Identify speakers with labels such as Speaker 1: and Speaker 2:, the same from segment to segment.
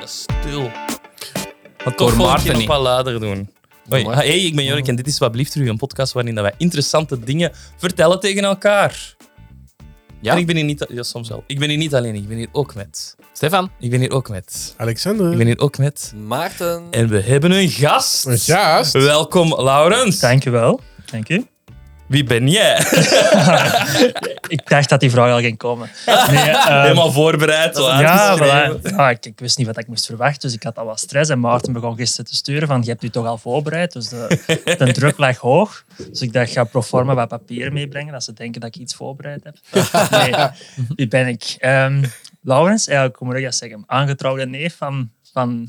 Speaker 1: dat is stil. Toch
Speaker 2: Want door
Speaker 1: volgende keer
Speaker 2: Maarten
Speaker 1: nog
Speaker 2: niet.
Speaker 1: wat later doen. Hoi.
Speaker 2: Mooi.
Speaker 1: Hey, ik ben Jorik en dit is Wat Blieft Terug, een podcast waarin dat wij interessante dingen vertellen tegen elkaar.
Speaker 2: Ja.
Speaker 1: En ik ben hier niet... Ja, soms wel. Ik ben hier niet alleen, ik ben hier ook met.
Speaker 2: Stefan,
Speaker 1: Ik ben hier ook met.
Speaker 3: Alexander.
Speaker 1: Ik ben hier ook met.
Speaker 4: Maarten.
Speaker 1: En we hebben een gast.
Speaker 3: Een gast.
Speaker 1: Welkom, Laurens.
Speaker 5: Dankjewel. Dank u. Eh,
Speaker 1: Wie ben jij?
Speaker 5: Ik dacht dat die vraag al ging komen. Nee, eh,
Speaker 1: Helemaal voorbereid. zo
Speaker 5: ja,
Speaker 1: uitgeschreven.
Speaker 5: voilà. Ah, ik, ik wist niet wat ik moest verwachten, dus ik had al wat stress. En Maarten begon gisteren te sturen van, je hebt u toch al voorbereid? Dus de, de druk lag hoog. Dus ik dacht, ga pro forma wat papier meebrengen, dat ze denken dat ik iets voorbereid heb. Nee, wie ben ik? Ehm Laurens, eigenlijk, hoe moet ik dat zeggen? Aangetrouwde neef van, van,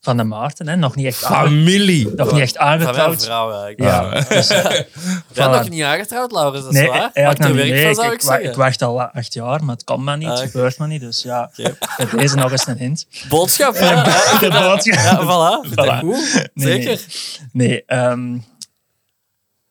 Speaker 5: van de Maarten. Hè? Nog niet echt, aange-
Speaker 1: Familie.
Speaker 5: nog niet echt
Speaker 4: Van mijn
Speaker 5: aangetrouwd.
Speaker 4: vrouw Ah. eigenlijk.
Speaker 5: Ja, dus,
Speaker 4: Ik ben
Speaker 5: voilà.
Speaker 4: nog niet aangetrouwd, Laurens, dat is
Speaker 5: Nee,
Speaker 4: waar. Maakt
Speaker 5: eigenlijk nog
Speaker 4: er
Speaker 5: niet.
Speaker 4: werk
Speaker 5: Nee,
Speaker 4: van, zou
Speaker 5: ik, ik
Speaker 4: ik
Speaker 5: wa- ik
Speaker 4: zeggen.
Speaker 5: wacht al acht jaar, maar het kan maar niet.
Speaker 4: Ah,
Speaker 5: het
Speaker 4: oké.
Speaker 5: gebeurt maar niet. Dus ja,
Speaker 4: Oké.
Speaker 5: met deze nog eens een hint.
Speaker 4: Boodschap, hè? Ja,
Speaker 5: De boodschap.
Speaker 4: ja, voilà. Vind ik
Speaker 5: Voilà.
Speaker 4: goed.
Speaker 5: Nee,
Speaker 4: Zeker.
Speaker 5: Nee, nee, ehm,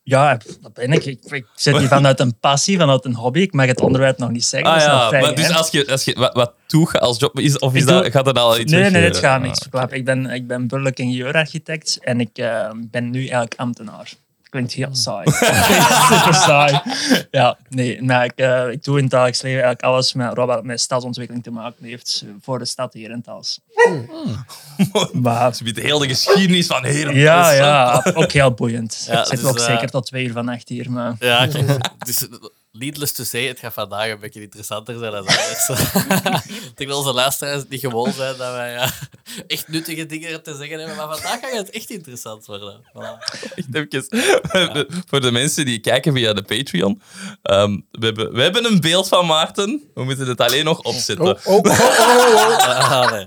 Speaker 5: ja, dat ben ik. Ik, ik zit hier vanuit een passie, vanuit een hobby. Ik mag het onderwerp nog niet zeggen.
Speaker 1: Ah
Speaker 5: dat is nog
Speaker 1: ja,
Speaker 5: vrij
Speaker 1: maar dus
Speaker 5: geheim.
Speaker 1: als je, als je wat, wat toegaat als job, is, of is
Speaker 5: Ik
Speaker 1: dat,
Speaker 5: doe-
Speaker 1: gaat dat al iets
Speaker 5: Nee, nee,
Speaker 1: weggeven?
Speaker 5: het gaat
Speaker 1: Ah.
Speaker 5: niks verklappen. Ik ben, ik ben burgerlijk interieurarchitect en ik eh, ben nu eigenlijk ambtenaar. Klinkt heel saai. Klinkt Super saai. Ja, nee, nou, ik, eh, ik doe in het dagelijks leven eigenlijk alles met, wat met stadsontwikkeling te maken heeft eh, voor de stad hier in Tals. Maar,
Speaker 1: Ze Oh, biedt heel de geschiedenis van heren.
Speaker 5: ja, ja, ook heel boeiend.
Speaker 4: Ja,
Speaker 5: Ik zit
Speaker 4: dus,
Speaker 5: ook
Speaker 4: eh,
Speaker 5: zeker tot twee uur vannacht hier, maar...
Speaker 4: Ja, kijk. Dus, needless to say, het gaat vandaag een beetje interessanter zijn dan anders. ik denk dat onze luisteraars het niet gewoon zijn dat wij ja, echt nuttige dingen te zeggen hebben. Maar vandaag gaat het echt interessant worden. Voilà.
Speaker 1: Echt even, Voor de mensen die kijken via de Patreon. ehm, we, hebben, we hebben een beeld van Maarten. We moeten het alleen nog opzetten.
Speaker 3: Oh, oh, oh, oh, oh.
Speaker 4: Ah, nee.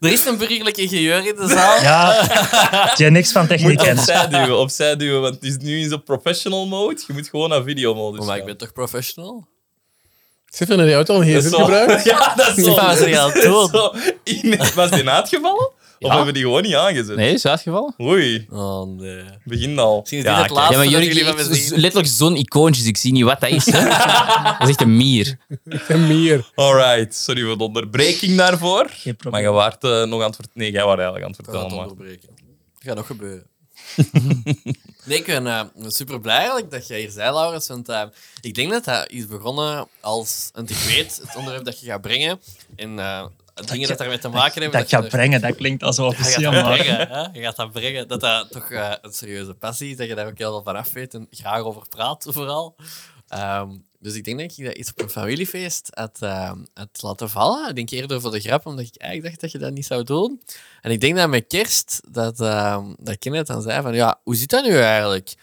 Speaker 4: Er is een burgerlijk ingenieur in de zaal.
Speaker 5: Ja, je niks van techniek
Speaker 1: Moet je
Speaker 5: kent.
Speaker 1: opzij duwen, opzij duwen, want het is nu in zo'n professional mode. Je moet gewoon naar video mode.
Speaker 4: Oh, maar ik ben toch professional?
Speaker 3: Stefan in de auto al een gsm gebruikt.
Speaker 1: Ja, dat is zo.
Speaker 4: Stefan, wat is er aan het doen?
Speaker 1: Zo, in- was die uitgevallen? Of hebben we die gewoon niet aangezet?
Speaker 2: nee, is uitgevallen.
Speaker 1: Oei,
Speaker 4: Oh nee.
Speaker 1: begin al.
Speaker 4: Misschien is
Speaker 1: Ja,
Speaker 4: dit het
Speaker 1: kijk.
Speaker 4: laatste
Speaker 2: Ja, maar
Speaker 4: dat
Speaker 2: Jorik,
Speaker 4: jullie van me
Speaker 2: het is
Speaker 4: zien.
Speaker 2: letterlijk zo'n icoontje, dus ik zie niet wat dat is. Hè. dat is echt een mier.
Speaker 3: En meer.
Speaker 1: Alright, sorry voor de onderbreking daarvoor.
Speaker 5: Geen probleem.
Speaker 1: Maar je waart eh, nog aan het vertellen. Nee, jij waart eigenlijk aan het
Speaker 4: Ik ga het
Speaker 1: vertellen. Maar...
Speaker 4: onderbreken. Dat gaat nog gebeuren. nee, ik ben eh, super blij eigenlijk dat jij hier zei, Laurens. Want eh, ik denk dat dat is begonnen als. Want ik weet het onderwerp dat je gaat brengen. En eh, dingen dat daarmee te maken hebben.
Speaker 5: Dat gaat
Speaker 4: je-
Speaker 5: brengen, dat klinkt als
Speaker 4: Ja, je
Speaker 5: officieel,
Speaker 4: gaat dat
Speaker 5: maar...
Speaker 4: brengen. hè? Je gaat dat brengen. Dat dat toch eh, een serieuze passie is. Dat je daar ook heel veel van af weet. En graag over praat, vooral. Ehm, dus ik denk dat ik dat iets op een familiefeest had, ehm, had laten vallen. Ik denk eerder voor de grap, omdat ik eigenlijk dacht dat je dat niet zou doen. En ik denk dat met kerst, dat, ehm dat Kenneth dan zei van, ja, hoe zit dat nu eigenlijk?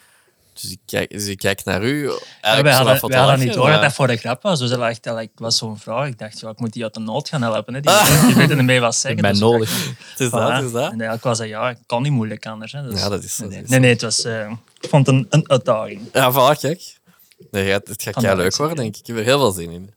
Speaker 4: Dus ik kijk, dus ik kijk naar u.
Speaker 5: Ja,
Speaker 4: eigenlijk
Speaker 5: wij
Speaker 4: zo
Speaker 5: hadden,
Speaker 4: wat voor
Speaker 5: wij
Speaker 4: te
Speaker 5: hadden
Speaker 4: lachen,
Speaker 5: niet door dat
Speaker 4: maar-
Speaker 5: dat voor de grap was. Dus dat lag, dat lag- was zo'n vrouw. Ik dacht, ja, ik moet die uit de nood gaan helpen. Hè. Die, die weten ermee wat
Speaker 2: Ik
Speaker 5: zeggen.
Speaker 2: ben
Speaker 5: dus
Speaker 2: nodig.
Speaker 4: Het is
Speaker 5: voilà.
Speaker 4: dat, het is
Speaker 5: En
Speaker 4: dat.
Speaker 5: eigenlijk was dat, ja, ik kan niet moeilijk anders. Hè. Dus-
Speaker 4: Ja, dat is zo, dat is
Speaker 5: Nee, nee, het was, eh, ik vond het een, een uitdaging.
Speaker 4: Ja, voilà, kijk. Nee, het- het gaat
Speaker 5: Kan
Speaker 4: heel
Speaker 5: dat
Speaker 4: leuk
Speaker 5: ook
Speaker 4: worden, denk ik. Ik heb er heel veel zin in.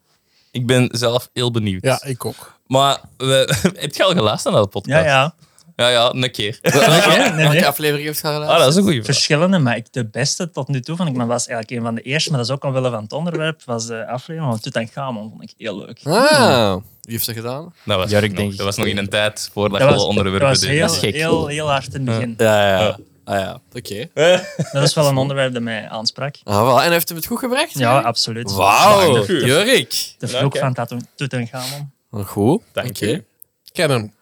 Speaker 1: Ik ben zelf heel benieuwd.
Speaker 3: Ja, ik ook.
Speaker 1: Maar we, heb je al geluisterd naar de podcast?
Speaker 5: Ja, ja.
Speaker 1: ja, ja, een keer.
Speaker 5: Oké, nee, nee.
Speaker 4: Welke aflevering heb je al
Speaker 1: Ah, dat is een goede vraag.
Speaker 5: Verschillende, maar ik, de beste tot nu toe, vond ik, maar was eigenlijk een van de eerste, maar dat is ook omwille van het onderwerp, was de aflevering van Tutankhamon. Vond ik heel leuk.
Speaker 4: Ah, wie heeft dat gedaan?
Speaker 1: Dat was,
Speaker 2: Ja, ik
Speaker 1: nog,
Speaker 2: denk-
Speaker 1: dat was nog in een tijd voordat
Speaker 5: Dat
Speaker 1: alle
Speaker 5: was, dat
Speaker 1: onderwerpen
Speaker 5: was
Speaker 1: deden.
Speaker 5: heel,
Speaker 2: is gek.
Speaker 5: heel, heel hard in het begin.
Speaker 4: Ja, ja. Ah ja, oké.
Speaker 5: Dat is wel een onderwerp dat mij aansprak.
Speaker 4: Ah, wel. En heeft hem het goed gebracht?
Speaker 5: Ja, absoluut.
Speaker 4: Wauw,
Speaker 1: Dank u.
Speaker 4: Jurik.
Speaker 5: De
Speaker 1: Ja,
Speaker 5: vloek
Speaker 1: oké.
Speaker 5: van Tatu- Tutankhamon.
Speaker 4: Goed.
Speaker 1: Dank
Speaker 4: Oké.
Speaker 1: u.
Speaker 3: Ken hem.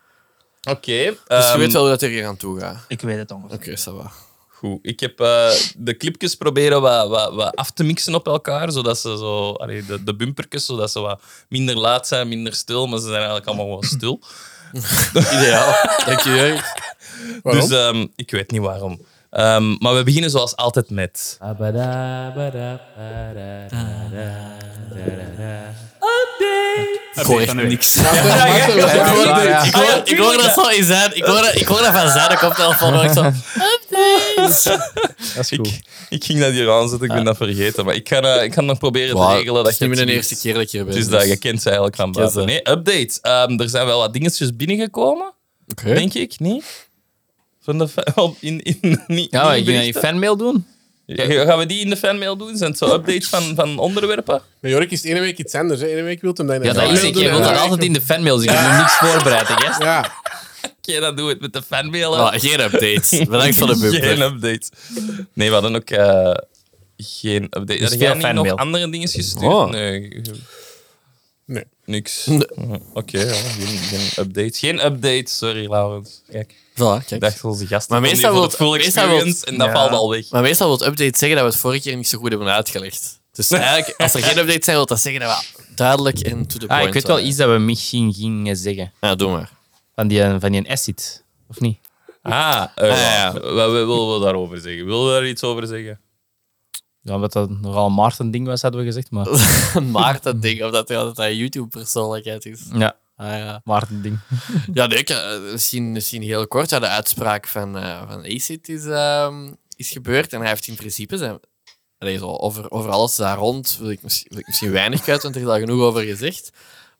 Speaker 1: Oké.
Speaker 4: Dus je
Speaker 1: ehm,
Speaker 4: weet wel hoe dat er hier aan toe gaat.
Speaker 5: Ik weet het ongeveer.
Speaker 4: Oké, ça va.
Speaker 1: Goed. Ik heb eh, de clipjes proberen wat, wat, wat af te mixen op elkaar, zodat ze zo... Allee, de, de bumpertjes, zodat ze wat minder laat zijn, minder stil, maar ze zijn eigenlijk allemaal wel stil.
Speaker 4: Ideaal. Dank je, Jurik.
Speaker 3: Waarom?
Speaker 1: Dus ehm, ik weet niet waarom. Ehm, maar we beginnen zoals altijd met...
Speaker 4: Gooi echt niks.
Speaker 3: Maarten, wat
Speaker 1: ja,
Speaker 3: doen we
Speaker 1: ja,
Speaker 3: dit?
Speaker 1: ja.
Speaker 4: Ik hoor, Ah, ik hoor dat zo in zijn. Ik hoor dat, ik hoor dat van zijn koptelefoon. hoor Ik zo.
Speaker 2: Dat is
Speaker 1: Ik, ik ging dat hier aanzetten, ik ben dat vergeten. Maar ik ga, eh, ik ga nog proberen te regelen.
Speaker 4: Het is
Speaker 1: Dat
Speaker 4: niet meer
Speaker 1: het
Speaker 4: de eerste keer dat je er bent.
Speaker 1: Dus dat, je kent ze eigenlijk van
Speaker 4: ken ze.
Speaker 1: buiten. Nee, update. Ehm, er zijn wel wat dingetjes binnengekomen,
Speaker 4: Oké.
Speaker 1: denk ik, niet? Van de fa- op- in, in, niet-
Speaker 2: Ja, maar
Speaker 1: niet
Speaker 2: ik ging een
Speaker 1: berichten.
Speaker 2: fanmail doen.
Speaker 1: Ja, gaan we die in de fanmail doen? Zijn het zo updates van, van onderwerpen?
Speaker 3: Maar Jorik is de ene week iets anders. Hè. Ene week wilt hem dat in de
Speaker 2: Ja, dat
Speaker 3: fanmail
Speaker 2: is ik.
Speaker 3: doen
Speaker 2: Je
Speaker 3: en
Speaker 2: wilt
Speaker 3: dan
Speaker 2: dat altijd in de fanmail zien. Ik heb niks voorbereid, hè, gast.
Speaker 3: Ja,
Speaker 1: Oké, dan doen we het met de fanmail. hè.
Speaker 4: Maar Ah, geen updates. Bedankt voor de bumper.
Speaker 1: Geen update. Nee, we hadden ook eh, geen update.
Speaker 2: Dus
Speaker 1: Had jij
Speaker 2: veel
Speaker 1: niet
Speaker 2: fanmail.
Speaker 1: nog andere dingen gestuurd?
Speaker 4: Oh.
Speaker 1: Nee.
Speaker 3: Nee.
Speaker 1: Niks. Oké, ja, geen, geen update. Geen update, sorry, Laurens. Kijk,
Speaker 4: Voilà,
Speaker 1: ik
Speaker 4: kijk.
Speaker 1: dacht onze gasten. komen
Speaker 4: Maar
Speaker 1: hier
Speaker 4: meestal
Speaker 1: voor
Speaker 4: wilt-
Speaker 1: de full
Speaker 4: meestal
Speaker 1: experience en dat
Speaker 5: Ja.
Speaker 1: valt al weg.
Speaker 4: Maar meestal wil het update zeggen dat we het vorige keer niet zo goed hebben uitgelegd. Dus eigenlijk, als er geen updates zijn, wil dat zeggen dat we duidelijk en to the point eh.
Speaker 2: Ah, ik weet wel
Speaker 4: waren.
Speaker 2: iets dat we misschien gingen zeggen.
Speaker 4: Ja, doe maar.
Speaker 2: Van die, van die acid, of niet?
Speaker 1: Ah, eh,
Speaker 4: ja.
Speaker 1: Wat, wat willen we daarover zeggen? Willen we daar iets over zeggen?
Speaker 2: Ja, omdat dat nogal een Maarten-ding was, hadden we gezegd. Maar
Speaker 4: Maarten-ding, of dat hij altijd een YouTube-persoonlijkheid is.
Speaker 2: ja,
Speaker 4: Ah, ja.
Speaker 2: Maarten-ding.
Speaker 4: ja, nee, ik, eh, misschien, misschien heel kort. Ja, de uitspraak van, eh van ACID is, ehm, is gebeurd en hij heeft in principe zijn. Allee, zo, over, over alles daar rond wil ik misschien, wil ik misschien weinig kwijt, want er is al genoeg over gezegd.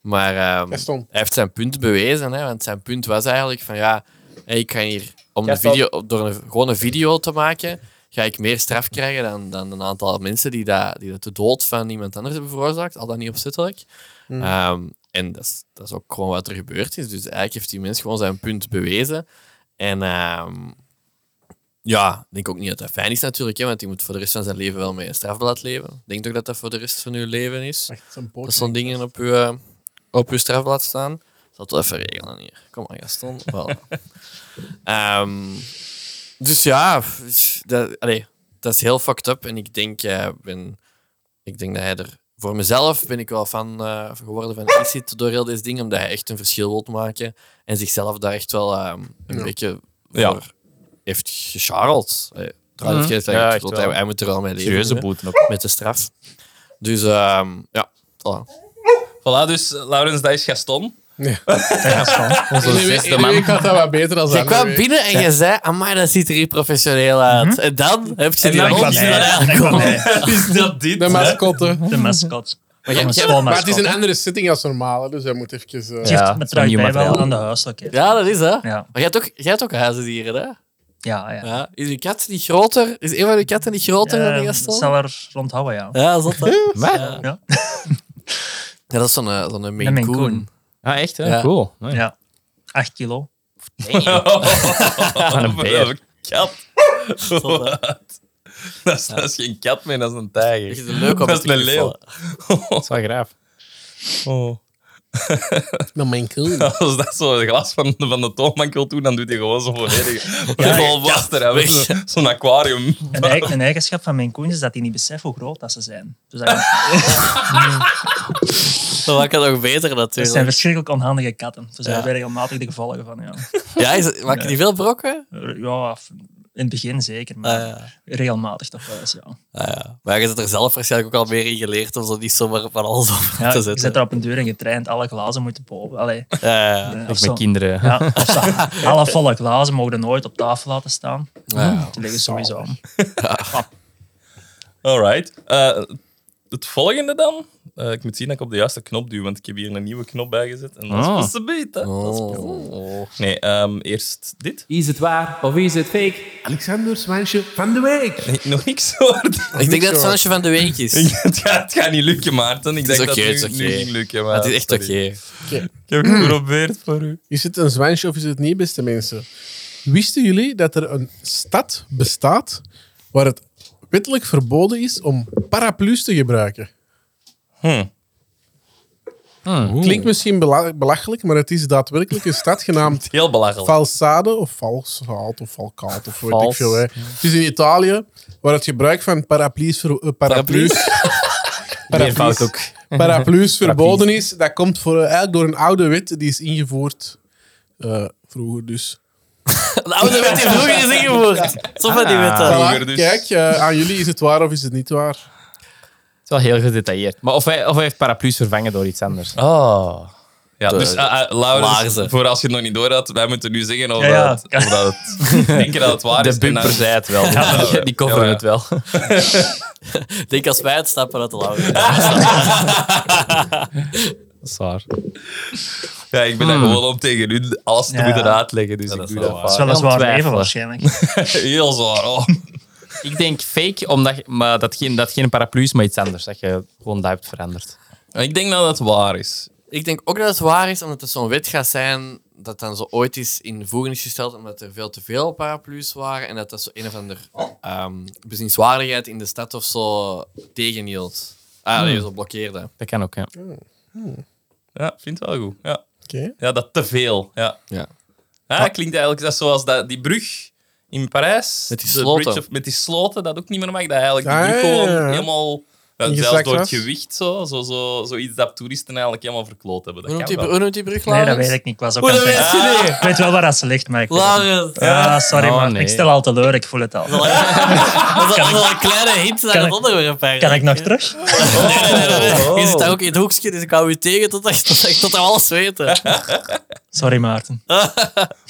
Speaker 4: Maar ehm,
Speaker 3: dat is stom.
Speaker 4: hij heeft zijn punt bewezen, hè, want zijn punt was eigenlijk van ja, hé, ik ga hier om de
Speaker 1: Ja,
Speaker 4: video, door een, gewoon een video te maken, ga ik meer straf krijgen dan, dan een aantal mensen die, dat, die dat de dood van iemand anders hebben veroorzaakt, al dan niet opzettelijk. Ehm, en dat is, dat is ook gewoon wat er gebeurd is. Dus eigenlijk heeft die mens gewoon zijn punt bewezen. En ehm, ja, ik denk ook niet dat dat fijn is natuurlijk, hè, want die moet voor de rest van zijn leven wel met een strafblad leven. Ik denk toch dat dat voor de rest van uw leven is.
Speaker 3: Echt zo'n
Speaker 4: Dat
Speaker 3: boot.
Speaker 4: zo'n dingen op je, op je strafblad staan. Ik zal het wel even regelen hier. Kom maar, Gaston. Voilà. Ehm, dus ja, f- dat, allee, dat is heel fucked up. En ik denk, eh, ben, ik denk dat hij er... Voor mezelf ben ik wel fan eh, geworden van Exit door heel deze ding, omdat hij echt een verschil wil maken en zichzelf daar echt wel ehm, een
Speaker 3: Ja.
Speaker 4: beetje voor
Speaker 1: Ja.
Speaker 4: heeft gecharreld. Eh, Trouwens,
Speaker 2: Mhm.
Speaker 4: ik
Speaker 2: Ja,
Speaker 4: ja,
Speaker 2: echt
Speaker 4: hij,
Speaker 2: wel.
Speaker 4: hij moet er al mee leven.
Speaker 2: Serieuze
Speaker 4: hè,
Speaker 2: boeten ook.
Speaker 4: Met de straf. Dus ehm, ja, voilà.
Speaker 1: Voilà, dus eh, Laurens, dat is Gaston.
Speaker 5: Dat is wel.
Speaker 2: Onze
Speaker 3: Ene week-
Speaker 2: zesde
Speaker 3: ene week
Speaker 2: man.
Speaker 3: gaat dat wat beter dan
Speaker 4: Je
Speaker 3: zijn.
Speaker 4: kwam binnen en je zei, amai, dat ziet er hier professioneel uit. En dan heb je
Speaker 1: En
Speaker 4: die
Speaker 1: dan
Speaker 4: hond
Speaker 1: kwam
Speaker 4: die
Speaker 1: hij.
Speaker 4: daar
Speaker 5: Mhm. Dan kwam
Speaker 4: aankomt.
Speaker 1: Is dat dit?
Speaker 3: De mascotte.
Speaker 5: De mascot.
Speaker 4: Maar jij-
Speaker 5: Van
Speaker 4: jij-
Speaker 5: een schoolmascot,
Speaker 3: Maar het is een
Speaker 5: hè.
Speaker 3: andere zitting als normaal, hè, dus hij moet even... eh,
Speaker 5: Het heeft
Speaker 2: Ja,
Speaker 5: me
Speaker 2: van nieuw
Speaker 5: trouwens bij wel
Speaker 2: materiaal.
Speaker 5: aan de huiselijkheid.
Speaker 4: Ja, dat is hè. Maar
Speaker 5: Ja,
Speaker 4: jij hebt ook, jij hebt ook huizendieren, hè?
Speaker 5: ja, ja.
Speaker 4: Ja. Is uw kat niet groter? Is een van uw katten niet groter dan de
Speaker 5: Eh,
Speaker 4: Gaston?
Speaker 5: zal er rondhouden, ja.
Speaker 4: Ja, zot hè?
Speaker 2: Wat?
Speaker 5: Ja,
Speaker 4: Ja, dat is zo'n eh, zo'n
Speaker 5: Een
Speaker 4: Maine
Speaker 5: Maine
Speaker 4: Coon.
Speaker 5: Coon.
Speaker 2: Ah, echt? hè?
Speaker 4: Ja.
Speaker 2: Cool. Nee.
Speaker 5: ja. 8 kilo.
Speaker 2: Damn.
Speaker 1: Van
Speaker 2: een beer.
Speaker 1: kat. Wat? Dat is, dat is geen kat meer, dat is een tijger.
Speaker 4: Is het een leuk om
Speaker 1: dat is
Speaker 4: te
Speaker 1: een leeuw.
Speaker 2: Dat is wel graaf.
Speaker 1: Oh.
Speaker 3: Nou, mijn cool.
Speaker 1: Als dat zo een glas van, van de toonbank wil doen, dan doet hij gewoon zo volledig. Ja, vol vast
Speaker 4: weg.
Speaker 1: Zo'n zo'n aquarium.
Speaker 5: Een, eig- een eigenschap van mijn koens is dat die niet beseffen hoe groot dat ze zijn. Dus dat,
Speaker 4: Dat maakt het nog beter
Speaker 5: dat zijn
Speaker 4: natuurlijk.
Speaker 5: verschrikkelijk onhandige katten. Dus daar
Speaker 4: Ja.
Speaker 5: hebben we regelmatig de gevolgen van. Ja, Eh,
Speaker 4: Ja, is, maak je die veel brokken?
Speaker 5: ja f- in het begin zeker, maar
Speaker 4: Ah, ja.
Speaker 5: regelmatig toch wel eens. Ja.
Speaker 4: Ah, ja. Maar je zit er zelf waarschijnlijk ook al meer in geleerd om zo niet zomaar van alles op
Speaker 5: Ja,
Speaker 4: te
Speaker 5: je zit
Speaker 4: zetten.
Speaker 5: er op een deur en getraind, alle glazen moeten boven. Allee,
Speaker 4: Ja, ja.
Speaker 5: eh, of
Speaker 2: Of
Speaker 5: zo.
Speaker 2: met kinderen.
Speaker 5: Ja, of zo. alle volle glazen mogen nooit op tafel laten staan. Hm.
Speaker 4: Ja.
Speaker 5: Die liggen sowieso.
Speaker 1: Alright. Eh, het volgende dan. Eh, ik moet zien dat ik op de juiste knop duw, want ik heb hier een nieuwe knop bijgezet. En dat is
Speaker 2: Ah.
Speaker 1: pas te beet, hè. Dat is pas-
Speaker 4: Oh.
Speaker 1: Nee, ehm, eerst dit.
Speaker 6: Is het waar of is het fake? Alexander Zwijnsje van de week.
Speaker 1: Nee, nog niks hoor.
Speaker 4: Ik denk dat
Speaker 3: zo.
Speaker 4: het Sansje van de Week is.
Speaker 1: Ik- het, gaat, het gaat niet lukken, Maarten. Ik
Speaker 4: is
Speaker 1: denk dat
Speaker 4: oké,
Speaker 1: het
Speaker 4: het
Speaker 1: nu,
Speaker 4: is
Speaker 1: nu
Speaker 4: oké. Ah,
Speaker 1: ging lukken. Maar
Speaker 4: Het is echt oké.
Speaker 1: sorry. Ik heb het geprobeerd voor u.
Speaker 3: Is het een zwijntje of is het niet, beste mensen? Wisten jullie dat er een stad bestaat waar het wettelijk verboden is om paraplu's te gebruiken? Klinkt misschien bela- belachelijk, maar het is daadwerkelijk een stad genaamd
Speaker 1: Heel belachelijk.
Speaker 3: Falsade of Falsaat of Falcaat of weet ik
Speaker 2: Vals.
Speaker 3: veel. Hè. Het is in Italië waar het gebruik van paraplu's, ver- eh, paraplu's,
Speaker 2: Meervoud ook.
Speaker 3: paraplu's verboden is. Dat komt voor, eh, eigenlijk door een oude wet die is ingevoerd eh, vroeger dus.
Speaker 4: Een oude wet die vroeger is ingevoerd. Zo van die wet
Speaker 2: Ah.
Speaker 4: dan.
Speaker 1: Vroeger
Speaker 3: Voilà,
Speaker 1: dus.
Speaker 3: Kijk, eh, aan jullie is het waar of is het niet waar?
Speaker 2: Het is wel heel gedetailleerd. Maar of hij, of hij heeft paraplu's vervangen door iets anders.
Speaker 1: Oh. Ja,
Speaker 4: De-
Speaker 1: dus eh, eh, Laurens,
Speaker 4: laarzen.
Speaker 1: voor als je het nog niet door had, wij moeten nu zeggen of,
Speaker 5: Ja, ja.
Speaker 1: Dat, het- of dat het, denken dat het waar is.
Speaker 2: Ah, De
Speaker 1: en dan-
Speaker 2: bumper zei het wel. Die coveren
Speaker 1: dus Ja, ja.
Speaker 2: het wel.
Speaker 4: Ik denk als wij het stappen dat de lauwe.
Speaker 2: Dat is waar.
Speaker 1: Ja, ik ben daar gewoon om tegen u alles te
Speaker 5: Ja.
Speaker 1: moeten uitleggen, dus
Speaker 4: dat
Speaker 1: ik
Speaker 4: is
Speaker 1: doe
Speaker 4: wel
Speaker 1: Hmm. dat
Speaker 4: waar.
Speaker 5: Dat is wel
Speaker 2: Ja,
Speaker 5: een zwaar
Speaker 2: twijfelen.
Speaker 5: leven waarschijnlijk.
Speaker 1: vaak. Heel zwaar. Oh.
Speaker 2: Ik denk fake, omdat, je- maar dat geen, dat geen paraplu is, maar iets anders. Dat je gewoon dat hebt veranderd.
Speaker 1: Ik denk dat dat waar is.
Speaker 4: Ik denk ook dat het waar is, omdat het zo'n wet gaat zijn dat dan zo ooit is in voering is gesteld, omdat er veel te veel paraplu's waren en dat dat zo een of ander ehm bezienswaardigheid in de stad of zo tegenhield. Ah, nee, zo blokkeerde.
Speaker 2: Dat kan ook, ja.
Speaker 1: Ja, vind het wel goed. Ja,
Speaker 3: Oké.
Speaker 1: ja dat te veel. Ja.
Speaker 4: Ja.
Speaker 1: Ja, klinkt eigenlijk dat zoals dat, die brug in Parijs.
Speaker 4: Met die
Speaker 1: de
Speaker 4: sloten.
Speaker 1: bridge of- met die sloten, dat ook niet meer mag. Dat eigenlijk die
Speaker 3: Ah,
Speaker 1: brug
Speaker 3: ja, ja, ja.
Speaker 1: gewoon helemaal... ja,
Speaker 3: Ingezakt
Speaker 1: zelfs door het
Speaker 3: was.
Speaker 1: gewicht, zo, zo, zo, zoiets dat toeristen eigenlijk helemaal verkloot hebben. Dat
Speaker 4: Hoe noemt,
Speaker 1: kan
Speaker 4: die,
Speaker 1: wel.
Speaker 4: hoe noemt die brug,
Speaker 5: Nee, dat
Speaker 4: Laurens?
Speaker 5: weet ik niet. Ik was ook
Speaker 4: Hoe
Speaker 5: aan
Speaker 4: dat
Speaker 5: het
Speaker 4: weet
Speaker 5: denken.
Speaker 4: je niet?
Speaker 5: Ik weet wel waar dat ze ligt, maar ik weet het niet.
Speaker 4: Laurens.
Speaker 5: Ja, sorry,
Speaker 2: Oh,
Speaker 5: maar
Speaker 2: nee.
Speaker 5: ik stel al teleur, ik voel het al.
Speaker 4: Dat is wel een kleine hint naar
Speaker 5: Ah, kan
Speaker 4: het
Speaker 5: ik-
Speaker 4: onderwerp eigenlijk.
Speaker 5: Kan ik nog terug?
Speaker 4: Oh. Je zit daar ook in het hoekje, dus ik hou je tegen tot, dat- tot, dat- tot we alles weten.
Speaker 5: Sorry, Maarten.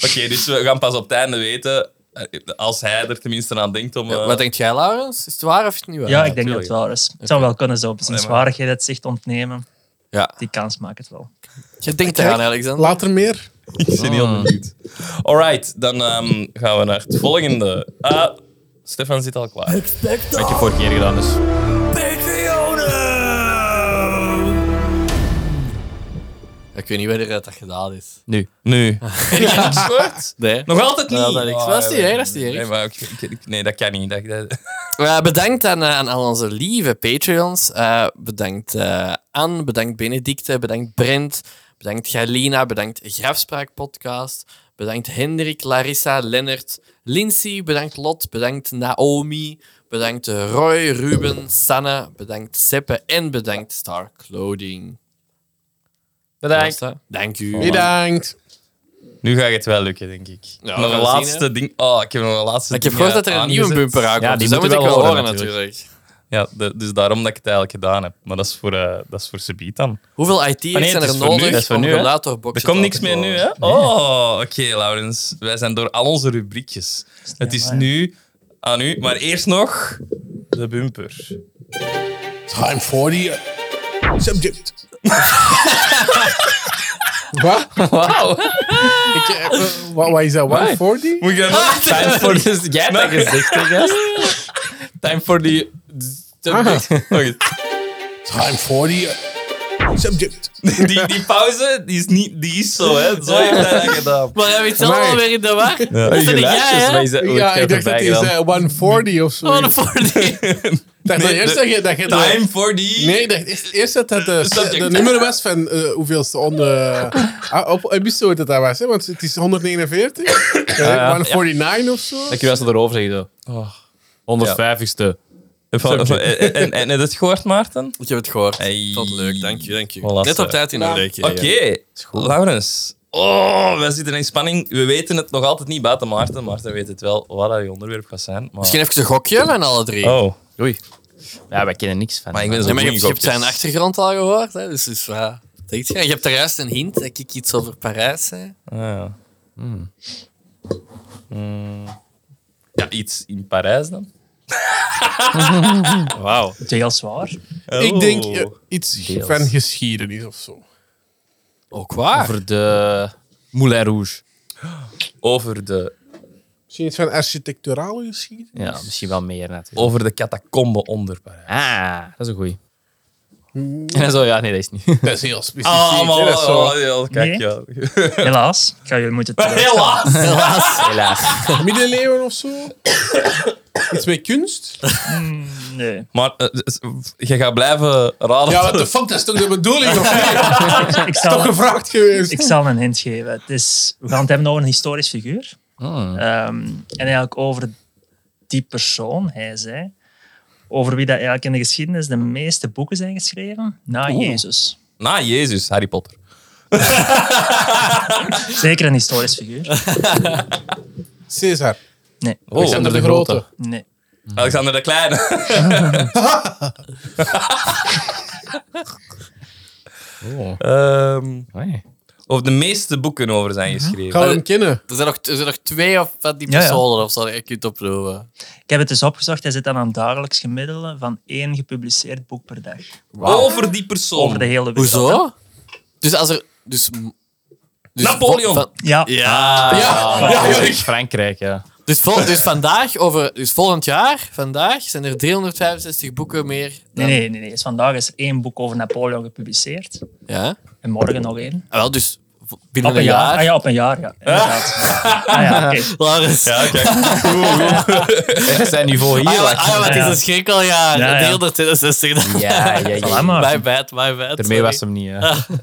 Speaker 1: Oké, dus we gaan pas op het einde weten, eh, als hij er tenminste aan denkt om... eh,
Speaker 4: Wat denkt jij, Laurens? Is het waar of is het niet waar?
Speaker 5: Ja, ik denk dat
Speaker 1: tuurlijk.
Speaker 5: het wel is. Het zou wel kunnen zo op zijn zwaarigheid het zicht ontnemen.
Speaker 4: Ja.
Speaker 5: Die kans maakt het wel.
Speaker 4: Je denkt eraan, Alexander.
Speaker 3: Later meer.
Speaker 1: Ik ben
Speaker 2: Hmm.
Speaker 1: heel benieuwd. Alright, dan ehm, gaan we naar het volgende. Ah, Stefan zit al klaar.
Speaker 2: Wat je vorige keer gedaan dus is.
Speaker 4: Ik weet niet wanneer dat, dat gedaan is.
Speaker 2: Nu.
Speaker 1: Nu. Ik zwart?
Speaker 4: Nee.
Speaker 1: Nog altijd niet. Oh,
Speaker 4: Ja, dat is- dat is niet erg, dat is niet erg.
Speaker 1: Nee, maar ik- ik- ik- nee, dat kan niet. Dat, dat-
Speaker 4: Eh, bedankt aan, eh, aan al onze lieve Patreons. Eh, bedankt eh Anne, bedankt Benedicte, bedankt Brent, bedankt Galina, bedankt Grafspraak Podcast, bedankt Hendrik, Larissa, Lennart, Lindsay, bedankt Lot, bedankt Naomi, bedankt eh, Roy, Ruben, Sanne, bedankt Seppe en bedankt Star Clothing.
Speaker 2: Bedankt.
Speaker 4: Dat was het. Dank u.
Speaker 3: Bedankt.
Speaker 1: Nu gaat het wel lukken, denk ik.
Speaker 4: Ja, we
Speaker 1: nog een
Speaker 4: gaan
Speaker 1: laatste
Speaker 4: zien,
Speaker 1: ding. Oh, ik heb nog een laatste
Speaker 4: Ik heb
Speaker 1: ding,
Speaker 4: gehoord
Speaker 1: eh,
Speaker 4: dat er een nieuwe
Speaker 1: aangezet.
Speaker 4: bumper aankomt,
Speaker 2: Ja, die
Speaker 4: dus dat moet ik
Speaker 2: moeten
Speaker 4: wel
Speaker 2: we wel
Speaker 4: horen
Speaker 2: horen,
Speaker 4: natuurlijk.
Speaker 1: Ja, de- dus daarom dat ik het eigenlijk gedaan heb. Maar dat is voor, eh dat is voor Sebiet dan.
Speaker 4: Hoeveel IT'ers
Speaker 1: Ah, nee,
Speaker 4: zijn
Speaker 1: het
Speaker 4: er
Speaker 1: is voor nu,
Speaker 4: nodig
Speaker 1: dat is voor
Speaker 4: om
Speaker 1: nu, hè?
Speaker 4: rollatorboxen
Speaker 1: Er komt
Speaker 4: te
Speaker 1: niks meer nu,
Speaker 4: ontwikkelen?
Speaker 1: hè? Oh, oké, Laurens. Wij zijn door al onze rubriekjes. Het is
Speaker 5: waar.
Speaker 1: nu aan u, maar eerst nog de bumper.
Speaker 3: Time for the subject. Wat?
Speaker 2: Wauw.
Speaker 3: Ik, eh, eh, Wat wat is dat? 140?
Speaker 1: Moet je dat
Speaker 4: Ah!
Speaker 1: nog-
Speaker 2: Time for the... Jij hebt dat gezegd, hè, gast? Time for the...
Speaker 3: Aha.
Speaker 1: nog eens.
Speaker 3: Time for the subject.
Speaker 1: Die, die pauze die is, niet, die is zo, hè? Zo heeft hij dat gedaan.
Speaker 4: Maar heb je het zelf
Speaker 3: Amai.
Speaker 4: alweer in de war?
Speaker 2: Dat
Speaker 4: ben ik jij, hè?
Speaker 2: maar is dat hoe
Speaker 3: Ja,
Speaker 2: heb
Speaker 3: ik dacht
Speaker 2: erbij
Speaker 3: dat hij
Speaker 2: gedaan?
Speaker 3: zei 140 of zo.
Speaker 4: Wat een voordeel.
Speaker 3: Ik dacht dat
Speaker 1: Nee,
Speaker 3: eerst
Speaker 1: de-
Speaker 3: dat je... Dat je de-
Speaker 1: Time for the.
Speaker 3: Nee, ik dacht eerst- eerst dat het eh,
Speaker 1: Subject.
Speaker 3: de nummer was van eh hoeveelste on, eh, ah, op episode dat dat was. Hè? Want het is 149, eh, 149 of zo.
Speaker 2: Ik was erover zeggen. Oh. 150ste.
Speaker 1: Van- van- En, en, en heb je het gehoord, Maarten?
Speaker 4: Ik heb het gehoord.
Speaker 1: Hey.
Speaker 4: Vond het leuk, dank je, dank je.
Speaker 1: Voilà,
Speaker 4: Net op
Speaker 1: eh.
Speaker 4: tijd in een week.
Speaker 1: Oké, Laurens. Oh, wij zitten in spanning. We weten het nog altijd niet buiten Maarten. Maarten weet het wel wat dat je onderwerp gaat zijn. Maar...
Speaker 4: Misschien even een gokje van alle drie.
Speaker 1: Oh,
Speaker 2: Oei. Ja, wij kennen niks van.
Speaker 1: maar ik ben zo
Speaker 4: Ja, maar je,
Speaker 1: goed in
Speaker 4: hebt, je hebt zijn
Speaker 1: gokjes.
Speaker 4: achtergrond al gehoord, hè? dus is waar. Denk je? je hebt daar juist een hint dat ik iets over Parijs zei.
Speaker 1: Ah, ja. Hmm. ja, iets in Parijs dan?
Speaker 2: Wauw.
Speaker 5: Het is heel zwaar.
Speaker 1: Oh.
Speaker 3: Ik denk eh, iets
Speaker 2: Deels.
Speaker 3: van geschiedenis of zo.
Speaker 4: Ook waar.
Speaker 2: Over de Moulin Rouge.
Speaker 1: Over de,
Speaker 3: Misschien iets van architecturale geschiedenis.
Speaker 2: Ja, misschien wel meer natuurlijk.
Speaker 1: over de catacombe onder Parijs.
Speaker 2: Ah, dat is een goeie. En zo, ja, nee, dat is niet.
Speaker 3: Dat is heel specifiek.
Speaker 1: Ah,
Speaker 3: hè, dat is zo.
Speaker 1: ja, kijk,
Speaker 5: Nee.
Speaker 1: ja.
Speaker 5: Helaas, ik ga jullie moeten terug.
Speaker 1: Helaas!
Speaker 2: Helaas.
Speaker 3: Middeleeuwen of zo. iets met kunst.
Speaker 5: Nee.
Speaker 1: Maar eh, s- je gaat blijven raden.
Speaker 3: Ja, wat de fuck, dat is toch de bedoeling? Of niet?
Speaker 5: Ik
Speaker 3: Toch
Speaker 5: zal,
Speaker 3: gevraagd geweest.
Speaker 5: ik zal een hint geven. Het is, we gaan het hebben over een historisch figuur.
Speaker 2: Hmm.
Speaker 5: Ehm, en eigenlijk over die persoon, hij zij, over wie dat eigenlijk in de geschiedenis de meeste boeken zijn geschreven, na Jezus.
Speaker 1: Na Jezus, Harry Potter.
Speaker 5: Zeker een historisch figuur.
Speaker 3: Caesar.
Speaker 5: Nee,
Speaker 1: Oh,
Speaker 3: Alexander de Grote.
Speaker 5: nee.
Speaker 1: Alexander de Kleine.
Speaker 2: Oh.
Speaker 1: Ehm,
Speaker 2: Amai.
Speaker 1: of de meeste boeken over zijn geschreven.
Speaker 3: Gaan we hem kennen?
Speaker 4: Er zijn, nog, er zijn nog twee of wat die
Speaker 5: Ja, ja.
Speaker 4: personen of zo dat je kunt opnoemen.
Speaker 5: Ik heb het dus opgezocht. Hij zit aan een dagelijks gemiddelde van één gepubliceerd boek per dag.
Speaker 1: Over die persoon.
Speaker 5: Over de hele wereld.
Speaker 4: Hoezo? Dus als er... Dus, m- dus
Speaker 1: Napoleon.
Speaker 4: van-
Speaker 5: Ja.
Speaker 4: Ja.
Speaker 3: Ja,
Speaker 2: Ja,
Speaker 3: ja,
Speaker 2: Frankrijk, ja.
Speaker 4: Dus, vol, dus vandaag, over, dus volgend jaar, vandaag zijn er 365 boeken meer.
Speaker 5: Nee,
Speaker 4: Dan,
Speaker 5: nee, nee. nee. Dus vandaag is er één boek over Napoleon gepubliceerd.
Speaker 4: Ja?
Speaker 5: En morgen nog één.
Speaker 4: Ah, wel, dus v- binnen
Speaker 5: Op een
Speaker 4: een
Speaker 5: jaar?
Speaker 4: jaar.
Speaker 5: Ah ja, op een jaar, ja. Inderdaad. Ah, ja, oké.
Speaker 4: Lars.
Speaker 1: Ja, kijk.
Speaker 2: We zijn nu voor
Speaker 4: Ah,
Speaker 2: hier.
Speaker 4: ja,
Speaker 2: wacht.
Speaker 4: ah, ja, maar het is
Speaker 5: Ja.
Speaker 4: een schrikkeljaar.
Speaker 5: Ja, ja.
Speaker 4: 362 dan.
Speaker 2: Ja, ja, ja.
Speaker 5: Voilà, maar.
Speaker 4: My bad, my bad.
Speaker 2: Daarmee was
Speaker 4: sorry.
Speaker 2: hem niet. eh, hè.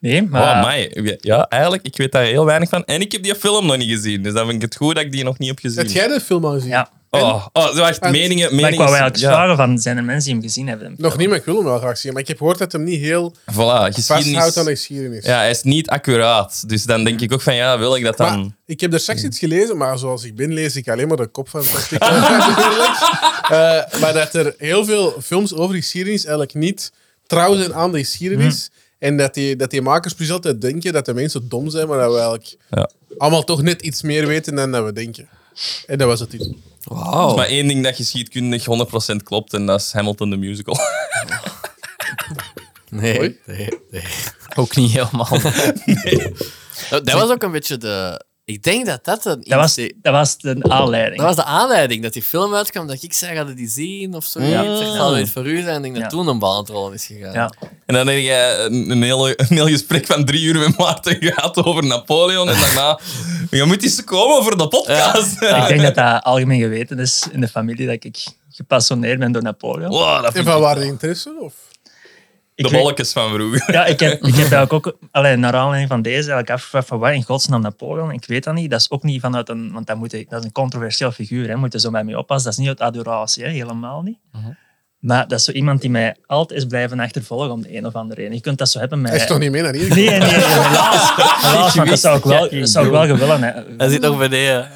Speaker 5: Nee,
Speaker 1: Oh,
Speaker 5: maar...
Speaker 1: my. Ja, eigenlijk, ik weet daar heel weinig van. En ik heb die film nog niet gezien, dus dan vind ik het goed dat ik die nog niet heb
Speaker 3: Heb
Speaker 1: gezien.
Speaker 3: jij de film al gezien?
Speaker 5: ja.
Speaker 1: Oh, oh, wacht,
Speaker 3: En-
Speaker 1: meningen.
Speaker 5: Maar ik
Speaker 1: meningen
Speaker 5: wou eigenlijk vragen van, zijn er mensen die hem gezien hebben?
Speaker 3: Nog niet, maar ik wil hem wel graag zien. Maar ik heb gehoord dat hem niet heel
Speaker 1: Voilà,
Speaker 3: vasthoudt aan de
Speaker 1: geschiedenis.
Speaker 3: geschiedenis.
Speaker 1: Ja, hij is niet accuraat. Dus dan denk ik ook van, ja, wil ik dat dan...
Speaker 3: Maar ik heb er straks iets gelezen, maar zoals ik ben, lees ik alleen maar de kop van het artikel. natuurlijk. Eh, maar dat er heel veel films over die geschiedenis eigenlijk niet trouw zijn aan de geschiedenis. En dat die, dat die makers precies altijd denken dat de mensen dom zijn, maar dat we eigenlijk
Speaker 1: Ja.
Speaker 3: allemaal toch net iets meer weten dan dat we denken. En dat was het titel.
Speaker 1: Er is
Speaker 4: Wauw.
Speaker 1: maar één ding dat geschiedkundig 100% klopt en dat is Hamilton de Musical.
Speaker 4: Nee,
Speaker 3: Oei.
Speaker 4: nee, nee.
Speaker 2: Ook niet helemaal.
Speaker 4: Dat dat was ook een beetje de... Ik denk dat dat een...
Speaker 5: Dat was, dat was de aanleiding.
Speaker 4: Dat was de aanleiding dat die film uitkwam, dat ik zei, ga je die zien of zo? Ja. Ik zeg, zal dit voor u zijn? Ik denk dat
Speaker 5: Ja.
Speaker 4: toen een bal aan het rollen is gegaan.
Speaker 5: ja.
Speaker 1: En dan heb je eh, een, een, heel, een heel gesprek van drie uur met Maarten gehad over Napoleon. En daarna, je moet eens komen voor de podcast.
Speaker 5: Ik denk dat dat algemeen geweten is in de familie dat ik gepassioneerd ben door Napoleon.
Speaker 1: Wow, dat
Speaker 3: En
Speaker 1: vind
Speaker 3: van
Speaker 1: ik-
Speaker 3: waar de interesse? Of?
Speaker 5: Ik
Speaker 1: Oh, de
Speaker 5: weet-
Speaker 1: bolletjes van vroeger.
Speaker 5: Ja, ik heb, ik heb eigenlijk ook alleen, naar aanleiding van deze eigenlijk afgevraagd van waar in godsnaam Napoleon? Ik weet dat niet. Dat is ook niet vanuit een... Want dat, moet, je- dat is een controversieel figuur. Hè. Moet je zo bij mee oppassen. Dat is niet uit adoratie. Hè. Helemaal niet. Maar dat is zo iemand die mij altijd is blijven achtervolgen om de een of andere reden. Je kunt dat zo hebben met...
Speaker 3: Hij is toch niet mee naar hier?
Speaker 5: Nee, nee, nee, helaas. helaas want dat zou ik wel, dat zou ik wel gewillen. hè.
Speaker 4: Hij zit nog eh, beneden.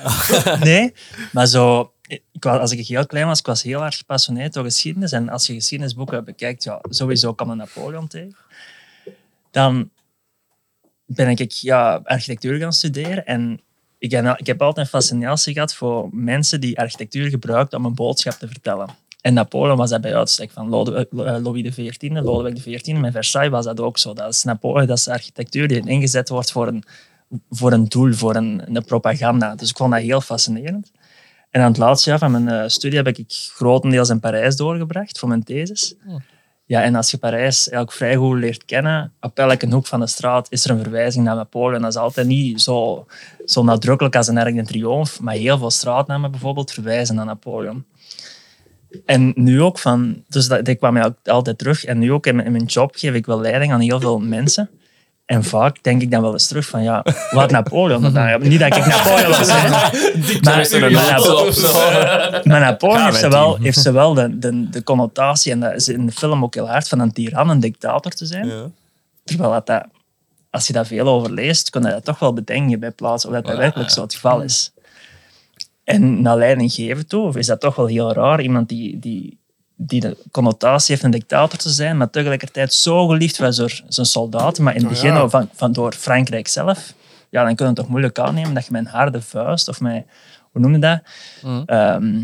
Speaker 5: Nee, maar zo... Ik was, als ik heel klein was, ik was heel erg gepassioneerd door geschiedenis. En als je geschiedenisboeken bekijkt, ja, sowieso kan een Napoleon tegen. Dan ben ik ja, architectuur gaan studeren. En ik, heb- ik heb altijd een fascinatie gehad voor mensen die architectuur gebruikten om een boodschap te vertellen. En Napoleon was dat bij uitstek van Lodewijk- eh, Louis XIV, Lodewijk XIV. Met Versailles was dat ook zo. Dat is, Napoleon, dat is architectuur die ingezet wordt voor een voor een doel, voor een, een propaganda. Dus ik vond dat heel fascinerend. En aan het laatste jaar van mijn eh, studie heb ik grotendeels in Parijs doorgebracht voor mijn thesis. Ja, en als je Parijs eigenlijk vrij goed leert kennen, op elke hoek van de straat is er een verwijzing naar Napoleon. Dat is altijd niet zo, zo nadrukkelijk als een erg een triomf, maar heel veel straatnamen bijvoorbeeld verwijzen naar Napoleon. En nu ook van, dus dat, dat kwam mij ook altijd terug. En nu ook in mijn, in mijn job geef ik wel leiding aan heel veel mensen. En vaak denk ik dan wel eens terug van, ja, wat Napoleon? Want dan- niet dat ik Napoleon was, hè. maar,
Speaker 2: er een
Speaker 5: maar,
Speaker 2: auto op, zo.
Speaker 5: maar Napoleon heeft
Speaker 2: met
Speaker 5: ze wel, heeft ze wel de, de, de connotatie, en dat is in de film ook heel hard, van een tiran, een dictator te zijn. Terwijl dat, dat- als je daar veel over leest, kun je dat toch wel bedenken bij plaats of dat dat werkelijk zo het geval is. En naar leiding geven toe, of is dat toch wel heel raar, iemand die, die, die de connotatie heeft een dictator te zijn, maar tegelijkertijd zo geliefd was door zijn soldaten, maar in het
Speaker 3: Oh ja.
Speaker 5: begin al van, van door Frankrijk zelf, ja, dan kun je het toch moeilijk aannemen dat je met een harde vuist of met, hoe noem je dat, ehm,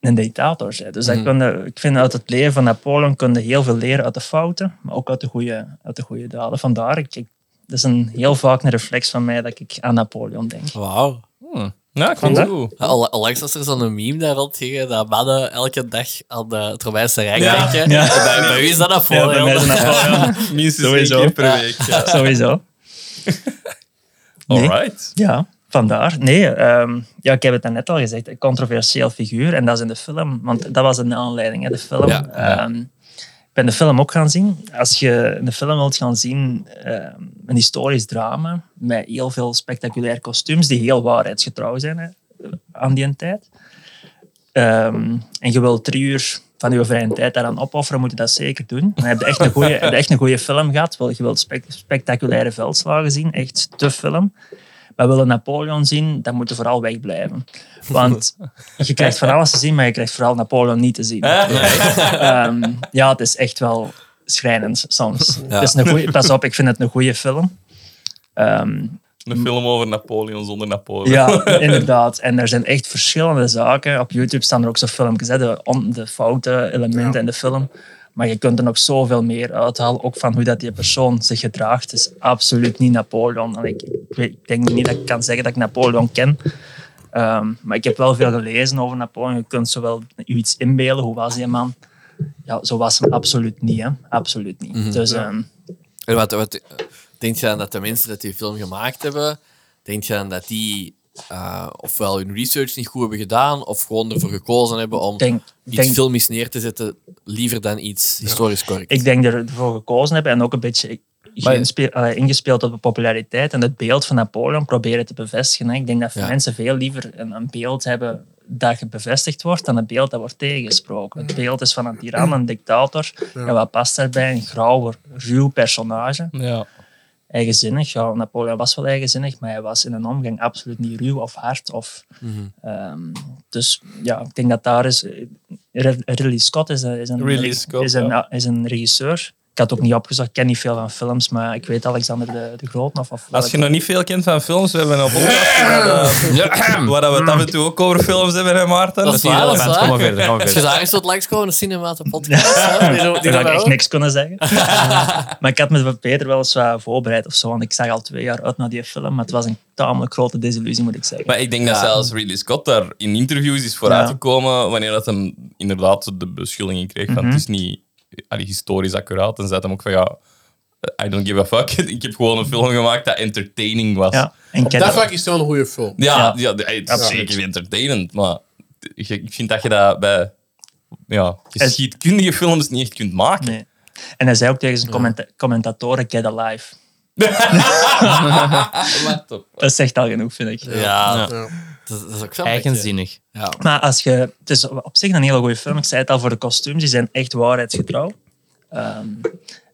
Speaker 5: een dictator bent. Dus dat kun je- ik vind uit het leven van Napoleon kun je heel veel leren uit de fouten, maar ook uit de goede, uit de goede daden. Vandaar, ik, ik, dat is een heel vaak een reflex van mij dat ik aan Napoleon denk.
Speaker 4: Wauw.
Speaker 1: Ja, ik vond het
Speaker 5: Voilà.
Speaker 1: goed.
Speaker 4: Ah, Al- Onlangs was er zo'n meme daar rondgingen dat mannen elke dag aan de, het Romeinse Rijk denken.
Speaker 5: Ja.
Speaker 4: En Bij, bij u is dat een voordeel.
Speaker 5: Napoleon.
Speaker 1: Minstens
Speaker 5: Sowieso.
Speaker 1: één keer per week. Ja.
Speaker 5: Sowieso. Nee.
Speaker 1: Alright.
Speaker 5: Ja, vandaar. Nee, ehm, ja, ik heb het net al gezegd, een controversieel figuur. En dat is in de film, want dat was een aanleiding, hè, de film.
Speaker 4: Ja,
Speaker 5: Ehm, ik ben de film ook gaan zien. Als je de film wilt gaan zien, ehm, een historisch drama met heel veel spectaculaire kostuums die heel waarheidsgetrouw zijn hè, aan die tijd. Ehm, en je wilt drie uur van je vrije tijd daaraan opofferen, moet je dat zeker doen. Dan heb je echt een goede, heb je echt een goede film gehad. Wel, Je wilt spec- spectaculaire veldslagen zien, echt de film. Maar willen Napoleon zien, dan moet je vooral wegblijven. Want je krijgt van alles te zien, maar je krijgt vooral Napoleon niet te zien. Ehm, ja, het is echt wel schrijnend soms. Het is een goeie, pas op, ik vind het een goede film. Ehm,
Speaker 1: Een film over Napoleon zonder Napoleon.
Speaker 5: ja, inderdaad. En er zijn echt verschillende zaken. Op YouTube staan er ook zo filmpjes, hè, de, om de foute elementen in de film. Maar je kunt er nog zoveel meer uithalen, ook van hoe dat die persoon zich gedraagt. Het is absoluut niet Napoleon. En ik, ik, weet- ik denk niet dat ik kan zeggen dat ik Napoleon ken. Ehm, Ehm, maar ik heb wel veel gelezen over Napoleon. Je kunt zowel je iets inbeelden, hoe was die man? Ja, zo was hem absoluut niet. Hè? Absoluut niet. Dus ehm,
Speaker 4: En wat, wat, eh, denk je dan dat de mensen die die film gemaakt hebben, denk je dan dat die eh, ofwel hun research niet goed hebben gedaan, of gewoon ervoor gekozen hebben om
Speaker 5: Denk-
Speaker 4: iets
Speaker 5: denk-
Speaker 4: filmisch neer te zetten, liever dan iets historisch correct?
Speaker 5: ik denk dat we ervoor gekozen hebben en ook een beetje geïnspe- eh, ingespeeld op de populariteit en het beeld van Napoleon proberen te bevestigen. hè. Ik denk dat
Speaker 4: Ja.
Speaker 5: mensen veel liever een, een beeld hebben dat ge- bevestigd wordt dan een beeld dat wordt tegengesproken. Het beeld is van een tiran, een dictator. En wat past daarbij? Een grauw, ruw personage.
Speaker 1: Ja.
Speaker 5: Eigenzinnig. Ja, Napoleon was wel eigenzinnig, maar hij was in een omgang absoluut niet ruw of hard. Of,
Speaker 1: Mhm.
Speaker 5: ehm, dus ja, ik denk dat daar is... Re- Ridley Scott is een, is een,
Speaker 1: Ridley Scott,
Speaker 5: is een, is een regisseur. Ik had ook niet opgezocht, ik ken niet veel van films, maar ik weet Alexander de, de Groot of... of
Speaker 1: Als je nog niet veel kent van films, we hebben een podcast waar, dat- waar dat we het af en toe ook over films hebben, hè, Maarten.
Speaker 4: Dat is
Speaker 1: Dus
Speaker 4: waar, dat is
Speaker 2: relevant. Kom maar
Speaker 4: waar.
Speaker 2: verder, kom maar
Speaker 4: Als je
Speaker 2: verder.
Speaker 4: daar eens wat langs komen, een cinemata podcast. hè? Die doen- die doen
Speaker 5: Daar zou ik
Speaker 4: wij
Speaker 5: echt
Speaker 4: ook.
Speaker 5: niks kunnen zeggen. maar ik had me wat beter wel eens wat voorbereid of zo, want ik zag al twee jaar uit naar die film, maar het was een tamelijk grote desillusie, moet ik zeggen.
Speaker 1: Maar ik denk dat zelfs Ridley Scott daar in interviews is vooruitgekomen wanneer dat hem inderdaad de beschuldiging kreeg van
Speaker 5: Mhm.
Speaker 1: het is niet allee, historisch accuraat. En zei hem ook van ja, I don't give a fuck. Ik heb gewoon een film gemaakt dat entertaining was.
Speaker 5: ja,
Speaker 1: Ja,
Speaker 5: en ik
Speaker 3: Op
Speaker 5: heb-
Speaker 3: dat vlak is het wel een goede film.
Speaker 1: ja,
Speaker 5: Ja.
Speaker 1: de- het is
Speaker 5: Absoluut.
Speaker 1: zeker entertainend, maar ik ik vind dat je dat bij ja, geschiedkundige films dus niet echt kunt maken.
Speaker 5: Nee. En hij zei ook tegen zijn commenta- commentatoren, get alive. Dat zegt al genoeg, vind ik.
Speaker 4: Ja,
Speaker 3: Ja.
Speaker 4: dat, dat is ook zo.
Speaker 2: Eigenzinnig.
Speaker 4: Ja.
Speaker 5: Maar als je, het is op zich een hele goede film. Ik zei het al voor de kostuums, die zijn echt waarheidsgetrouw. Ehm,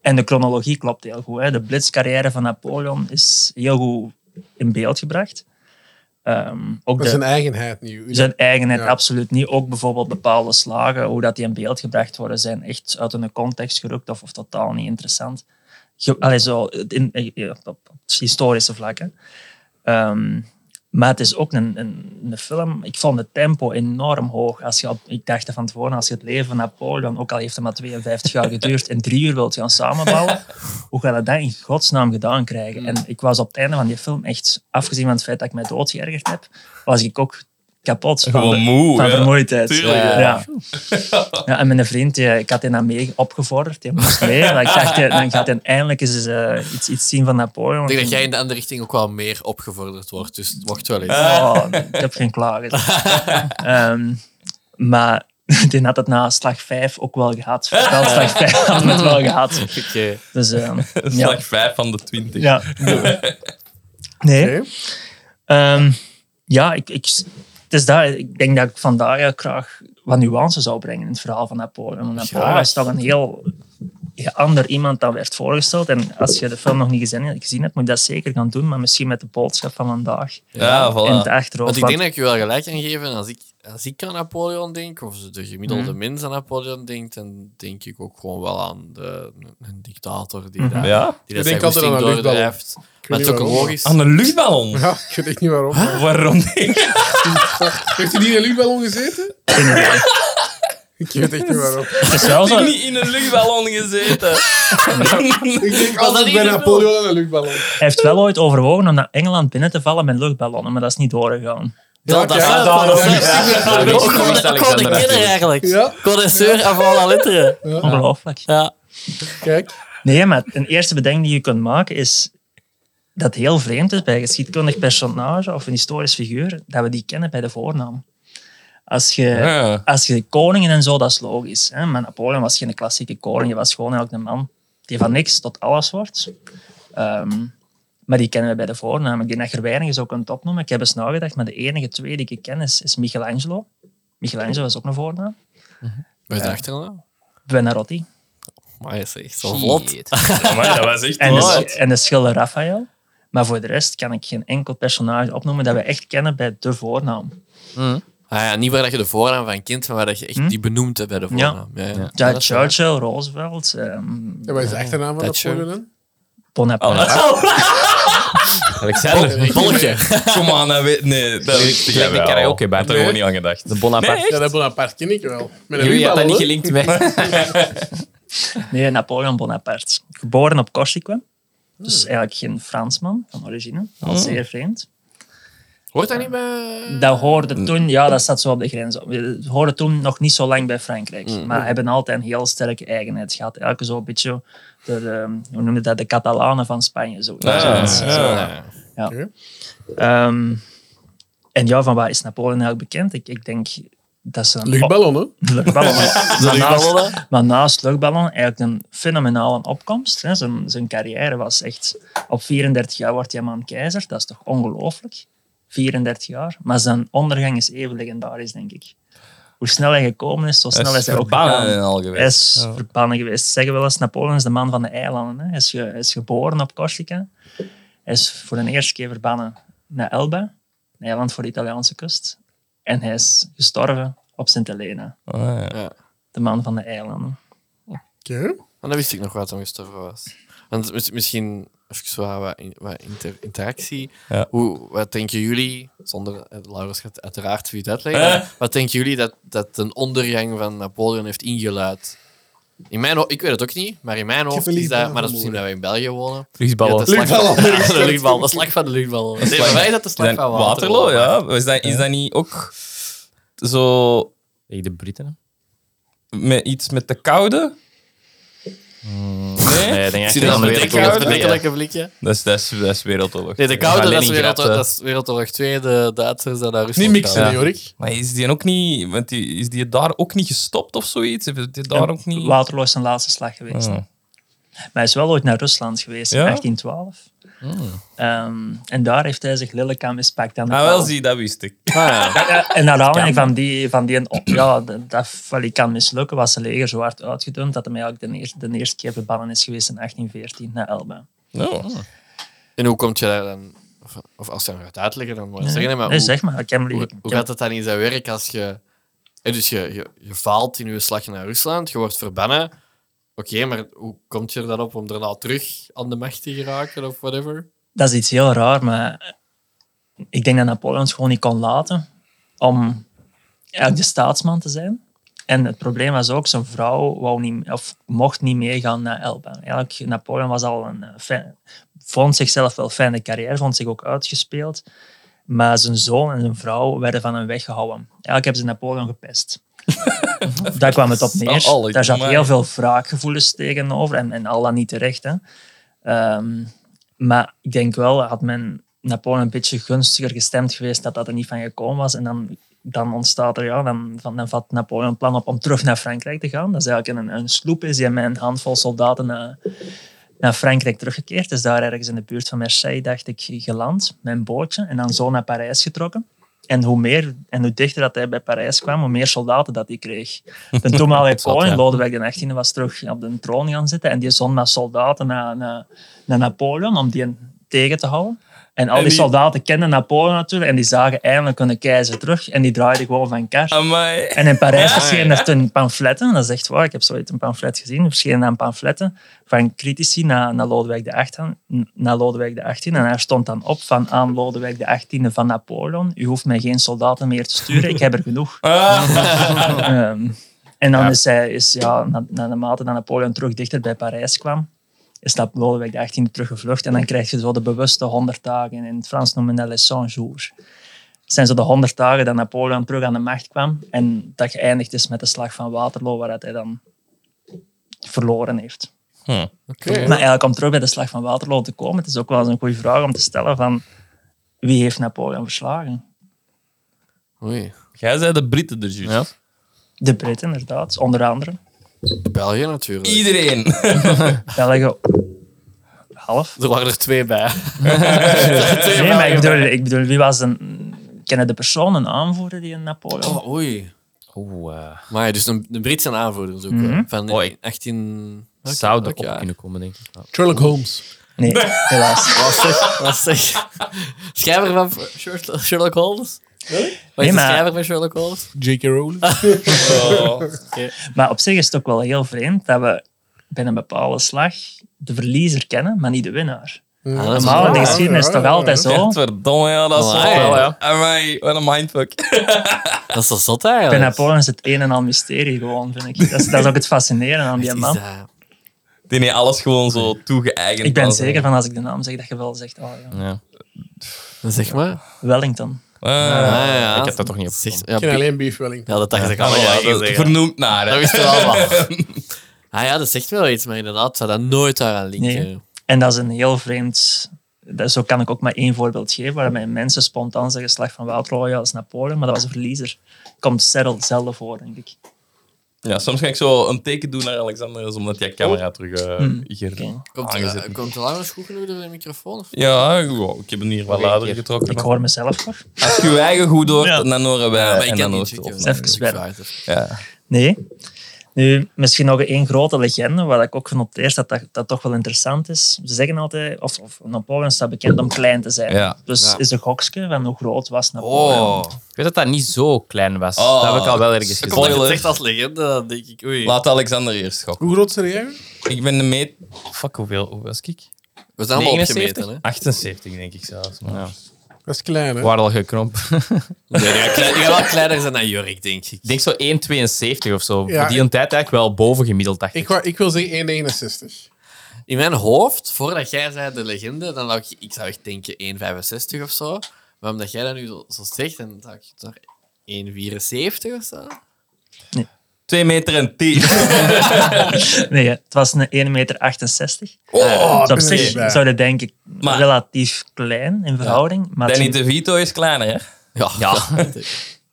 Speaker 5: en de chronologie klopt heel goed. Hè. De blitscarrière van Napoleon is heel goed in beeld gebracht. Ehm, ook
Speaker 3: Dat is
Speaker 5: de,
Speaker 3: een eigenheid nu.
Speaker 5: zijn eigenheid
Speaker 3: Ja.
Speaker 5: absoluut niet. Ook bijvoorbeeld bepaalde slagen, hoe dat die in beeld gebracht worden, zijn echt uit hun context gerukt of, of totaal niet interessant. Ge- Allee, zo, in, eh, op, op het historische Ehm, vlakken. maar het is ook een, een, een film. Ik vond het tempo enorm hoog. Als je op, ik dacht er van tevoren, als je het leven van Napoleon, ook al heeft het maar 52 jaar geduurd, in drie uur wilt gaan samenbouwen, hoe ga je dat in godsnaam gedaan krijgen? En ik was op het einde van die film echt, afgezien van het feit dat ik mij doodgeërgerd heb, was ik ook kapot. van
Speaker 1: Gewoon
Speaker 5: de-
Speaker 1: moe,
Speaker 5: Van
Speaker 1: ja.
Speaker 5: vermoeidheid.
Speaker 1: Tuurlijk,
Speaker 5: ja.
Speaker 1: ja.
Speaker 5: Ja. Ja, en mijn vriend, die- ik had die dan mee opgevorderd. Die moest mee. Maar ik dacht, eh, dan gaat hij eindelijk eens eh, iets, iets zien van Napoleon.
Speaker 4: Ik denk dat jij in de andere richting ook wel meer opgevorderd wordt, dus het mocht wel eens.
Speaker 5: Oh, ik heb geen klagen. Ehm, maar die had het na slag 5 ook wel gehad. Wel slag 5 had het wel gehad.
Speaker 2: Oké.
Speaker 5: Dus ehm, ja.
Speaker 1: Slag 5 van de 20.
Speaker 5: ja. Nee.
Speaker 3: Oké.
Speaker 5: Ehm, ja, ik, ik, het is daar, ik denk dat ik vandaag ja graag wat nuance zou brengen in het verhaal van Napoleon. Want Napoleon is toch een heel ander iemand dan werd voorgesteld. En als je de film nog niet gezien, gezien hebt, moet je dat zeker gaan doen. Maar misschien met de boodschap van vandaag
Speaker 1: Ja,
Speaker 5: in het
Speaker 1: voilà.
Speaker 5: achterhoofd.
Speaker 4: Want ik denk
Speaker 5: Want-
Speaker 4: dat ik je wel gelijk kan geven. Als ik, als ik aan Napoleon denk, of de gemiddelde
Speaker 5: Mhm.
Speaker 4: mens aan Napoleon denkt, dan denk ik ook gewoon wel aan de, een dictator die
Speaker 5: Mhm.
Speaker 4: dat,
Speaker 1: Ja?
Speaker 4: die
Speaker 3: Ik
Speaker 4: dat
Speaker 3: denk
Speaker 4: zijn
Speaker 3: altijd aan
Speaker 4: goesting
Speaker 3: een luchtballon.
Speaker 4: doordrijft. Maar het is
Speaker 3: niet
Speaker 4: ook
Speaker 3: waarom.
Speaker 4: logisch.
Speaker 1: Aan een luchtballon?
Speaker 3: Ja, ik weet echt niet waarom.
Speaker 1: Waarom niet?
Speaker 3: Heeft u niet in een luchtballon gezeten? Ik weet echt niet waarom.
Speaker 5: Het is wel
Speaker 1: Ik heb
Speaker 5: zo.
Speaker 1: niet in een luchtballon gezeten.
Speaker 3: Ik denk
Speaker 4: Was dat
Speaker 3: altijd
Speaker 4: niet
Speaker 3: bij
Speaker 4: in de
Speaker 3: Napoleon aan een luchtballon.
Speaker 5: Hij heeft wel ooit overwogen om naar Engeland binnen te vallen met luchtballonnen, maar dat is niet doorgegaan.
Speaker 4: Dat- dat-
Speaker 3: ja,
Speaker 4: dat-
Speaker 3: dat-
Speaker 4: dat-
Speaker 3: dat-
Speaker 4: dat-
Speaker 2: dat-
Speaker 4: Ik
Speaker 2: dat-
Speaker 4: kon- Ik kon de
Speaker 2: dat-
Speaker 4: kinderen eigenlijk.
Speaker 3: Ja.
Speaker 4: Condenseur af alle letteren.
Speaker 5: Ongelooflijk.
Speaker 4: Ja.
Speaker 3: Kijk,
Speaker 5: Nee, maar een eerste bedenking die je kunt maken is dat heel vreemd is bij een geschiedkundig personage of een historisch figuur, dat we die kennen bij de voornaam. Als je,
Speaker 1: Ja.
Speaker 5: als je koningen en zo, dat is logisch. Hè? Maar Napoleon was geen klassieke koning, hij was gewoon eigenlijk een man die van niks tot alles wordt. Ehm, maar die kennen we bij de voornaam. Ik denk dat je er weinig eens ook kunt opnoemen. Ik heb eens nagedacht, maar de enige twee die ik ken is, is Michelangelo. Michelangelo is ook een voornaam.
Speaker 4: Bij de achternaam.
Speaker 5: Buonarroti.
Speaker 4: Maar is echt zo vlot.
Speaker 1: maar dat was echt
Speaker 5: En
Speaker 1: waar.
Speaker 5: de, en de schilder Raphaël. Maar voor de rest kan ik geen enkel personage opnoemen dat we echt kennen bij de voornaam.
Speaker 4: Ah ja, niet waar dat je de voornaam van kent, maar waar dat je echt die benoemt hebt bij de voornaam. Ja, ja.
Speaker 5: Ja,
Speaker 4: dat is waar.
Speaker 5: Churchill, Roosevelt, ehm,
Speaker 3: en wat is de achternaam van
Speaker 4: Thatcher.
Speaker 3: Napoleon dan?
Speaker 4: Oh,
Speaker 5: Bonaparte.
Speaker 2: Alexander.
Speaker 4: Bolletje.
Speaker 1: Kom aan, dat weet Nee, dat weet ik
Speaker 2: Gelijk de
Speaker 1: bij.
Speaker 2: karaoke bar.
Speaker 1: had er gewoon niet aan gedacht.
Speaker 2: De Bonaparte.
Speaker 3: Ja, dat Bonaparte ken ik wel. Met een
Speaker 2: Jullie hadden
Speaker 3: luchtballon.
Speaker 2: dat niet
Speaker 3: hè?
Speaker 2: gelinkt met...
Speaker 5: Nee, Napoleon Bonaparte. Geboren op
Speaker 4: Hmm.
Speaker 5: Corsica. Dus eigenlijk geen Fransman van origine. Al zeer vreemd.
Speaker 4: Hoort dat niet bij... eh,
Speaker 5: Dat hoorde toen, ja, dat zat zo op de grens. Het hoorde toen nog niet zo lang bij Frankrijk. Maar hebben altijd een heel sterke eigenheid gehad. Elke zo'n beetje, de, de- hoe noem je dat, de Catalanen van Spanje. Zo, zoiets.
Speaker 1: ja.
Speaker 4: Ja.
Speaker 5: Ehm, en ja, van waar is Napoleon eigenlijk bekend? Ik, ik denk dat ze...
Speaker 3: Luchtballonnen.
Speaker 5: Luchtballonnen. maar, naast, maar naast luchtballonnen eigenlijk een fenomenale opkomst. Hè. Zijn, zijn carrière was echt... Op 34 jaar wordt die man keizer. Dat is toch ongelooflijk? 34 jaar. Maar zijn ondergang is even legendarisch, denk ik. Hoe snel hij gekomen is, zo snel is hij ook gegaan.
Speaker 1: verbannen al
Speaker 5: Hij
Speaker 1: geweest.
Speaker 5: is verbannen geweest. Ze zeggen wel eens, Napoleon is de man van de eilanden. Hè. Hij, is ge- hij is geboren op Corsica. Hij is voor de eerste keer verbannen naar Elba, een eiland voor de Italiaanse kust. En hij is gestorven op Sint Helena,
Speaker 1: Ah, ja.
Speaker 5: de man van de eilanden.
Speaker 3: Oké.
Speaker 4: Maar dat wist ik nog wat toen gestorven was. Want mis- misschien even zo wat- wat, in- wat inter- interactie.
Speaker 1: Ja.
Speaker 4: Hoe, wat denken jullie, zonder eh, Laurens gaat uiteraard wie het uitleggen,
Speaker 1: Eh.
Speaker 4: wat denken jullie dat, dat een ondergang van Napoleon heeft ingeluid? In mijn ho- ik weet het ook niet, maar in mijn hoofd
Speaker 3: een
Speaker 4: is dat, maar
Speaker 3: lichtbal
Speaker 4: dat is misschien dat we in België wonen.
Speaker 2: Vliesballen.
Speaker 4: Ja, de slag van-
Speaker 3: Luchtballen.
Speaker 4: Ja, de luchtbal. De slag van de luchtbal. Nee, bij mij is dat de slag
Speaker 1: Dan
Speaker 4: van Waterloo.
Speaker 1: Waterloo, ja. Is dat, is dat niet ook zo
Speaker 2: Tegen de Britten. hè?
Speaker 1: met iets met de koude?
Speaker 4: Hmm.
Speaker 1: Nee?
Speaker 2: Nee, ik denk echt
Speaker 4: Zie
Speaker 2: niet
Speaker 4: je dat
Speaker 2: aan de
Speaker 4: met
Speaker 2: Wereldoorlog
Speaker 4: dat
Speaker 2: twee, hè.
Speaker 4: verdikkelijke blikje?
Speaker 1: Dat is, dat is, dat is wereldoorlog.
Speaker 4: Nee, de
Speaker 2: Ja,
Speaker 4: koude, dat is
Speaker 2: Leningrad,
Speaker 4: Wereldoorlog, dat
Speaker 2: eh.
Speaker 4: is Wereldoorlog 2, de Duitsers dat naar
Speaker 3: Niet
Speaker 4: Rusland
Speaker 3: mixen,
Speaker 4: gaan.
Speaker 3: hè, Jorik.
Speaker 1: Maar is die ook niet... Want die, is die daar ook niet gestopt of zoiets? Heeft die daar ook niet...
Speaker 5: Waterloo is zijn laatste slag geweest.
Speaker 1: Ah.
Speaker 5: hè. Maar hij is wel ooit naar Rusland geweest, in
Speaker 1: Ja?
Speaker 5: 1812. Ehm, en daar heeft hij zich lelijk aan mispakt. Aan de
Speaker 1: Ah, wel,
Speaker 5: paal.
Speaker 1: zie, dat wist ik.
Speaker 5: Ja, en naar aanleiding van die, van die ja, dat, dat wel, ik kan mislukken, was zijn leger zo hard uitgedund dat hij eigenlijk de eerste, de eerste keer verbannen is geweest in 1814 naar Elba.
Speaker 1: Oh.
Speaker 4: En hoe komt je daar dan... Of, of als je hem gaat uitleggen, dan moet je het zeggen. hè, Maar
Speaker 5: nee,
Speaker 4: hoe,
Speaker 5: zeg maar, ik heb hem
Speaker 4: hoe,
Speaker 5: liggen.
Speaker 4: hoe gaat het dan in zijn werk als je... hè, Dus je, je, je faalt in je slag naar Rusland, je wordt verbannen. Oké, maar hoe komt je er dan op om daarna terug aan de macht te geraken of whatever?
Speaker 5: Dat is iets heel raar, maar ik denk dat Napoleon het gewoon niet kon laten om eigenlijk de staatsman te zijn. En het probleem was ook, zijn vrouw wou niet, of mocht niet meegaan naar Elba. Eigenlijk, Napoleon was al een, eh, fijn- vond zichzelf wel fijne carrière, vond zich ook uitgespeeld. Maar zijn zoon en zijn vrouw werden van hem weggehouden. Eigenlijk hebben ze Napoleon gepest. Daar kwam het op neer.
Speaker 1: Oh, allee,
Speaker 5: Daar zat
Speaker 1: maar-
Speaker 5: heel veel wraakgevoelens tegenover en, en al dat niet terecht. Hè. Ehm, maar ik denk wel, had men Napoleon een beetje gunstiger gestemd geweest, dat dat er niet van gekomen was. En dan, dan ontstaat er, ja, dan, van- dan vat Napoleon een plan op om terug naar Frankrijk te gaan. Dat is eigenlijk een, een sloep is die met een handvol soldaten eh, naar, naar Frankrijk teruggekeerd. Is daar ergens in de buurt van Marseille, dacht ik, geland met een bootje. En dan zo naar Parijs getrokken. En hoe meer en hoe dichter dat hij bij Parijs kwam, hoe meer soldaten dat hij kreeg. De toenmalige koning, Lodewijk XVIII, was terug op de troon gaan zitten. En die zond met soldaten naar, naar, naar Napoleon om die tegen te houden. En al
Speaker 1: En
Speaker 5: die,
Speaker 1: die-
Speaker 5: soldaten kenden Napoleon natuurlijk. En die zagen eindelijk hun keizer terug. En die draaiden gewoon van kar.
Speaker 1: Amai.
Speaker 5: En in Parijs verschenen er toen pamfletten. Dat is echt waar. Ik heb zoiets een pamflet gezien. Er verschenen dan pamfletten van critici naar, naar Lodewijk de 18, naar Lodewijk de 18. En daar stond dan op van aan Lodewijk de 18e van Napoleon. U hoeft mij geen soldaten meer te sturen. Ik heb er genoeg. Ehm, en dan is hij, is, ja, na, na de mate dat Napoleon terug dichter bij Parijs kwam, is dat Lodewijk de 18e teruggevlucht. En dan krijg je zo de bewuste 100 dagen. In het Frans noemen we dat les 100 jours. Het zijn zo de 100 dagen dat Napoleon terug aan de macht kwam. En dat geëindigd is met de slag van Waterloo, waar dat hij dan verloren heeft. Maar eigenlijk om terug bij de slag van Waterloo te komen, het is ook wel eens een goede vraag om te stellen van wie heeft Napoleon verslagen?
Speaker 4: Oei.
Speaker 1: Jij zei de Britten dus juist.
Speaker 2: Ja.
Speaker 5: De Britten, inderdaad, onder andere.
Speaker 4: België natuurlijk.
Speaker 1: Iedereen.
Speaker 5: België, half.
Speaker 4: Er waren er twee bij. twee
Speaker 5: Nee, maar ik
Speaker 4: Belgen
Speaker 5: bedoel, ik bedoel, wie was een... Kennen de personen aanvoerder die een
Speaker 4: bij.
Speaker 5: Napoleon...
Speaker 4: Oh, oei.
Speaker 2: Oeh, eh,
Speaker 4: Maar ja, dus de, de Britse aanvoerder is ook
Speaker 5: Mhm.
Speaker 4: eh, van
Speaker 2: Oei.
Speaker 4: 18...
Speaker 2: zou
Speaker 4: Oké,
Speaker 2: erop
Speaker 4: ja.
Speaker 2: kunnen komen, denk ik.
Speaker 3: Sherlock Holmes.
Speaker 5: Nee, helaas.
Speaker 4: Wat zeg, wat zeg. Schrijver van Sherlock Sherlock Holmes? Wat
Speaker 5: Nee,
Speaker 4: is de
Speaker 5: maar-
Speaker 4: schrijver van Sherlock Holmes?
Speaker 3: J.K. Rowling.
Speaker 5: Maar op zich is het ook wel heel vreemd dat we bij een bepaalde slag de verliezer kennen, maar niet de winnaar.
Speaker 4: Ah, dat is
Speaker 5: Normaal in de
Speaker 3: waar,
Speaker 5: geschiedenis
Speaker 3: ja,
Speaker 5: toch
Speaker 3: ja,
Speaker 5: altijd
Speaker 3: ja.
Speaker 5: zo.
Speaker 1: Verdomme, ja, dat is
Speaker 4: Oh,
Speaker 1: wel. ja.
Speaker 4: ja, ja.
Speaker 1: Amai, wat een mindfuck.
Speaker 4: Dat is toch zot
Speaker 5: Bij
Speaker 4: eigenlijk?
Speaker 5: Napoleon is het een en al mysterie gewoon, vind ik. Dat is, dat is ook het fascinerende aan die
Speaker 4: Is
Speaker 5: man.
Speaker 4: dat-
Speaker 1: Die heeft alles gewoon zo toegeëigend.
Speaker 5: Ik ben
Speaker 1: aan
Speaker 5: zeker
Speaker 1: zijn-
Speaker 5: van als ik de naam zeg, dat je wel zegt, oh ja.
Speaker 2: Ja.
Speaker 4: Zeg maar.
Speaker 5: Wellington.
Speaker 1: Ah,
Speaker 4: Ah, ja.
Speaker 2: ik heb dat toch niet
Speaker 4: Zeg-
Speaker 2: opgekomen.
Speaker 4: ja,
Speaker 3: Ik ken alleen Beef Wellington.
Speaker 4: ja, dat dacht ik al.
Speaker 1: voilà,
Speaker 4: Ja,
Speaker 1: ah, dat- vernoemd naar. hè.
Speaker 4: Dat wist je wel wat. Ah ja, dat zegt wel iets, maar inderdaad, zou dat nooit daaraan linken.
Speaker 5: Nee. En dat is een heel vreemd... dat- Zo kan ik ook maar één voorbeeld geven, waarbij mensen spontaan zeggen slag van Wild Royal is Napoleon, maar dat was een verliezer. Komt Serrel zelden voor, denk ik.
Speaker 1: Ja, soms ga ik zo een teken doen naar Alexander, dus omdat jij camera terug eh hier
Speaker 5: Oké.
Speaker 4: Komt,
Speaker 1: aangezet
Speaker 4: uh,
Speaker 1: is.
Speaker 4: komt de lange goed genoeg door de microfoon? Of?
Speaker 1: Ja, wow, ik heb hem hier wel
Speaker 2: Nog één
Speaker 1: luider
Speaker 2: keer.
Speaker 1: getrokken.
Speaker 5: Ik hoor mezelf voor.
Speaker 1: Als je je eigen goed hoort,
Speaker 5: Ja.
Speaker 1: dan horen wij.
Speaker 4: maar ik
Speaker 1: en
Speaker 4: kan
Speaker 1: dan hoort
Speaker 4: niet
Speaker 1: het
Speaker 4: checken.
Speaker 1: op.
Speaker 5: Even
Speaker 4: Ik
Speaker 5: zwijgen.
Speaker 4: vraag het even.
Speaker 1: Ja.
Speaker 5: Nee. Nu, misschien nog één grote legende, wat ik ook genoteerd dat, dat dat toch wel interessant is. Ze zeggen altijd, of, of Napoleon staat bekend om klein te zijn.
Speaker 1: Ja.
Speaker 5: Dus
Speaker 4: Ja.
Speaker 5: is de gokske van hoe groot was Napoleon?
Speaker 4: Oh.
Speaker 2: Ik weet dat dat niet zo klein was.
Speaker 1: Oh,
Speaker 2: dat heb ik al wel ergens
Speaker 1: ze
Speaker 2: gezien.
Speaker 1: komen-
Speaker 4: Als je het
Speaker 1: Spoiler.
Speaker 4: zegt als legende, dan denk ik, oei.
Speaker 1: Laat Alexander eerst schokken.
Speaker 3: Hoe groot zijn jij?
Speaker 1: Ik ben de meet... Fuck, hoeveel hoe was ik?
Speaker 4: We zijn allemaal
Speaker 1: 79?
Speaker 4: opgemeten, hè?
Speaker 1: 78, denk ik zelfs. Maar.
Speaker 2: Ja.
Speaker 3: Dat is klein, hè?
Speaker 2: We waren al gekrompen.
Speaker 4: Nee, die gaat klei- die gaat wel kleiner zijn dan Jorik, denk ik.
Speaker 2: Ik denk zo 1,72 of zo.
Speaker 3: Ja,
Speaker 2: Voor die
Speaker 3: ik-
Speaker 2: een tijd eigenlijk wel boven gemiddeld, dacht
Speaker 3: Ik,
Speaker 2: ik.
Speaker 3: wou- ik wil zeggen 1,69.
Speaker 4: In mijn hoofd, voordat jij zei de legende, dan zou ik, ik zou echt denken 1,65 of zo. Maar omdat jij dat nu zo, zo zegt, dan zou ik toch 1,74 of zo.
Speaker 1: 2 meter en 10.
Speaker 5: Nee, het was een 1,68 meter.
Speaker 3: Oh,
Speaker 5: Dus op
Speaker 3: ik ben er
Speaker 5: zich
Speaker 3: niet bij.
Speaker 5: zou je denk ik
Speaker 1: Maar-
Speaker 5: relatief klein in verhouding, maar, het,
Speaker 1: Danny
Speaker 5: gem-
Speaker 1: DeVito is kleiner, hè?
Speaker 4: Ja.
Speaker 5: maar het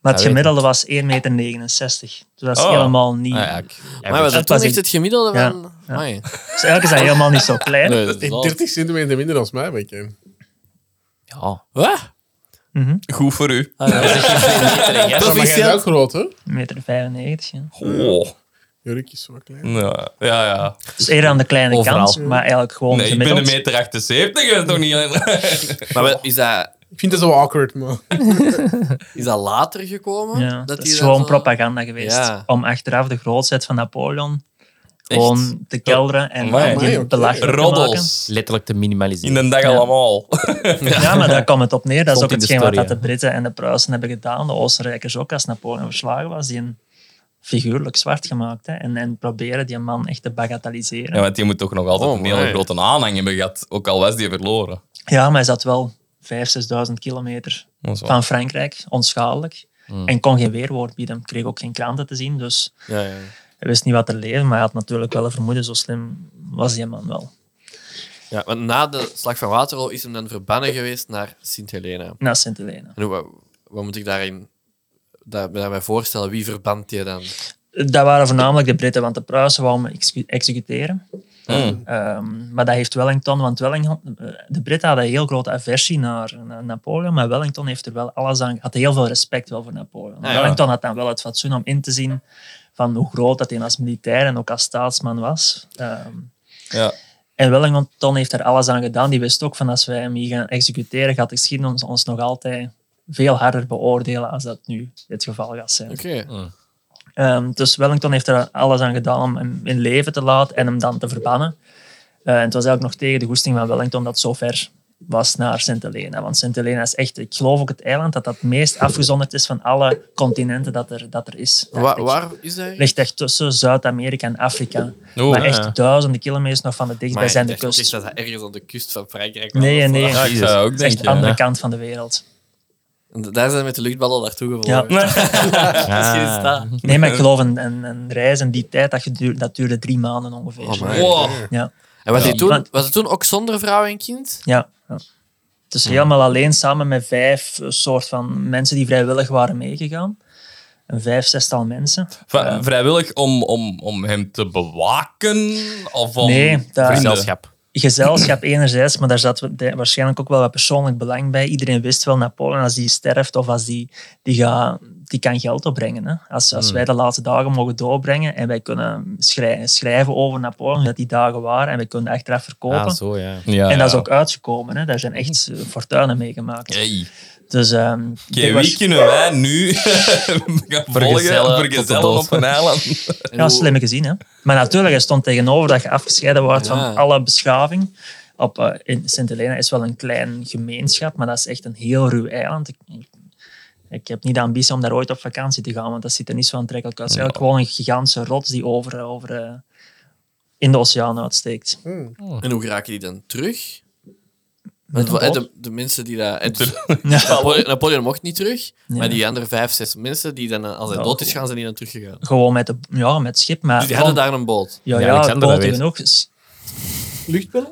Speaker 2: Ja, weet
Speaker 5: gemiddelde was 1,69 meter. Dus dat is
Speaker 1: Oh.
Speaker 5: helemaal niet...
Speaker 2: Ah, ja, ik- ja,
Speaker 4: Maar
Speaker 2: ik-
Speaker 4: wat
Speaker 5: dat was
Speaker 4: dus toen heeft
Speaker 5: ik-
Speaker 4: het gemiddelde
Speaker 5: Ja.
Speaker 4: van... Amai.
Speaker 5: Dus eigenlijk is dat helemaal niet zo klein.
Speaker 4: Nee, dat is
Speaker 3: Ik
Speaker 4: wel-
Speaker 3: 30 centimeter minder dan mij, ben ik. hè.
Speaker 2: ja.
Speaker 4: Wat?
Speaker 1: Goed voor u.
Speaker 3: Maar jij bent ook groot, hè?
Speaker 5: 1,95 meter. 95, ja.
Speaker 1: Oh.
Speaker 3: Jurik is zo klein.
Speaker 1: Ja, ja. ja.
Speaker 5: Dus eerder aan de kleine
Speaker 2: Overal.
Speaker 5: kant, maar eigenlijk gewoon
Speaker 1: Nee, ik ben
Speaker 5: gemiddeld.
Speaker 1: een meter 78, dat is toch niet...
Speaker 4: Maar wel, is dat,
Speaker 3: Ik vind dat zo awkward, man.
Speaker 4: is dat later gekomen?
Speaker 5: Ja, dat,
Speaker 4: die
Speaker 5: is gewoon
Speaker 4: zo-
Speaker 5: propaganda geweest.
Speaker 4: Ja.
Speaker 5: Om achteraf de grootheid van Napoleon gewoon te kelderen en
Speaker 1: Amai,
Speaker 5: die
Speaker 3: oké.
Speaker 5: belachelijk te maken.
Speaker 1: Roddels.
Speaker 2: Letterlijk te minimaliseren.
Speaker 1: In de dag allemaal.
Speaker 5: Ja, maar daar komt het op neer. Dat is
Speaker 2: Stond
Speaker 5: ook
Speaker 2: in de
Speaker 5: hetgeen wat dat
Speaker 2: story,
Speaker 5: de Britten en de Pruisen hebben gedaan. De Oostenrijkers ook, als Napoleon verslagen was. Die een figuurlijk zwart gemaakt. Hè, en, en proberen die man echt te bagatelliseren.
Speaker 1: Ja,
Speaker 5: Ja,
Speaker 1: want die moet toch nog altijd
Speaker 4: Oh,
Speaker 1: een hele
Speaker 4: my.
Speaker 1: grote aanhang hebben gehad, ook al was die verloren.
Speaker 5: maar hij zat wel 5.000, 6.000 kilometer
Speaker 1: Dat is waar.
Speaker 5: van Frankrijk, onschadelijk. En kon geen weerwoord bieden. Kreeg ook geen kranten te zien. Dus
Speaker 4: Ja, ja.
Speaker 5: hij wist niet wat er leefde. Maar hij had natuurlijk wel een vermoeden. Zo slim was die man wel.
Speaker 4: Ja, want na de Slag van Waterloo is hem dan verbannen geweest naar Sint-Helena.
Speaker 5: Na Sint-Helena.
Speaker 4: En hoe, wat, wat moet ik daarin daar, daarbij voorstellen? Wie verband je dan?
Speaker 5: Dat waren voornamelijk de Britten, want de Pruisen wouden me execu- executeren.
Speaker 4: Hmm.
Speaker 1: Mm.
Speaker 5: Ehm, maar dat heeft Wellington, want Wellington, eh, de Britten hadden een heel grote aversie naar, naar Napoleon, maar Wellington heeft er wel alles aan, had heel veel respect wel voor Napoleon.
Speaker 4: ja.
Speaker 5: Wellington had dan wel het fatsoen om in te zien van hoe groot dat hij als militair en ook als staatsman was. Ehm,
Speaker 1: Ja.
Speaker 5: en Wellington heeft er alles aan gedaan. Die wist ook van als wij hem hier gaan executeren, gaat de geschiedenis ons nog altijd veel harder beoordelen als dat nu het geval gaat zijn.
Speaker 4: Oké.
Speaker 5: Ehm, dus Wellington heeft er alles aan gedaan om hem in leven te laten en hem dan te verbannen. Eh, en het was eigenlijk nog tegen de goesting van Wellington dat het zo ver was naar Sint Helena. Want Sint Helena is echt, ik geloof ook het eiland, dat dat het meest afgezonderd is van alle continenten dat er, dat er is. dacht
Speaker 4: Wa-
Speaker 5: ik.
Speaker 4: waar is hij?
Speaker 5: Ligt echt tussen Zuid-Amerika en Afrika.
Speaker 1: Oeh,
Speaker 5: maar
Speaker 1: ja.
Speaker 5: echt duizenden kilometers nog van de dichtbijzijnde kust.
Speaker 4: dat hij ergens aan de kust van Frankrijk was.
Speaker 5: Nee,
Speaker 4: Of-
Speaker 5: nee.
Speaker 1: Ja,
Speaker 5: Het
Speaker 1: ik zou ook
Speaker 5: is echt
Speaker 1: denken.
Speaker 5: de andere
Speaker 1: ja.
Speaker 5: kant van de wereld.
Speaker 4: En Daar zijn ze met de luchtballen naartoe gevlogen.
Speaker 5: Ja.
Speaker 2: Ah,
Speaker 4: Misschien is dat.
Speaker 5: Nee, maar ik geloof een, een, een reis in die tijd, dat, geduur- dat duurde drie maanden ongeveer.
Speaker 4: Oh, my.
Speaker 1: Wow.
Speaker 5: ja.
Speaker 4: En was, hij toen,
Speaker 5: Want-
Speaker 4: was het toen ook zonder vrouw en kind?
Speaker 5: Ja. ja. Dus helemaal alleen, samen met vijf eh, soort van mensen die vrijwillig waren meegegaan. Een vijf, zestal mensen.
Speaker 1: Va- Vrijwillig om, om, om hem te bewaken? Of om
Speaker 5: Nee, dat-
Speaker 1: vrienden?
Speaker 2: Gezelschap.
Speaker 5: Gezelschap enerzijds, maar daar zat wa- de- waarschijnlijk ook wel wat persoonlijk belang bij. Iedereen wist wel, Napoleon, als die sterft of als die, die, gaat, die kan geld opbrengen. Hè. Als,
Speaker 1: Hmm.
Speaker 5: als wij de laatste dagen mogen doorbrengen en wij kunnen schrij- schrijven over Napoleon, hoe dat die dagen waren, en wij kunnen achteraf verkopen.
Speaker 2: Ah, zo, ja.
Speaker 1: Ja,
Speaker 5: en dat is
Speaker 1: ja.
Speaker 5: ook uitgekomen. Hè. Daar zijn echt eh, fortuinen mee gemaakt.
Speaker 1: Hey.
Speaker 5: Dus, ehm,
Speaker 1: Oké,
Speaker 5: die
Speaker 1: wie
Speaker 5: was-
Speaker 1: kunnen wij nu gaan
Speaker 2: Vergezellen
Speaker 1: volgen,
Speaker 2: tot de
Speaker 1: vergezellen
Speaker 2: dood.
Speaker 1: op een eiland?
Speaker 4: En
Speaker 5: Ja,
Speaker 4: hoe-
Speaker 5: slim gezien, hè. Maar natuurlijk, hij stond tegenover dat je afgescheiden wordt
Speaker 4: Ja.
Speaker 5: van alle beschaving. Op, eh, in Sint Helena is wel een klein gemeenschap, maar dat is echt een heel ruw eiland. Ik, ik, ik heb niet de ambitie om daar ooit op vakantie te gaan, want dat ziet er niet zo aantrekkelijk uit. Het is eigenlijk gewoon een gigantische rots die over, over eh, in de oceaan uitsteekt.
Speaker 4: En hoe raken die dan terug? Want wa- de, de mensen die daar... en dus- Napoleon, Napoleon mocht niet terug, maar die andere vijf, zes mensen die dan, eh, als hij
Speaker 5: Ja.
Speaker 4: dood is, gaan ze niet naar terug gegaan.
Speaker 5: Gewoon met, de, ja, met het schip. Maar
Speaker 4: Dus die hadden daar een boot.
Speaker 5: ja,
Speaker 2: Ja,
Speaker 5: ja,
Speaker 2: Alexander,
Speaker 5: boten
Speaker 2: dat weet.
Speaker 5: genoeg, s-
Speaker 4: Luchtpillen?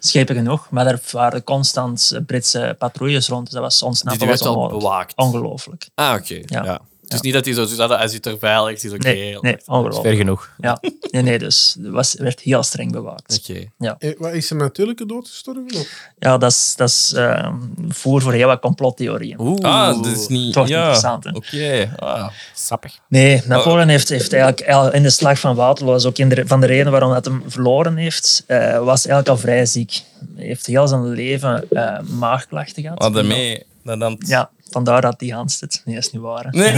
Speaker 5: schepen genoeg. Maar daar waren constant eh, Britse patrouilles rond. Dus dat was ons
Speaker 4: Die werd al bewaakt.
Speaker 5: Ongelooflijk.
Speaker 4: Ah, oké.
Speaker 5: Ja.
Speaker 4: Ja. Dus niet dat hij zo dus hadden, hij zit er veilig, het is oké.
Speaker 5: Nee, nee,
Speaker 2: Ver
Speaker 5: ongelooflijk.
Speaker 2: genoeg.
Speaker 5: Ja. Nee, nee, dus het was, werd heel streng bewaakt.
Speaker 4: Oké.
Speaker 3: Eh, wat, Is er natuurlijke dood gestorven? Of?
Speaker 5: Ja, dat is, dat is eh, voer voor heel wat complottheorieën.
Speaker 4: Oeh.
Speaker 1: Ah, dat is niet...
Speaker 5: Het wordt
Speaker 1: ja.
Speaker 5: interessant, hè?
Speaker 1: Oké. Ah.
Speaker 2: Sappig.
Speaker 5: Nee, Napoleon heeft, heeft eigenlijk al in de slag van Waterloo, dat is ook in de- van de reden waarom dat hem verloren heeft, eh, was eigenlijk al vrij ziek. Hij heeft heel zijn leven eh, maagklachten gehad.
Speaker 1: Wat daarmee... Dan, dan...
Speaker 5: Ja, vandaar dat die hand zit. Nee, is niet waar. hè.
Speaker 1: Nee.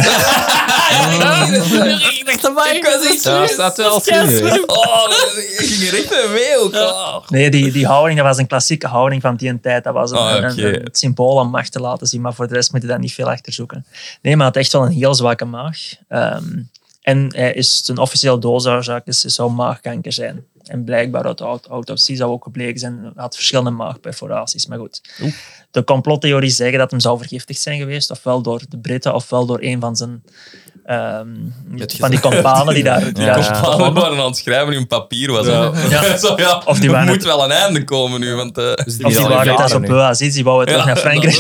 Speaker 4: Ik dacht, amai, ik was echt
Speaker 2: Daar staat wel serieus.
Speaker 1: Oh, dat is- je richt me mee ook. Ah.
Speaker 5: Nee, die, die houding, dat was een klassieke houding van die een tijd. Dat was een,
Speaker 1: Ah,
Speaker 5: een-
Speaker 1: oké.
Speaker 5: een- het symbool om macht te laten zien, maar voor de rest moet je daar niet veel achter zoeken. Nee, maar hij had echt wel een heel zwakke maag. Ehm, en hij is een officieel doodsoorzaak, is, is zou maagkanker zijn. En blijkbaar uit de aut- autopsie zou ook gebleken zijn, hij had verschillende maagperforaties. Maar goed, de complottheorie zeggen dat hem zou vergiftigd zijn geweest, ofwel door de Britten, ofwel door een van zijn... ehm, van die kompanen die daar... die
Speaker 1: Ja,
Speaker 5: daar-
Speaker 1: we waren aan het schrijven, hun papier was aan.
Speaker 5: Ja.
Speaker 1: Zo, ja,
Speaker 5: Of die
Speaker 1: er
Speaker 5: waren-
Speaker 1: moet wel een einde komen nu, want... eh,
Speaker 5: Of die
Speaker 2: al
Speaker 5: waren
Speaker 2: jaren
Speaker 5: thuis op
Speaker 2: nu.
Speaker 5: Boa zit, die wouden terug
Speaker 1: Ja,
Speaker 5: naar Frankrijk.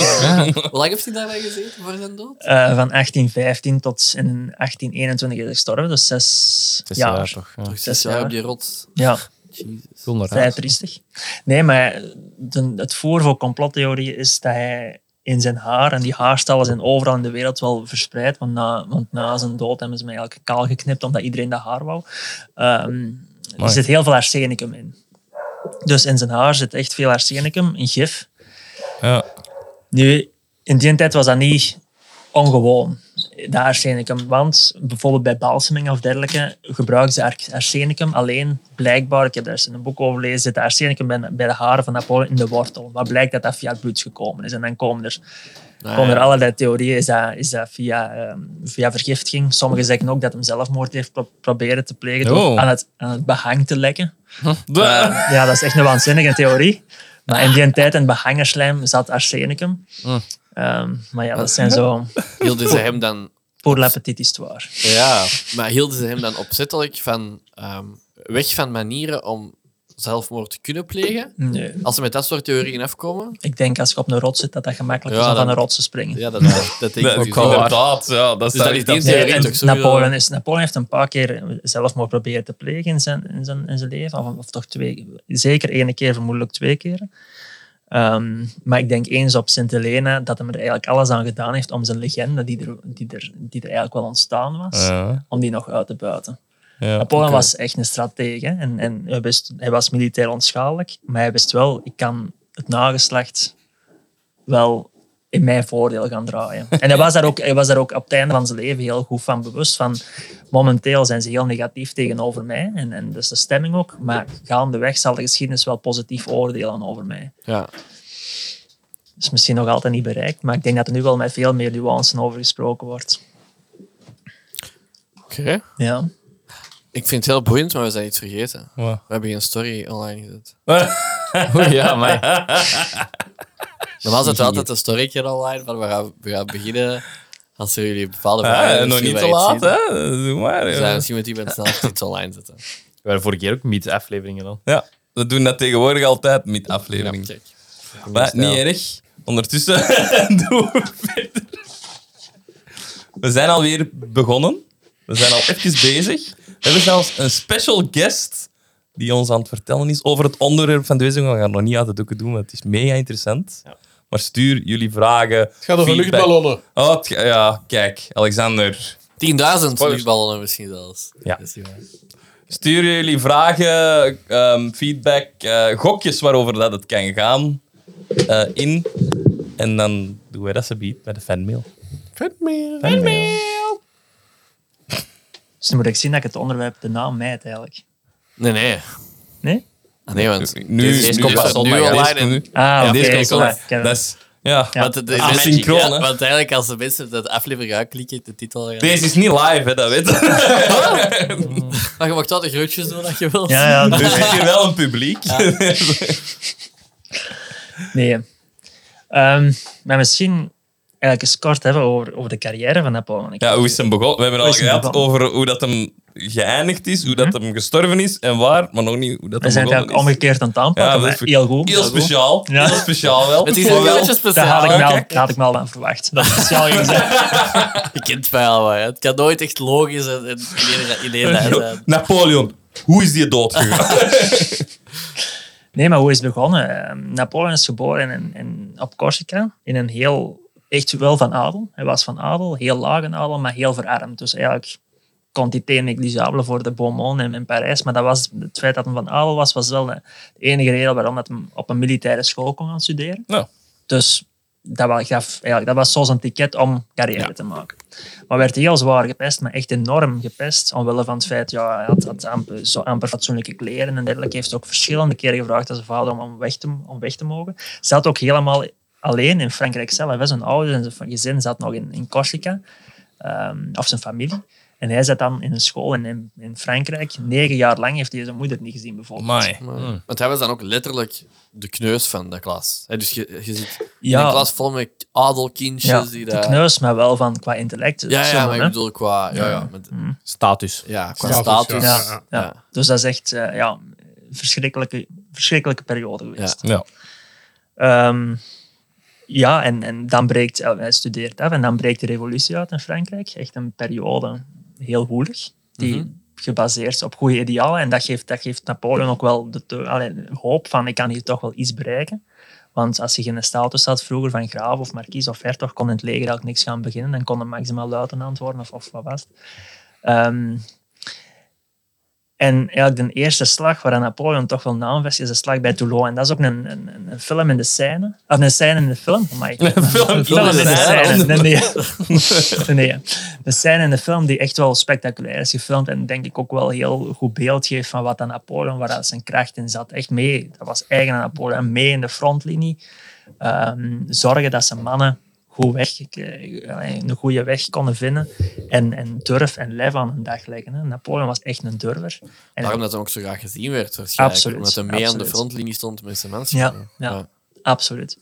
Speaker 4: Hoe lang heeft hij daarbij gezeten voor zijn dood?
Speaker 5: Eh, van 1815 tot in 1821 is hij gestorven, dus zes,
Speaker 2: Het is
Speaker 5: jaar.
Speaker 2: daar toch. Ja.
Speaker 4: Nog zes
Speaker 5: jaar.
Speaker 4: jaar op die rots.
Speaker 5: Ja,
Speaker 4: Jezus.
Speaker 2: Zonder
Speaker 5: vrij
Speaker 2: raad.
Speaker 5: triestig. Nee, maar de- het voor voor complottheorieën is dat hij in zijn haar, en die haarstallen zijn overal in de wereld wel verspreid, want na, want na zijn dood hebben ze mij eigenlijk kaal geknipt omdat iedereen dat haar wou. Ehm, er
Speaker 1: Amai.
Speaker 5: zit heel veel arsenicum in. Dus in zijn haar zit echt veel arsenicum, in gif.
Speaker 1: Ja.
Speaker 5: Nu, in die tijd was dat niet ongewoon. De arsenicum. Want bijvoorbeeld bij balseming of dergelijke gebruikten ze ar- arsenicum. Alleen blijkbaar, ik heb daar eens in een boek over gelezen, zit de arsenicum bij, bij de haren van Napoleon in de wortel. Maar blijkt dat dat via het bloed gekomen is. En dan komen er,
Speaker 1: Ah,
Speaker 5: komen er allerlei theorieën. Is dat, is dat via, ehm, via vergiftiging? Sommigen zeggen ook dat hem zelfmoord heeft pro- proberen te plegen door
Speaker 1: Oh.
Speaker 5: aan, het, aan het behang te lekken.
Speaker 1: De-
Speaker 5: Eh, ja, dat is echt een waanzinnige theorie. Maar in die tijd, in het behangerslijm, zat arsenicum. Ehm, maar ja, dat zijn zo
Speaker 4: Hielden ze hem dan...
Speaker 5: pour la petite histoire.
Speaker 4: Ja. Maar hielden ze hem dan opzettelijk van... ehm, weg van manieren om zelfmoord te kunnen plegen?
Speaker 1: Mm.
Speaker 5: Nee.
Speaker 4: Als ze met dat soort theorieën afkomen...
Speaker 5: Ik denk als je op een rots zit, dat dat gemakkelijk
Speaker 4: Ja,
Speaker 5: is om
Speaker 4: dan-
Speaker 5: van een rots te springen.
Speaker 4: Ja, dat, dat, dat denk ik
Speaker 1: de-
Speaker 4: ook wel.
Speaker 1: Inderdaad, ja. Dat is
Speaker 4: Oh, Dus dat is
Speaker 1: daar-
Speaker 4: die
Speaker 5: Nee,
Speaker 4: theorie
Speaker 5: en
Speaker 4: toch sowieso.
Speaker 5: Napoleon, is, Napoleon heeft een paar keer zelfmoord proberen te plegen in zijn, in zijn, in zijn leven. Of, of toch twee, zeker één keer, vermoedelijk twee keer. Ehm, maar ik denk eens op Sint Helena dat hem er eigenlijk alles aan gedaan heeft om zijn legende, die er, die er, die er eigenlijk wel ontstaan was,
Speaker 1: Ja,
Speaker 5: om die nog uit te buiten.
Speaker 1: ja.
Speaker 5: Napoleon was echt een stratege hè. en, en hij, wist, hij was militair onschadelijk, maar hij wist wel, ik kan het nageslacht wel in mijn voordeel gaan draaien. En hij was daar ook, hij was daar ook op het einde van zijn leven heel goed van bewust van, momenteel zijn ze heel negatief tegenover mij, en, en dus de stemming ook, maar gaandeweg zal de geschiedenis wel positief oordelen over mij.
Speaker 4: Ja.
Speaker 5: is misschien nog altijd niet bereikt, maar ik denk dat er nu wel met veel meer nuances over gesproken wordt.
Speaker 4: Oké.
Speaker 5: Ja.
Speaker 4: Ik vind het heel boeiend, maar we zijn iets vergeten.
Speaker 1: Wat?
Speaker 4: We hebben geen story online gezet.
Speaker 2: Oeh, ja, maar
Speaker 4: Normaal zetten we altijd een storytje online van we gaan, we gaan beginnen. Als er jullie bepaalde vragen
Speaker 1: Ja,
Speaker 4: hebben,
Speaker 1: nog
Speaker 4: misschien
Speaker 1: niet te
Speaker 4: wel iets
Speaker 1: laat,
Speaker 4: zien.
Speaker 1: hè. Doe maar.
Speaker 4: Dus dan
Speaker 1: ja.
Speaker 4: misschien moet iemand snel iets online zetten.
Speaker 2: We waren vorige keer ook meet-afleveringen dan.
Speaker 1: Ja, we doen dat tegenwoordig altijd met aflevering.
Speaker 4: kijk.
Speaker 1: maar niet erg. Ondertussen doen we verder. We zijn alweer begonnen. We zijn al even bezig. We hebben zelfs een special guest die ons aan het vertellen is over het onderwerp van deze. We gaan het nog niet uit de doeken doen, want het is mega interessant. Maar stuur jullie vragen.
Speaker 3: Het gaat over luchtballonnen.
Speaker 1: Oh, het ga- ja, kijk, Alexander.
Speaker 4: 10.000 luchtballonnen misschien zelfs.
Speaker 1: Ja.
Speaker 4: Dat is niet waar.
Speaker 1: Stuur jullie vragen, ehm, feedback, eh, gokjes waarover dat het kan gaan eh, in. En dan doen wij dat ze biedt bij de fanmail.
Speaker 3: Vet meer.
Speaker 5: Dus nu moet ik zien dat ik het onderwerp de naam mijt eigenlijk.
Speaker 4: Nee, nee.
Speaker 5: Nee?
Speaker 4: Ah, nee, want
Speaker 1: Nu
Speaker 4: deze
Speaker 1: nu
Speaker 4: komt
Speaker 1: is
Speaker 4: pas
Speaker 1: dat
Speaker 4: nu
Speaker 1: online,
Speaker 4: online.
Speaker 1: deze komt
Speaker 4: en-
Speaker 1: nu.
Speaker 5: Ah,
Speaker 1: Ja,
Speaker 5: oké.
Speaker 1: deze komt
Speaker 5: zo,
Speaker 1: online.
Speaker 5: ik heb-
Speaker 1: Dat is, ja.
Speaker 5: Ja.
Speaker 4: Want, het is
Speaker 1: Ah,
Speaker 4: magic,
Speaker 1: synchroon,
Speaker 4: ja,
Speaker 1: hè?
Speaker 4: want eigenlijk als de mensen dat aflevering uitklikken, de titel... gaan-
Speaker 1: Deze is niet live, hè, dat weet je.
Speaker 4: Maar je mag wel de groetjes doen dat je wilt.
Speaker 5: Dus-
Speaker 1: dus-
Speaker 5: Ja, ja.
Speaker 1: Er is hier wel een publiek.
Speaker 5: Nee. Ehm, maar misschien eigenlijk eens kort hebben over, over de carrière van Apple. Want ik-
Speaker 1: Ja, hoe is hem begonnen? We hebben al
Speaker 5: is hem
Speaker 1: gehad
Speaker 5: begonnen?
Speaker 1: over hoe dat hem geëindigd is, hoe dat hem gestorven is en waar, maar nog niet hoe dat
Speaker 5: we
Speaker 1: hem
Speaker 5: zijn
Speaker 1: begonnen
Speaker 5: het eigenlijk
Speaker 1: is.
Speaker 5: omgekeerd aan het
Speaker 1: Ja,
Speaker 5: aanpakken.
Speaker 1: dat
Speaker 5: maar
Speaker 1: is voor-
Speaker 5: heel goed.
Speaker 1: Heel speciaal.
Speaker 5: Ja.
Speaker 1: Heel speciaal wel.
Speaker 4: Het is
Speaker 1: Maar
Speaker 4: een
Speaker 1: wel-
Speaker 4: beetje
Speaker 5: Dat
Speaker 4: speciaal.
Speaker 5: had, ik
Speaker 1: Ja,
Speaker 5: wel,
Speaker 1: kijk.
Speaker 5: dat had ik wel aan verwacht. Dat het speciaal ging zijn.
Speaker 4: Je kent mij al, hè. Het kan nooit echt logisch en, en eh, iedereen, iedereen dat zijn.
Speaker 1: Napoleon, hoe is die dood gegaan?
Speaker 5: Nee, maar hoe is het begonnen? Ehm, Napoleon is geboren in, in, op Corsica, in een heel, echt wel van adel. Hij was van adel, heel laag in adel, maar heel verarmd. Dus eigenlijk kon hij tegen negligabele voor de Beaumont in, in Parijs. Maar dat was, het feit dat hij van adel was, was wel de enige reden waarom dat hij op een militaire school kon gaan studeren.
Speaker 1: Nou.
Speaker 5: Dus dat was, gaf, eigenlijk, dat was zoals een ticket om carrière te maken. Maar werd heel zwaar gepest, maar echt enorm gepest. Omwille van het feit, ja, hij had, had amper, zo amper fatsoenlijke kleren en dergelijke. Heeft ook verschillende keren gevraagd aan zijn vader om, om, weg, te, om weg te mogen. Zat ook helemaal alleen in Frankrijk zelf. Hè. Zijn ouders en zijn gezin zat nog in, in Corsica. ehm, of zijn familie. En hij zat dan in een school in, in, in Frankrijk. Negen jaar lang heeft hij zijn moeder niet gezien, bijvoorbeeld.
Speaker 1: Amai.
Speaker 5: Hmm.
Speaker 4: Want hij was dan ook letterlijk de kneus van de klas. Hè, dus je, je zit in
Speaker 5: Ja.
Speaker 4: een klas vol met adelkindjes
Speaker 5: Ja,
Speaker 4: Dus die
Speaker 5: de
Speaker 4: daar...
Speaker 5: kneus, maar wel van qua intellect.
Speaker 4: Ja, ja,
Speaker 5: zullen,
Speaker 4: maar ik
Speaker 5: hè. Hmm.
Speaker 4: bedoel qua... Ja, ja, met-
Speaker 2: Status.
Speaker 4: ja qua
Speaker 3: Status,
Speaker 4: status.
Speaker 3: ja.
Speaker 5: Ja,
Speaker 3: Ja,
Speaker 5: ja,
Speaker 4: ja.
Speaker 5: Dus dat is echt eh, ja, een verschrikkelijke, verschrikkelijke periode geweest.
Speaker 1: Ja.
Speaker 5: Ja, Ehm, ja en, en dan breekt, eh, hij studeert af en dan breekt de revolutie uit in Frankrijk. Echt een periode, heel woelig, die gebaseerd is op goede idealen. En dat geeft, dat geeft Napoleon ook wel de te- allee, hoop van ik kan hier toch wel iets bereiken. Want als je geen status had vroeger van graaf of markies of hertog, kon in het leger eigenlijk niks gaan beginnen. Dan kon hij maximaal luitenant worden of, of wat was het. Ehm, en eigenlijk de eerste slag waar Napoleon toch wel naam vest, is de slag bij Toulon. En dat is ook een, een, een- een film in de scène. Of een scène in de film. Amai. Een
Speaker 1: film in de
Speaker 5: in de
Speaker 1: scène.
Speaker 5: scène. Nee, nee. nee, nee. De scène in de film die echt wel spectaculair is gefilmd. En denk ik ook wel heel goed beeld geeft van wat aan Napoleon, waar dat zijn kracht in zat. Echt mee. Dat was eigen aan Napoleon. Mee in de frontlinie. Ehm, zorgen dat zijn mannen goed weg, eh, een goede weg konden vinden. En, en durf en lef aan hun dag leggen. Hè. Napoleon was echt een durver. En
Speaker 4: Daarom dat hij ook zo graag gezien werd, waarschijnlijk.
Speaker 5: Absoluut,
Speaker 4: Omdat hij mee aan de
Speaker 5: absoluut.
Speaker 4: frontlinie stond met zijn mensen.
Speaker 5: Ja, ja, absoluut.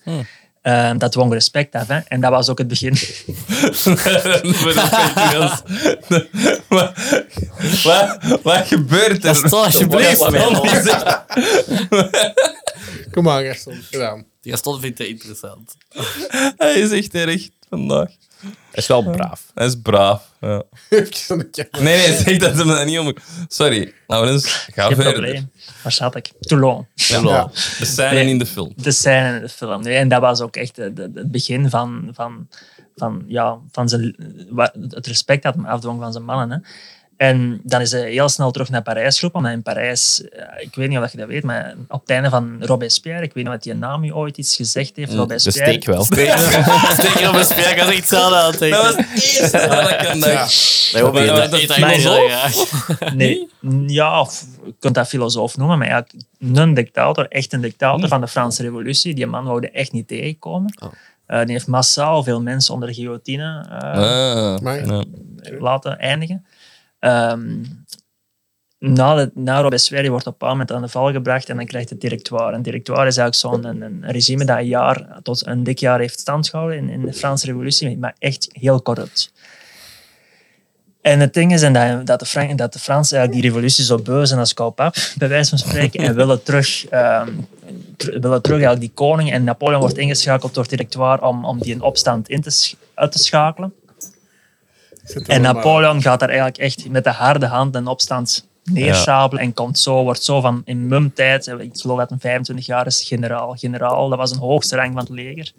Speaker 5: Ehm, dat dwong respect af. Hè. En dat was ook het begin.
Speaker 1: Maar- wat- Wat gebeurt er?
Speaker 4: Stel alsjeblieft, man.
Speaker 3: Kom aan, Gaston. Gedaan.
Speaker 4: Die Gaston vindt dat interessant.
Speaker 1: Hij is echt erg vandaag.
Speaker 2: Hij is wel braaf.
Speaker 1: Hij is braaf. Ja.
Speaker 3: Even een keer.
Speaker 1: Nee, nee, zeg dat ze me dat niet om. Sorry, Laurens, ga
Speaker 5: Geen
Speaker 1: verder.
Speaker 5: probleem. Waar zat ik? Toulon.
Speaker 1: Ja. De scène in de film.
Speaker 5: de scène in de film. Nee, en dat was ook echt de- de- het begin van, van, van, ja, van zijn, wa- het respect dat hem afdwong van zijn mannen. Hè. En dan is hij heel snel terug naar Parijs geroepen. Omdat in Parijs, eh, ik weet niet of je dat weet, maar op het einde van Robespierre, ik weet niet of die naam u ooit iets gezegd heeft,
Speaker 2: Mm, De
Speaker 5: Robespierre.
Speaker 2: steek wel.
Speaker 4: Zeker op een speer, dat is echt hetzelfde aan het
Speaker 1: Dat was
Speaker 4: denken.
Speaker 1: het eerste dat ik aan dacht.
Speaker 4: Nee, hoor,
Speaker 1: dat-
Speaker 4: dat-
Speaker 1: dat-
Speaker 4: dat-
Speaker 1: dat-
Speaker 4: dat- dat-
Speaker 1: filosoof?
Speaker 4: graag.
Speaker 5: Nee, ja, of je kunt dat filosoof noemen, maar eigenlijk een dictator, echt een
Speaker 2: Mm.
Speaker 5: dictator van de Franse revolutie. Die man wou er echt niet tegenkomen.
Speaker 2: Oh.
Speaker 5: Eh, die heeft massaal veel mensen onder de guillotine eh,
Speaker 2: Oh,
Speaker 1: Ah,
Speaker 3: Maar-
Speaker 1: ja.
Speaker 5: laten eindigen. Ehm, na, de, na Robespierre wordt op een bepaald moment aan de val gebracht en dan krijgt het directoire. Een directoire is eigenlijk zo'n een, een regime dat een jaar tot een dik jaar heeft stand gehouden in, in de Franse revolutie, maar echt heel corrupt. En het ding is en dat, dat, de Fran- dat de Fransen eigenlijk die revolutie zo beu zijn als koud pap, bij wijze van spreken, en willen terug, ehm, ter- willen terug eigenlijk die koning. En Napoleon wordt ingeschakeld door het directoire om, om die een opstand in te sch- uit te schakelen.
Speaker 3: Zit er
Speaker 5: En
Speaker 3: nog maar-
Speaker 5: Napoleon gaat daar eigenlijk echt met de harde hand een opstand neersabelen en komt zo, wordt zo van in mumtijd, ik geloof dat een 25 jaar is, generaal. Generaal, dat was een hoogste rang van het leger,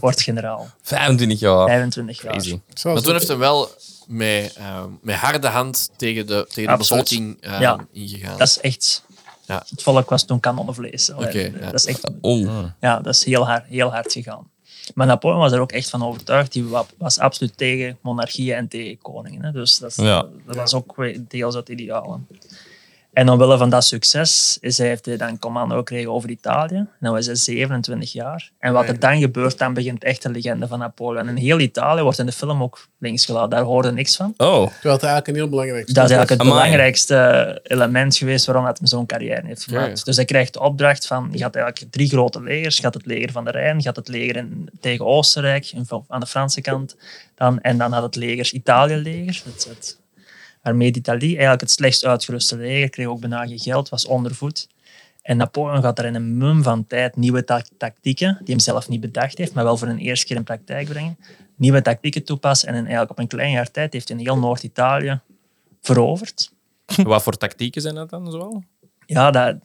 Speaker 5: wordt generaal.
Speaker 1: 25 jaar.
Speaker 5: 25 jaar.
Speaker 1: Crazy.
Speaker 4: Maar
Speaker 3: Zoals
Speaker 4: toen heeft hij wel met, ehm, met harde hand tegen de, tegen de
Speaker 5: Absoluut.
Speaker 4: bevolking ehm,
Speaker 5: Ja.
Speaker 4: ingegaan.
Speaker 5: Dat is echt...
Speaker 4: Ja.
Speaker 5: Het volk was toen kanonnenvlees. Allee,
Speaker 4: Oké, ja.
Speaker 5: Dat is echt
Speaker 1: Oh.
Speaker 5: Ja, dat is heel hard, heel hard gegaan. Maar Napoleon was er ook echt van overtuigd. Die wa- was absoluut tegen monarchieën en tegen koningen. Hè. Dus dat, is-
Speaker 1: Ja.
Speaker 5: dat was ook weer deels uit idealen. En omwille van dat succes is hij, heeft hij dan commando gekregen over Italië. En dan was hij 27 jaar. En wat er dan gebeurt, dan begint echt de legende van Napoleon. En heel Italië wordt in de film ook links gelaten. Daar hoorde niks van.
Speaker 1: Oh,
Speaker 3: Terwijl het eigenlijk een heel belangrijk
Speaker 5: Dat is eigenlijk het
Speaker 1: Amai.
Speaker 5: belangrijkste eh, element geweest waarom dat hem zo'n carrière heeft gemaakt.
Speaker 4: Ja, ja.
Speaker 5: Dus hij krijgt de opdracht van, je gaat eigenlijk drie grote legers. Je gaat het leger van de Rijn, je gaat het leger in, tegen Oostenrijk, in- aan de Franse kant. Dan, en dan had het leger Italië-leger, het, het Armée d'Italie, eigenlijk het slechtst uitgeruste leger, kreeg ook bijna geen geld, was ondervoed. En Napoleon gaat er in een mum van tijd nieuwe ta- tactieken, die hem zelf niet bedacht heeft, maar wel voor een eerste keer in praktijk brengen, nieuwe tactieken toepassen. En in, eigenlijk op een klein jaar tijd heeft hij in heel Noord-Italië veroverd.
Speaker 2: Wat voor tactieken zijn dat dan zoal?
Speaker 5: Ja, dat, dat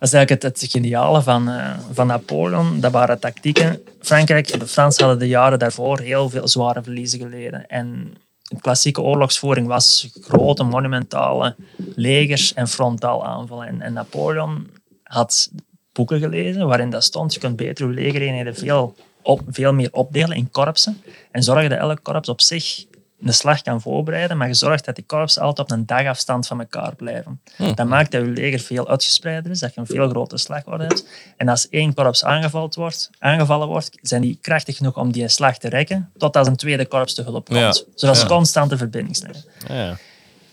Speaker 5: is eigenlijk het, het geniale van, eh, van Napoleon. Dat waren tactieken. Frankrijk, de Fransen hadden de jaren daarvoor heel veel zware verliezen geleden. En de klassieke oorlogsvoering was grote, monumentale legers en frontaal aanvallen. En, en Napoleon had boeken gelezen waarin dat stond, je kunt beter je legereenheden veel, op, veel meer opdelen in korpsen en zorgen dat elk korps op zich een slag kan voorbereiden, maar je zorgt dat die korpsen altijd op een dagafstand van elkaar blijven.
Speaker 1: Hm.
Speaker 5: Dat maakt dat je leger veel uitgespreider is, dat je een veel grotere slagorde hebt. En als één korps aangevallen wordt, aangevallen wordt zijn die krachtig genoeg om die slag te rekken, totdat een tweede korps te hulp komt.
Speaker 1: Ja.
Speaker 5: Zodat ze
Speaker 1: Ja.
Speaker 5: constante verbindingslijn
Speaker 2: Ja.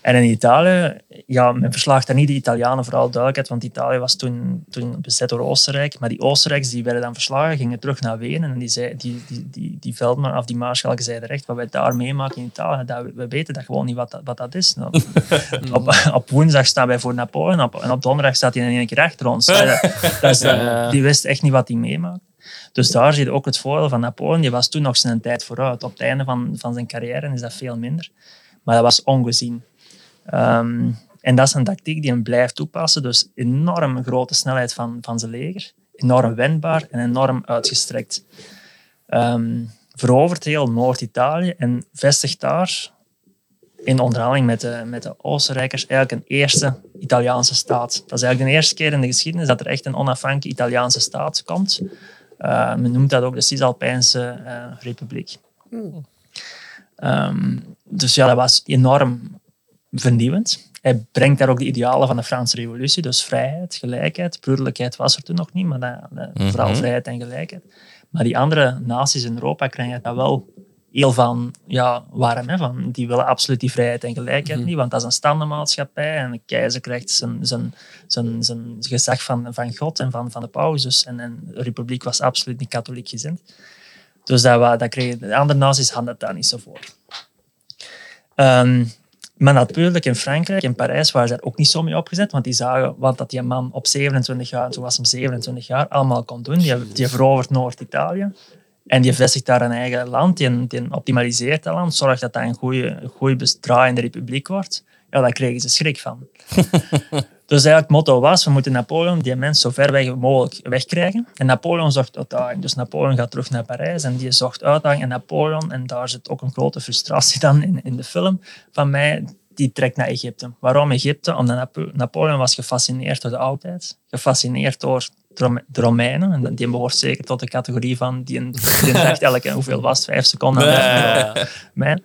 Speaker 5: en in Italië, ja, men verslaagt daar niet de Italianen vooral duidelijkheid, want Italië was toen, toen bezet door Oostenrijk. Maar die Oostenrijkers die werden dan verslagen, gingen terug naar Wenen. En die, zei, die, die, die, die veldman, of die maarschalken zeiden recht, wat wij daar meemaken in Italië, dat, we weten dat gewoon niet wat dat, wat dat is. Nou, op, op woensdag staan wij voor Napoleon op, en op donderdag staat hij in één keer achter ons. Dat, dat is, Die wist echt niet wat hij meemaakt. Dus daar zit ook het voordeel van Napoleon. Die was toen nog zijn tijd vooruit. Op het einde van, van zijn carrière is dat veel minder. Maar dat was ongezien. Ehm, en dat is een tactiek die hem blijft toepassen. Dus enorm grote snelheid van, van zijn leger. Enorm wendbaar en enorm uitgestrekt. Ehm, verovert heel Noord-Italië en vestigt daar in onderhandeling met de, met de Oostenrijkers eigenlijk een eerste Italiaanse staat. Dat is eigenlijk de eerste keer in de geschiedenis dat er echt een onafhankelijke Italiaanse staat komt. Eh, men noemt dat ook de Cisalpijnse eh, Republiek. Ehm, dus ja, dat was enorm vernieuwend. Hij brengt daar ook de idealen van de Franse revolutie, dus vrijheid, gelijkheid. Broederlijkheid was er toen nog niet, maar dat, dat- vooral vrijheid en gelijkheid. Maar die andere naties in Europa krijgen dat wel heel van ja, warm. Hè, van, die willen absoluut die vrijheid en gelijkheid niet, want dat is een standenmaatschappij en de keizer krijgt zijn, zijn, zijn, zijn gezag van, van God en van, van de paus. Dus, en, en de republiek was absoluut niet katholiek gezind. Dus dat, wa- dat kreeg, de andere naties hadden het daar niet zo voor. Ehm, maar natuurlijk in Frankrijk, in Parijs, waren ze daar ook niet zo mee opgezet. Want die zagen wat dat die man op 27 jaar, toen was hem 27 jaar, allemaal kon doen. Die, die verovert Noord-Italië. En die vestigt daar een eigen land. Die, die optimaliseert dat land. Zorgt dat dat een goede, goede draaiende republiek wordt. Ja, daar kregen ze schrik van. Dus eigenlijk het motto was, we moeten Napoleon, die mens, zo ver weg mogelijk wegkrijgen. En Napoleon zocht uitdaging. Dus Napoleon gaat terug naar Parijs en die zocht uitdaging. En Napoleon, en daar zit ook een grote frustratie dan in, in de film van mij, die trekt naar Egypte. Waarom Egypte? Omdat Napo- Napoleon was gefascineerd door de oudheid. Gefascineerd door de Rome- de Romeinen. En die behoort zeker tot de categorie van, die, die dacht elke, hoeveel was het, vijf seconden aan de Romeinen.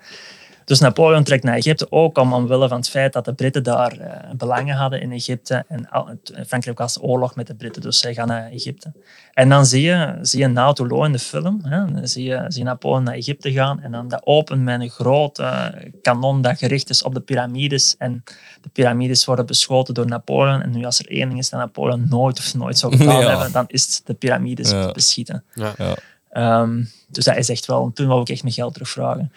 Speaker 5: Dus Napoleon trekt naar Egypte ook om, omwille van het feit dat de Britten daar eh, belangen hadden in Egypte. En al- het- eh, Frankrijk was in oorlog met de Britten, dus zij gaan naar Egypte. En dan zie je, zie je Nautolo in de film, hè, dan zie, je, zie je Napoleon naar Egypte gaan. En dan dat opent met een groot eh, kanon dat gericht is op de piramides. En de piramides worden beschoten door Napoleon. En nu als er één ding is dat Napoleon nooit of nooit zou gedaan
Speaker 1: Ja.
Speaker 5: hebben, dan is het de piramides
Speaker 1: Ja.
Speaker 5: beschieten.
Speaker 1: ja.
Speaker 5: Ehm, dus dat is echt wel, toen wou ik echt mijn geld terugvragen.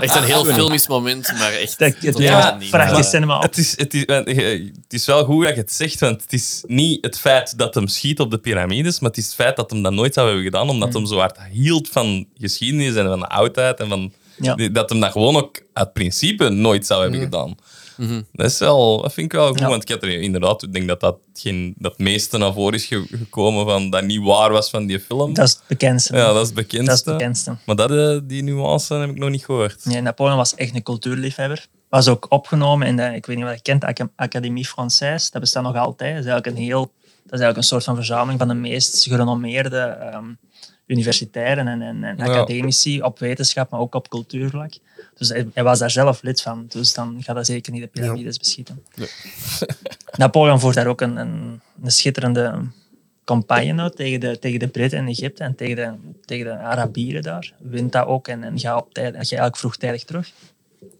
Speaker 4: Echt een heel filmisch moment, maar echt
Speaker 5: Dat- Het,
Speaker 4: totaal
Speaker 5: ja,
Speaker 4: niet.
Speaker 5: vraagt die
Speaker 4: Maar-
Speaker 5: cinema op.
Speaker 1: Het is, het, is, want, eh, het is wel goed dat je het zegt, want het is niet het feit dat hem schiet op de piramides, maar het is het feit dat hem dat nooit zou hebben gedaan,
Speaker 5: Mm.
Speaker 1: omdat hem zo hard hield van geschiedenis en van de oudheid en van...
Speaker 5: Ja. Mm.
Speaker 1: die- Dat hem dat gewoon ook uit principe nooit zou hebben gedaan. Dat, is wel, dat vind ik wel goed,
Speaker 5: Ja.
Speaker 1: want ik had er inderdaad... Ik denk dat dat, geen, dat meeste naar voren is ge- gekomen van dat niet waar was van die film.
Speaker 5: Dat is het bekendste.
Speaker 1: ja, dat is het
Speaker 5: Dat is het
Speaker 1: bekendste.
Speaker 5: bekendste.
Speaker 1: Maar dat, eh, die nuance heb ik nog niet gehoord.
Speaker 5: Nee, Napoleon was echt een cultuurliefhebber. Was ook opgenomen in de, ik weet niet wat je kent, Ac- Académie Française. Dat bestaat nog altijd. Dat is eigenlijk een heel, dat is eigenlijk een soort van verzameling van de meest gerenommeerde ehm, universitairen en, en, en academici op wetenschap, maar ook op cultuurvlak. Dus hij, hij was daar zelf lid van, dus dan gaat hij zeker niet de piramides beschieten. Napoleon voert daar ook een, een, een schitterende campagne uit tegen de, tegen de Britten en Egypte en tegen de, tegen de Arabieren daar. Wint dat ook en, en ga, op tijd, ga eigenlijk vroegtijdig terug.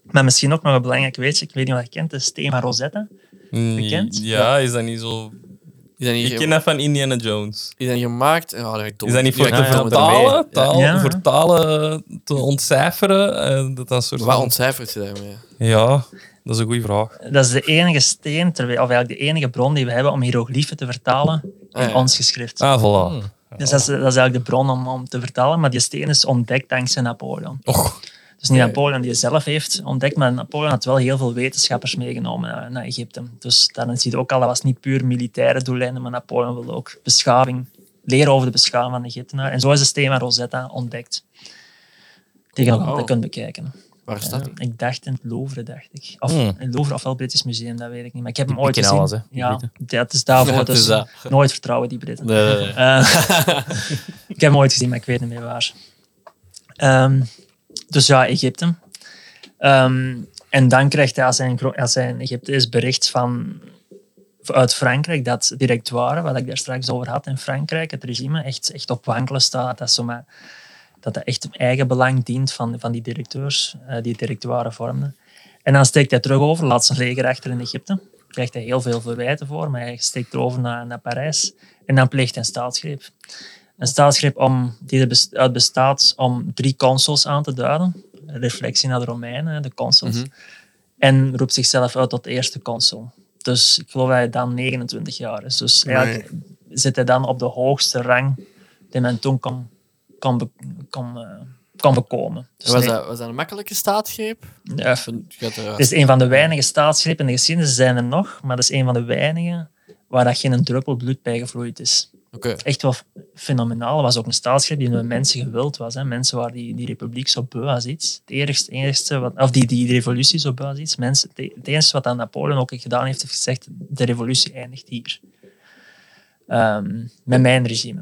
Speaker 5: Maar misschien ook nog een belangrijk weetje, ik weet niet of je het kent, de steen van Rosetta. Bekend?
Speaker 1: Mm, Ja, is dat niet zo...
Speaker 4: Is dat niet,
Speaker 1: Ik
Speaker 4: ge-
Speaker 1: ken dat van Indiana Jones.
Speaker 4: is dat niet gemaakt? Oh, dat ik dom-
Speaker 1: Is dat niet voor
Speaker 4: Ja,
Speaker 1: te
Speaker 4: ik dom-
Speaker 1: vertalen? Taal,
Speaker 5: Ja.
Speaker 1: Voor talen te ontcijferen? eh, dat dat een soort
Speaker 4: Wat
Speaker 1: van-
Speaker 4: ontcijfert je daarmee?
Speaker 1: Ja, dat is een goede vraag.
Speaker 5: Dat is de enige steen, ter, we- of eigenlijk de enige bron die we hebben om hieroglyphen te vertalen in
Speaker 4: Ah, ja.
Speaker 5: ons geschrift.
Speaker 1: Ah, voilà.
Speaker 5: Dus dat is, dat is eigenlijk de bron om, om te vertalen, maar die steen is ontdekt dankzij Napoleon.
Speaker 1: Och.
Speaker 5: Dus niet Napoleon die het zelf heeft ontdekt, maar Napoleon had wel heel veel wetenschappers meegenomen naar, naar Egypte. Dus daarin zie je ook al, dat was niet puur militaire doeleinden, maar Napoleon wilde ook beschaving, leren over de beschaving van de Egyptenaren. En zo is de steen van Rosetta ontdekt. Die je nog altijd kunt bekijken.
Speaker 4: Waar is dat?
Speaker 5: Ik dacht in het Louvre, dacht ik. Of
Speaker 1: Hmm.
Speaker 5: in het Louvre ofwel Britisch Museum, dat weet ik niet. Maar ik heb hem ooit
Speaker 2: ken
Speaker 5: gezien.
Speaker 2: alles, hè, die
Speaker 5: ja,
Speaker 2: Britten.
Speaker 5: dat is daarvoor.
Speaker 4: Ja, het
Speaker 5: dus
Speaker 4: is dat.
Speaker 5: nooit vertrouwen die Britten.
Speaker 4: Nee, nee, nee.
Speaker 5: Eh, ik heb hem ooit gezien, maar ik weet niet meer waar. Ehm, dus ja, Egypte. Ehm, en dan krijgt hij als hij, in Gro- als hij in Egypte is bericht van, uit Frankrijk dat directoire, wat ik daar straks over had in Frankrijk, het regime echt, echt op wankelen staat. Dat zomaar dat dat echt een eigen belang dient van, van die directeurs, eh, die directoire vormden. En dan steekt hij terug over, laat zijn leger achter in Egypte. Krijgt hij heel veel verwijten voor, maar hij steekt erover naar, naar Parijs. En dan pleegt hij een staatsgreep. Een staatsgreep om, die er bes- uit bestaat om drie consuls aan te duiden. Een reflectie naar de Romeinen, hè, de consuls. En roept zichzelf uit tot eerste consul. Dus ik geloof dat hij dan 29 jaar is. Dus eigenlijk zit hij dan op de hoogste rang die men toen kon, kon, be- kon, eh, kon bekomen. Dus
Speaker 4: Was
Speaker 5: nee,
Speaker 4: dat, was dat een makkelijke staatsgreep?
Speaker 5: ja,
Speaker 4: Of een- je had er-
Speaker 5: het is een van de weinige staatsgrepen in de geschiedenis, er zijn er nog, maar dat is een van de weinige waar dat geen druppel bloed bij gevloeid is.
Speaker 4: Oké.
Speaker 5: Echt wel fenomenaal. Dat was ook een staatsgreep die door mensen gewild was. Hè. Mensen waar die, die republiek zo beu als iets. Het enigste, enigste wat, of die, die revolutie zo beu als iets. Mensen, het, het enige wat aan Napoleon ook gedaan heeft, heeft gezegd, de revolutie eindigt hier. Ehm, met mijn regime.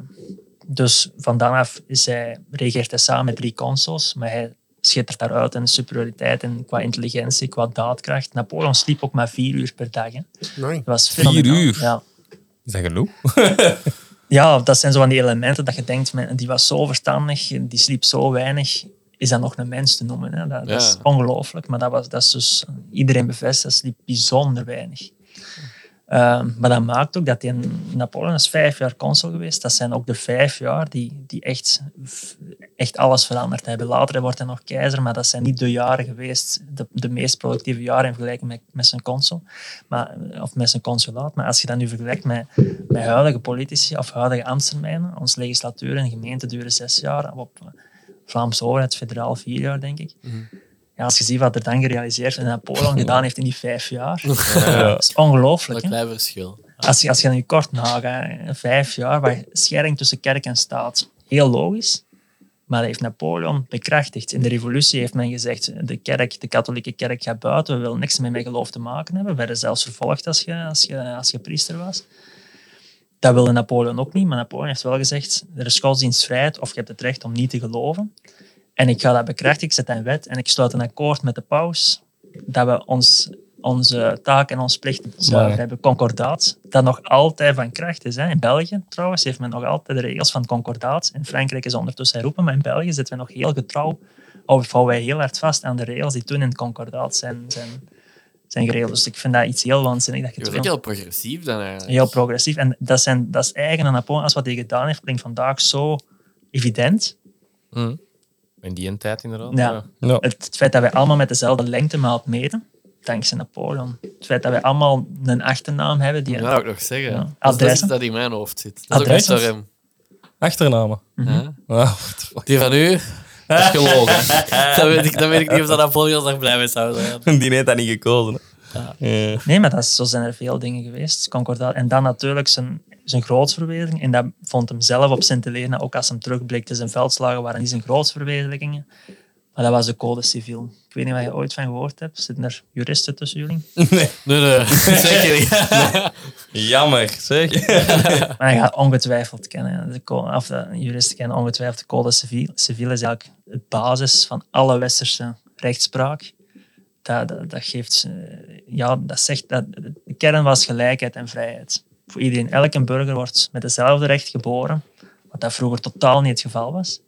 Speaker 5: Dus van dan af is hij, regeert hij samen met drie consuls, maar hij schittert daaruit in superioriteit en qua intelligentie, qua daadkracht. Napoleon sliep ook maar vier uur per dag. Hè.
Speaker 3: Nee.
Speaker 5: Dat was fenomenaal.
Speaker 1: uur?
Speaker 5: Ja.
Speaker 1: Is dat genoeg?
Speaker 5: ja, dat zijn zo van die elementen dat je denkt, men- die was zo verstandig, die sliep zo weinig. Is dat nog een mens te noemen? Hè? Dat, dat is
Speaker 4: Ja.
Speaker 5: ongelooflijk, maar dat, was, dat is dus iedereen bevestigd, dat sliep bijzonder weinig. Ehm, maar dat maakt ook dat die Napoleon is vijf jaar consul geweest. Dat zijn ook de vijf jaar die, die echt, echt alles veranderd hebben. Later wordt hij nog keizer, maar dat zijn niet de jaren geweest, de, de meest productieve jaren in vergelijking met, met zijn consul, maar, of met zijn consulaat. Maar als je dat nu vergelijkt met, met huidige politici of huidige ambtstermijnen, ons legislatuur en gemeente duren zes jaar, op Vlaamse overheid federaal vier jaar, denk ik. Ja, als je ziet wat er dan gerealiseerd en Napoleon gedaan heeft in die vijf jaar, dat is
Speaker 4: Dat
Speaker 5: ongelooflijk. hè?
Speaker 4: klein verschil.
Speaker 5: Als je, als je nu kort nagaat, vijf jaar, waar scheiding tussen kerk en staat, heel logisch. Maar dat heeft Napoleon bekrachtigd. In de revolutie heeft men gezegd, de kerk, de katholieke kerk gaat buiten, we willen niks meer met geloof te maken hebben. We werden zelfs vervolgd als je, als je, als je priester was. Dat wilde Napoleon ook niet, maar Napoleon heeft wel gezegd, er is godsdienstvrijheid of je hebt het recht om niet te geloven. En ik ga dat bekrachtigen, ik zet dat in wet en ik sluit een akkoord met de paus dat we ons, onze taak en ons plicht zuiver hebben. Concordaat, dat nog altijd van kracht is. Hè. In België trouwens heeft men nog altijd de regels van het concordaat. In Frankrijk is ondertussen herroepen, maar in België zitten we nog heel getrouw, of houden wij heel hard vast aan de regels die toen in het concordaat zijn, zijn, zijn geregeld. Dus ik vind dat iets heel waanzinnig. Dat je
Speaker 4: Je
Speaker 5: het
Speaker 4: bent ook heel progressief dan eigenlijk.
Speaker 5: Heel progressief. En dat, zijn, dat is eigen aan Napoleon. Als wat hij gedaan heeft, klinkt vandaag zo evident.
Speaker 2: In die een tijd inderdaad.
Speaker 5: Ja.
Speaker 1: Ja.
Speaker 5: Het, het feit dat wij allemaal met dezelfde lengtemaat meten, dankzij Napoleon. Het feit dat wij allemaal een achternaam hebben die...
Speaker 4: Dat wou ik nog zeggen.
Speaker 5: Ja.
Speaker 4: Dus Dat is
Speaker 5: Adressen.
Speaker 4: iets dat in mijn hoofd zit. Dat is ook niet
Speaker 5: Adressen.
Speaker 4: zo rem.
Speaker 1: Achternamen.
Speaker 5: Mhm.
Speaker 4: Ja.
Speaker 1: Ah, what the fuck.
Speaker 4: Die van u, dat is gelogen. dat, weet ik, dat weet ik niet of dat Napoleon daar blij mee zou zijn.
Speaker 1: Die heeft dat niet gekozen. hè. Eh, Ja.
Speaker 5: Nee, maar dat is, zo zijn er veel dingen geweest. Concordaat. En dan natuurlijk zijn, zijn grootsverwezenlijking. En dat vond hem zelf op Sint Helena, ook als hem terugblikt, zijn veldslagen waren niet zijn grootsverwezenlijkingen. Maar dat was de code civiel. Ik weet niet wat je ooit van gehoord hebt. Zitten er juristen tussen jullie?
Speaker 4: Nee, nee, zeker niet.
Speaker 1: Jammer, zeg.
Speaker 5: Maar je gaat ongetwijfeld kennen. De, co- of eh, de juristen kennen ongetwijfeld de code civiel. Civiel is eigenlijk de basis van alle westerse rechtspraak. Dat, dat, dat geeft, eh, ja, dat zegt dat de kern was gelijkheid en vrijheid. Voor iedereen, elke burger wordt met dezelfde recht geboren, wat dat vroeger totaal niet het geval was.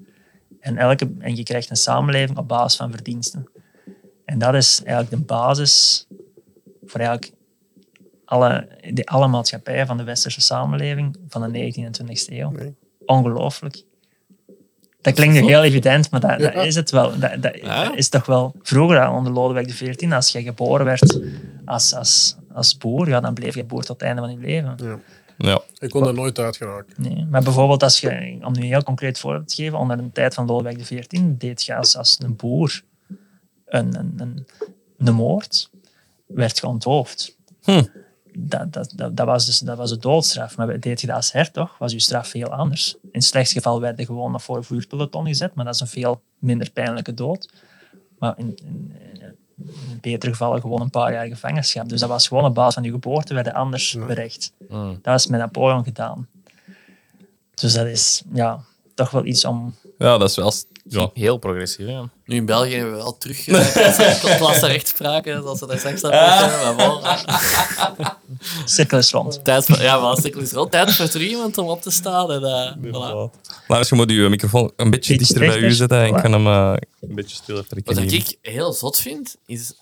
Speaker 5: En, elke, en je krijgt een samenleving op basis van verdiensten. En dat is eigenlijk de basis voor eigenlijk alle, de, alle maatschappijen van de westerse samenleving van de 19e en 20e eeuw.
Speaker 3: Nee.
Speaker 5: Ongelooflijk. Dat klinkt nu heel evident, maar dat, dat is het wel. Dat, dat,
Speaker 4: Ja.
Speaker 5: dat is toch wel vroeger al onder Lodewijk XIV, als je geboren werd als, als, als boer, ja, dan bleef je boer tot het einde van je leven.
Speaker 1: Ja.
Speaker 3: Ik kon er nooit uit geraken.
Speaker 5: Nee. Maar bijvoorbeeld, als je, om nu een heel concreet voorbeeld te geven, onder de tijd van Lodewijk XIV deed je als, als een boer een, een, een, een moord, werd je onthoofd.
Speaker 1: Hm.
Speaker 5: Dat, dat, dat, dat was dus, dat was de doodstraf. Maar deed je dat als hertog, was je straf veel anders. In het slechtste geval werd je gewoon nog voor een vuurpeloton gezet, maar dat is een veel minder pijnlijke dood. Maar in, in, in betere gevallen gewoon een paar jaar gevangenschap. Dus dat was gewoon op basis van je geboorte, werden anders berecht. Dat is met Napoleon gedaan. Dus dat is ja, toch wel iets om.
Speaker 1: ja, dat is wel... s- Ja.
Speaker 2: Heel progressief, ja.
Speaker 4: Nu in België hebben we wel terug eh, klasse rechtspraken, zoals we daar straks al hebben. Maar wel, eh,
Speaker 5: Cirkel is rond.
Speaker 4: Tijd voor, ja, maar als ik is rond. Tijd voor terug iemand om op te staan. En, eh, voilà.
Speaker 1: Lars, je moet je microfoon een beetje
Speaker 5: Iets
Speaker 1: dichter bij u
Speaker 5: rechter.
Speaker 1: zetten. Ik
Speaker 5: Voilà.
Speaker 1: kan hem eh, een beetje stiller trekken.
Speaker 4: Wat
Speaker 1: hier.
Speaker 4: ik heel zot vind, is...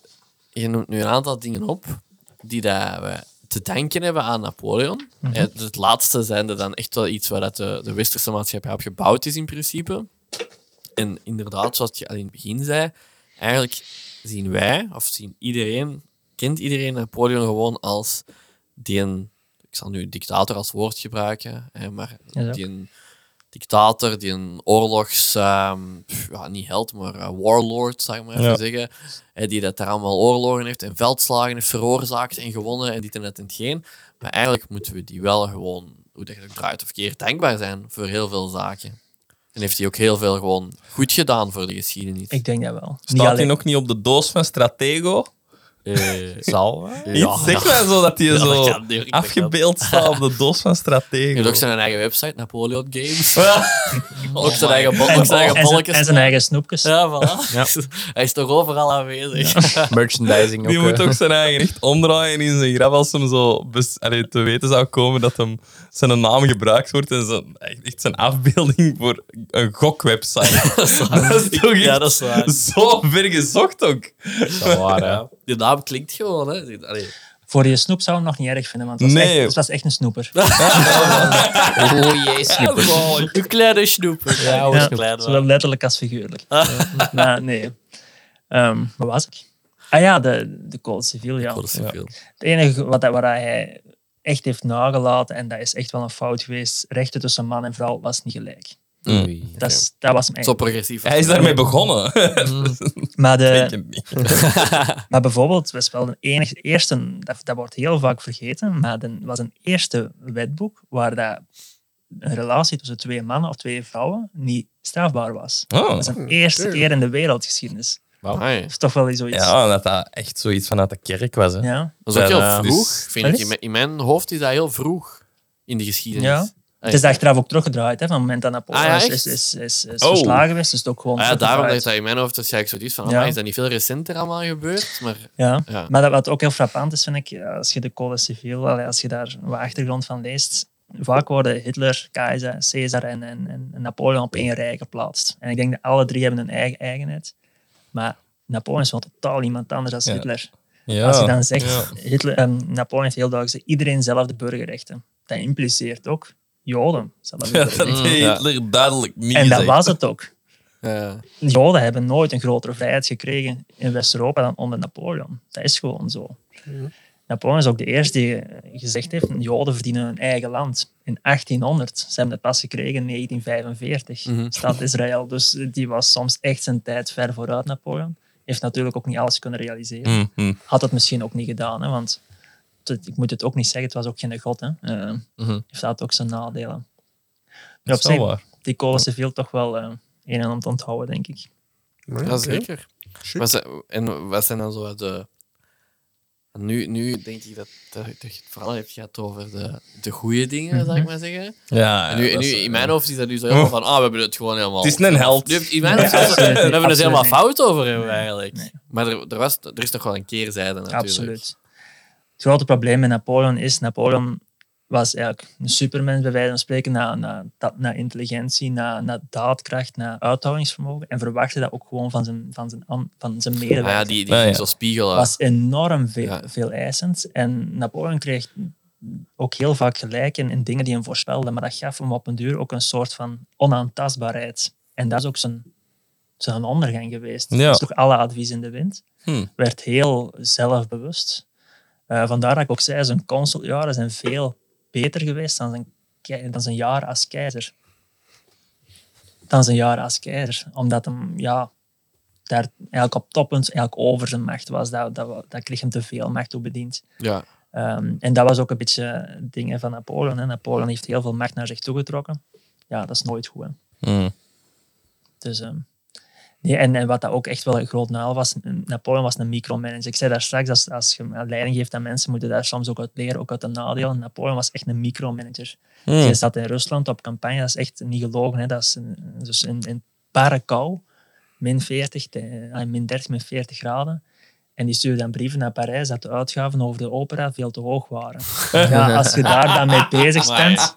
Speaker 4: Je noemt nu een aantal dingen op die dat we te danken hebben aan Napoleon. Eh, Het laatste zijn er dan echt wel iets waar dat de, de westerse maatschappij op gebouwd is in principe. En inderdaad, zoals je al in het begin zei, eigenlijk zien wij, of zien iedereen, kent iedereen Napoleon gewoon als die een, ik zal nu dictator als woord gebruiken, hè, maar
Speaker 5: Ja,
Speaker 4: die een dictator, die een oorlogs, ehm, pff, ja, niet held, maar eh, warlord, zou ik maar even
Speaker 1: Ja.
Speaker 4: zeggen, hè, die dat daar allemaal oorlogen heeft en veldslagen heeft veroorzaakt en gewonnen en dit en dat en hetgeen. Maar eigenlijk moeten we die wel gewoon, hoe dat je het ook draait of keer, dankbaar zijn voor heel veel zaken. En heeft hij ook heel veel gewoon goed gedaan voor de geschiedenis.
Speaker 5: Ik denk dat wel. Niet
Speaker 1: Staat hij
Speaker 5: alleen-
Speaker 1: nog niet op de doos van Stratego?
Speaker 2: Eh, Zal
Speaker 1: Iets zeg maar zo dat hij
Speaker 4: Ja, dat
Speaker 1: zo
Speaker 4: kan, Dirk, dat kan.
Speaker 1: afgebeeld staat op de doos van
Speaker 4: Je
Speaker 1: Stratego.
Speaker 4: hebt ook zijn eigen website, Napoleon Games. ook zijn eigen, bo- ook zijn eigen
Speaker 5: en, zijn, en
Speaker 4: bolletjes.
Speaker 5: zijn eigen snoepjes.
Speaker 4: Ja, voilà. Hij is toch overal aanwezig.
Speaker 2: Merchandising ook.
Speaker 1: Die
Speaker 2: eh.
Speaker 1: moet ook zijn eigen echt omdraaien in zijn graf als hem zo bes- allee, te weten zou komen dat hem zijn naam gebruikt wordt en zijn, echt zijn afbeelding voor een gokwebsite. dat is toch echt
Speaker 4: Ja, dat is waar.
Speaker 1: zo ver gezocht ook.
Speaker 2: Dat is waar, hè.
Speaker 4: Die naam klinkt gewoon, hè. Allee.
Speaker 5: Voor je snoep zou ik hem nog niet erg vinden, want het was,
Speaker 1: Nee.
Speaker 5: echt, het was echt een snoeper.
Speaker 2: Oh jee, snipper.
Speaker 4: Een kleine snoeper. Ja,
Speaker 5: Ja,
Speaker 4: een klein
Speaker 5: zowel letterlijk als figuurlijk. Ja, maar nee. Ehm waar was ik? Ah ja, de, de Code Civil, ja. Het enige wat hij, waar hij echt heeft nagelaten, en dat is echt wel een fout geweest, rechten tussen man en vrouw was niet gelijk. Dat, is- dat was hem
Speaker 4: Zo
Speaker 5: echt.
Speaker 4: progressief.
Speaker 1: Hij is daarmee begonnen.
Speaker 5: Maar,
Speaker 1: Ik
Speaker 5: de,
Speaker 1: ken het niet.
Speaker 5: maar bijvoorbeeld, was wel een enige, eerste, dat, dat wordt heel vaak vergeten, maar er was een eerste wetboek waar dat een relatie tussen twee mannen of twee vrouwen niet strafbaar was.
Speaker 1: Oh.
Speaker 5: Dat is een eerste keer in de wereldgeschiedenis.
Speaker 4: Amai.
Speaker 5: Dat is toch wel iets zoiets.
Speaker 1: Ja, dat dat echt zoiets vanuit de kerk was. Hè.
Speaker 5: Ja.
Speaker 4: Dat is ook heel
Speaker 1: Ja, dus-
Speaker 4: vroeg. Vind ik.
Speaker 5: Wat is-
Speaker 4: In mijn- In mijn hoofd is dat heel vroeg in de geschiedenis.
Speaker 5: Ja. Het is achteraf ook teruggedraaid, hè, van het moment dat Napoleon
Speaker 4: Ah, ja,
Speaker 5: is,
Speaker 4: echt?
Speaker 5: is, is, is, is
Speaker 1: Oh.
Speaker 5: verslagen geweest. Is het ook gewoon
Speaker 4: Ah ja, daarom dat
Speaker 5: teruggedraaid.
Speaker 4: dat in mijn hoofd dus waarschijnlijk zoiets van,
Speaker 5: Ja.
Speaker 4: amai, is dat niet veel recenter allemaal gebeurd? Maar
Speaker 5: Ja.
Speaker 4: Ja.
Speaker 5: Maar dat, wat ook heel frappant is, vind ik, eh, als je de Code Civiel, allee, als je daar wat achtergrond van leest, vaak worden Hitler, keizer, Caesar en, en, en Napoleon op één rij geplaatst. En ik denk dat alle drie hebben hun eigen eigenheid. Maar Napoleon is wel totaal iemand anders dan
Speaker 1: Ja.
Speaker 5: Hitler.
Speaker 1: Ja.
Speaker 5: Als je dan zegt,
Speaker 1: Ja.
Speaker 5: Hitler, ehm, Napoleon heeft heel duidelijk gezegd, iedereen zelf de burgerrechten. Dat impliceert ook Joden zelf de
Speaker 1: Ja, dat
Speaker 5: burgerrechten.
Speaker 1: heeft Hitler duidelijk niet
Speaker 5: En dat
Speaker 1: gezegd.
Speaker 5: was het ook.
Speaker 4: ja.
Speaker 5: Joden hebben nooit een grotere vrijheid gekregen in West-Europa dan onder Napoleon. Dat is gewoon zo. Napoleon is ook de eerste die eh, gezegd heeft, Joden verdienen hun eigen land. In 1800, ze hebben het pas gekregen in 1945,
Speaker 1: Mhm.
Speaker 5: staat Israël. Dus eh, die was soms echt zijn tijd ver vooruit, Napoleon. Heeft natuurlijk ook niet alles kunnen realiseren.
Speaker 1: Mm, mm.
Speaker 5: Had het misschien ook niet gedaan, hè, want het- ik moet het ook niet zeggen, het was ook geen god. Hè. Eh, Heeft dat ook zijn nadelen. Maar
Speaker 1: Mhm. Dat
Speaker 5: op
Speaker 1: is wel
Speaker 5: zich,
Speaker 1: waar.
Speaker 5: die kolen ze veel toch wel eh, een en ander onthouden, denk ik.
Speaker 3: Maar
Speaker 4: Ja,
Speaker 3: oké.
Speaker 4: zeker.
Speaker 3: Shit.
Speaker 4: Wat zijn- en wat zijn dan zo de... Nu, nu denk ik dat, dat, dat je het vooral hebt gehad over de, de goede dingen, zou ik maar zeggen.
Speaker 1: Ja,
Speaker 4: En nu, en
Speaker 1: dat
Speaker 4: nu,
Speaker 1: is- eh,
Speaker 4: in mijn hoofd is dat nu zo helemaal
Speaker 1: Oh.
Speaker 4: van, ah, we hebben het gewoon helemaal...
Speaker 1: Het is een held.
Speaker 4: Nu, heb- in mijn hoofd is dat-
Speaker 5: absoluut
Speaker 4: we
Speaker 5: niet,
Speaker 4: hebben het
Speaker 5: absoluut
Speaker 4: helemaal
Speaker 5: niet.
Speaker 4: fout over hebben, eigenlijk.
Speaker 5: Nee.
Speaker 4: Maar er, er, was, er is nog wel een keerzijde, natuurlijk.
Speaker 5: Absoluut. Het grote probleem met Napoleon is, Napoleon was eigenlijk een supermens bij wijze van spreken na, na, dat- na intelligentie, na, na daadkracht, na uithoudingsvermogen en verwachtte dat ook gewoon van zijn, van zijn, an- van zijn
Speaker 4: Ah ja,
Speaker 5: medewerkers.
Speaker 4: die, die
Speaker 1: Ah,
Speaker 4: ging
Speaker 1: ja.
Speaker 4: zo spiegelen.
Speaker 5: was enorm veel,
Speaker 4: Ja.
Speaker 5: veel eisend en Napoleon kreeg ook heel vaak gelijk in, in dingen die hem voorspelden, maar dat gaf hem op een duur ook een soort van onaantastbaarheid. En dat is ook zijn, zijn ondergang geweest.
Speaker 1: Ja.
Speaker 5: Dat is toch alle advies in de wind
Speaker 1: Hm.
Speaker 5: werd heel zelfbewust. Eh, vandaar dat ik ook zei, zijn consuljaren zijn veel beter geweest dan zijn, kei- dan zijn jaar als keizer. Dan zijn jaar als keizer. Omdat hem ja, daar eigenlijk op toppunt eigenlijk over zijn macht was. Dat, dat, wa- dat kreeg hem te veel macht toe bediend.
Speaker 4: ja.
Speaker 5: Ehm, en dat was ook een beetje dingen van Napoleon. Hè. Napoleon heeft heel veel macht naar zich toegetrokken. Ja, dat is nooit goed. Hè.
Speaker 1: Hmm.
Speaker 5: Dus, ehm, nee, en, en wat dat ook echt wel een groot naal was, Napoleon was een micromanager. Ik zei daar straks, als, als je leiding geeft aan mensen, moeten daar soms ook uit leren, ook uit de nadelen. Napoleon was echt een micromanager. Dus hij zat in Rusland op campagne, dat is echt niet gelogen. Hè. Dat is een, dus in, in barre kou, min 40, de- ah, min 30, min 40 graden. En die stuurde dan brieven naar Parijs dat de uitgaven over de opera veel te hoog waren. Ja, als je daar dan mee bezig bent,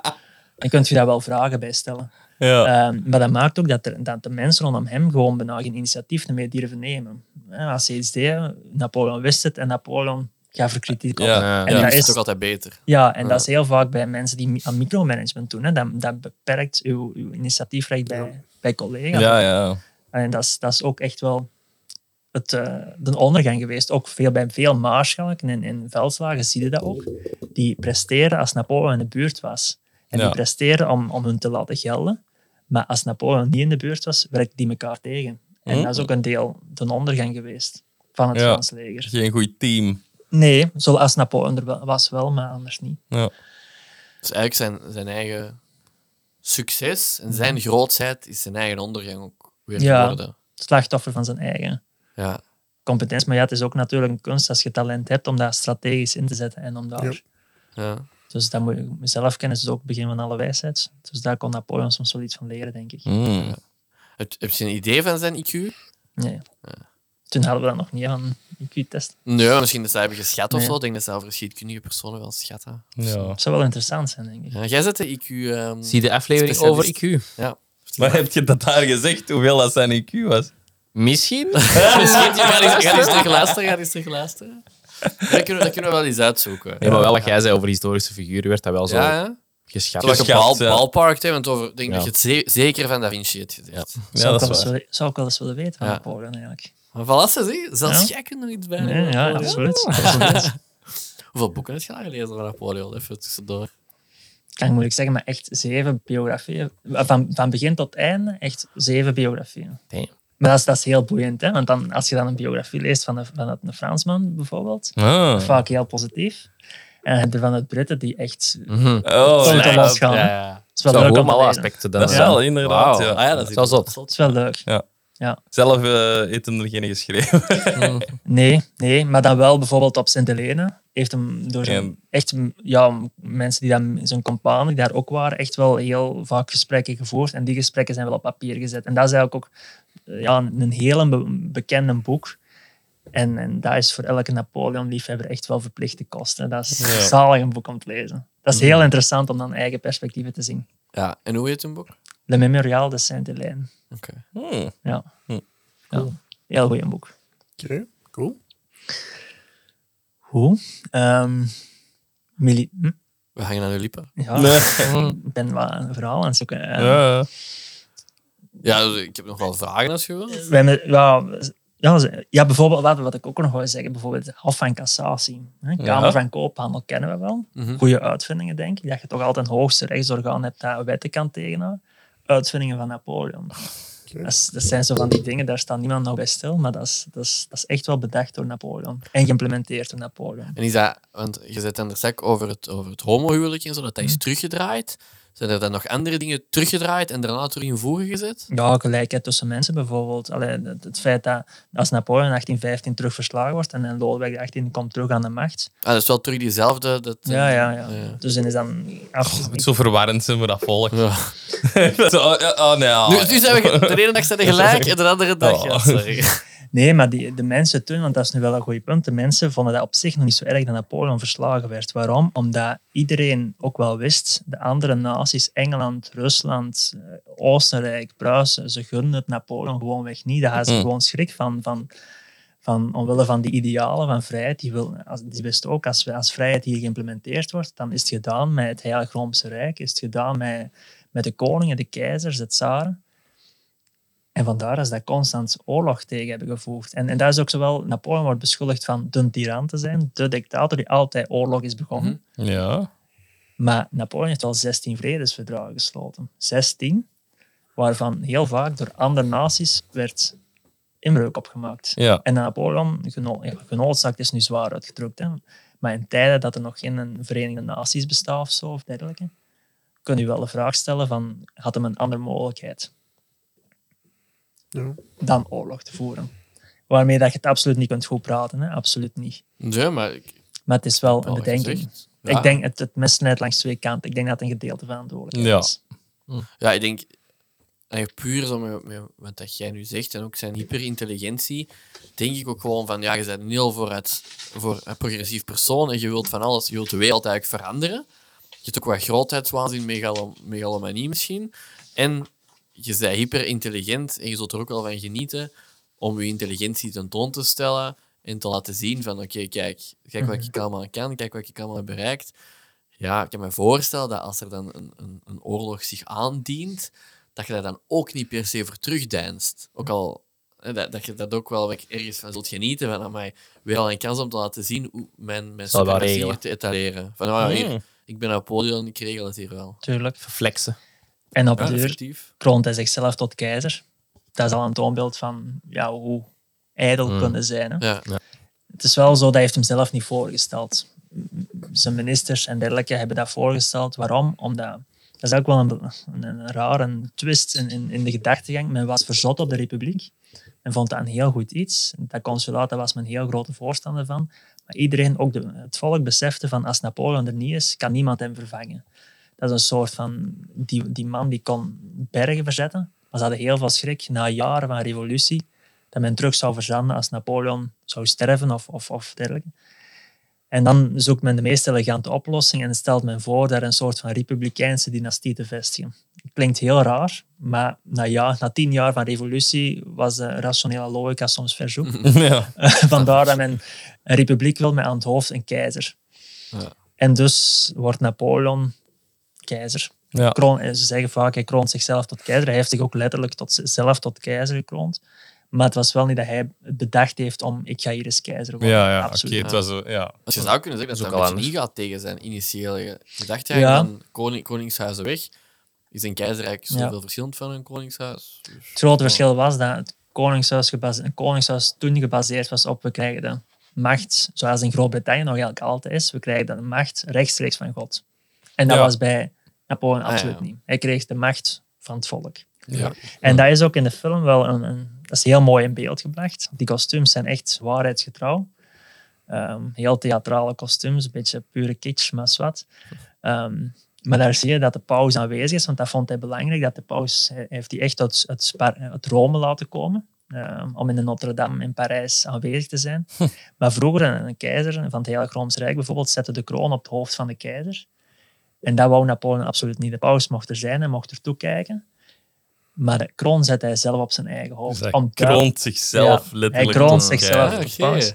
Speaker 5: dan kun je daar wel vragen bij stellen.
Speaker 1: Ja.
Speaker 5: Ehm, maar dat maakt ook dat, er- dat de mensen rondom hem gewoon bijna geen initiatief meer durven nemen. En als hij iets deed, Napoleon wist het en Napoleon gaf er kritiek op.
Speaker 1: Ja.
Speaker 4: Ja,
Speaker 5: en
Speaker 4: die
Speaker 5: dat
Speaker 4: is het
Speaker 5: is-
Speaker 4: ook altijd beter.
Speaker 5: Ja, en dat is heel vaak bij mensen die mi- aan micromanagement doen. Hè. Dat, dat beperkt uw, uw initiatiefrecht bij, bij collega's.
Speaker 1: Ja, ja.
Speaker 5: En dat is, dat is ook echt wel het, eh, de ondergang geweest. Ook veel, bij veel maarschalken en, en veldslagen zie je dat ook. Die presteren als Napoleon in de buurt was. En
Speaker 1: Ja.
Speaker 5: die presteren om, om hun te laten gelden. Maar als Napoleon niet in de buurt was, werkten die elkaar tegen. En dat is ook een deel de ondergang geweest van het
Speaker 1: Hm. Ja.
Speaker 5: Frans leger.
Speaker 1: Geen goed team.
Speaker 5: Nee, zoals Napoleon er wel- was wel, maar anders niet.
Speaker 4: Dus eigenlijk zijn, zijn eigen succes en zijn grootheid is zijn eigen ondergang ook weer
Speaker 5: Ja.
Speaker 4: geworden.
Speaker 5: Slachtoffer van zijn eigen
Speaker 4: Ja.
Speaker 5: competentie. Maar ja, het is ook natuurlijk een kunst als je talent hebt om dat strategisch in te zetten en om daar
Speaker 3: Ja.
Speaker 4: ja.
Speaker 5: Dus dat moet je zelf kennen, is ook het begin van alle wijsheid. Dus daar kon Napoleon soms wel iets van leren, denk ik.
Speaker 1: Hmm.
Speaker 4: Heb, heb je een idee van zijn IQ?
Speaker 5: Nee. Toen hadden we dat nog niet aan IQ-test.
Speaker 4: Nee, misschien dat ze hebben geschat of
Speaker 5: Nee.
Speaker 4: zo. Ik denk dat ze over geschiedkundige personen wel schatten.
Speaker 1: Ja.
Speaker 5: Dat zou wel interessant zijn, denk ik.
Speaker 4: Ja, jij zet de IQ. ehm,
Speaker 2: Zie de aflevering over IQ.
Speaker 4: Ja.
Speaker 1: Maar heb je dat daar gezegd, hoeveel dat zijn IQ was?
Speaker 2: Misschien.
Speaker 4: Misschien ga eens, ga eens terug luisteren. Ga eens terug luisteren. Dat kunnen, we- dat kunnen we wel eens uitzoeken.
Speaker 2: Nee, maar wel wat jij zei over historische figuren, werd dat wel zo
Speaker 4: Ja, hè?
Speaker 2: geschat.
Speaker 4: Zoals je
Speaker 1: Geschat,
Speaker 4: bal,
Speaker 1: ja.
Speaker 4: ballpark, hè, want over, ik denk
Speaker 2: Ja.
Speaker 4: dat je het ze- zeker van Da Vinci hebt gezegd.
Speaker 1: Ja,
Speaker 5: zou,
Speaker 1: dat
Speaker 5: ik wel
Speaker 1: is
Speaker 5: eens
Speaker 1: waar.
Speaker 5: willen, zou ik wel eens willen weten van
Speaker 4: Ja.
Speaker 5: Napoleon, eigenlijk.
Speaker 4: Maar voilà, ze zie, zelfs
Speaker 5: Ja.
Speaker 4: jij kunt er iets bij.
Speaker 5: Nee,
Speaker 4: doen.
Speaker 5: ja, absoluut. absoluut.
Speaker 4: Hoeveel boeken heb je al gelezen van Napoleon? Even tussendoor.
Speaker 5: Kan moet ik zeggen, maar echt zeven biografieën. Van, van begin tot einde, echt zeven biografieën.
Speaker 2: Damn.
Speaker 5: Maar dat is, dat is heel boeiend, hè? want dan, als je dan een biografie leest van, een- van een Fransman bijvoorbeeld,
Speaker 1: Ah.
Speaker 5: vaak heel positief. En dan heb je van het Britten die echt
Speaker 1: Oh,
Speaker 5: Totaal
Speaker 1: ja.
Speaker 5: losgaan.
Speaker 4: Ja, ja.
Speaker 5: Het is wel
Speaker 2: Zo
Speaker 5: leuk
Speaker 2: gewoon
Speaker 5: om te
Speaker 2: alle
Speaker 5: leren.
Speaker 2: aspecten. Dan,
Speaker 1: Dat is
Speaker 2: ja.
Speaker 1: wel, inderdaad.
Speaker 2: Wauw.
Speaker 1: Ja.
Speaker 4: Ah ja, dat is
Speaker 2: Dat is zot.
Speaker 5: Het is wel leuk.
Speaker 1: Zelf eh heeft hem er geen geschreven.
Speaker 5: Nee, nee, maar dan wel bijvoorbeeld op Sint Helena. Heeft hem door zijn,
Speaker 1: Ja.
Speaker 5: echt, m- ja, m- mensen die dan, zijn companen die daar ook waren, echt wel heel vaak gesprekken gevoerd. En die gesprekken zijn wel op papier gezet. En dat is eigenlijk ook eh, ja, een een heel be- bekende boek. En, en dat is voor elke Napoleon-liefhebber echt wel verplichte kosten. Dat is zalig een boek om te lezen. Dat is heel interessant om dan eigen perspectieven te zien.
Speaker 4: Ja, en hoe heet een boek? Oké.
Speaker 5: Le Memorial de Saint-Hélène.
Speaker 1: Hmm.
Speaker 5: Ja. ja. Heel goed boek.
Speaker 3: Oké, cool.
Speaker 5: Hoe? Ehm mili- hm?
Speaker 4: We hangen aan uw lippen.
Speaker 5: Ja, ik ben wel een verhaal aan het zoeken. Eh,
Speaker 1: Ja.
Speaker 4: Ja, dus ik heb nog wel vragen als je wil.
Speaker 5: we hebben- ja, we- ja, ze- ja, bijvoorbeeld, wat, wat ik ook nog wil zeggen, bijvoorbeeld het Hof van Cassatie. hè. Kamer
Speaker 1: Ja.
Speaker 5: van Koophandel kennen we wel.
Speaker 4: Mhm.
Speaker 5: Goede uitvindingen, denk ik. Dat je toch altijd een hoogste rechtsorgaan hebt dat wetten kan tegenhouden. Uitvindingen van Napoleon. Dat, is- dat zijn zo van die dingen, daar staat niemand nog bij stil, maar dat is, dat, is, dat is echt wel bedacht door Napoleon. En geïmplementeerd door Napoleon.
Speaker 4: En is dat, want je zet aan de stek over het, over het homohuwelijk en zo, dat dat is teruggedraaid. Zijn er dan nog andere dingen teruggedraaid en daarna terug in voeren gezet?
Speaker 5: Ja, gelijkheid tussen mensen bijvoorbeeld. Allee, het, het feit dat als Napoleon in 1815 terug verslagen wordt en, en Lodewijk XVIII komt terug aan de macht.
Speaker 4: Ah, dat is wel terug diezelfde. Dat, eh,
Speaker 5: Ja, ja, ja. Dus dan is dan... Af,
Speaker 1: Het zo verwarrend zijn voor dat volk. Zo, oh, ja, oh, nee.
Speaker 4: Nu, nu zijn we ge- de ene dag zijn we gelijk en de andere dag. Ja,
Speaker 1: Oh.
Speaker 4: sorry.
Speaker 5: Nee, maar die, de mensen toen, want dat is nu wel een goed punt, de mensen vonden dat op zich nog niet zo erg dat Napoleon verslagen werd. Waarom? Omdat iedereen ook wel wist, de andere naties, Engeland, Rusland, eh, Oostenrijk, Pruisen, ze gunden het Napoleon gewoonweg niet. Daar hadden ze
Speaker 1: Mm.
Speaker 5: gewoon schrik van, van, van, omwille van die idealen van vrijheid. Die, wil, als, die wisten ook, als, we- als vrijheid hier geïmplementeerd wordt, dan is het gedaan met het Heilige Roomse Rijk, is het gedaan met, met de koningen, de keizers, de tsaren. En vandaar is dat constant oorlog tegen hebben gevoerd. En, en daar is ook zowel Napoleon wordt beschuldigd van de tiran te zijn, de dictator die altijd oorlog is begonnen.
Speaker 1: ah. Ja.
Speaker 5: Maar Napoleon heeft al 16 vredesverdragen gesloten. 16, waarvan heel vaak door andere naties werd inbreuk opgemaakt.
Speaker 1: Ja.
Speaker 5: En Napoleon, geno ja, genoodzaakt is nu zwaar uitgedrukt, hè. maar in tijden dat er nog geen een Verenigde Naties bestaat of zo, of dergelijke, kun je wel de vraag stellen van, had hem een andere mogelijkheid
Speaker 3: Ja.
Speaker 5: dan oorlog te voeren? Waarmee dat je het absoluut niet kunt goed praten, hè? absoluut niet.
Speaker 4: Ja, maar ik,
Speaker 5: Maar het is wel een
Speaker 4: Wel
Speaker 5: bedenking.
Speaker 4: gezegd. Ja.
Speaker 5: Ik denk, het, het mes snijdt langs twee kanten. Ik denk dat het een gedeelte verantwoordelijkheid
Speaker 1: Ja.
Speaker 5: is.
Speaker 4: ja, ik denk eh, puur zo met, met wat dat jij nu zegt en ook zijn hyperintelligentie, denk ik ook gewoon van ja, je bent een heel vooruit, voor een progressief persoon en je wilt van alles, je wilt de wereld eigenlijk veranderen. Je hebt ook wat grootheidswaanzin, megalo- megalomanie misschien. En je bent hyperintelligent en je zult er ook wel van genieten om je intelligentie tentoon te stellen en te laten zien van oké, kijk, kijk wat
Speaker 2: Mhm.
Speaker 4: ik allemaal kan, kijk wat ik allemaal heb bereikt. Ja, ik kan me voorstellen dat als er dan een, een, een oorlog zich aandient, dat je daar dan ook niet per se voor terugdeinst. Ook
Speaker 2: Mhm.
Speaker 4: al hè, dat, dat je dat ook wel wat ergens van zult genieten van amai, weer al een kans om te laten zien hoe mijn, mijn
Speaker 2: Zal wel
Speaker 4: suprematie
Speaker 2: regelen.
Speaker 4: te etaleren. Van, ah, hier,
Speaker 5: Hmm.
Speaker 1: Mm.
Speaker 4: ik ben Napoleon, ik regel het hier wel.
Speaker 5: Tuurlijk.
Speaker 2: Verflexen.
Speaker 5: En op
Speaker 4: Ja,
Speaker 5: de deur
Speaker 4: effectief.
Speaker 5: kroont hij zichzelf tot keizer. Dat is al een toonbeeld van ja, hoe ijdel kunnen zijn. Hè?
Speaker 4: Mm. Ja.
Speaker 5: Het is wel zo, dat heeft hem zelf niet voorgesteld. Zijn ministers en dergelijke hebben dat voorgesteld. Waarom? Omdat, dat is ook wel een, be- een, een rare twist in, in, in de gedachtegang. Men was verzot op de republiek. Men vond dat een heel goed iets. Dat consulaat, daar was men heel grote voorstander van. Maar iedereen, ook de, het volk, besefte van als Napoleon er niet is, kan niemand hem vervangen. Dat is een soort van... Die, die man die kon bergen verzetten. Maar ze hadden heel veel schrik na jaren van revolutie dat men terug zou verzanden als Napoleon zou sterven of, of, of dergelijke. En dan zoekt men de meest elegante oplossing en stelt men voor daar een soort van republikeinse dynastie te vestigen. Klinkt heel raar, maar na, ja, na tien jaar van revolutie was de rationele logica soms verzoek.
Speaker 1: ja.
Speaker 5: Vandaar dat men een republiek wil met aan het hoofd een keizer.
Speaker 4: Ja.
Speaker 5: En dus wordt Napoleon keizer.
Speaker 1: Ja.
Speaker 5: Kroon, eh, ze zeggen vaak, hij kroont zichzelf tot keizer. Hij heeft zich ook letterlijk tot, z- zelf tot keizer gekroond. Maar het was wel niet dat hij het bedacht heeft om, ik ga hier eens keizer worden.
Speaker 1: Ja, ja. Oké,
Speaker 5: Absoluut.
Speaker 1: het was zo. Ja.
Speaker 4: Dus je zou kunnen zeggen dat
Speaker 2: Dat is
Speaker 4: dat
Speaker 2: ook
Speaker 4: een
Speaker 2: al
Speaker 4: beetje gaat tegen zijn initiële gedachte. Ja.
Speaker 5: Ja.
Speaker 4: Van koning, koningshuizen weg. Is een keizerrijk zoveel verschillend van een koningshuis? Dus-
Speaker 5: Het grote verschil was dat het koningshuis, gebase- het koningshuis toen gebaseerd was op, we krijgen de macht, zoals in Groot-Brittannië nog eigenlijk altijd is, we krijgen de macht rechtstreeks van God. En dat
Speaker 1: Ja.
Speaker 5: was bij Napoleon
Speaker 4: Ah,
Speaker 5: absoluut
Speaker 4: ja.
Speaker 5: niet. Hij kreeg de macht van het volk.
Speaker 1: Ja.
Speaker 5: En dat is ook in de film wel een, een- dat is heel mooi in beeld gebracht. Die kostuums zijn echt waarheidsgetrouw. Ehm, heel theatrale kostuums, een beetje pure kitsch, maar zwart. Ehm, maar daar zie je dat de paus aanwezig is, want dat vond hij belangrijk. Dat de paus hij heeft die echt uit, uit, Spa- uit Rome laten komen. ehm, om in de Notre-Dame in Parijs aanwezig te zijn.
Speaker 4: Hm.
Speaker 5: Maar vroeger, een, een keizer van het Heilige Rooms Rijk bijvoorbeeld, zette de kroon op het hoofd van de keizer. En dat wou Napoleon absoluut niet. De paus mocht er zijn en mocht er toekijken. Maar de kroon zette hij zelf op zijn eigen hoofd.
Speaker 1: Dus hij
Speaker 5: Om duidelijk-
Speaker 1: kroont zichzelf
Speaker 5: Ja,
Speaker 1: letterlijk.
Speaker 5: hij kroont
Speaker 1: tot een
Speaker 5: zichzelf.
Speaker 4: Ah,
Speaker 1: keizer.
Speaker 5: de paus.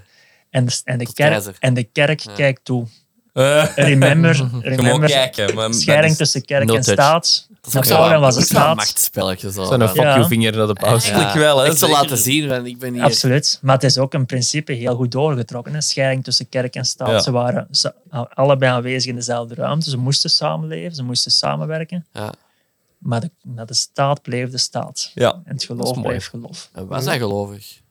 Speaker 5: En de, en de,
Speaker 4: Tot
Speaker 5: kerk,
Speaker 4: keizer.
Speaker 5: en de kerk kijkt toe.
Speaker 1: Eh,
Speaker 5: Remember,
Speaker 1: Gewoon
Speaker 5: remember
Speaker 1: kijken. Maar
Speaker 5: scheiding tussen kerk
Speaker 2: No
Speaker 5: en
Speaker 2: touch.
Speaker 5: staat.
Speaker 4: Dat is ook wel-
Speaker 5: Napoleon was
Speaker 4: dat
Speaker 5: een
Speaker 4: is wel een
Speaker 5: staat.
Speaker 4: machtspelletje. Zo,
Speaker 2: Zo'n
Speaker 4: van-
Speaker 2: fuck
Speaker 5: Ja.
Speaker 2: you vinger naar de paus.
Speaker 1: Eigenlijk wel, hè,
Speaker 4: Ik te
Speaker 1: zeker.
Speaker 4: laten zien, van, ik ben hier.
Speaker 5: Absoluut. Maar het is ook in principe heel goed doorgetrokken. Een scheiding tussen kerk en staat.
Speaker 1: Ja.
Speaker 5: Ze waren ze- allebei aanwezig in dezelfde ruimte. Ze moesten samenleven, ze moesten samenwerken.
Speaker 4: Ja.
Speaker 5: Maar de, maar de staat bleef de staat.
Speaker 1: Ja.
Speaker 5: En het
Speaker 1: Dat is
Speaker 5: geloof
Speaker 1: mooi.
Speaker 5: bleef geloof.
Speaker 4: En was hij gelovig?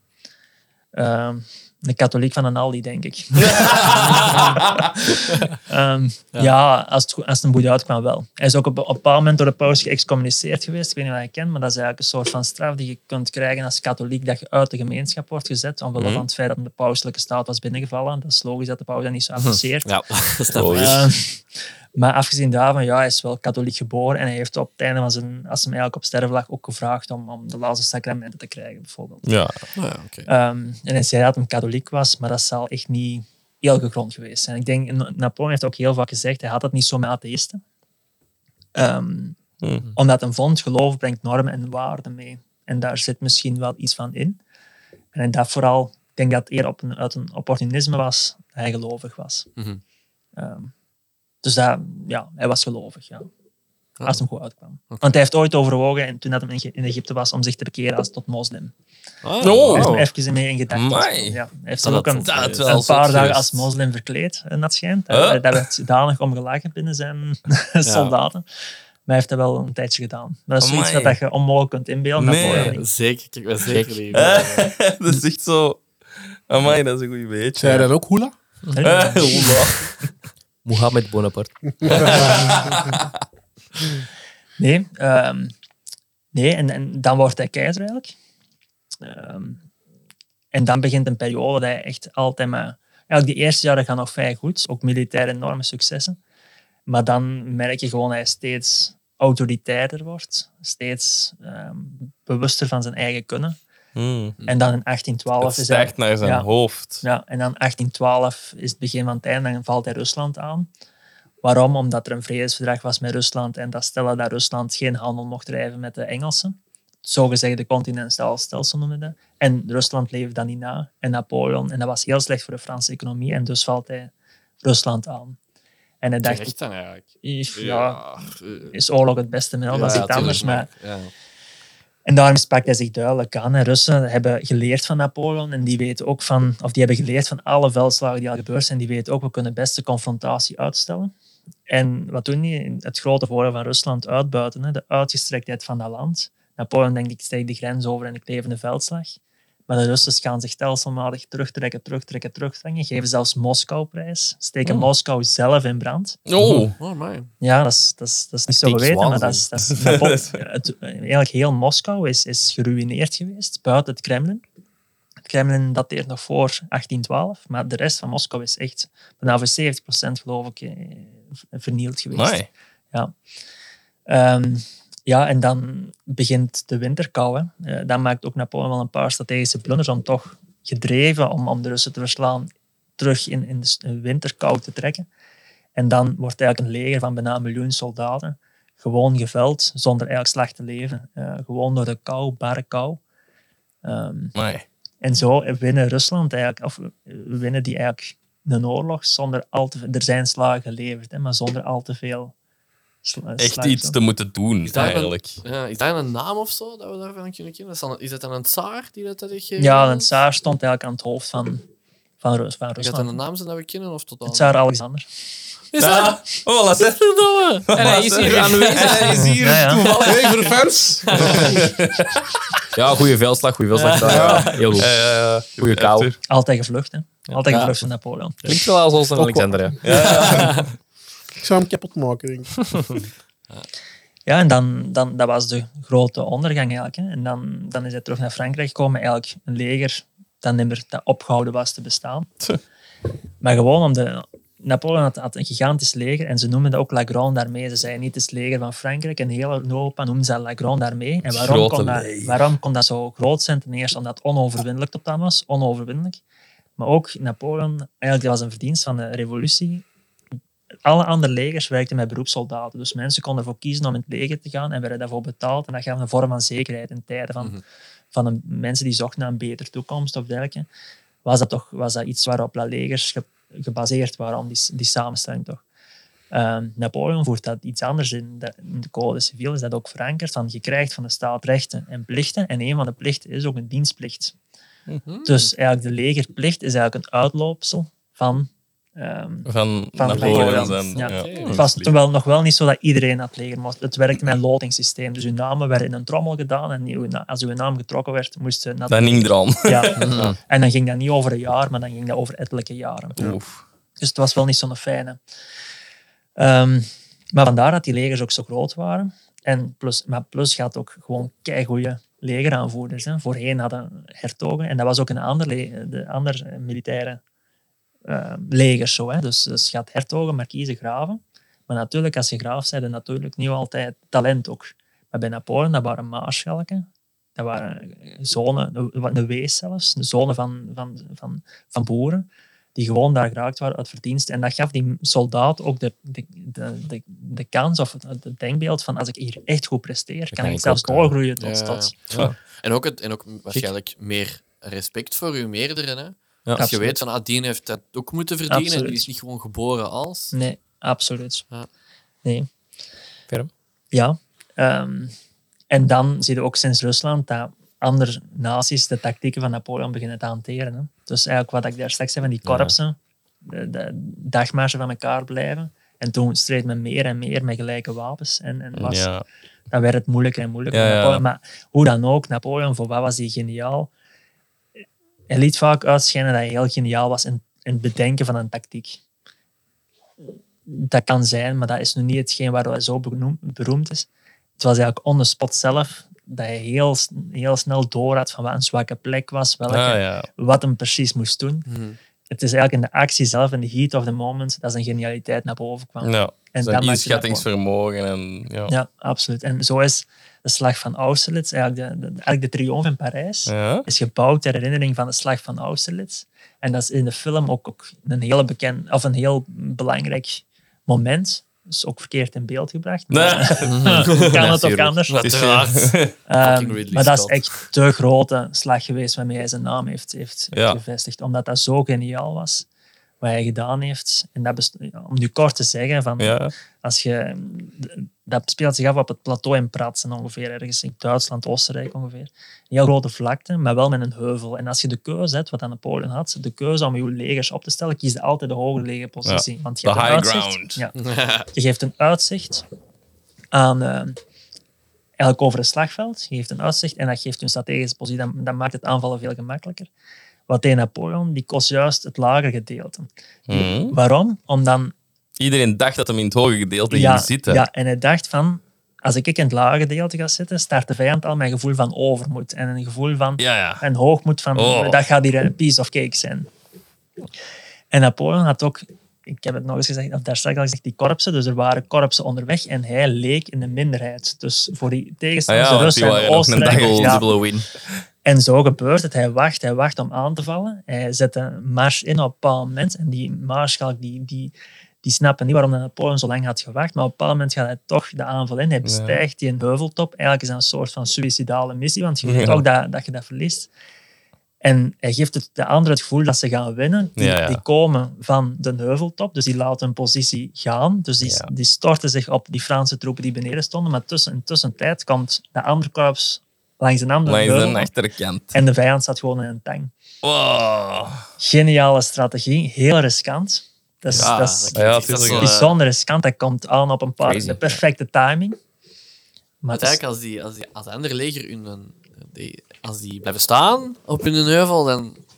Speaker 5: Ehm, Een katholiek van een Aldi, denk ik. Ehm, ja, als, het, goed- als het een boete uitkwam wel. Hij is ook op, op een bepaald moment door de paus geëxcommuniceerd geweest. Ik weet niet wat je kent, maar dat is eigenlijk een soort van straf die je kunt krijgen als katholiek dat je uit de gemeenschap wordt gezet, omwille
Speaker 4: Mhm.
Speaker 5: van het feit dat de pauselijke staat was binnengevallen. Dat is logisch dat de paus dat niet zo apprecieert.
Speaker 4: Mhm. Ja, dat
Speaker 2: Oh,
Speaker 4: snap ik.
Speaker 1: Logisch.
Speaker 5: Ehm, maar afgezien daarvan, ja, hij is wel katholiek geboren en hij heeft op het einde van zijn, als hem eigenlijk op sterven lag, ook gevraagd om, om de laatste sacramenten te krijgen, bijvoorbeeld.
Speaker 1: Ja.
Speaker 4: Nou ja, oké.
Speaker 5: Ehm, en hij zei dat hij katholiek was, maar dat zal echt niet heel gegrond geweest zijn. Ik denk, Na- Napoleon heeft ook heel vaak gezegd, hij had dat niet zo met atheïsten. Ehm,
Speaker 1: Hmm.
Speaker 5: Omdat hij vond, geloof brengt normen en waarden mee. En daar zit misschien wel iets van in. En in dat vooral, ik denk dat het eerder op een, uit een opportunisme was, dat hij gelovig was.
Speaker 4: Mhm.
Speaker 5: Ehm, dus dat, ja, hij was gelovig, ja.
Speaker 4: Ah.
Speaker 5: Als het hem goed uitkwam. Want hij heeft ooit overwogen, en toen dat hij in Ege- in Egypte was, om zich te bekeren als tot moslim.
Speaker 4: Ah,
Speaker 1: Oh.
Speaker 5: Hij heeft me even mee in gedachten.
Speaker 1: Amai.
Speaker 5: Ja, hij heeft
Speaker 4: Dat
Speaker 5: zich ook een,
Speaker 4: had- dat had
Speaker 1: wel
Speaker 5: een
Speaker 1: zot
Speaker 5: paar dagen
Speaker 1: geweest.
Speaker 5: als moslim verkleed, en dat schijnt.
Speaker 1: Huh?
Speaker 5: Daar, daar werd danig om gelachen binnen zijn soldaten. Maar hij heeft dat wel een tijdje gedaan. Maar dat is zoiets
Speaker 1: Amai.
Speaker 5: wat je onmogelijk kunt inbeelden.
Speaker 1: Nee.
Speaker 5: Dat hoor je niet.
Speaker 4: Zeker, ik ben zeker niet.
Speaker 5: Eh,
Speaker 1: dat is echt zo... Amai, dat is een goeie beetje.
Speaker 3: Zei je dan ook hula?
Speaker 1: Eh, hola.
Speaker 2: Mohammed Bonaparte.
Speaker 5: Nee, ehm, nee en, en dan wordt hij keizer eigenlijk. Ehm, en dan begint een periode dat hij echt altijd maar... Eigenlijk die eerste jaren gaan nog vrij goed, ook militair enorme successen. Maar dan merk je gewoon dat hij steeds autoritairder wordt, steeds ehm, bewuster van zijn eigen kunnen.
Speaker 1: Hmm.
Speaker 5: En dan in
Speaker 1: Het
Speaker 5: 1812 is hij...
Speaker 1: stijgt naar zijn
Speaker 5: ja.
Speaker 1: hoofd.
Speaker 5: Ja, en dan 1812 is het begin van het einde, dan valt hij Rusland aan. Waarom? Omdat er een vredesverdrag was met Rusland en dat stelde dat Rusland geen handel mocht drijven met de Engelsen. Zogezegde continentaal stelsel noemen we dat. En Rusland leefde dat niet na. En Napoleon. En dat was heel slecht voor de Franse economie. En dus valt hij Rusland aan. En hij dacht,
Speaker 4: Terecht dan eigenlijk.
Speaker 5: "If, ja, is oorlog het beste middel? dat is iets anders. Maar
Speaker 4: Ja.
Speaker 5: en daarom sprak hij zich duidelijk aan. En Russen hebben geleerd van Napoleon en die weten ook van, of die hebben geleerd van alle veldslagen die al gebeurd zijn. Die weten ook, we kunnen best de confrontatie uitstellen. En wat doen die? Het grote voordeel van Rusland uitbuiten, hè? de uitgestrektheid van dat land. Napoleon denkt, ik steek de grens over en ik leef in de veldslag. Maar de Russen gaan zich stelselmatig terugtrekken, terugtrekken, terugtrekken. Geven zelfs Moskou prijs. Steken Moskou zelf in brand.
Speaker 1: Oh.
Speaker 4: Oh, man.
Speaker 5: Ja, dat is, dat is, dat is niet zo
Speaker 4: Dick
Speaker 5: geweten, maar dat is,
Speaker 4: Swanson.
Speaker 5: dat is kapot. Het- Eigenlijk heel Moskou is, is geruineerd geweest, buiten het Kremlin. Het Kremlin dateert nog voor 1812, maar de rest van Moskou is echt bijna voor 70% geloof ik eh, vernield geweest.
Speaker 1: Amai.
Speaker 5: Ehm, ja, en dan begint de winterkou. Hè. Eh, dan maakt ook Napoleon wel een paar strategische blunders om toch gedreven om, om de Russen te verslaan, terug in, in de s- winterkou te trekken. En dan wordt eigenlijk een leger van bijna een miljoen soldaten gewoon geveld, zonder eigenlijk slag te leven. Eh, gewoon door de kou, barre kou. Ehm,
Speaker 1: Amai.
Speaker 5: en zo winnen Rusland eigenlijk, of winnen die eigenlijk een oorlog zonder al te Er zijn slagen geleverd, hè, maar zonder al te veel sla-
Speaker 1: Echt
Speaker 5: slagen.
Speaker 1: iets te moeten doen,
Speaker 4: daar een-
Speaker 1: eigenlijk.
Speaker 4: Ja, is daar een naam of zo dat we daarvan kunnen kennen? Is dat, is dat dan een tsaar die dat dat heeft gegeven?
Speaker 5: Ja, en Tsaar stond eigenlijk aan het hoofd van, van, Rus, van
Speaker 4: Is dat dan een
Speaker 5: Rusland.
Speaker 4: naam zijn dat we kennen of tot dan?
Speaker 5: Tsaar Alexander.
Speaker 4: Is dat?
Speaker 1: Oh, laat ze.
Speaker 2: En hij is hier aanwezig.
Speaker 1: Hij is hier
Speaker 5: Ja, ja.
Speaker 1: toevallig.
Speaker 3: Hey, voor de fans!
Speaker 2: Ja, goede veldslag, goede veldslag. Ja, Heel goed.
Speaker 1: Eh,
Speaker 2: Goeie kou.
Speaker 1: Arthur.
Speaker 5: Altijd gevlucht, hè. Altijd
Speaker 4: Ja.
Speaker 5: gevlucht van Napoleon.
Speaker 2: Klinkt wel als onze Alexander. hè.
Speaker 3: Ik zou hem kapot maken, denk ik.
Speaker 5: Ja, en dan, dan, dat was de grote ondergang eigenlijk. Hè. En dan, dan is hij terug naar Frankrijk gekomen. Eigenlijk een leger dat nimmer dat opgehouden was te bestaan. Maar gewoon om de... Napoleon had, had een gigantisch leger en ze noemden dat ook La Grande Armée. Ze zeiden niet het leger van Frankrijk. En heel Europa noemden ze dat La Grande Armee. En waarom
Speaker 1: Grote
Speaker 5: kon, dat,
Speaker 1: leger.
Speaker 5: waarom kon dat zo groot zijn? Ten eerste omdat het onoverwinnelijk tot dan was. Onoverwinnelijk. Maar ook Napoleon, eigenlijk dat was een verdienst van de revolutie alle andere legers werkten met beroepssoldaten. Dus mensen konden ervoor kiezen om in het leger te gaan en werden daarvoor betaald. En dat gaf een vorm van zekerheid in tijden van, van een- mensen die zochten naar een betere toekomst of dergelijke. Was dat, toch, was dat iets waarop dat legers ge- gebaseerd waren, om die, s- die samenstelling toch? Ehm, Napoleon voert dat iets anders in. De, in de Code Civiel is dat ook verankerd. Van je krijgt van de staat rechten en plichten. En een van de plichten is ook een dienstplicht. Dus eigenlijk de legerplicht is eigenlijk een uitloopsel van Ehm,
Speaker 1: Van,
Speaker 5: Van
Speaker 1: Napoleon.
Speaker 5: Napoleon,
Speaker 1: zijn-
Speaker 5: ja.
Speaker 1: ja. Oh,
Speaker 5: het was toen wel nog wel niet zo dat iedereen dat leger mocht. Het werkte met lotingssysteem. Dus uw namen werden in een trommel gedaan. En uw na- als uw naam getrokken werd, moest je naar
Speaker 1: Dat hing er aan.
Speaker 5: Ja. En dan ging dat niet over een jaar, maar dan ging dat over ettelijke jaren.
Speaker 1: Oef.
Speaker 5: Dus het was wel niet zo'n fijne. Ehm, maar vandaar dat die legers ook zo groot waren. En plus, maar plus gaat ook gewoon keigoede legeraanvoerders. Hè. Voorheen hadden hertogen, en dat was ook een ander, le- de ander eh, militaire eh, leger. Zo, hè. Dus, dus je had hertogen, markiezen, graven. Maar natuurlijk, als je graaf bent, dan natuurlijk niet altijd talent ook. Maar bij Napoleon, dat waren maarschalken. Dat waren zonen, een een wees zelfs, de zonen van, van, van, van boeren die gewoon daar geraakt waren uit verdienst. En dat gaf die soldaat ook de, de, de, de, de kans of het, het denkbeeld van als ik hier echt goed presteer, kan
Speaker 1: kan
Speaker 5: ik
Speaker 1: ik
Speaker 5: zelfs
Speaker 1: ook, ja.
Speaker 5: doorgroeien tot,
Speaker 4: Ja.
Speaker 5: tot.
Speaker 4: En ook, het, en ook waarschijnlijk meer respect voor uw meerdere. Hè? Als
Speaker 5: absoluut.
Speaker 4: je weet van, ah, die heeft dat ook moeten verdienen.
Speaker 5: Absoluut.
Speaker 4: Die is niet gewoon geboren als.
Speaker 5: Nee, absoluut.
Speaker 4: Ja.
Speaker 5: Nee.
Speaker 2: Ferm.
Speaker 5: Ja. ehm, en dan zie je ook sinds Rusland dat andere naties de tactieken van Napoleon beginnen te hanteren. Hè. Dus eigenlijk wat ik daar straks zei van die korpsen, de, de dagmarsen van elkaar blijven. En toen streed men meer en meer met gelijke wapens. En, en was,
Speaker 1: Ja.
Speaker 5: dan werd het moeilijker en moeilijker.
Speaker 1: Ja,
Speaker 5: voor
Speaker 1: ja.
Speaker 5: Napoleon. Maar hoe dan ook, Napoleon, voor wat was hij geniaal? Hij liet vaak uitschijnen dat hij heel geniaal was in, in het bedenken van een tactiek. Dat kan zijn, maar dat is nu niet hetgeen waardoor hij zo benoem- beroemd is. Het was eigenlijk on the spot zelf dat hij heel, s- heel snel door had van wat een zwakke plek was, welke,
Speaker 1: Ah, ja. Mhm.
Speaker 5: wat hem precies moest doen. Het is eigenlijk in de actie zelf, in de heat of the moment, dat zijn genialiteit naar boven kwam.
Speaker 1: Ja.
Speaker 5: En
Speaker 1: Zijn
Speaker 5: dan maakt je dat
Speaker 1: inschattingsvermogen en... Ja.
Speaker 5: Ja, absoluut. En zo is de slag van Austerlitz, eigenlijk de, de, eigenlijk de triomf in Parijs,
Speaker 1: Ja.
Speaker 5: is gebouwd ter herinnering van de slag van Austerlitz. En dat is in de film ook, ook een, hele bekend, of een heel belangrijk moment. Dus ook verkeerd in beeld gebracht.
Speaker 1: Nee.
Speaker 5: maar- kan het ook
Speaker 1: Natuurlijk.
Speaker 5: anders.
Speaker 1: Het is-
Speaker 5: Ehm,
Speaker 4: Fucking Ridley
Speaker 5: maar dat is
Speaker 4: Scott.
Speaker 5: echt de grote slag geweest waarmee hij zijn naam heeft, heeft, heeft
Speaker 1: Ja.
Speaker 5: gevestigd. Omdat dat zo geniaal was, wat hij gedaan heeft. En dat best- om nu kort te zeggen, van,
Speaker 1: Ja.
Speaker 5: als je, dat speelt zich af op het plateau in Pratsen ongeveer, ergens in Duitsland, Oostenrijk ongeveer. Een heel grote vlakte, maar wel met een heuvel. En als je de keuze hebt, wat aan Napoleon had, de keuze om je legers op te stellen, kies je altijd de hogere legerpositie. want je
Speaker 1: de
Speaker 5: hebt een
Speaker 1: high
Speaker 5: uitzicht.
Speaker 1: ground.
Speaker 5: Ja. Je geeft een uitzicht aan, eh, eigenlijk over het slagveld. Je geeft een uitzicht en dat geeft een strategische positie. Dan, dan maakt het aanvallen veel gemakkelijker. Wat deed Napoleon? Die kost juist het lager gedeelte.
Speaker 1: Mhm.
Speaker 5: Waarom? Om dan
Speaker 1: Iedereen dacht dat hem in het hoge gedeelte
Speaker 5: ja,
Speaker 1: ging zitten.
Speaker 5: Ja, en hij dacht van, als ik in het lage gedeelte ga zitten, start de vijand al mijn gevoel van overmoed en een gevoel van
Speaker 1: ja. Ah, ja.
Speaker 5: en hoogmoed van,
Speaker 1: Oh.
Speaker 5: dat gaat hier een piece of cake zijn. En Napoleon had ook, ik heb het nog eens gezegd, of daar straks al gezegd, die korpsen, dus er waren korpsen onderweg en hij leek in de minderheid. Dus voor die
Speaker 1: Ah
Speaker 5: tegenstanders,
Speaker 1: ja, want die
Speaker 5: Russen en
Speaker 1: waren nog een dag al
Speaker 5: Oostenrijkers, ja.
Speaker 1: dubbele win.
Speaker 5: En zo gebeurt het. Hij wacht, hij wacht om aan te vallen. Hij zet een mars in op een bepaald moment. En die maarschalk, die, die, die snappen niet waarom Napoleon zo lang had gewacht. Maar op een bepaald moment gaat hij toch de aanval in. Hij bestijgt die een heuveltop. Eigenlijk is dat een soort van suïcidale missie, want je weet
Speaker 1: Ja.
Speaker 5: ook dat, dat je dat verliest. En hij geeft het, de anderen het gevoel dat ze gaan winnen. Die,
Speaker 1: Ja, ja.
Speaker 5: die komen van de heuveltop, dus die laten hun positie gaan. Dus die,
Speaker 1: Ja.
Speaker 5: die storten zich op die Franse troepen die beneden stonden. Maar tussen, in tussentijd komt de andere korps langs een andere
Speaker 1: Langs
Speaker 5: heuvel.
Speaker 1: de achterkant.
Speaker 5: En de vijand zat gewoon in een tank.
Speaker 1: Wow.
Speaker 5: Geniale strategie, heel riskant. Dat is,
Speaker 4: Ja,
Speaker 5: dat is
Speaker 1: Ja,
Speaker 4: Ah, dat is
Speaker 1: tuurlijk.
Speaker 4: wel, eh,
Speaker 5: bijzonder riskant. Dat komt aan op een paar
Speaker 1: Crazy.
Speaker 5: de perfecte timing. Maar
Speaker 4: Want
Speaker 5: het is-
Speaker 4: eigenlijk, als die, als die als de andere leger hun, hun- die, als die blijven staan op hun heuvel, dan...
Speaker 5: ja,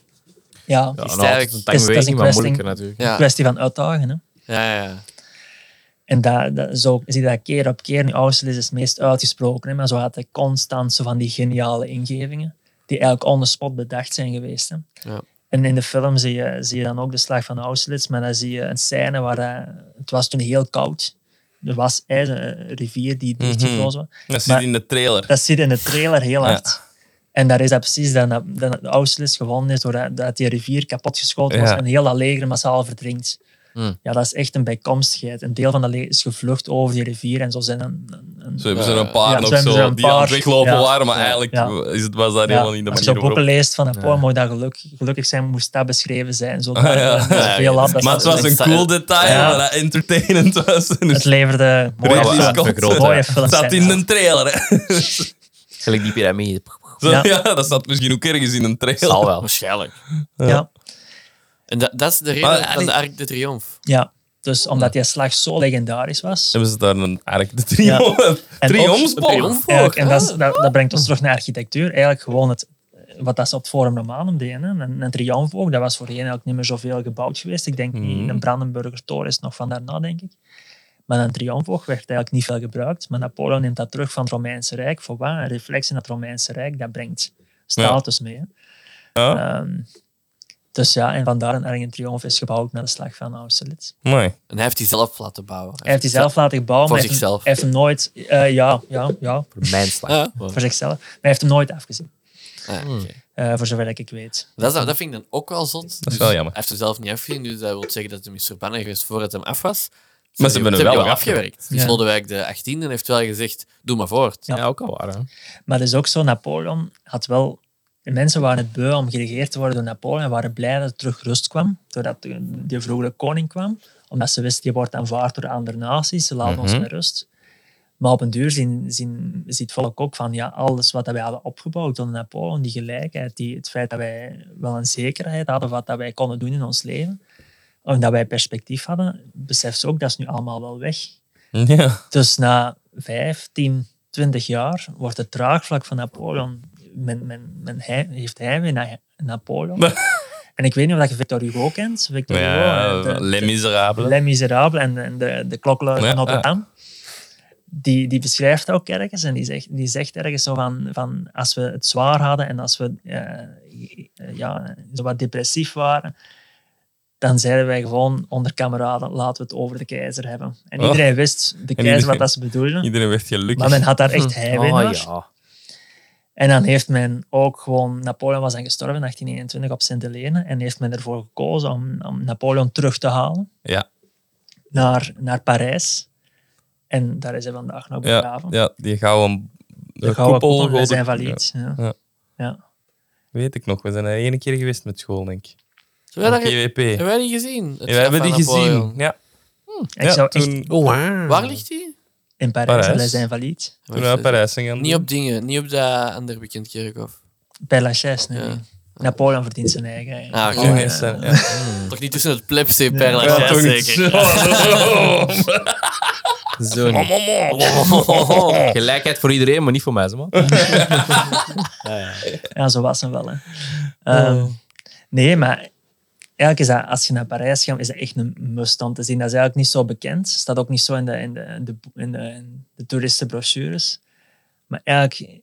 Speaker 2: Ja,
Speaker 4: Is
Speaker 2: nou,
Speaker 4: het eigenlijk-
Speaker 2: het is
Speaker 5: dat is een
Speaker 2: een tankweging, maar
Speaker 5: kwestie-
Speaker 2: moeilijker natuurlijk.
Speaker 5: een
Speaker 4: Ja,
Speaker 5: kwestie van uitdagen. Hè.
Speaker 4: ja, ja.
Speaker 5: En dat, dat, zo zie je dat keer op keer. Nu, Austerlitz is het meest uitgesproken, hè, maar zo had hij constant zo van die geniale ingevingen, die eigenlijk on the spot bedacht zijn geweest. Hè.
Speaker 4: Ja.
Speaker 5: En in de film zie je, zie je dan ook de slag van Austerlitz, maar dan zie je een scène waar hij- het was toen heel koud. Er was ijs, een rivier die dichtgevrozen was.
Speaker 1: Mhm. Dat zit
Speaker 5: Maar-
Speaker 1: in de trailer.
Speaker 5: Dat zit in de trailer heel hard. En daar is dat precies dat, dat, dat Austerlitz gewonnen is doordat dat die rivier kapotgeschoten was
Speaker 1: Ja. Hmm.
Speaker 5: en heel dat leger massaal verdrinkt. Ja, dat is echt een bijkomstigheid. Een deel van dat leger is gevlucht over die rivier en zo zijn een, een, een-
Speaker 1: Zo hebben ze er een
Speaker 5: Ja,
Speaker 1: paar nog
Speaker 5: zo hebben ze er
Speaker 1: zo
Speaker 5: een
Speaker 1: die aan het
Speaker 5: paar.
Speaker 1: weglopen
Speaker 5: Ja.
Speaker 1: waren, maar eigenlijk
Speaker 5: Ja.
Speaker 1: is het, was dat
Speaker 5: ja,
Speaker 1: helemaal niet de
Speaker 5: als je zo
Speaker 1: manier
Speaker 5: boeken
Speaker 1: waarop.
Speaker 5: leest van Napoleon, moet dat geluk, gelukkig zijn, moest dat beschreven zijn. Zo, eh,
Speaker 1: Ah, ja.
Speaker 5: dat is veel af, dat is
Speaker 1: Maar het was een
Speaker 4: Sta-
Speaker 1: cool
Speaker 5: eh,
Speaker 1: detail,
Speaker 5: Ja.
Speaker 1: maar dat entertainend was. En
Speaker 5: het
Speaker 1: dus
Speaker 5: leverde mooie,
Speaker 1: Ridley
Speaker 5: films-
Speaker 1: Scott.
Speaker 5: mooie
Speaker 2: Ja.
Speaker 5: films.
Speaker 1: het zat
Speaker 5: zijn.
Speaker 1: in een trailer. Hè.
Speaker 2: Gelijk die piramide.
Speaker 1: Zo,
Speaker 5: Ja.
Speaker 1: ja. dat zat misschien ook ergens in een trailer.
Speaker 2: Zal wel.
Speaker 4: Waarschijnlijk.
Speaker 5: Ja.
Speaker 4: En dat, dat is de reden
Speaker 1: Maar-
Speaker 4: van de Arc de Triomphe.
Speaker 5: Ja, dus omdat die slag zo legendarisch was.
Speaker 1: Hebben ze daar een, eigenlijk de triomf,
Speaker 5: En
Speaker 1: triomfboog? Ah.
Speaker 4: ook- Triomf?
Speaker 5: Eigenlijk, en dat, is- dat, dat brengt ons terug naar architectuur. Eigenlijk gewoon het, wat dat ze op het Forum Romanum deden. hè. Een, een triomf ook. Dat was voorheen eigenlijk niet meer zoveel gebouwd geweest. Ik denk
Speaker 1: Hmm.
Speaker 5: niet, een Brandenburger Tor is nog van daarna, denk ik. Maar een triomfboog werd eigenlijk niet veel gebruikt. Maar Napoleon neemt dat terug van het Romeinse Rijk. Voor wat? Een reflex in het Romeinse Rijk, dat brengt status mee. hè.
Speaker 1: Ja.
Speaker 5: Ehm, dus ja, en vandaar een Argen Triomf is gebouwd na de slag van Austerlitz.
Speaker 1: Mooi.
Speaker 4: En hij heeft die zelf laten bouwen.
Speaker 5: Hij heeft die zelf laten gebouwen.
Speaker 4: Voor
Speaker 5: maar hij heeft hem-
Speaker 4: zichzelf.
Speaker 5: Hij heeft hem nooit... eh, ja, ja, ja,
Speaker 2: Mijn slag.
Speaker 4: Ja,
Speaker 5: voor zichzelf. Maar hij heeft hem nooit afgezien.
Speaker 4: Ah, oké.
Speaker 5: Eh, voor zover dat ik weet.
Speaker 4: dat, is, dat vind ik dan ook wel zot. Dus
Speaker 1: Dat is wel jammer.
Speaker 4: Hij heeft hem zelf niet afgezien, dus dat wil zeggen dat hij is verbannen geweest voordat hij af was.
Speaker 1: Maar ze hebben hem
Speaker 4: hem
Speaker 1: wel
Speaker 4: afgewerkt. Dus
Speaker 5: Ja.
Speaker 4: Lodewijk de 18e heeft wel gezegd, doe maar voort.
Speaker 5: Ja.
Speaker 2: Ja, ook al waar. Hè?
Speaker 5: Maar het is ook zo, Napoleon had wel... De mensen waren het beu om geregeerd te worden door Napoleon en waren blij dat er terug rust kwam, doordat de- die vroegere koning kwam. Omdat ze wisten, die wordt aanvaard door andere naties, ze laten ons met rust. Maar op een duur zien, zien, ziet het volk ook van, ja, alles wat dat wij hadden opgebouwd door Napoleon, die gelijkheid, die, het feit dat wij wel een zekerheid hadden wat dat wij konden doen in ons leven, omdat wij perspectief hadden, beseft ze ook, dat is nu allemaal wel weg.
Speaker 1: Ja.
Speaker 5: Dus na 15, 20 jaar wordt het draagvlak van Napoleon. Men, men, men hij, heeft hij weer naar Napoleon. en ik weet niet of je Victor Hugo kent. Victor Hugo,
Speaker 1: ja
Speaker 5: eh, de-
Speaker 1: Les Miserables.
Speaker 5: Les Miserables en, en de, de klokkenluider
Speaker 1: Ja,
Speaker 5: van Notre
Speaker 1: ja.
Speaker 5: Dame. Die, die beschrijft ook ergens en die zegt, die zegt ergens zo van, van als we het zwaar hadden en als we eh, ja, zo wat depressief waren, dan zeiden wij gewoon onder kameraden, laten we het over de keizer hebben. En
Speaker 1: Oh.
Speaker 5: iedereen wist de keizer
Speaker 1: iedereen-
Speaker 5: wat dat ze bedoelden,
Speaker 1: Iedereen werd gelukkig.
Speaker 5: maar men had daar echt heimwee naar.
Speaker 2: Ah, ja.
Speaker 5: En dan heeft men ook gewoon, Napoleon was dan gestorven in 1821 op Sint-Helena en heeft men ervoor gekozen om, om Napoleon terug te halen
Speaker 1: Ja.
Speaker 5: naar, naar Parijs. En daar is hij vandaag nog
Speaker 1: Ja,
Speaker 5: begraven.
Speaker 1: ja, die gouden,
Speaker 5: de gouden koepel, hij is
Speaker 1: gouden-
Speaker 5: invalide. Ja.
Speaker 1: Ja.
Speaker 5: Ja.
Speaker 1: Ja, weet ik nog. We zijn er één keer geweest met school, denk ik.
Speaker 4: Hebben wij, dat ge-
Speaker 1: GWP.
Speaker 4: hebben wij die gezien? Het
Speaker 1: Ja, we
Speaker 4: graf
Speaker 1: hebben
Speaker 4: van
Speaker 1: die
Speaker 4: Napoleon.
Speaker 1: gezien. Ja,
Speaker 5: Ik
Speaker 1: ja,
Speaker 5: zou echt
Speaker 1: toen,
Speaker 3: Oh, wow.
Speaker 4: Waar ligt die?
Speaker 5: in Parijs,
Speaker 1: Parijs.
Speaker 5: Parijs. zijn valiet.
Speaker 1: toen we naar Parijs zijn gaan.
Speaker 4: Niet op dingen, niet op dat andere weekendkerkhof.
Speaker 5: Bij Lachaise, nee.
Speaker 4: Ja.
Speaker 5: nee. Napoleon verdient zijn eigen.
Speaker 4: Ah,
Speaker 5: eigenlijk.
Speaker 4: oké.
Speaker 1: Oh, Ja,
Speaker 4: Ja.
Speaker 1: ja. ja.
Speaker 4: Toch niet tussen het plebse per
Speaker 5: Ja,
Speaker 1: Ja, toch niet.
Speaker 4: zeker.
Speaker 2: Zo niet. Gelijkheid voor iedereen, maar niet voor mij, zo, man.
Speaker 5: Ja, zo was hem wel. Hè.
Speaker 1: Oh.
Speaker 5: Ehm, Nee, maar eigenlijk is dat, als je naar Parijs gaat, is dat echt een must om te zien. Dat is eigenlijk niet zo bekend. Staat ook niet zo in de, in de, in de, in de, in de toeristenbrochures. Maar eigenlijk,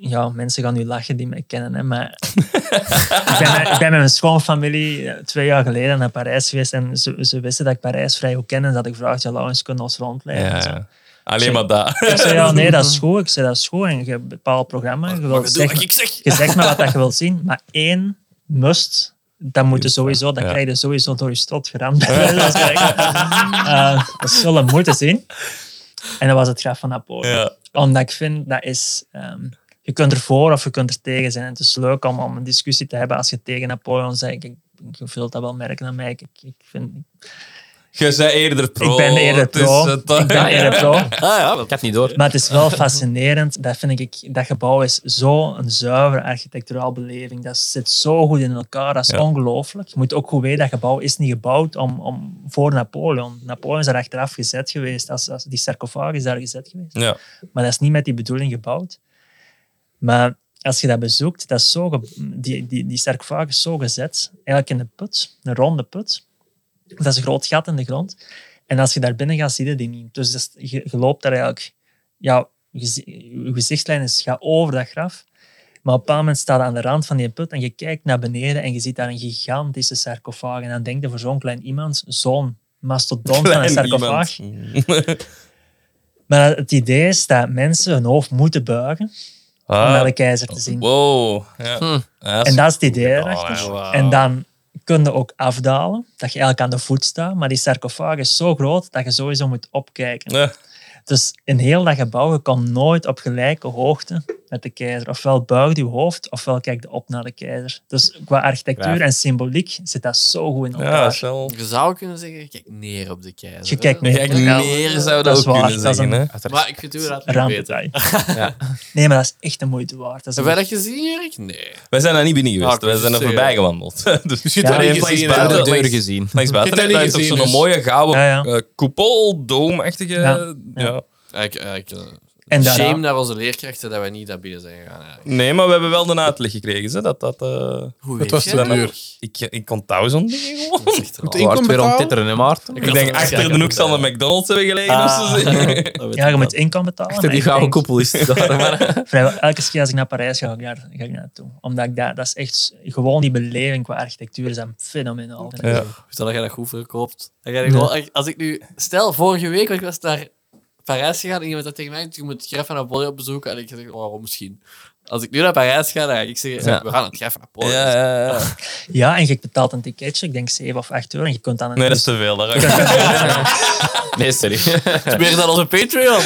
Speaker 5: ja, mensen gaan nu lachen die mij kennen. Hè, maar ik, ben, met- ik ben met mijn schoonfamilie eh, twee jaar geleden naar Parijs geweest. En ze, ze wisten dat ik Parijs vrij goed ken. En ze hadden gevraagd, ja, Laurens, kunnen ons rondleiden?
Speaker 1: Ja,
Speaker 5: en zo.
Speaker 1: ja. Alleen maar dat.
Speaker 5: Ik zei, ja, nee, dat is goed. Ik zei, dat is goed. En je hebt een bepaald programma. Je wilt
Speaker 4: Doe
Speaker 5: zeggen-
Speaker 4: wat ik zeg.
Speaker 5: je zegt maar wat dat je wilt zien, maar één must, dat moet je sowieso, dat
Speaker 1: Ja.
Speaker 5: krijg je sowieso door je strot geramd. dat, is echt, eh, dat zullen moeten zien. En dat was het graf van Napoleon.
Speaker 1: Ja.
Speaker 5: Omdat ik vind, dat is... ehm, je kunt er voor of je kunt er tegen zijn. Het is leuk om, om een discussie te hebben als je tegen Napoleon bent. Ik, je vult dat wel merken aan mij. Ik, ik- ik, vind,
Speaker 1: Je bent eerder pro.
Speaker 5: ik ben eerder
Speaker 1: Het is,
Speaker 5: pro.
Speaker 1: eh,
Speaker 5: Ik
Speaker 1: toch-
Speaker 5: ben eerder pro.
Speaker 4: Ah ja,
Speaker 2: Ik had niet door.
Speaker 5: Maar het is wel fascinerend. Dat vind ik, dat gebouw is zo'n zuivere architecturaal beleving. Dat zit zo goed in elkaar. Dat is
Speaker 1: Ja.
Speaker 5: ongelooflijk. Je moet ook goed weten, dat gebouw is niet gebouwd om, om, voor Napoleon. Napoleon is daar achteraf gezet geweest. Als, als die sarcofaag is daar gezet geweest.
Speaker 1: Ja.
Speaker 5: Maar dat is niet met die bedoeling gebouwd. Maar als je dat bezoekt, dat is zo ge- die, die, die sarcofaag is zo gezet. Eigenlijk in een put, een ronde put. Dat is een groot gat in de grond. En als je daar binnen gaat, zie je die niet. Dus dat is- je, je loopt daar eigenlijk... Ja, je gezi- je gezichtslijn is, gaat over dat graf. Maar op een bepaald moment staat je aan de rand van die put en je kijkt naar beneden en je ziet daar een gigantische sarcofaag. En dan denk je voor zo'n klein iemand, zo'n mastodont van een
Speaker 1: Klein
Speaker 5: sarcofaag.
Speaker 1: iemand.
Speaker 5: Maar het idee is dat mensen hun hoofd moeten buigen om naar
Speaker 1: Ah,
Speaker 5: de keizer te zien. Hm.
Speaker 1: wow. Ja. Ja,
Speaker 5: En dat is het idee
Speaker 1: gedaan,
Speaker 5: erachter.
Speaker 1: hè, wauw.
Speaker 5: En dan kun je ook afdalen, dat je eigenlijk aan de voet staat. Maar die sarcofaag is zo groot dat je sowieso moet opkijken.
Speaker 1: Ja.
Speaker 5: Dus in heel dat gebouw, je komt nooit op gelijke hoogte met de keizer. Ofwel buigt uw hoofd, ofwel kijkt je op naar de keizer. Dus qua architectuur
Speaker 2: Graaf.
Speaker 5: en symboliek zit dat zo goed in elkaar.
Speaker 1: Ja, dat is wel...
Speaker 4: Je zou kunnen zeggen, je kijkt neer op de keizer.
Speaker 5: Je kijkt
Speaker 4: hè.
Speaker 5: neer.
Speaker 1: Nee, kijk,
Speaker 5: Ja,
Speaker 1: meer zou dat,
Speaker 5: dat is
Speaker 1: ook
Speaker 5: waar,
Speaker 1: kunnen
Speaker 5: dat is
Speaker 1: zeggen.
Speaker 5: een-
Speaker 1: Hè?
Speaker 4: Maar ik vind inderdaad niet
Speaker 5: Raam
Speaker 4: beter.
Speaker 5: detail.
Speaker 2: Ja.
Speaker 5: Nee, maar dat is echt de moeite waard. Dat is
Speaker 4: Heb jij dat gezien, Erik? Nee.
Speaker 1: Wij zijn daar niet binnen
Speaker 4: Ja,
Speaker 1: geweest.
Speaker 4: ik
Speaker 1: Wij
Speaker 4: wou
Speaker 1: zijn er
Speaker 4: zeggen.
Speaker 1: voorbij gewandeld. dus
Speaker 3: Dus je hebt dat
Speaker 5: Ja,
Speaker 1: nee,
Speaker 3: niet
Speaker 1: langs
Speaker 3: gezien.
Speaker 1: buiten-
Speaker 3: hè?
Speaker 2: de
Speaker 1: dat
Speaker 2: deuren
Speaker 1: is-
Speaker 2: gezien.
Speaker 1: langs buiten
Speaker 3: dat
Speaker 1: heb
Speaker 3: niet
Speaker 1: je toch
Speaker 3: gezien,
Speaker 1: zo'n
Speaker 3: dus.
Speaker 1: mooie gouden
Speaker 5: Ja, ja.
Speaker 1: eh, koepel, doomachtige...
Speaker 5: Ja,
Speaker 1: Ja.
Speaker 4: Ja, Ik, ja, ik, eh,
Speaker 5: En daarna-
Speaker 4: shame naar onze leerkrachten dat wij niet naar binnen zijn gegaan. eigenlijk.
Speaker 1: Nee, maar we hebben wel de uitleg gekregen. Ze, dat, dat, eh,
Speaker 4: Hoe
Speaker 3: Het
Speaker 4: weet
Speaker 3: was
Speaker 4: je
Speaker 3: te
Speaker 4: dat?
Speaker 3: duur.
Speaker 1: ik, ik kon duizend dingen gewoon.
Speaker 4: Dat is echt raar.
Speaker 3: Ik kom
Speaker 2: Waard Oh, weer om
Speaker 3: betalen.
Speaker 2: het titteren, hè, Maarten?
Speaker 1: Ik denk, achter de hoek zal een McDonald's hebben gelegen. of zo.
Speaker 5: Ja, je moet inkomen betalen.
Speaker 2: Achter
Speaker 5: maar
Speaker 2: die
Speaker 5: ik
Speaker 2: gouden
Speaker 5: denk
Speaker 2: koepel is het daar. maar-
Speaker 5: vrijwel elke keer als ik naar Parijs ga, ga ik, daar, ga ik naartoe. Omdat ik daar, dat is echt gewoon die beleving qua architectuur is dan fenomenaal.
Speaker 1: Ja.
Speaker 4: Stel dat jij dat goed verkoopt. Dan ga je gewoon- Als ik nu... Stel, vorige week want ik was naar Parijs gegaan en iemand had tegen mij, je moet het graf van Napoleon bezoeken. En ik dacht, oh, waarom misschien? Als ik nu naar Parijs ga, dan ga ik zeggen,
Speaker 2: Ja.
Speaker 4: we gaan het graf van
Speaker 1: Ja,
Speaker 4: Napoleon.
Speaker 1: ja, ja.
Speaker 5: Ja, en je betaalt een ticketje, ik denk 7 of 8 euro, en je kunt dan...
Speaker 1: Nee, dat is te veel. Daar ga ik-
Speaker 2: Nee, sorry.
Speaker 4: Het is meer dan onze Patreon.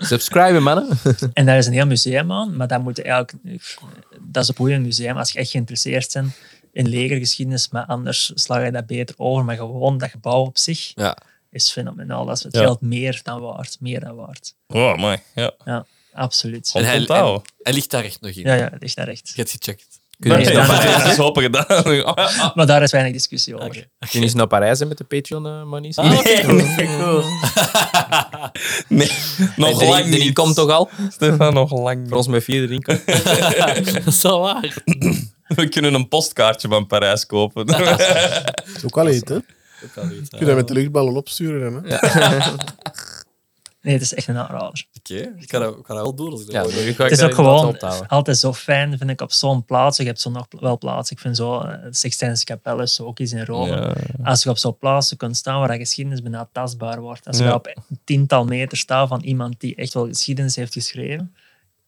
Speaker 2: Subscriben, mannen.
Speaker 5: En daar is een heel museum aan, maar dat moet je eigenlijk... Dat is een boeiend museum, als je echt geïnteresseerd bent in legergeschiedenis, maar anders sla je dat beter over. Maar gewoon dat gebouw op zich
Speaker 4: Ja.
Speaker 5: is fenomenaal. Dat is het
Speaker 1: Ja.
Speaker 5: geld meer dan waard. Meer dan waard.
Speaker 1: Oh, mooi. Ja.
Speaker 5: Ja, absoluut.
Speaker 4: En hij-
Speaker 1: Onthouden.
Speaker 4: Hij ligt daar echt nog in.
Speaker 5: Ja, ja, echt naar recht.
Speaker 4: Je hebt gecheckt.
Speaker 2: Kun je,
Speaker 5: Nee,
Speaker 1: Ja,
Speaker 5: dan-
Speaker 2: eens,
Speaker 1: maar dat is hopen gedaan. Oh, ja.
Speaker 5: Maar daar is weinig discussie over.
Speaker 2: kun je eens naar Parijs hè, met de eh, Patreon-money?
Speaker 1: Nee, nee. nee, nog lang
Speaker 2: de
Speaker 1: niet.
Speaker 2: link komt toch al?
Speaker 1: Stefan, nog lang
Speaker 2: Voor
Speaker 1: niet.
Speaker 2: ons met vier de link.
Speaker 4: Dat is wel waar.
Speaker 1: We kunnen een postkaartje van Parijs kopen.
Speaker 3: Dat is ook al eten. hè? Kun je dat met de luchtballen opsturen? Hè?
Speaker 5: Nee, het is echt een aanrader.
Speaker 4: Oké, ik kan dat ik kan dat wel doen als ik dat
Speaker 2: Ja,
Speaker 4: hoor.
Speaker 2: nu ga ik
Speaker 5: Het is
Speaker 2: daar
Speaker 5: ook gewoon
Speaker 2: ophouden.
Speaker 5: altijd zo fijn, vind ik, op zo'n plaats. Je hebt zo nog wel plaats. Ik vind zo, eh, de Sixtijnse kapel is zo ook iets in Rome.
Speaker 1: Ja.
Speaker 5: Als je op zo'n plaats kunt staan waar dat geschiedenis bijna tastbaar wordt. Als je
Speaker 1: Ja.
Speaker 5: op een tiental meter staat van iemand die echt wel geschiedenis heeft geschreven.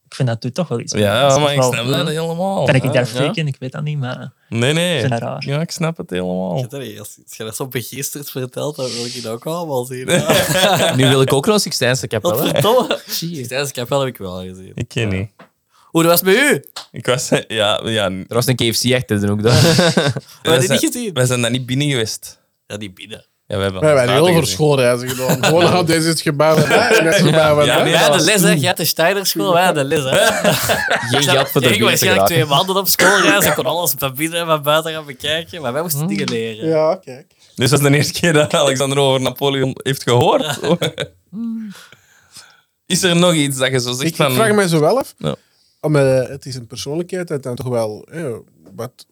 Speaker 5: Ik vind dat doet toch wel iets. met
Speaker 1: Ja,
Speaker 5: mensen.
Speaker 1: maar ik
Speaker 5: Wel,
Speaker 1: snap dat helemaal.
Speaker 5: Ben ik daar
Speaker 2: ja.
Speaker 5: freak in? Ik weet dat niet, maar
Speaker 1: Nee, nee.
Speaker 5: Ik vind dat raar.
Speaker 1: Ja, ik snap het helemaal.
Speaker 4: Allee, Als als je dat zo begeesterd vertelt, dan wil ik het ook allemaal zien.
Speaker 2: Nu wil ik ook nog Sixtijnse kapel. hè.
Speaker 4: Verdomme. Tijdens de kapel heb ik wel gezien.
Speaker 1: Ik ken niet.
Speaker 4: Hoe dat was het met u?
Speaker 1: Ik was... Ja, ja.
Speaker 2: Er was een KFC echter dan ook daar.
Speaker 4: Heb je
Speaker 1: Wij
Speaker 4: die niet
Speaker 1: zijn,
Speaker 4: gezien?
Speaker 1: wij zijn daar niet binnen geweest.
Speaker 4: Ja, die binnen.
Speaker 1: Ja, we hebben
Speaker 3: We hebben
Speaker 1: buiten
Speaker 3: heel veel
Speaker 1: gezien.
Speaker 3: schoolreizen gedaan. Gewoon, nou, deze is het gebouw van mij en dat is het gebouw van
Speaker 1: Ja, nee,
Speaker 3: mij.
Speaker 1: dat
Speaker 4: Wij hadden
Speaker 1: was
Speaker 4: les, hè. Jij had de Steinerschool, wij hadden les, hè.
Speaker 2: Geen geld voor de
Speaker 4: Ik
Speaker 2: bier te
Speaker 4: waarschijnlijk twee
Speaker 2: geraken.
Speaker 4: maanden op school reizen. Ik kon alles van binnen en van buiten gaan bekijken. Maar wij moesten dingen leren.
Speaker 3: Ja, kijk.
Speaker 1: Dus dat is de eerste keer dat Alexander over Napoleon heeft gehoord. Is er nog iets dat je zo zegt
Speaker 3: Ik,
Speaker 1: van...
Speaker 3: ik vraag mij zo wel af.
Speaker 1: Ja.
Speaker 3: Om, eh, het is een persoonlijkheid dat dan toch wel eh, wat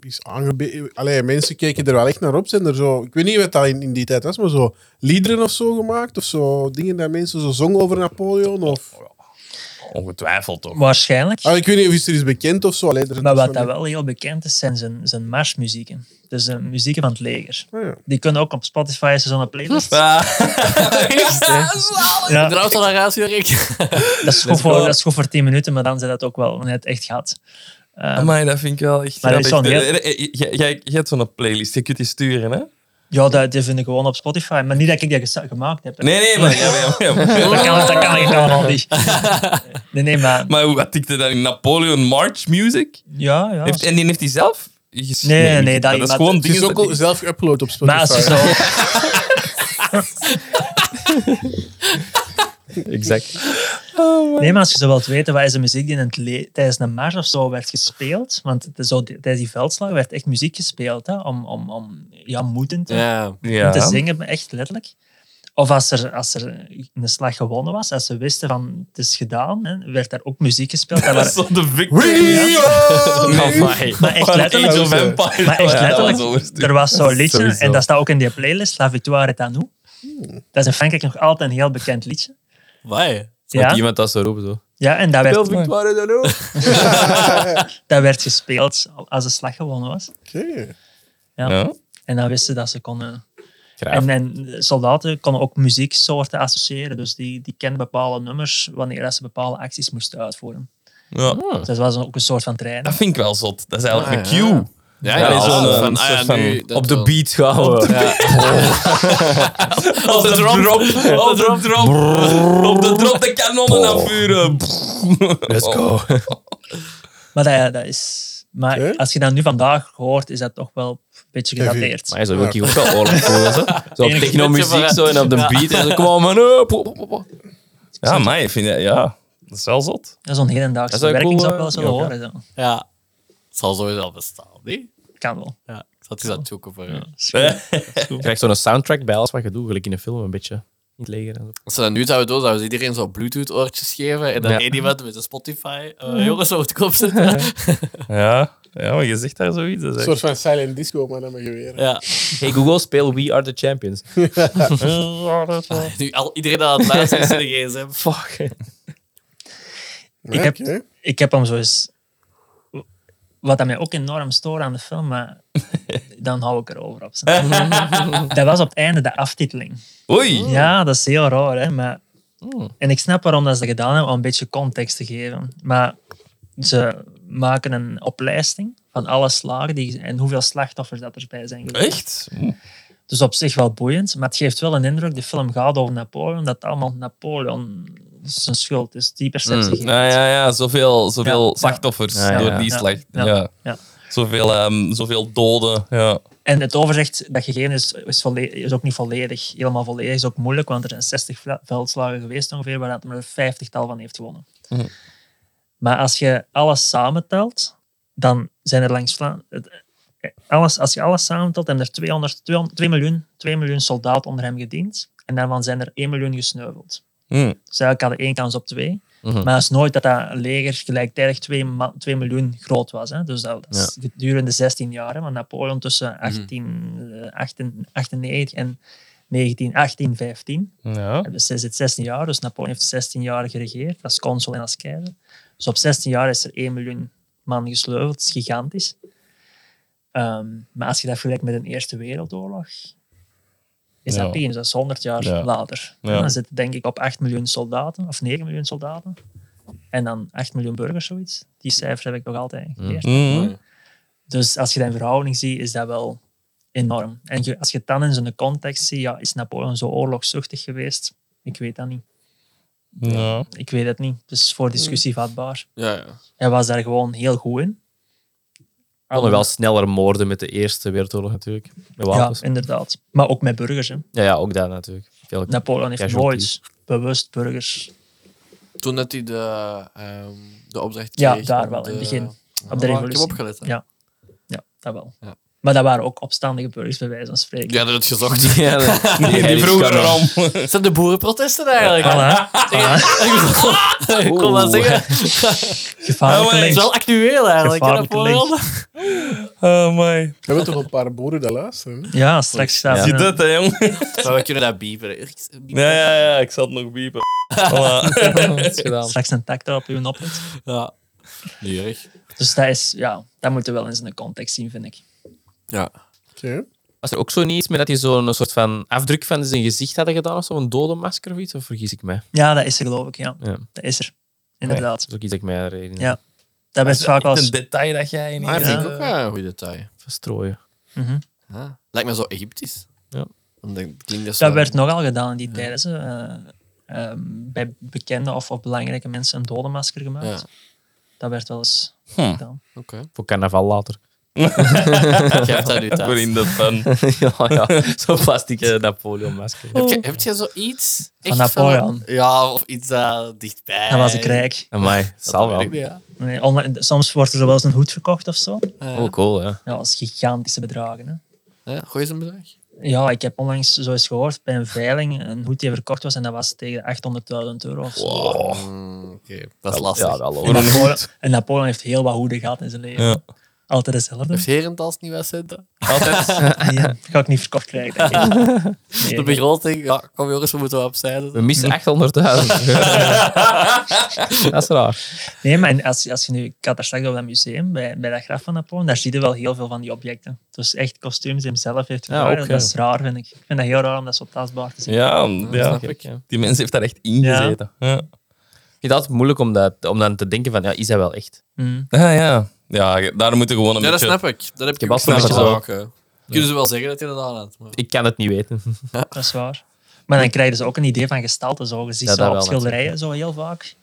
Speaker 3: is aangebeden. Allee, mensen keken er wel echt naar op. Zijn er zo, ik weet niet wat dat in, in die tijd was, maar zo liederen of zo gemaakt. Of zo dingen dat mensen zo zongen over Napoleon. Of,
Speaker 1: Ongetwijfeld toch.
Speaker 5: waarschijnlijk.
Speaker 3: Ah, ik weet niet of is er iets bekend of zo. Allee, er is
Speaker 5: Maar
Speaker 3: dus
Speaker 5: wat
Speaker 3: van-
Speaker 5: dat wel heel bekend is, zijn zijn, zijn marsmuzieken. Dus de muzieken van het leger.
Speaker 3: Ah, ja.
Speaker 5: Die kunnen ook op Spotify, ze zijn een playlist.
Speaker 1: Ah,
Speaker 5: Ja,
Speaker 4: Trouwens, al een ratio, Rick.
Speaker 5: dat, is goed voor, dat is goed voor 10 minuten, maar dan zijn dat ook wel net echt gehad. Eh,
Speaker 1: amai, dat vind ik wel echt
Speaker 5: Maar dat is
Speaker 1: grappig.
Speaker 5: zo'n heel-
Speaker 1: Eh, eh, eh, Jij jij- jij hebt zo'n playlist, je kunt die sturen, hè?
Speaker 5: ja, dat, die vind ik gewoon op Spotify. Maar niet dat ik dat gesa- gemaakt heb. hè.
Speaker 1: Nee, nee, maar... Ja, ja, ja, maar-
Speaker 5: Dat kan, dat kan ik allemaal niet. Nee, nee, maar...
Speaker 1: Maar hoe- wat tikte dan in Napoleon March Music?
Speaker 5: Ja, ja.
Speaker 1: Heeft, en die heeft die zelf? ges-
Speaker 5: Nee,
Speaker 1: maar
Speaker 5: nee, dat-
Speaker 1: is
Speaker 5: maar-
Speaker 1: gewoon
Speaker 5: het
Speaker 3: Het is
Speaker 1: dingen
Speaker 3: ook
Speaker 1: dat
Speaker 3: al zelf geüpload op
Speaker 5: Maar als je
Speaker 3: Spotify.
Speaker 5: zo...
Speaker 1: die- Exact.
Speaker 5: Nee, maar als je zo wilt weten, wat is de muziek die in het le- tijdens een mars of zo werd gespeeld? Want het is zo, tijdens die veldslag werd echt muziek gespeeld, hè, om, om, om ja, moedend te
Speaker 4: Ja.
Speaker 1: Ja.
Speaker 5: te zingen, maar echt letterlijk. Of als er, als er een slag gewonnen was, als ze wisten van het is gedaan, hè, werd daar ook muziek gespeeld. Dat
Speaker 1: Dat
Speaker 5: waren-
Speaker 1: is zo de victory. Amai.
Speaker 5: Maar echt letterlijk.
Speaker 1: Age of Empires.
Speaker 5: maar
Speaker 1: Ja,
Speaker 5: echt
Speaker 1: dat
Speaker 5: letterlijk,
Speaker 1: was overstuurd.
Speaker 5: er was zo'n liedje,
Speaker 1: Sowieso.
Speaker 5: en dat staat ook in die playlist, La Victoire est à nous. Dat is in Frankrijk nog altijd een heel bekend liedje.
Speaker 4: Wai.
Speaker 2: Met
Speaker 5: Ja,
Speaker 2: Iemand dat zo roepen zo.
Speaker 5: ja en dat werd,
Speaker 2: Victoire dan ook.
Speaker 5: dat werd gespeeld als de slag gewonnen was.
Speaker 3: Oké.
Speaker 5: Ja.
Speaker 1: Ja.
Speaker 5: En dan wisten ze dat ze konden...
Speaker 2: Graaf.
Speaker 5: En, en soldaten konden ook muzieksoorten associëren, dus die, die kenden bepaalde nummers wanneer dat ze bepaalde acties moesten uitvoeren.
Speaker 1: Ja.
Speaker 5: Dus dat was ook een soort van trein.
Speaker 1: Dat vind ik wel zot. Dat is eigenlijk
Speaker 4: Ah,
Speaker 1: een cue.
Speaker 4: Ja,
Speaker 1: Ja,
Speaker 4: ja,
Speaker 1: zo'n,
Speaker 4: ja,
Speaker 1: eh,
Speaker 4: van, ah,
Speaker 1: soort
Speaker 4: ja,
Speaker 1: van
Speaker 4: nu, dat
Speaker 2: Op de
Speaker 4: wel.
Speaker 2: beat gaan we.
Speaker 1: Op de drop. Op de drop. Op de drop de kanonnen afvuren. Let's go.
Speaker 5: Maar dat, dat is... Maar
Speaker 3: Oké.
Speaker 5: als je dat nu vandaag hoort, is dat toch wel een beetje
Speaker 3: Heavy.
Speaker 5: gedateerd.
Speaker 2: Maar zo wil ik ook wel oorlog voelen. Zo, zo op
Speaker 5: Enig
Speaker 2: technomuziek
Speaker 4: puntje
Speaker 2: zo en op de
Speaker 4: vooruit.
Speaker 2: beat. En zo, kom op man. eh, pop, pop, pop, pop.
Speaker 1: Ja, maar ik vind dat, ja, dat is wel zot.
Speaker 5: Dat is zo'n hedendaagse
Speaker 1: Dat is wel
Speaker 5: werking,
Speaker 1: cool,
Speaker 5: zou ik wel eens
Speaker 1: eh,
Speaker 5: willen
Speaker 1: ja,
Speaker 5: horen. Zo.
Speaker 4: Ja. Het zal sowieso wel bestaan, nee?
Speaker 5: Kan wel.
Speaker 4: Ja. Ik zat eens aan het zoeken voor... eh,
Speaker 2: Je krijgt zo'n soundtrack bij alles wat je doet. Gelijk in een film een beetje. Niet leger en zo.
Speaker 4: Als ze dat nu zouden doen, zouden ze iedereen zo Bluetooth-oortjes geven en dan
Speaker 2: Ja.
Speaker 4: één iemand met een Spotify. eh jongens, op het kop zitten.
Speaker 1: Ja, ja maar je zegt daar zoiets. Dat
Speaker 3: Een
Speaker 1: is
Speaker 3: soort
Speaker 1: echt...
Speaker 3: van silent disco, maar dan met geweren.
Speaker 4: ja.
Speaker 2: Hey Google, speel We Are The Champions.
Speaker 4: Nu, al, iedereen aan het luisteren is in de gsm.
Speaker 2: Fuck.
Speaker 5: Ik heb-
Speaker 3: Oké.
Speaker 5: ik heb hem zo eens... Wat dat mij ook enorm stoort aan de film, maar dan hou ik erover op. dat was op het einde de aftiteling.
Speaker 1: Oei.
Speaker 5: Ja, dat is heel raar, hè. Maar...
Speaker 1: Hmm.
Speaker 5: En ik snap waarom dat ze dat gedaan hebben, om een beetje context te geven. Maar ze maken een oplijsting van alle slagen die, en hoeveel slachtoffers dat erbij zijn
Speaker 1: Echt?
Speaker 5: geweest. Dus op zich wel boeiend, maar het geeft wel een indruk, de film gaat over Napoleon, dat het allemaal Napoleon zijn schuld is. Die perceptie geeft.
Speaker 1: Nou ja, ja, zoveel, zoveel
Speaker 5: Ja.
Speaker 1: slachtoffers
Speaker 2: Ja, ja,
Speaker 1: door
Speaker 2: ja.
Speaker 1: die
Speaker 5: Ja.
Speaker 1: slacht. Ja.
Speaker 5: Ja. Ja.
Speaker 1: Zoveel, ehm, zoveel doden. Ja.
Speaker 5: En het overzicht dat gegeven is, is, volle- is ook niet volledig. Helemaal volledig is ook moeilijk, want er zijn 60 vla- veldslagen geweest ongeveer, waar dat maar een vijftigtal van heeft gewonnen. Maar als je alles samentelt, dan zijn er langs Vla- het- alles, Als je alles samentelt, hebben er 200, 200 2 miljoen, 2 miljoen soldaten onder hem gediend. En daarvan zijn er 1 miljoen gesneuveld.
Speaker 1: Hm.
Speaker 5: Dus eigenlijk hadden één kans op twee. Maar het is nooit dat dat leger gelijktijdig 2, miljoen groot was. Hè? Dus dat is gedurende 16 jaar. Hè? Want Napoleon tussen 1898 en 1918, 15.
Speaker 1: Ja.
Speaker 5: Dus hij zit 16 jaar. Dus Napoleon heeft 16 jaar geregeerd als consul en als keizer. Dus op 16 jaar is er 1 miljoen man gesleuveld. Dat is gigantisch. Ehm, maar als je dat vergelijkt met een Eerste Wereldoorlog, is
Speaker 1: Ja.
Speaker 5: dat peanuts. Dat is 100 jaar
Speaker 1: Ja.
Speaker 5: later.
Speaker 1: Ja.
Speaker 5: Dan zitten denk ik op 8 miljoen soldaten, of 9 miljoen soldaten. En dan 8 miljoen burgers, zoiets. Die cijfers heb ik nog altijd geleerd.
Speaker 1: Hm.
Speaker 5: Dus als je dat in verhouding ziet, is dat wel enorm. En je- als je het dan in zo'n context ziet, ja, is Napoleon zo oorlogszuchtig geweest? Ik weet dat niet.
Speaker 1: Ja.
Speaker 5: Ik weet het niet. Dus
Speaker 4: Hmm.
Speaker 5: voor discussie vatbaar.
Speaker 4: Ja, ja.
Speaker 5: Hij was daar gewoon heel goed in.
Speaker 2: Konden wel sneller moorden met de Eerste Wereldoorlog natuurlijk. Met
Speaker 5: Ja,
Speaker 2: wapens. Ja,
Speaker 5: inderdaad. Maar ook met burgers. Hè.
Speaker 2: ja, ook daar natuurlijk. Veel
Speaker 5: Napoleon heeft
Speaker 2: casualties.
Speaker 5: nooit bewust burgers.
Speaker 4: Toen dat hij de, ehm, de opdracht kreeg...
Speaker 5: Ja, daar
Speaker 4: om
Speaker 5: wel, in
Speaker 4: de-
Speaker 5: het begin.
Speaker 4: Ah,
Speaker 5: Op de
Speaker 4: Ik
Speaker 5: revolutie.
Speaker 4: heb opgelet. hè.
Speaker 5: Ja. ja, dat wel.
Speaker 4: Ja.
Speaker 5: Maar dat waren ook opstandige burgers, bij wijze van spreken.
Speaker 4: Ja, dat het gezocht.
Speaker 2: Ja, dat-
Speaker 1: Die,
Speaker 2: die
Speaker 1: vroegen
Speaker 2: kan
Speaker 1: erom.
Speaker 4: Het zijn de boerenprotesten eigenlijk.
Speaker 5: Voilà. Voilà.
Speaker 4: Ik kon dat
Speaker 2: Oeh.
Speaker 4: zeggen.
Speaker 5: Gevaarlijke
Speaker 4: Het is
Speaker 5: links.
Speaker 4: wel actueel eigenlijk. hè,
Speaker 5: Gevaarlijke
Speaker 4: Napoleon.
Speaker 1: Oh, my.
Speaker 3: We hebben toch een paar boeren dat luisteren? hè?
Speaker 5: Ja, straks staat
Speaker 1: Zie
Speaker 5: er
Speaker 1: je
Speaker 5: een-
Speaker 1: dat, hè, jong?
Speaker 4: Maar we kunnen dat biepen. Ergens biepen.
Speaker 1: Ja, ja, ja, ik zal het nog biepen. Voilà.
Speaker 2: Dat is gedaan.
Speaker 5: straks een tak erop uw oplet.
Speaker 4: Ja. Niet erg.
Speaker 5: Dus dat is, ja, dat moeten we wel eens in de context zien, vind ik.
Speaker 4: Ja.
Speaker 3: Oké.
Speaker 2: Was er ook zo niet iets met dat hij zo'n soort van afdruk van zijn gezicht hadden gedaan of zo? Een dodenmasker of iets? Of vergis ik mij?
Speaker 5: Ja, dat is er geloof ik, ja.
Speaker 2: Ja.
Speaker 5: Dat is er. Inderdaad.
Speaker 2: Dat is ook iets dat ik mij herinner.
Speaker 5: Ja. Dat is vaak wel
Speaker 1: Een
Speaker 5: eens-
Speaker 1: detail dat jij in
Speaker 4: Maar
Speaker 1: één-
Speaker 4: vind ik ook wel een goed detail.
Speaker 2: Verstrooien.
Speaker 4: Ja. Lijkt me zo Egyptisch.
Speaker 2: Ja.
Speaker 4: Dan denk- klinkt dat zo...
Speaker 5: Dat werd nogal gedaan in die tijden. zo. Eh, ehm, bij bekende of, of belangrijke mensen een dodenmasker gemaakt.
Speaker 4: Ja.
Speaker 5: Dat werd wel eens
Speaker 1: Hm.
Speaker 5: gedaan.
Speaker 4: Oké.
Speaker 2: Voor carnaval later.
Speaker 4: Jij hebt dat nu thuis.
Speaker 1: Voor in de fun.
Speaker 2: ja, ja. Zo'n plastic eh, Napoleon-masker.
Speaker 4: Heb jij- Heb jij zoiets?
Speaker 5: Van
Speaker 4: echt
Speaker 5: Napoleon.
Speaker 4: Ja, of iets dat dichtbij...
Speaker 5: Dat was een rijk.
Speaker 2: Amai, zal wel.
Speaker 4: Ja.
Speaker 5: Nee, online- soms wordt er wel eens een hoed verkocht of zo.
Speaker 2: Oh, cool, hè.
Speaker 5: Ja, dat is gigantische bedragen. Hè.
Speaker 4: Ja, gooi eens een bedrag.
Speaker 5: Ja, ik heb onlangs zo eens gehoord bij een veiling een hoed die verkocht was en dat was tegen 800.000 euro. Of zo.
Speaker 4: Mm, Oké, dat is lastig.
Speaker 2: Ja, wel hoor.
Speaker 5: En, Napoleon, en Napoleon heeft heel wat hoeden gehad in zijn leven.
Speaker 1: Ja.
Speaker 5: Altijd dezelfde.
Speaker 4: Heeft Herentals niet centen?
Speaker 1: Altijd.
Speaker 5: Die eh, ga ik niet verkocht krijgen. denk ik. Nee.
Speaker 4: De begroting, ja, kom jongens, we moeten wel opzijden.
Speaker 2: We missen 800.000. dat is raar.
Speaker 5: Nee, maar en als, als je nu, ik had daar straks op dat museum, bij, bij dat graf van Napoleon, daar zie je wel heel veel van die objecten. Dus echt kostuums die hem zelf heeft gedaan.
Speaker 2: ook,
Speaker 5: dat
Speaker 2: ja.
Speaker 5: is raar, vind ik. Ik vind dat heel raar om dat zo tastbaar te zien.
Speaker 1: Ja, ja.
Speaker 4: Snap ik.
Speaker 1: Die mens heeft daar echt in
Speaker 5: Ja.
Speaker 1: gezeten. Ja.
Speaker 2: vind het altijd moeilijk om, dat, om dan te denken van, ja, is dat wel echt?
Speaker 1: Ja, ja. Ja, daar moeten gewoon een
Speaker 4: Ja, dat
Speaker 1: beetje...
Speaker 4: snap ik. Dat heb ik
Speaker 2: heb
Speaker 4: ook
Speaker 2: altijd
Speaker 4: snel
Speaker 2: een
Speaker 4: gedaan. Kunnen ze wel zeggen dat je dat aan had. Maar...
Speaker 2: Ik kan het niet weten.
Speaker 5: Dat is waar. Maar dan krijgen ze ook een idee van gestalte. Zo. Je ziet
Speaker 2: Ja, dat
Speaker 5: zo op
Speaker 2: wel,
Speaker 5: schilderijen zo heel vaak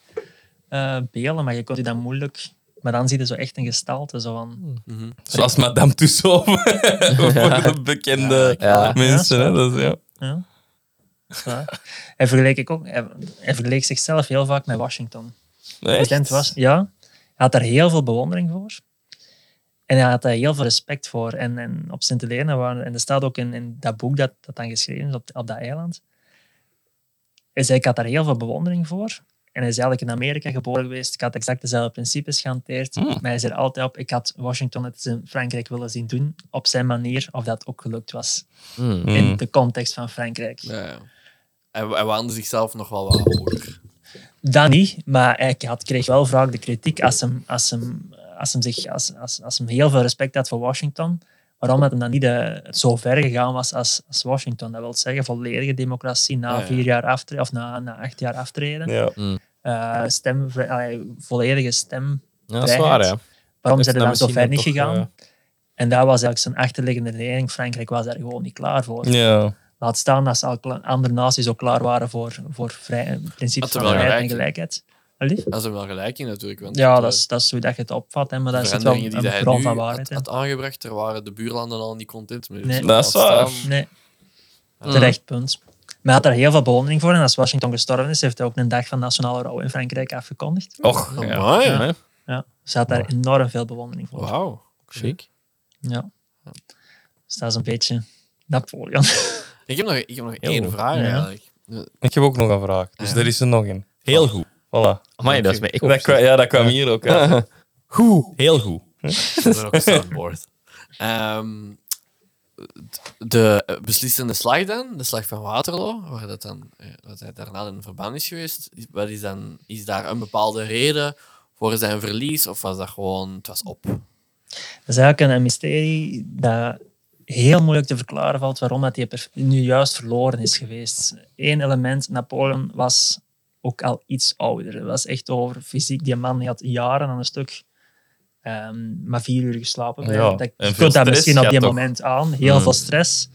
Speaker 5: eh beelden, maar je kunt je dan moeilijk... Maar dan zie je zo echt een gestalte. Zo
Speaker 2: Hmm.
Speaker 5: van,
Speaker 1: Zoals Madame Tussauds. Voor de bekende
Speaker 2: Ja.
Speaker 1: mensen. hè. Dat is, ja.
Speaker 5: ja. Ja. Hij, vergeleek ik ook, hij, hij vergeleek zichzelf heel vaak met Washington.
Speaker 1: Echt?
Speaker 5: bekend was. Ja, hij had daar heel veel bewondering voor. En hij had daar heel veel respect voor. En, en op Sint Helena, waren, en er staat ook in, in dat boek dat, dat dan geschreven is op, op dat eiland. Hij zei, ik had daar heel veel bewondering voor. En hij is eigenlijk in Amerika geboren geweest. Ik had exact dezelfde principes gehanteerd. Maar hij is er altijd op. Ik had Washington het in Frankrijk willen zien doen. Op zijn manier, of dat ook gelukt was. In de context van Frankrijk.
Speaker 4: Ja, ja. Hij, hij waande zichzelf nog wel wat hoger.
Speaker 5: Dat niet, maar hij had, kreeg wel vaak de kritiek als hem, als hem, als hem, zich, als, als, als hem heel veel respect had voor Washington. Waarom dat hem dan niet eh, zo ver gegaan was als, als Washington? Dat wil zeggen, volledige democratie na
Speaker 4: Ja, ja.
Speaker 5: vier jaar aftreden, of na, na acht jaar aftreden.
Speaker 1: Ja.
Speaker 4: Hm.
Speaker 5: Eh, stem, allee, volledige stem.
Speaker 2: Ja, dat is waar, ja.
Speaker 5: Waarom zijn
Speaker 2: Dat
Speaker 5: ze
Speaker 2: is
Speaker 5: dan zo
Speaker 2: dan
Speaker 5: ver niet
Speaker 2: misschien eh, dan
Speaker 5: gegaan? En daar was eigenlijk zijn achterliggende leiding. Frankrijk was daar gewoon niet klaar voor.
Speaker 1: Ja.
Speaker 5: Laat staan dat ze al kla- andere naties ook klaar waren voor, voor vrij, principes
Speaker 4: Had er
Speaker 5: van
Speaker 4: wel
Speaker 5: vrijheid en
Speaker 4: gelijk in.
Speaker 5: gelijkheid. Allee?
Speaker 4: Dat is er wel gelijk in natuurlijk. Want eh,
Speaker 5: Ja,
Speaker 4: de
Speaker 5: dat is, dat is hoe dat je het opvat, hè, maar dat is het wel
Speaker 4: veranderingen die
Speaker 5: een
Speaker 4: hij
Speaker 5: bron
Speaker 4: nu
Speaker 5: van
Speaker 4: had,
Speaker 5: waarheid. hè.
Speaker 4: had aangebracht, daar waren de buurlanden al niet content mee. Dus
Speaker 5: Nee.
Speaker 1: Dat is
Speaker 4: laat
Speaker 1: waar.
Speaker 4: staan.
Speaker 5: Nee, terecht punt. Maar hij had daar heel veel bewondering voor en als Washington gestorven is, heeft hij ook een dag van nationale rouw in Frankrijk afgekondigd.
Speaker 4: Oh.
Speaker 1: Och, ja.
Speaker 4: Amai.
Speaker 2: Ja.
Speaker 5: Ja. Dus hij had daar enorm veel bewondering voor.
Speaker 4: Wauw. Chic.
Speaker 5: Ja. Dus dat is een beetje Napoleon.
Speaker 4: Ik heb nog, ik heb nog één vraag
Speaker 5: Ja.
Speaker 4: eigenlijk.
Speaker 1: Ik heb ook nog een vraag. Dus er is er nog een.
Speaker 2: Heel goed.
Speaker 1: Voilà.
Speaker 2: Amai, dat is mijn echo.
Speaker 1: Dat kwa- ja, dat kwam hier ook uit. Goed. Heel goed.
Speaker 4: Dat is ook een soundboard. Ehm, d- de eh, beslissende slag dan, de slag van Waterloo, waar dat dan, eh, wat hij daarna in verband is geweest, is- wat is, dan, is daar een bepaalde reden voor zijn verlies of was dat gewoon, het was op?
Speaker 5: Dat is eigenlijk een, een mysterie dat heel moeilijk te verklaren valt waarom dat die perf- nu juist verloren is geweest. Eén element, Napoleon was ook al iets ouder. Het was echt over fysiek. Die man die had jaren aan een stuk ehm, maar vier uur geslapen.
Speaker 1: Ja,
Speaker 5: dat,
Speaker 1: en
Speaker 5: je
Speaker 1: veel
Speaker 5: kunt dat
Speaker 1: stress
Speaker 5: misschien op
Speaker 1: gaat
Speaker 5: die
Speaker 1: toch- Mm.
Speaker 5: moment aan. Heel veel stress.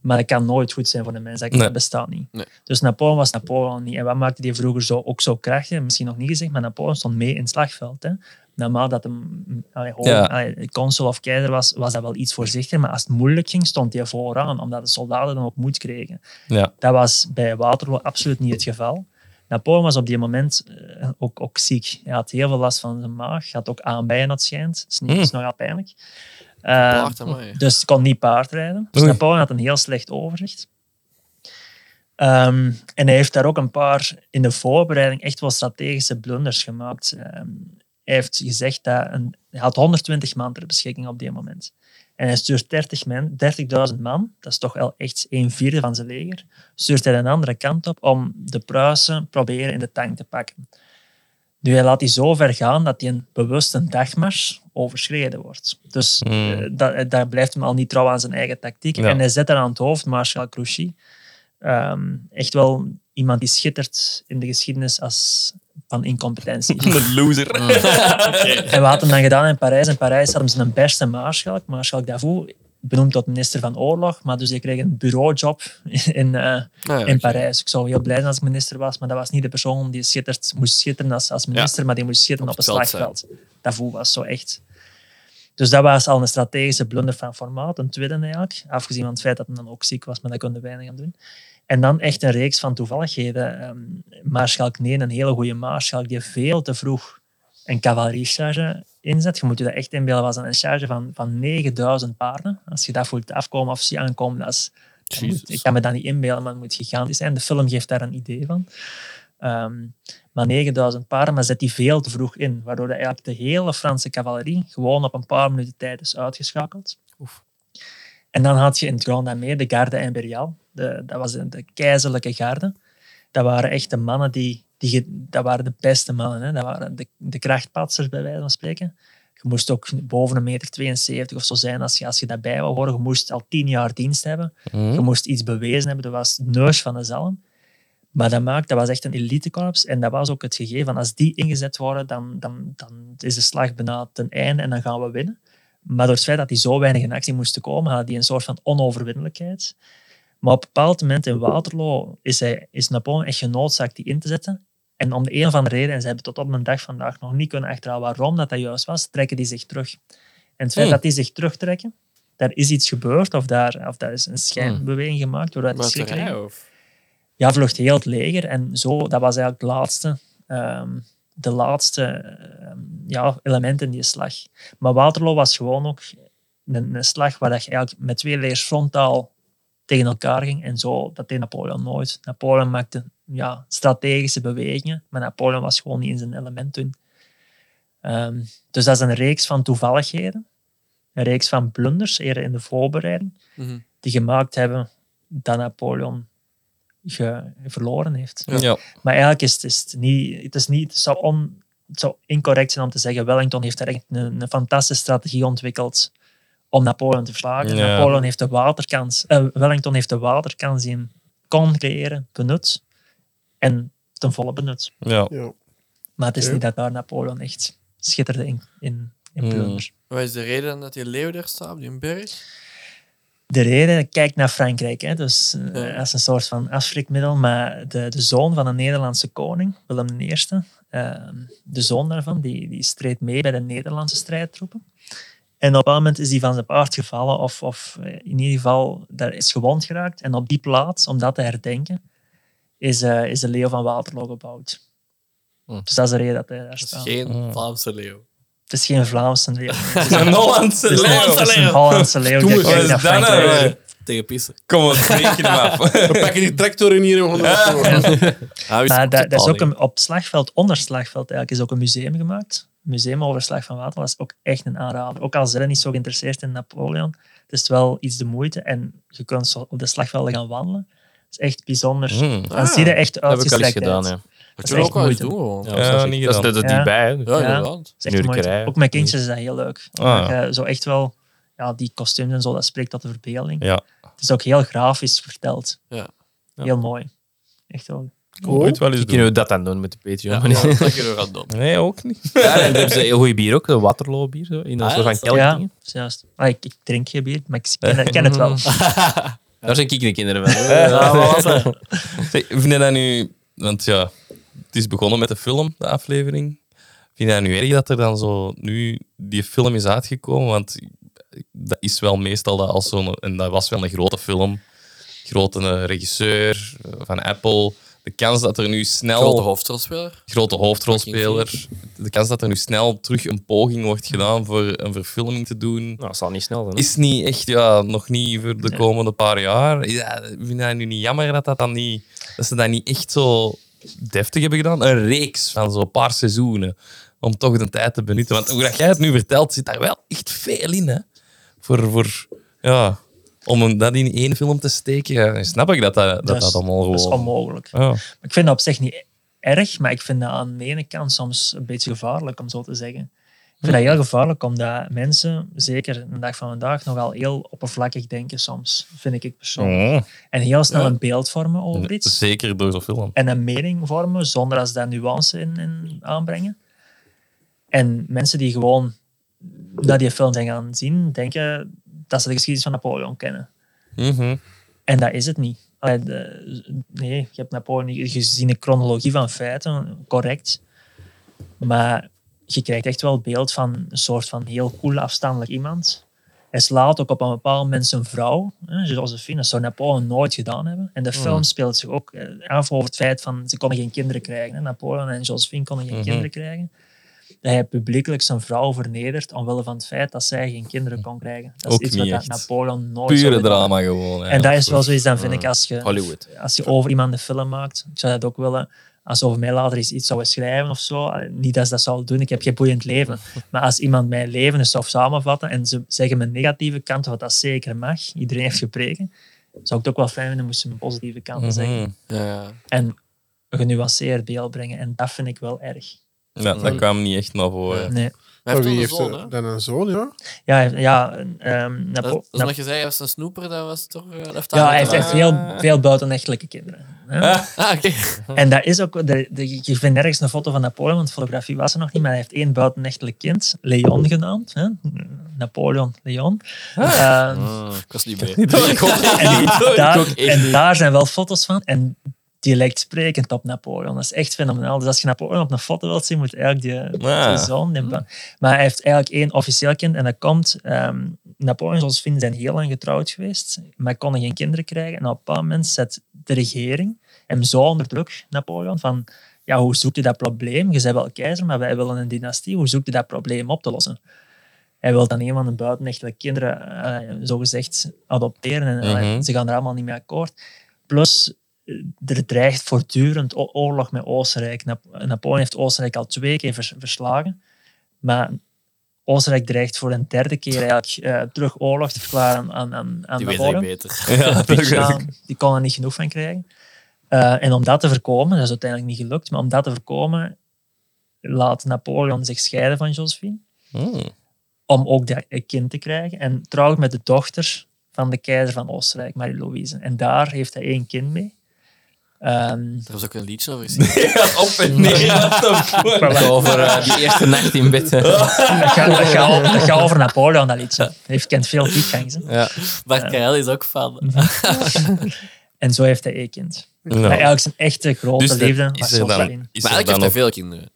Speaker 5: Maar dat kan nooit goed zijn voor een mens. Dat
Speaker 1: Nee.
Speaker 5: bestaat niet.
Speaker 4: Nee.
Speaker 5: Dus Napoleon was Napoleon niet. En wat maakte die vroeger zo, ook zo krachtig? Misschien nog niet gezegd, maar Napoleon stond mee in het slagveld. Hè? Normaal dat hem mm, allee, hoog-
Speaker 1: Ja.
Speaker 5: allee, consul of keizer was, was dat wel iets voorzichtiger. Maar als het moeilijk ging, stond hij vooraan, omdat de soldaten dan ook moed kregen.
Speaker 1: Ja.
Speaker 5: Dat was bij Waterloo absoluut niet het geval. Napoleon was op die moment eh, ook, ook ziek. Hij had heel veel last van zijn maag. Had ook aanbijen, dat schijnt. Het is, niet- is nogal pijnlijk. Eh,
Speaker 4: Plaagt hem, hè.
Speaker 5: dus kon niet paardrijden. Dus
Speaker 1: Oei.
Speaker 5: Napoleon had een heel slecht overzicht. Ehm, en hij heeft daar ook een paar in de voorbereiding echt wel strategische blunders gemaakt. Ehm, hij heeft gezegd dat een, hij had 120 man ter beschikking op dit moment. En hij stuurt 30 men, 30.000 man, dat is toch wel echt een vierde van zijn leger, stuurt hij een andere kant op om de Pruisen proberen in de tank te pakken. Nu, hij laat die zo ver gaan dat hij een bewust een dagmars overschreden wordt. Dus eh, dat, daar blijft hem al niet trouw aan zijn eigen tactiek.
Speaker 1: Ja.
Speaker 5: En hij zet daar aan het hoofd Marshal Grouchy. Ehm, echt wel iemand die schittert in de geschiedenis als van incompetentie.
Speaker 1: Een loser.
Speaker 5: En wat had hem dan gedaan in Parijs? In Parijs hadden ze een beste maarschalk, maarschalk Davout, benoemd tot minister van oorlog. Maar dus hij kreeg een bureaujob in, eh,
Speaker 4: Nou ja,
Speaker 5: in
Speaker 4: oké.
Speaker 5: Parijs. Ik zou heel blij zijn als ik minister was, maar dat was niet de persoon die schittert, moest schitteren als, als minister, maar die moest schitteren op,
Speaker 4: het
Speaker 5: het
Speaker 4: veld
Speaker 5: slagveld. Davout was zo echt. Dus dat was al een strategische blunder van formaat, een tweede eigenlijk. Afgezien van het feit dat hij dan ook ziek was, maar daar konden we weinig aan doen. En dan echt een reeks van toevalligheden. Ehm maarschalk Neen, een hele goede maarschalk, die veel te vroeg een cavalerie-charge inzet. Je moet je dat echt inbeelden, was een charge van, van 9000 paarden. Als je dat voelt afkomen of zien aankomen, dat is... dat moet- ik kan me dat niet inbeelden, maar het moet gigantisch zijn. De film geeft daar een idee van. Ehm, maar 9000 paarden, maar zet die veel te vroeg in. Waardoor dat eigenlijk de hele Franse cavalerie gewoon op een paar minuten tijd is uitgeschakeld. En dan had je in het Grand mee de garde imperiaal. De, dat was de, de keizerlijke garde. Dat waren echt de mannen die... die ge- dat waren de beste mannen. Hè. Dat waren de, de krachtpatsers, bij wijze van spreken. Je moest ook boven een meter 72 of zo zijn als je, als je daarbij wou horen. Je moest al tien jaar dienst hebben. Je moest iets bewezen hebben. Dat was het neus van de zalm. Maar dat maakt, dat was echt een elite korps. En dat was ook het gegeven van als die ingezet worden, dan, dan, dan is de slag bijna ten einde en dan gaan we winnen. Maar door het feit dat die zo weinig in actie moesten komen, hadden die een soort van onoverwinnelijkheid. Maar op een bepaald moment in Waterloo is, hij, is Napoleon echt genoodzaakt die in te zetten. En om de een of andere reden, en ze hebben tot op de dag vandaag nog niet kunnen achterhalen waarom dat, dat juist was, trekken die zich terug. En het feit
Speaker 2: Hmm.
Speaker 5: dat die zich terugtrekken, daar is iets gebeurd of daar, of daar is een schijnbeweging gemaakt. Doordat die
Speaker 4: Wat
Speaker 5: schrik kregen.
Speaker 4: of?
Speaker 5: Ja, vlucht heel het leger. En zo, dat was eigenlijk het laatste, ehm, de laatste ehm, ja, element in die slag. Maar Waterloo was gewoon ook een, een slag waar dat je eigenlijk met twee legers frontaal tegen elkaar ging. En zo, dat deed Napoleon nooit. Napoleon maakte ja, strategische bewegingen, maar Napoleon was gewoon niet in zijn element toen. Ehm, dus dat is een reeks van toevalligheden, een reeks van blunders, eerder in de voorbereiding,
Speaker 4: Mhm.
Speaker 5: die gemaakt hebben dat Napoleon ge- verloren heeft.
Speaker 1: Ja.
Speaker 5: Maar eigenlijk is het, is het niet, het is niet, het zou, on, het zou incorrect zijn om te zeggen, Wellington heeft daar echt een, een fantastische strategie ontwikkeld om Napoleon te verslagen.
Speaker 1: Ja.
Speaker 5: Napoleon heeft de waterkans, eh, Wellington heeft de waterkans die hem kon creëren, benut. En ten volle benut.
Speaker 1: Ja.
Speaker 3: Ja.
Speaker 5: Maar het is
Speaker 3: Ja.
Speaker 5: niet dat daar Napoleon echt schitterde in, in, in
Speaker 1: Hmm.
Speaker 5: plunder.
Speaker 4: Wat is de reden dat die leeuw daar staat, op die berg?
Speaker 5: De reden, kijk naar Frankrijk, hè, dus eh,
Speaker 4: Ja.
Speaker 5: als een soort van afschrikmiddel. Maar de, de zoon van een Nederlandse koning, Willem I, ehm, de zoon daarvan, die, die streed mee bij de Nederlandse strijdtroepen. En op een bepaald moment is hij van zijn paard gevallen, of, of eh, in ieder geval daar is gewond geraakt. En op die plaats, om dat te herdenken, is, eh, is de Leeuw van Waterloo gebouwd.
Speaker 2: Hm.
Speaker 5: Dus dat is de reden dat hij daar
Speaker 4: Dat is
Speaker 5: staat.
Speaker 4: geen
Speaker 1: Ah.
Speaker 4: Vlaamse leeuw.
Speaker 5: Het is geen Vlaamse leeuw. Het is
Speaker 1: Een Hollandse
Speaker 5: een-
Speaker 1: leeuw.
Speaker 5: Het is een Hollandse leeuw.
Speaker 3: Doe
Speaker 5: die
Speaker 3: eens,
Speaker 5: kijkt
Speaker 1: wat
Speaker 5: naar
Speaker 1: is dat
Speaker 5: Frankrijk.
Speaker 1: nou weer?
Speaker 4: Tegen pissen.
Speaker 1: Kom, we breken hem af.
Speaker 3: We pakken die tractor in hier en we gaan er naartoe.
Speaker 5: Maar da- dat is ook een, op slagveld, onder slagveld eigenlijk, is ook een museum gemaakt. Museum over Slag van Waterloo is ook echt een aanrader. Ook al zijn we niet zo geïnteresseerd in Napoleon, het is wel iets de moeite. En je kunt zo op de slagvelden gaan wandelen. Het is echt bijzonder.
Speaker 1: Hmm.
Speaker 5: Dan zie je echt
Speaker 2: Dat heb ik al eens
Speaker 5: uitgestrekt
Speaker 2: gedaan,
Speaker 5: uit.
Speaker 2: ja.
Speaker 4: Dat
Speaker 5: is
Speaker 4: kunnen we
Speaker 5: echt
Speaker 4: ook wel eens doen,
Speaker 5: moeite.
Speaker 4: gewoon.
Speaker 2: Ja,
Speaker 4: Ja,
Speaker 1: dat is
Speaker 2: dat,
Speaker 1: niet
Speaker 2: is,
Speaker 1: gedaan.
Speaker 2: dat is
Speaker 5: Ja.
Speaker 2: dichtbij. hè.
Speaker 5: Ja.
Speaker 4: inderdaad.
Speaker 5: Het is echt de moeite.
Speaker 2: Nurkerij.
Speaker 5: Ook met kindjes is dat heel leuk.
Speaker 1: Ah.
Speaker 5: Omdat je zo echt wel, ja, die kostuums en zo, dat spreekt tot de verbeelding.
Speaker 1: Ja.
Speaker 5: Het is ook heel grafisch verteld.
Speaker 4: Ja.
Speaker 2: Ja.
Speaker 5: Heel mooi. Echt wel.
Speaker 1: Cool. Ooit wel eens doen.
Speaker 2: Kunnen we dat dan doen met de Patreon?
Speaker 4: Ja, dat kunnen we gaan doen.
Speaker 1: Nee, ook niet.
Speaker 2: Ja, en dan hebben ze een heel goede bier ook, de Waterloo bier, zo, in een
Speaker 4: Ah,
Speaker 2: soort van
Speaker 4: dat is-
Speaker 2: kelk.
Speaker 5: ja, juist. Ah, ik, ik drink geen bier, maar ik ken, ik ken het wel.
Speaker 2: Daar zijn ik de kinderen van.
Speaker 5: Ja, wat was dat?
Speaker 2: Nou,
Speaker 1: Zeg, vind je dat nu... Want ja, het is begonnen met de film, de aflevering. Vind je dat nu erg dat er dan zo nu die film is uitgekomen? Want dat is wel meestal dat als zo'n... En dat was wel een grote film. Grote eh, regisseur eh, van Apple. De kans dat er nu snel...
Speaker 4: Grote hoofdrolspeler.
Speaker 1: grote hoofdrolspeler. De kans dat er nu snel terug een poging wordt gedaan voor een verfilming te doen,
Speaker 2: Nou, dat zal niet snel zijn. hè.
Speaker 1: is niet echt, ja, nog niet voor de komende paar jaar. Ja, vind je dat nu niet jammer dat, dat, dan niet, dat ze dat niet echt zo deftig hebben gedaan? Een reeks van zo'n paar seizoenen, om toch de tijd te benutten. Want hoe dat jij het nu vertelt, zit daar wel echt veel in, hè? Voor, voor ja, om een- dat in één film te steken, ja, snap ik dat dat, dat, dat,
Speaker 5: is-
Speaker 1: allemaal
Speaker 5: Dat is
Speaker 1: gewoon...
Speaker 5: onmogelijk.
Speaker 1: Ja.
Speaker 5: Maar ik vind dat op zich niet erg, maar ik vind dat aan de ene kant soms een beetje gevaarlijk, om zo te zeggen. Ik vind dat heel gevaarlijk, omdat mensen, zeker in de dag van vandaag, nogal heel oppervlakkig denken soms, vind ik het persoonlijk.
Speaker 1: Mm.
Speaker 5: En heel snel een beeld vormen over iets.
Speaker 1: Zeker door zo'n film.
Speaker 5: en een mening vormen zonder dat ze daar nuance in, in aanbrengen. En mensen die gewoon naar die film zijn gaan zien, denken dat ze de geschiedenis van Napoleon kennen.
Speaker 1: Mhm.
Speaker 5: En dat is het niet. Allee, de- nee, je hebt Napoleon niet gezien de chronologie van feiten, correct. Maar je krijgt echt wel beeld van een soort van heel cool afstandelijk iemand. Hij slaat ook op een bepaald moment zijn vrouw, hè, Josephine. Dat zou Napoleon nooit gedaan hebben. En de
Speaker 1: Mm.
Speaker 5: film speelt zich ook eh, af over het feit van ze konden geen kinderen krijgen. Hè. Napoleon en Josephine konden
Speaker 1: Mhm.
Speaker 5: geen kinderen krijgen. Dat hij publiekelijk zijn vrouw vernedert omwille van het feit dat zij geen kinderen kon krijgen. Dat is
Speaker 1: Ook
Speaker 5: iets
Speaker 1: niet
Speaker 5: wat
Speaker 1: echt.
Speaker 5: Napoleon nooit zou
Speaker 1: Pure
Speaker 5: gedaan hebben.
Speaker 1: drama gewoon.
Speaker 5: En dat
Speaker 1: eigenlijk.
Speaker 5: is wel zoiets, dan vind ik, als je,
Speaker 2: Hollywood.
Speaker 5: als je over iemand een film maakt, ik zou dat ook willen, als over mij later eens iets zou schrijven of zo, eh, niet dat ze dat zou doen, ik heb geen boeiend leven, maar als iemand mijn leven eens zou samenvatten en ze zeggen mijn negatieve kanten, wat dat zeker mag, iedereen heeft gepreken, zou ik het ook wel fijn vinden moesten mijn positieve kanten zeggen.
Speaker 1: Mhm.
Speaker 4: Ja, ja.
Speaker 5: En een genuanceerd beeld brengen, en dat vind ik wel erg.
Speaker 1: Ja, dat kwam niet echt naar voren.
Speaker 4: Ja.
Speaker 5: Nee.
Speaker 4: Maar hij
Speaker 3: wie
Speaker 4: heeft
Speaker 3: Oh,
Speaker 4: toch
Speaker 3: heeft
Speaker 4: een zoon,
Speaker 3: er
Speaker 4: hè?
Speaker 3: dan een zoon, ja?
Speaker 5: Ja, ja, ehm Napo-
Speaker 4: Dat, dat is
Speaker 5: Nap-
Speaker 4: nog gezegd, hij was een snoeper, dat was toch... eh, dat
Speaker 5: ja, hij heeft
Speaker 4: daar-
Speaker 5: echt heel veel buitenechtelijke kinderen. hè.
Speaker 4: Ah, oké.
Speaker 5: En dat is ook, de, de, je vindt nergens een foto van Napoleon, want fotografie was er nog niet, maar hij heeft één buitenechtelijk kind, Leon genaamd. Hè? Napoleon, Leon. Ehm,
Speaker 4: Ah, ik was niet mee.
Speaker 5: en,
Speaker 1: Sorry,
Speaker 5: daar,
Speaker 1: Ah. ik ook echt
Speaker 5: en daar zijn wel foto's van. En die lijkt sprekend op Napoleon. Dat is echt fenomenaal. Dus als je Napoleon op een foto wilt zien, moet je eigenlijk die,
Speaker 1: Ja.
Speaker 5: die zoon nemen. Maar hij heeft eigenlijk één officieel kind. En dat komt... ehm, Napoleon en Josephine zijn heel lang getrouwd geweest, maar konden geen kinderen krijgen. En op een bepaald moment zet de regering hem zo onder druk, Napoleon, van... Ja, hoe zoekt u dat probleem? Je bent wel keizer, maar wij willen een dynastie. Hoe zoekt u dat probleem op te lossen? hij wil dan een van de buitenechtelijke kinderen, eh, zogezegd, adopteren. En eh,
Speaker 1: Mhm.
Speaker 5: ze gaan er allemaal niet mee akkoord. Plus, eh, er dreigt voortdurend o- oorlog met Oostenrijk. Nap- Napoleon heeft Oostenrijk al twee keer vers- verslagen. Maar Oostenrijk dreigt voor een derde keer eigenlijk, eh, terug oorlog te verklaren aan, aan, aan
Speaker 4: Die weet ik
Speaker 5: Napoleon.
Speaker 4: beter.
Speaker 1: Ja, dat
Speaker 5: Pitch
Speaker 1: weet ik.
Speaker 5: aan. Die kon er niet genoeg van krijgen. Eh, en om dat te voorkomen, dat is uiteindelijk niet gelukt, maar om dat te voorkomen laat Napoleon zich scheiden van Josephine
Speaker 1: Hmm.
Speaker 5: om ook dat kind te krijgen. En trouwt met de dochter van de keizer van Oostenrijk, Marie-Louise. En daar heeft hij één kind mee. Ehm,
Speaker 4: Er was ook een liedje over gezien.
Speaker 1: Ja, op en neer. what the fuck?
Speaker 2: Over eh, die eerste nacht in bed. hè.
Speaker 5: dat, gaat, dat, gaat, dat gaat over Napoleon, dat liedje. Hij heeft- kent veel diepgangs. hè.
Speaker 2: Ja.
Speaker 4: Bart Karel is ook
Speaker 5: Mhm.
Speaker 4: van.
Speaker 5: En zo heeft hij één kind.
Speaker 1: Nou,
Speaker 5: Maar eigenlijk zijn echte grote
Speaker 1: dus dat
Speaker 5: liefde was
Speaker 1: is er
Speaker 5: Josephine.
Speaker 1: dan, is
Speaker 4: Maar
Speaker 1: er
Speaker 4: eigenlijk heeft
Speaker 1: dan
Speaker 4: hij
Speaker 1: nog...
Speaker 4: veel kinderen.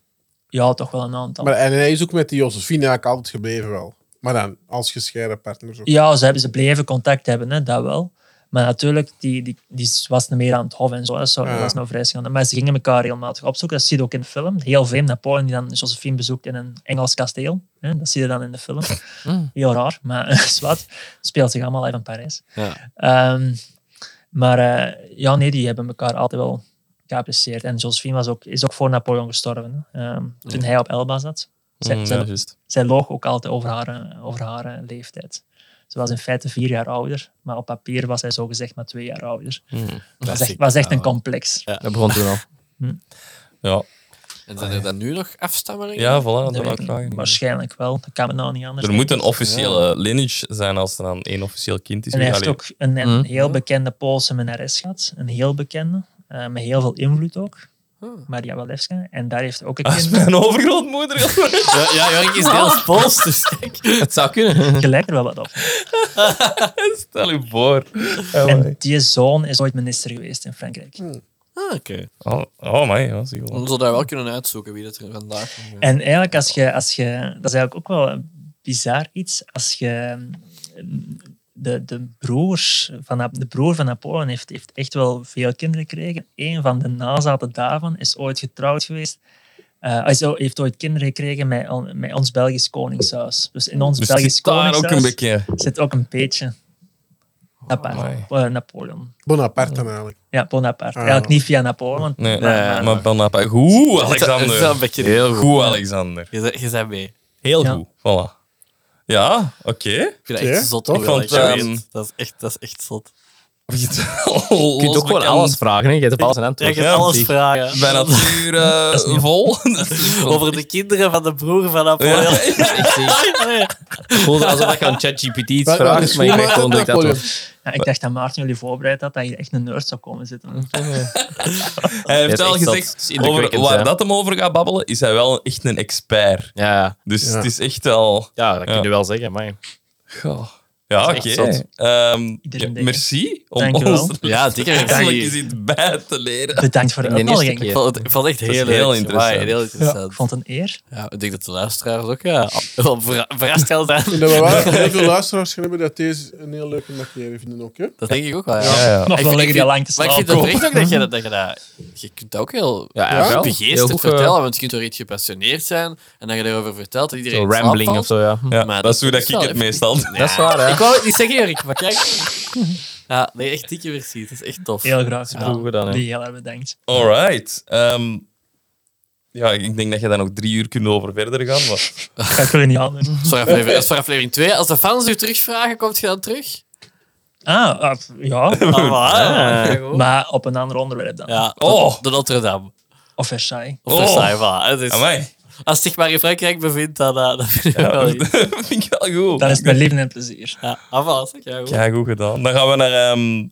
Speaker 5: Ja, toch wel een aantal.
Speaker 3: Maar, en hij is ook met die Josefine eigenlijk altijd gebleven wel. Maar dan, als gescheiden partner. Zo.
Speaker 5: Ja, ze, hebben, ze bleven contact hebben, hè, dat wel. Maar natuurlijk, die, die, die was niet meer aan het hof en zo. hè, zo
Speaker 3: Ja.
Speaker 5: Dat was nou vrij schande. Maar ze gingen elkaar regelmatig opzoeken. Dat zie je ook in de film. Heel vreemd. Napoleon die dan Josephine bezoekt in een Engels kasteel. Hè, dat zie je dan in de film. Heel raar, maar is wat. Speelt zich allemaal uit in Parijs.
Speaker 4: Ja.
Speaker 5: Ehm, maar eh, ja, nee, die hebben elkaar altijd wel geapprecieerd. En Josephine was ook, is ook voor Napoleon gestorven. hè. Ehm, toen hij op Elba zat. Zij,
Speaker 1: Hmm,
Speaker 5: zij-
Speaker 1: ja, juist.
Speaker 5: zij loog ook altijd over haar, eh, over haar eh, leeftijd. Ze was in feite vier jaar ouder, maar op papier was zij zogezegd maar twee jaar ouder.
Speaker 1: Hmm.
Speaker 5: Dat was echt, was echt een complex.
Speaker 2: Dat begon toen al.
Speaker 1: Ja,
Speaker 4: En zijn er
Speaker 5: Ah,
Speaker 4: dan nu nog afstammelingen?
Speaker 1: ja voilà.
Speaker 5: Dat
Speaker 1: Dat
Speaker 5: weet
Speaker 1: wou ik
Speaker 5: ik
Speaker 1: vragen.
Speaker 5: niet. Waarschijnlijk wel, dat kan me nou niet anders.
Speaker 1: Er moet een officiële lineage zijn als er dan één officieel kind is.
Speaker 5: en hij heeft
Speaker 1: Allee,
Speaker 5: ook een, een
Speaker 2: Hmm.
Speaker 5: heel bekende Poolse minnares gehad, een heel bekende, eh, met heel veel invloed ook.
Speaker 1: Hmm.
Speaker 5: Maria Walewska. En daar heeft ook een
Speaker 1: Dat is
Speaker 5: kind
Speaker 1: mijn overgrootmoeder.
Speaker 4: Ja, ja, Jorik is deels Pools, dus kijk.
Speaker 2: Het zou kunnen.
Speaker 5: gelijk er wel wat op.
Speaker 1: Stel je voor.
Speaker 5: En die zoon is ooit minister geweest in Frankrijk.
Speaker 4: Ah, oké.
Speaker 1: Oh, oh my, ja, zie je wel.
Speaker 4: We zullen daar wel kunnen uitzoeken wie dat er vandaag nog, eh,
Speaker 5: En eigenlijk, als je, als je, dat is eigenlijk ook wel een bizar iets. Als je mm, de, de, broers van, Nap- de broer van Napoleon heeft, heeft echt wel veel kinderen gekregen. Een van de nazaten daarvan is ooit getrouwd geweest. Eh, hij is o- heeft ooit kinderen gekregen met, on- met ons Belgisch Koningshuis. Dus in ons
Speaker 1: Dus het
Speaker 5: Belgisch
Speaker 1: zit daar ook
Speaker 5: Koningshuis
Speaker 1: een beetje.
Speaker 5: zit ook een beetje apart.
Speaker 1: Amai.
Speaker 5: Eh, Napoleon.
Speaker 3: Bonaparte dan eigenlijk.
Speaker 5: Ja, Bonaparte.
Speaker 3: Ah.
Speaker 5: Eigenlijk niet via Napoleon. want-
Speaker 1: Nee,
Speaker 4: Nee.
Speaker 1: maar Bonaparte. Goed,
Speaker 4: Het is wel een
Speaker 1: Alexander.
Speaker 4: beetje-
Speaker 1: Heel goed, Alexander.
Speaker 4: Je bent- Je bent mee.
Speaker 1: Heel
Speaker 5: Ja.
Speaker 1: goed. Voilà. Ja, oké.
Speaker 4: Ik vind dat
Speaker 3: Oké,
Speaker 4: echt zot.
Speaker 1: toch?
Speaker 4: hoor, dat
Speaker 1: Want,
Speaker 4: je dat
Speaker 5: eh,
Speaker 1: ehm,
Speaker 4: weet. dat, is echt, dat is echt zot.
Speaker 2: Je kunt ook gewoon alles vragen. Hè. Je hebt op alles een
Speaker 4: Je
Speaker 2: antwoord.
Speaker 4: gaat alles vragen.
Speaker 1: Bij natuur eh, vol.
Speaker 4: Over de kinderen van de broer van Napoleon.
Speaker 1: Ja.
Speaker 2: Ik voelde alsof ik aan ChatGPT
Speaker 3: Wel, wel,
Speaker 2: iets vraag, maar ik
Speaker 3: schoenmaker
Speaker 2: krijg gewoon dat ik dat
Speaker 3: Napoleon.
Speaker 2: doe.
Speaker 5: Ja, ik dacht dat Maarten jullie voorbereid had, dat je echt een nerd zou komen zitten.
Speaker 1: Hij heeft
Speaker 2: is
Speaker 1: al
Speaker 2: echt zot. Het
Speaker 1: gezegd,
Speaker 2: is indrukwekkend,
Speaker 1: over waar
Speaker 2: hè.
Speaker 1: dat hem over gaat babbelen, is hij wel echt een expert.
Speaker 2: Ja,
Speaker 1: Dus
Speaker 3: Ja.
Speaker 1: het is echt wel...
Speaker 2: ja, dat kun je
Speaker 1: Ja.
Speaker 2: wel zeggen. Maar
Speaker 1: Goh. Ja,
Speaker 2: Dat
Speaker 1: oké.
Speaker 2: is echt zot.
Speaker 1: Ehm, ja,
Speaker 5: denk ik.
Speaker 1: merci om
Speaker 5: Dank u wel.
Speaker 1: ons er
Speaker 4: Ja, dikke
Speaker 1: eigenlijk eens
Speaker 4: merci.
Speaker 1: iets bij te leren.
Speaker 5: Bedankt voor de
Speaker 2: Ik ben de eerste
Speaker 5: uitnodiging.
Speaker 2: keer.
Speaker 4: Ik vond het, ik vond het echt
Speaker 1: is
Speaker 4: heel,
Speaker 1: heel
Speaker 4: leuk.
Speaker 1: interessant.
Speaker 4: Amai, heel
Speaker 5: Ja,
Speaker 4: interessant.
Speaker 5: ik vond het een eer.
Speaker 4: Ja, ik denk dat de luisteraars ook ja, wel verra- verrast gaan
Speaker 3: En
Speaker 4: zijn.
Speaker 3: dat we wel heel veel luisteraars gaan hebben dat deze een heel leuke materie vinden ook. Hè?
Speaker 4: Dat denk ik ook wel. Ja.
Speaker 1: Ja, ja.
Speaker 5: Nog
Speaker 4: Ik
Speaker 5: wel
Speaker 4: vind-
Speaker 5: liggen die
Speaker 4: ik-
Speaker 5: lang te
Speaker 4: Maar ik vind
Speaker 5: slapen.
Speaker 4: dat terecht ook dat je dat, dat je dat... Je kunt dat ook heel
Speaker 2: ja,
Speaker 3: wel.
Speaker 2: Heel
Speaker 4: begeesterd
Speaker 2: goed, eh,
Speaker 4: vertellen, want je kunt er iets gepassioneerd zijn en dat je daarover vertelt dat iedereen
Speaker 2: Zo
Speaker 4: in slaap
Speaker 2: rambling
Speaker 4: valt.
Speaker 2: of zo, ja.
Speaker 1: Ja,
Speaker 4: Maar
Speaker 1: dat,
Speaker 4: dat
Speaker 1: is hoe dat
Speaker 4: is
Speaker 1: ik
Speaker 4: wel
Speaker 1: het
Speaker 4: even-
Speaker 1: meestal...
Speaker 2: Dat is waar, hè.
Speaker 4: Ik wou het niet zeggen, Jorik, maar kijk. Ja, nee, echt dikke merci. Het is echt tof.
Speaker 5: Heel graag
Speaker 2: Goed
Speaker 5: gedaan.
Speaker 2: gedaan, hè.
Speaker 5: Die heel erg bedankt.
Speaker 1: Alright. Ehm, ja, ik denk dat je daar nog drie uur kunt over verder gaan. Maar...
Speaker 5: Dat ga ik jullie niet aandoen.
Speaker 4: Dat is voor aflevering- dat is voor aflevering 2. Als de fans u terugvragen, komt je dan terug?
Speaker 5: Ah, ah, ja.
Speaker 4: Ah, maar, ja.
Speaker 5: Maar op een ander onderwerp dan.
Speaker 4: Ja,
Speaker 1: Oh.
Speaker 4: de Notre Dame.
Speaker 5: Of Versailles.
Speaker 4: Of
Speaker 1: Oh.
Speaker 4: Versailles, voilà. Het is-
Speaker 1: Amai.
Speaker 4: Als het zich maar in Frankrijk bevindt, dan, eh, dan vind ik het wel iets.
Speaker 1: dat vind ik wel goed.
Speaker 5: Dan is het mijn leven en plezier.
Speaker 4: Ja, afval, zeg jij goed.
Speaker 1: Ja, goed gedaan. Dan gaan we naar... ehm,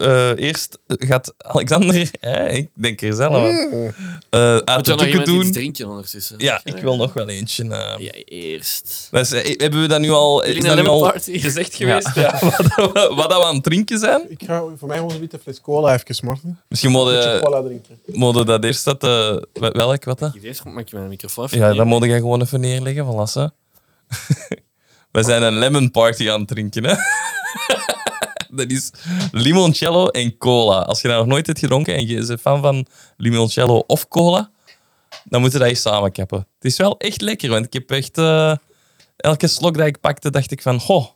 Speaker 1: eh, eerst gaat Alexander, hè, ik denk er zelf aan, eh, uit
Speaker 4: Moet
Speaker 1: de
Speaker 4: je nog
Speaker 1: doeken
Speaker 4: iemand iets
Speaker 1: doen.
Speaker 4: drinken ondertussen?
Speaker 1: Ja, ik wil nog wel eentje. eh.
Speaker 4: Ja, eerst.
Speaker 1: Dat is, eh, hebben we dat nu al... Is
Speaker 4: Jullie
Speaker 1: dat
Speaker 4: naar
Speaker 1: nu
Speaker 4: de
Speaker 1: al
Speaker 4: party
Speaker 1: gezegd
Speaker 4: gezegd
Speaker 1: geweest? Ja. wat, dat we, wat dat we aan het drinken zijn?
Speaker 3: Ik ga voor mij gewoon een beetje fles cola even, Martin.
Speaker 1: Misschien
Speaker 3: Een beetje
Speaker 1: mogen
Speaker 3: cola drinken.
Speaker 1: we dat eerst zetten. Wel- Welk, wat dat?
Speaker 4: Eerst maak je mijn microfoon even
Speaker 1: Ja,
Speaker 4: neer.
Speaker 1: dat moet jij gewoon even neerleggen van Lasse. We zijn een lemon party aan het drinken, hè? Dat is limoncello en cola. Als je dat nog nooit hebt gedronken en je bent fan van limoncello of cola, dan moeten we dat eens samen kappen. Het is wel echt lekker, want ik heb echt... eh, elke slok dat ik pakte, dacht ik van... Goh,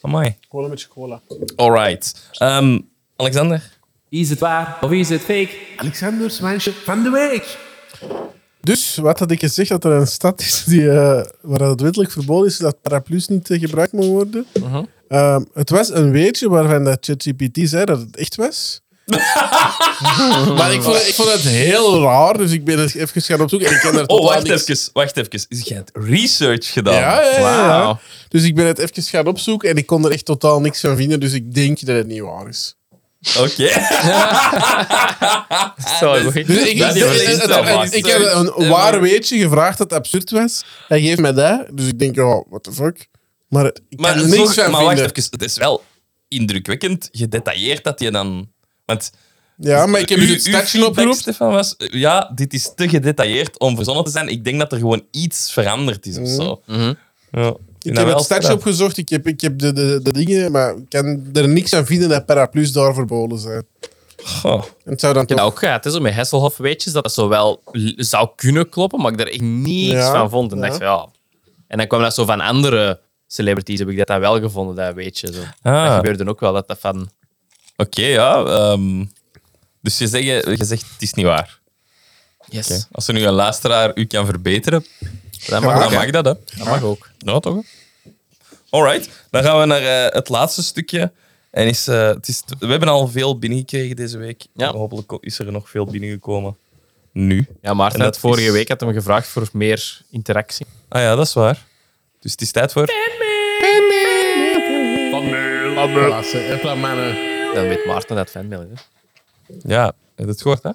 Speaker 1: amai.
Speaker 3: Gewoon een beetje cola.
Speaker 1: Alright. Ehm, Alexander?
Speaker 6: Is het waar of is het fake? Alexander's wijnsje van de week.
Speaker 3: Dus wat had ik gezegd dat er een stad is die, eh, waar dat het wettelijk verboden is dat paraplu's niet eh, gebruikt mogen worden?
Speaker 1: Uh-huh.
Speaker 3: Ehm, het was een weetje waarvan dat ChatGPT zei dat het echt was. maar ik vond, ik vond het heel raar, dus ik ben het even gaan opzoeken. En ik ken er
Speaker 1: Oh,
Speaker 3: totaal
Speaker 1: wacht
Speaker 3: niks-
Speaker 1: even. Wacht even. Is jij hebt research gedaan?
Speaker 3: Ja, ja, ja, ja.
Speaker 1: Wauw.
Speaker 3: Dus ik ben het even gaan opzoeken en ik kon er echt totaal niks van vinden, dus ik denk dat het niet waar is.
Speaker 1: Oké.
Speaker 2: Sorry, goed.
Speaker 3: Dus ik,
Speaker 1: Dat is
Speaker 3: ik-
Speaker 1: wel
Speaker 3: ik-
Speaker 1: iets
Speaker 3: het-
Speaker 1: dat
Speaker 3: het-
Speaker 1: maakt.
Speaker 3: ik heb een
Speaker 1: Eh,
Speaker 3: waar
Speaker 1: maar-
Speaker 3: weetje gevraagd dat absurd was. Hij geeft mij dat, dus ik denk, oh, what the fuck. Maar ik
Speaker 1: Maar,
Speaker 3: kan er niks
Speaker 1: zorg-
Speaker 3: van
Speaker 1: maar wacht
Speaker 3: vinden.
Speaker 1: even, het is wel indrukwekkend gedetailleerd dat je dan... Want
Speaker 3: Ja, maar ik heb
Speaker 1: uw-
Speaker 3: dus het
Speaker 1: uw
Speaker 3: stadje
Speaker 1: feedback,
Speaker 3: opgeroepen.
Speaker 1: Stefan, was... eh, Ja, dit is te gedetailleerd om verzonnen te zijn. Ik denk dat er gewoon iets veranderd is of zo. Ja, vind
Speaker 3: Mhm. Ik
Speaker 1: dat
Speaker 3: heb
Speaker 1: wel
Speaker 3: het stadje
Speaker 1: straf.
Speaker 3: opgezocht, ik heb, ik heb de, de, de dingen, maar ik kan er niks aan vinden dat paraplu's daar verboden zijn.
Speaker 1: Goh.
Speaker 3: En het zou dan
Speaker 2: Ik
Speaker 3: toch...
Speaker 2: heb dat ook gehad, hè, zo met Hasselhoff weetjes, dat dat zo wel l- zou kunnen kloppen, maar ik daar echt niets
Speaker 3: Ja,
Speaker 2: van vond. En,
Speaker 3: ja.
Speaker 2: dacht, van, ja. en dan kwam dat zo van andere celebrities, heb ik dat dan wel gevonden, dat weetje. Zo. Dat
Speaker 1: Ah, Oké,
Speaker 2: gebeurde ook wel, dat dat van...
Speaker 1: ja. ehm, dus je, zeg, je zegt het is niet waar.
Speaker 2: Yes,
Speaker 1: Oké. Als er nu een luisteraar u kan verbeteren,
Speaker 2: dat mag
Speaker 1: dan
Speaker 2: ook.
Speaker 1: mag dat, hè.
Speaker 2: Dat mag ook.
Speaker 1: Ja, toch? hè? Alright, dan gaan we naar eh, het laatste stukje. En is, eh, het is, we hebben al veel binnengekregen deze week.
Speaker 2: Ja.
Speaker 1: Hopelijk ko- is er nog veel binnengekomen. Nu.
Speaker 2: Ja, Maarten
Speaker 1: En
Speaker 2: had
Speaker 1: dat
Speaker 2: vorige
Speaker 1: is-
Speaker 2: week had hem gevraagd voor meer interactie.
Speaker 1: Ah ja, dat is waar. Dus het is tijd voor.
Speaker 2: Dan weet Maarten dat fanmail is. hè.
Speaker 1: Ja, heb je het gehoord, hè? Ik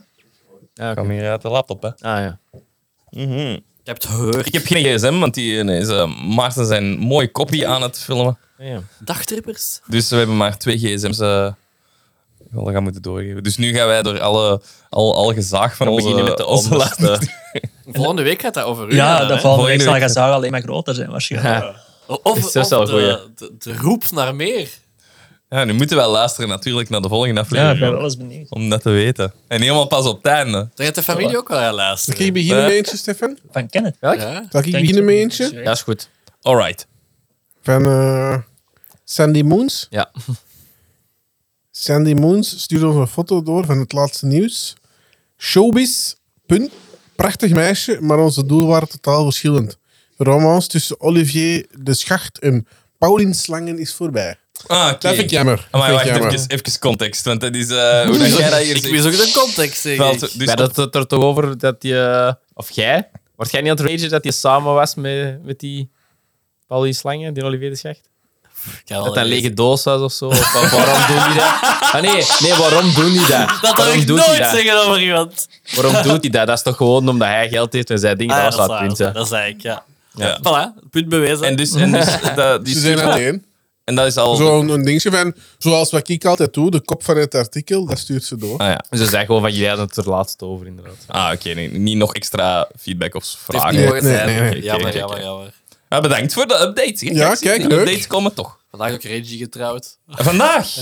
Speaker 2: Ja, oké.
Speaker 1: kwam hier uit de laptop, hè?
Speaker 2: Ah, ja.
Speaker 4: Ik heb het gehoord.
Speaker 1: Ik heb geen gsm, want die, nee, is, eh, Maarten zijn mooi kopie aan het filmen.
Speaker 2: Ja.
Speaker 4: Dagtrippers.
Speaker 1: Dus we hebben maar twee gsm's. eh wel, dat gaan we moeten doorgeven. Dus nu gaan wij door alle, al, al gezaag van
Speaker 2: We
Speaker 1: onze,
Speaker 2: beginnen met de
Speaker 1: onze
Speaker 2: onderste.
Speaker 1: laatste.
Speaker 4: Volgende week gaat dat over u.
Speaker 5: Ja,
Speaker 4: gaan, hè?
Speaker 5: dat volgende
Speaker 1: Volgende
Speaker 5: week zal
Speaker 1: week.
Speaker 5: gezag alleen maar groter zijn waarschijnlijk.
Speaker 4: Of,
Speaker 2: Is dat
Speaker 4: of
Speaker 2: wel een
Speaker 4: de,
Speaker 2: goeie?
Speaker 4: de, de roep naar meer.
Speaker 1: Ja, nu moeten wij luisteren natuurlijk naar de volgende
Speaker 5: Ja, ik
Speaker 1: aflevering.
Speaker 5: ben wel eens benieuwd.
Speaker 1: Om dat te weten. En helemaal pas op het einde.
Speaker 4: Dan gaat de familie ook wel gaan luisteren.
Speaker 3: Zal ik
Speaker 1: Eh,
Speaker 3: beginnen met eentje, Stefan?
Speaker 5: Van Kenneth.
Speaker 4: Ja.
Speaker 3: Zal ik beginnen met eentje?
Speaker 2: ja, is goed.
Speaker 1: Alright.
Speaker 3: Van eh, Sandy Moons.
Speaker 2: Ja.
Speaker 3: Sandy Moons stuurde ons een foto door van het laatste nieuws. Showbiz, punt. Prachtig meisje, maar onze doelen waren totaal verschillend. De romance tussen Olivier de Schacht en Paulien Slangen is voorbij.
Speaker 1: Ah, oké.
Speaker 3: Dat vind ik jammer.
Speaker 1: Amai,
Speaker 3: Dat vind ik
Speaker 1: wacht,
Speaker 3: jammer.
Speaker 1: even, even context. Want dat is... eh, hoe dat jij dat hier
Speaker 4: Ik
Speaker 1: ziet.
Speaker 4: mis ook de context, zeg
Speaker 1: Wel,
Speaker 4: ik.
Speaker 1: dus
Speaker 2: ja, dat het er toch over dat je... Of jij? Wordt jij niet aan het ragen dat je samen was met, met die... Paulie Slangen, die Olivier de Schacht?
Speaker 4: Ik ga wel
Speaker 2: Dat dat een
Speaker 4: lezen.
Speaker 2: lege doos was of zo. Of wa- waarom doen die dat? Ah, nee, nee, waarom doen die dat?
Speaker 4: Dat
Speaker 2: waarom
Speaker 4: wil ik
Speaker 2: doet
Speaker 4: nooit
Speaker 2: hij dat?
Speaker 4: zeggen over iemand.
Speaker 2: Waarom doet hij dat? Dat is toch gewoon omdat hij geld heeft en zij dingen.
Speaker 4: Ah,
Speaker 2: dat was dat
Speaker 4: waar,
Speaker 2: punt. hè.
Speaker 4: Dat zei ik, ja.
Speaker 1: Ja.
Speaker 4: Voilà, punt bewezen.
Speaker 1: En dus... En, dus dat, die
Speaker 3: Ze zijn
Speaker 1: stuurt-
Speaker 3: uiteen.
Speaker 1: en dat is al...
Speaker 3: Zo'n een dingetje van, zoals wat ik altijd doe, de kop van het artikel, dat stuurt ze door.
Speaker 1: Ah ja.
Speaker 2: Ze zei gewoon van, jij had het er laatst over, inderdaad.
Speaker 1: Ah, oké. nee, niet nog extra feedback of
Speaker 4: Het heeft
Speaker 1: vragen.
Speaker 4: niet mogen
Speaker 3: nee,
Speaker 4: zijn.
Speaker 3: nee,
Speaker 4: Jammer,
Speaker 3: nee.
Speaker 1: Kijk, kijk,
Speaker 4: jammer,
Speaker 1: kijk.
Speaker 4: jammer.
Speaker 1: Ah, bedankt voor de update. hè.
Speaker 3: Ja,
Speaker 1: zie je,
Speaker 3: kijk,
Speaker 1: die
Speaker 3: leuk.
Speaker 1: updates komen toch.
Speaker 4: Vandaag ook Reggie getrouwd.
Speaker 1: Vandaag.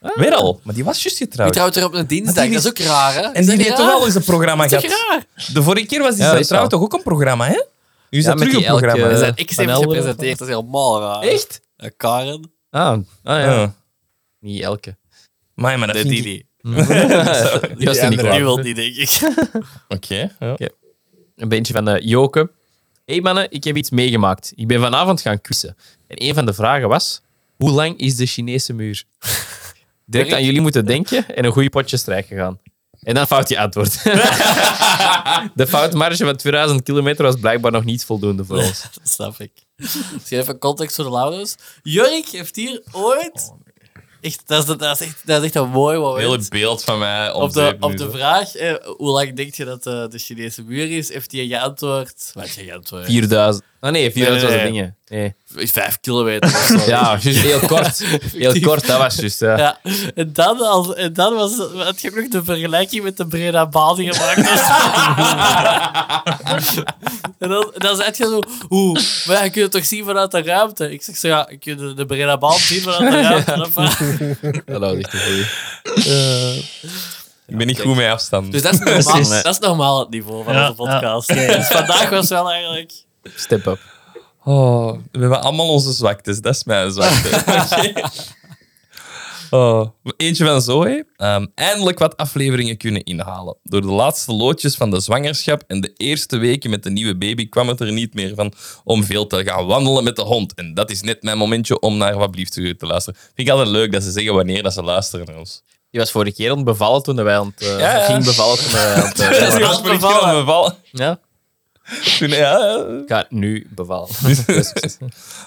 Speaker 1: Weer al. Maar die was juist
Speaker 4: Wie
Speaker 1: getrouwd.
Speaker 4: trouwt er op een dinsdag?
Speaker 1: Maar die
Speaker 4: Dat is ook raar, hè?
Speaker 1: En
Speaker 4: Is
Speaker 1: die
Speaker 4: dat niet
Speaker 1: heeft toch
Speaker 4: raar?
Speaker 1: wel eens een programma gehad.
Speaker 4: Dat is toch raar?
Speaker 1: De vorige keer was die
Speaker 2: Ja,
Speaker 1: zijn
Speaker 2: dat is
Speaker 1: trouw
Speaker 2: wel.
Speaker 1: toch ook een programma, hè? Nu is
Speaker 2: Ja,
Speaker 1: dat
Speaker 2: met
Speaker 1: terug een
Speaker 2: die elke-
Speaker 1: programma.
Speaker 4: Zijn
Speaker 2: Eh,
Speaker 4: ex
Speaker 2: Van
Speaker 4: heeft
Speaker 2: Helder
Speaker 4: gepresenteerd, dat is helemaal raar.
Speaker 1: Echt?
Speaker 4: Eh, Karen?
Speaker 2: Ah, ah ja.
Speaker 1: Ja.
Speaker 2: Niet elke.
Speaker 1: Amai, maar dat
Speaker 4: Nee,
Speaker 1: vind ik-
Speaker 4: die niet.
Speaker 2: Die was er niet
Speaker 4: Die
Speaker 2: klaar.
Speaker 4: wil niet, denk ik.
Speaker 1: Oké. ja.
Speaker 2: Een beetje van eh Joke. hey mannen, ik heb iets meegemaakt. Ik ben vanavond gaan quizzen. En een van de vragen was, hoe lang is de Chinese muur? Direct aan jullie moeten denken en een goede potje strijken gaan. En dan fout je antwoord. de foutmarge van 2000 kilometer was blijkbaar nog niet voldoende voor ons.
Speaker 4: Dat snap ik. Dus even context voor de luiders. Jurk heeft hier ooit... Echt, dat, is, dat, is echt, dat is echt een mooi
Speaker 1: Het hele
Speaker 4: moment.
Speaker 1: beeld van mij op,
Speaker 4: Op de,
Speaker 1: zeep nu,
Speaker 4: op de
Speaker 1: zo.
Speaker 4: vraag, eh, hoe lang denk je dat eh, de Chinese muur is, heeft hij geantwoord... Wat heeft hij geantwoord?
Speaker 2: 4000. Ah nee, 4000
Speaker 4: Nee,
Speaker 2: was
Speaker 4: nee,
Speaker 2: de dingen. Nee.
Speaker 4: Vijf kilometer of zo.
Speaker 2: Ja, juist heel kort. Heel kort, dat was juist. ja.
Speaker 4: Ja, en dan, als, en dan was, had je ook nog de vergelijking met de Breda Baan gemaakt. en dan, dan zei je zo, oeh, maar je kunt het toch zien vanuit de ruimte? Ik zeg zo, ja, je kunt de, de Breda Baan zien vanuit de ruimte. dat va-
Speaker 2: Dat was echt een goeie.
Speaker 1: Ik ben niet goed met afstand.
Speaker 4: Dus dat is, normaal,
Speaker 5: Precies.
Speaker 4: dat is normaal het niveau van
Speaker 5: Ja,
Speaker 4: onze podcast.
Speaker 5: ja, oké.
Speaker 4: Dus vandaag was wel eigenlijk...
Speaker 2: Step up.
Speaker 1: Oh, we hebben allemaal onze zwaktes. Dat is mijn zwakte. Oké. oh. Eentje van Zoe. Ehm, eindelijk wat afleveringen kunnen inhalen. Door de laatste loodjes van de zwangerschap en de eerste weken met de nieuwe baby kwam het er niet meer van om veel te gaan wandelen met de hond. En dat is net mijn momentje om naar Wat Blieft te te luisteren. Vind ik altijd leuk dat ze zeggen wanneer dat ze luisteren naar ons.
Speaker 2: Die was vorige keer ontbevallen toen wij aan het... eh,
Speaker 1: Ja, ja.
Speaker 2: Ging bevallen toen wij aan het... eh,
Speaker 1: Dat
Speaker 4: is
Speaker 1: was vorige keer al
Speaker 4: bevallen.
Speaker 1: bevallen.
Speaker 2: ja.
Speaker 1: Toen, ja,
Speaker 2: Ik ga nu bevallen.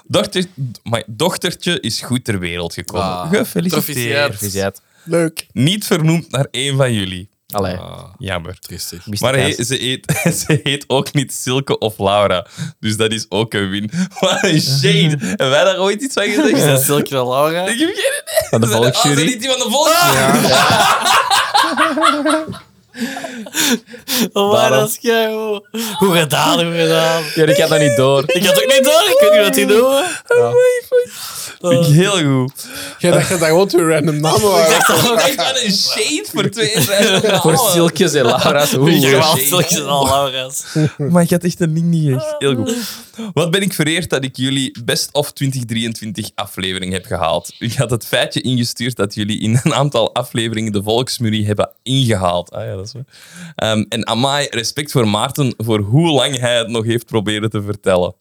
Speaker 1: Dochter, maar dochtertje is goed ter wereld gekomen.
Speaker 4: Ah,
Speaker 1: Gefeliciteerd.
Speaker 4: proficiat.
Speaker 2: Proficiat.
Speaker 3: Leuk.
Speaker 1: Niet vernoemd naar één van jullie. Ah,
Speaker 2: Allee.
Speaker 1: Jammer.
Speaker 4: Tristig.
Speaker 2: wist
Speaker 1: Maar
Speaker 2: het
Speaker 1: he-
Speaker 2: juist.
Speaker 1: ze, heet, ze heet ook niet Silke of Laura. Dus dat is ook een win. Wat een shade. Hebben wij daar ooit iets van gezegd?
Speaker 4: Dat is Silke en Laura.
Speaker 1: Ik heb geen idee.
Speaker 2: Van de
Speaker 1: Zijn dat- Oh,
Speaker 2: volksjury.
Speaker 1: zijn niet die van de volksjury?
Speaker 4: Oh, maar
Speaker 2: Daarom.
Speaker 4: dat is keigoed. Hoe gedaan, hoe gedaan.
Speaker 2: Ja, ik had dat niet door.
Speaker 4: Ik had ook niet door, ik weet niet wat die doen.
Speaker 1: Vind ik heel goed.
Speaker 3: Jij dacht dat dat gewoon twee random namen waren.
Speaker 1: Dat is ook echt wel een shade voor twee. vijf-
Speaker 2: Voor
Speaker 1: Oh,
Speaker 2: Silkjes en Laura's. Oeh,
Speaker 4: Ik
Speaker 1: Ja.
Speaker 4: wel stilletjes en al Laura's.
Speaker 1: Maar ik had echt een ding niet echt. Heel goed. Wat ben ik vereerd dat ik jullie Best of 2023 aflevering heb gehaald. U had het feitje ingestuurd dat jullie in een aantal afleveringen de Volksmurie hebben ingehaald. Ah ja, dat is waar. Ehm, en amai, respect voor Maarten voor hoe lang hij het nog heeft proberen te vertellen.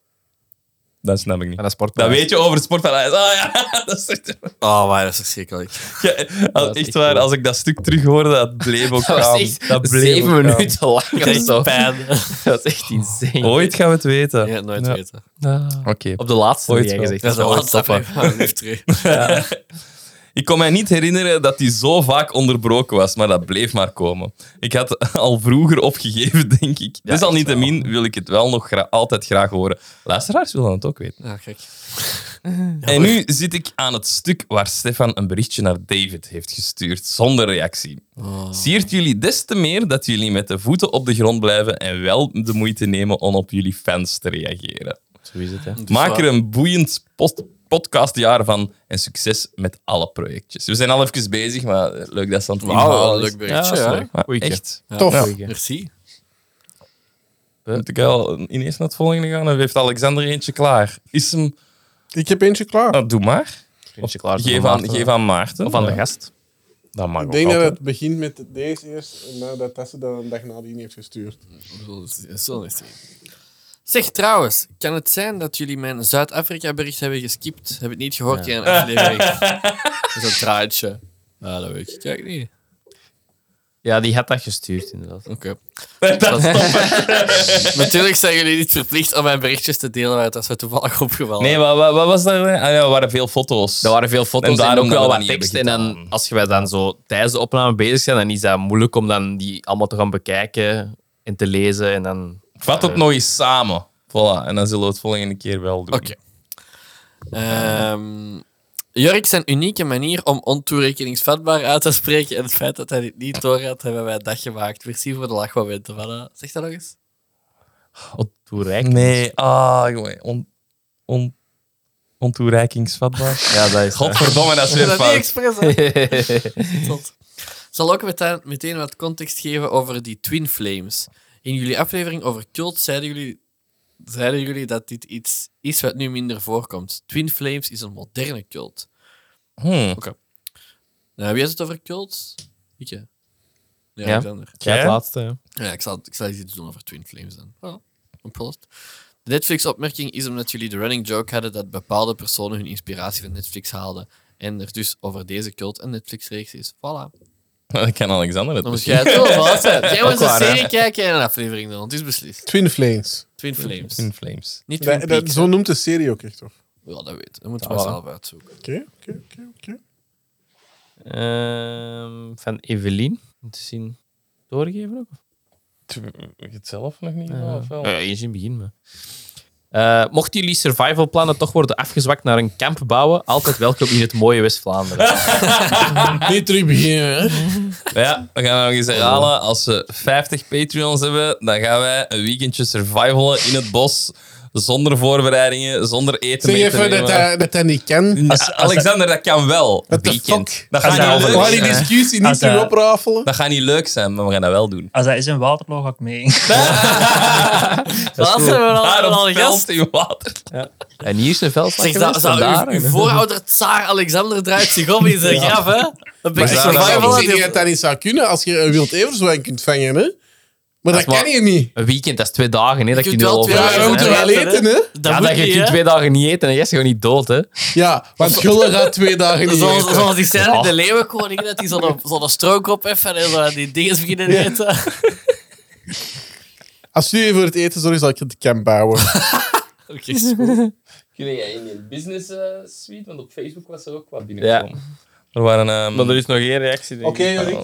Speaker 1: Dat snap ik niet.
Speaker 2: Van de
Speaker 1: Dat
Speaker 2: sportpaleis.
Speaker 1: weet je over het sportpaleis. Ah ja, dat is echt...
Speaker 4: Oh, maar dat is verschrikkelijk.
Speaker 1: Ja, als-
Speaker 2: is
Speaker 1: echt
Speaker 2: echt
Speaker 1: waar,
Speaker 2: cool.
Speaker 1: als ik dat stuk terug hoorde, dat bleef ook
Speaker 2: Dat was
Speaker 1: gaan.
Speaker 2: echt
Speaker 1: Dat bleef
Speaker 2: zeven
Speaker 1: ook gaan.
Speaker 2: minuten lang. of
Speaker 4: Echt
Speaker 2: zo.
Speaker 4: pijn.
Speaker 2: Dat is echt insane.
Speaker 1: Ooit gaan we het weten.
Speaker 4: Ja, nooit Oh,
Speaker 1: Ja.
Speaker 4: weten.
Speaker 1: Oké.
Speaker 2: Op de laatste
Speaker 1: Ooit
Speaker 2: die jij
Speaker 1: wel.
Speaker 2: gezegd
Speaker 4: Dat is de
Speaker 2: hebt,
Speaker 4: laatste
Speaker 2: ooit stoppen.
Speaker 4: aflevering, maar nu terug.
Speaker 1: Ik kon mij niet herinneren dat die zo vaak onderbroken was, maar dat bleef maar komen. Ik had al vroeger opgegeven, denk ik. Dus Desalniettemin wil ik het wel nog gra- altijd graag horen. Luisteraars willen het ook weten.
Speaker 4: Ja, Ah, kijk.
Speaker 1: en nu zit ik aan het stuk waar Stefan een berichtje naar David heeft gestuurd, zonder reactie. Siert jullie des te meer dat jullie met de voeten op de grond blijven en wel de moeite nemen om op jullie fans te reageren.
Speaker 2: Zo is het, hè.
Speaker 1: Dus Maak er een boeiend post- podcastjaar van en succes met alle projectjes. We zijn al even bezig, maar leuk dat ze aan het
Speaker 4: Wauw,
Speaker 1: inhalen
Speaker 4: een
Speaker 1: is.
Speaker 4: Oh, leuk berichtje.
Speaker 2: Ja,
Speaker 4: Ja,
Speaker 2: dat is
Speaker 4: hè?
Speaker 2: leuk.
Speaker 1: Maar
Speaker 2: Goeie
Speaker 1: echt.
Speaker 3: Tof.
Speaker 4: Merci.
Speaker 1: Moet ik al ineens naar het volgende gaan? Of heeft Alexander eentje klaar? Is hem...
Speaker 3: Ik heb eentje klaar.
Speaker 1: Nou, doe maar.
Speaker 2: Vriendje klaar te
Speaker 1: Geef
Speaker 2: van
Speaker 1: aan,
Speaker 2: Maarten.
Speaker 1: geef aan Maarten.
Speaker 2: Of aan de
Speaker 1: Ja.
Speaker 2: gast.
Speaker 1: Dat mag
Speaker 3: Ik
Speaker 1: ook
Speaker 3: denk dat
Speaker 1: Oh, altijd.
Speaker 3: het begint met deze eerst en nadat dat ze dan een dag nadien heeft gestuurd.
Speaker 4: Ik bedoel, het is Zo is het. Zeg trouwens, kan het zijn dat jullie mijn Zuid-Afrika-bericht hebben geskipt? Heb het niet gehoord in een aflevering? Dat is een traantje. Nou, dat weet ik kijk niet.
Speaker 2: Ja, die had dat gestuurd, inderdaad.
Speaker 1: Mm.
Speaker 4: Oké. Natuurlijk zijn jullie niet verplicht om mijn berichtjes te delen, maar dat is mij toevallig opgevallen.
Speaker 1: Nee, wat, wat, wat was dat? Ah, ja, er waren veel foto's.
Speaker 2: Er waren veel foto's
Speaker 1: En
Speaker 2: en,
Speaker 1: daarom
Speaker 2: ook
Speaker 1: dat
Speaker 2: wel
Speaker 1: we
Speaker 2: wat
Speaker 1: niet
Speaker 2: tekst. En
Speaker 1: hebben
Speaker 2: dan,
Speaker 1: gedaan.
Speaker 2: als wij dan zo tijdens de opname bezig zijn, dan is dat moeilijk om dan die allemaal te gaan bekijken en te lezen. En dan...
Speaker 1: Vat het nog eens samen. Voilà, en dan zullen we het volgende keer wel doen.
Speaker 4: Oké. Ehm Jurk zijn unieke manier om ontoerekeningsvatbaar uit te spreken en het feit dat hij dit niet door had, hebben wij een dag gemaakt. Merci voor de lachmomenten. Van, eh, zeg dat nog eens.
Speaker 2: Oh, hoe rijk.
Speaker 1: Nee, ah, jongen. On, on, ontoereikingsvatbaar.
Speaker 2: Ja, dat is...
Speaker 1: Godverdomme, dat is weer
Speaker 4: Dat is niet
Speaker 1: fout.
Speaker 4: expres, hè. Tot. Ik zal ook meteen, meteen wat context geven over die Twin Flames. In jullie aflevering over cult zeiden jullie, zeiden jullie dat dit iets is wat nu minder voorkomt. Twin Flames is een moderne cult.
Speaker 1: Hmm.
Speaker 4: Nou, wie is het over cult? Ik, hè? Ja,
Speaker 2: Ja.
Speaker 4: Alexander.
Speaker 2: Ja, het laatste. ja.
Speaker 4: Ja, ik zal, ik zal iets doen over Twin Flames dan. Oh, opgelost. De Netflix-opmerking is omdat jullie de running joke hadden dat bepaalde personen hun inspiratie van Netflix haalden en er dus over deze cult een Netflix-reeks is. Voilà.
Speaker 1: Dan kan Alexander het
Speaker 4: Dan moet
Speaker 1: misschien.
Speaker 4: jij het wel vast zijn. Jij was een
Speaker 2: waar, hè?
Speaker 4: serie kijken en een aflevering doen. Het is beslist.
Speaker 3: Twin Flames.
Speaker 4: Twin Flames.
Speaker 1: In Flames.
Speaker 4: Niet
Speaker 3: Dat-
Speaker 4: Twin
Speaker 3: dat-
Speaker 4: Peaks.
Speaker 3: zo noemt de serie ook echt, of?
Speaker 4: Ja, dat weet. Dat moeten
Speaker 2: Ja,
Speaker 4: we
Speaker 2: voilà.
Speaker 4: zelf uitzoeken.
Speaker 3: Oké, oké, oké, oké.
Speaker 2: Ehm, van Evelien. Om te zien. Doorgeven ook?
Speaker 1: Je het zelf nog niet
Speaker 2: Ja.
Speaker 1: gedaan, of wel?
Speaker 2: Eh, eens in het begin, maar. Eh, mochten jullie survivalplannen toch worden afgezwakt naar een kamp bouwen, altijd welkom in het mooie West-Vlaanderen.
Speaker 3: Niet terug beginnen, hè?
Speaker 1: Ja, we gaan nog eens herhalen. Als we 50 Patreons hebben, dan gaan wij een weekendje survivalen in het bos. Zonder voorbereidingen, zonder eten
Speaker 3: Zeg
Speaker 1: mee te
Speaker 3: even dat
Speaker 1: nemen.
Speaker 3: hij, dat hij niet kan.
Speaker 1: Ja,
Speaker 5: Als- als
Speaker 1: Alexander, dat kan wel.
Speaker 3: What the
Speaker 1: Weekend.
Speaker 3: fuck? Ah,
Speaker 1: Dat
Speaker 5: Als
Speaker 1: gaat,
Speaker 5: hij
Speaker 1: niet
Speaker 5: over-
Speaker 1: leuk
Speaker 3: Waar die
Speaker 1: zijn.
Speaker 3: discussie niet
Speaker 5: Als,
Speaker 3: terug
Speaker 5: eh,
Speaker 3: oprafelen.
Speaker 1: dat gaat niet leuk zijn, maar we gaan dat wel doen.
Speaker 5: Als dat is in Waterloo, ga ik mee.
Speaker 4: Laatst hebben we al- we
Speaker 1: Daar
Speaker 4: al
Speaker 1: op
Speaker 4: een
Speaker 1: veld
Speaker 4: gast.
Speaker 1: in water.
Speaker 2: en hier is een veldslag
Speaker 4: Zeg,
Speaker 2: geweest,
Speaker 4: zou, zou
Speaker 2: en daar,
Speaker 4: uw, uw
Speaker 2: en-
Speaker 4: voorouder Tsaar Alexander draait zich om in zijn graf, hè? Dat ben
Speaker 3: Maar
Speaker 4: ik
Speaker 3: ik
Speaker 1: zou
Speaker 3: zou
Speaker 1: dat
Speaker 3: zeggen,
Speaker 1: wel
Speaker 3: ik
Speaker 4: survival.
Speaker 3: zie niet dat dat niet zou kunnen als je een wild everzwijn kunt vangen, hè? Maar dat,
Speaker 2: is waar.
Speaker 3: kan je niet.
Speaker 2: Een weekend, dat is twee dagen, hè, dat
Speaker 4: Je
Speaker 2: je
Speaker 4: kunt
Speaker 2: nu
Speaker 4: wel
Speaker 2: al
Speaker 4: twee
Speaker 2: over-
Speaker 3: Ja, we
Speaker 4: dat
Speaker 3: moeten
Speaker 4: is
Speaker 3: wel
Speaker 4: wel
Speaker 3: eten, hè?
Speaker 4: Dat
Speaker 2: Ja,
Speaker 4: moet
Speaker 2: dat je
Speaker 4: niet,
Speaker 2: kunt
Speaker 4: hè?
Speaker 2: twee dagen niet eten en jij is gewoon niet dood, hè.
Speaker 3: Ja, want Gulle gaat twee dagen niet
Speaker 4: Zoals,
Speaker 3: eten.
Speaker 4: zoals die scène
Speaker 5: Ah.
Speaker 4: in de Leeuwenkoning, dat hij zo'n zo strook op heeft en zo aan die dingen beginnen eten.
Speaker 3: Als jullie voor het eten zorgen, zal ik het kan bouwen.
Speaker 4: Oké, is goed.
Speaker 1: Kun jij in je business eh, suite, want op Facebook was er ook wat
Speaker 2: binnengekomen.
Speaker 1: Er waren, ehm,
Speaker 2: is nog geen reactie.
Speaker 3: Jorik.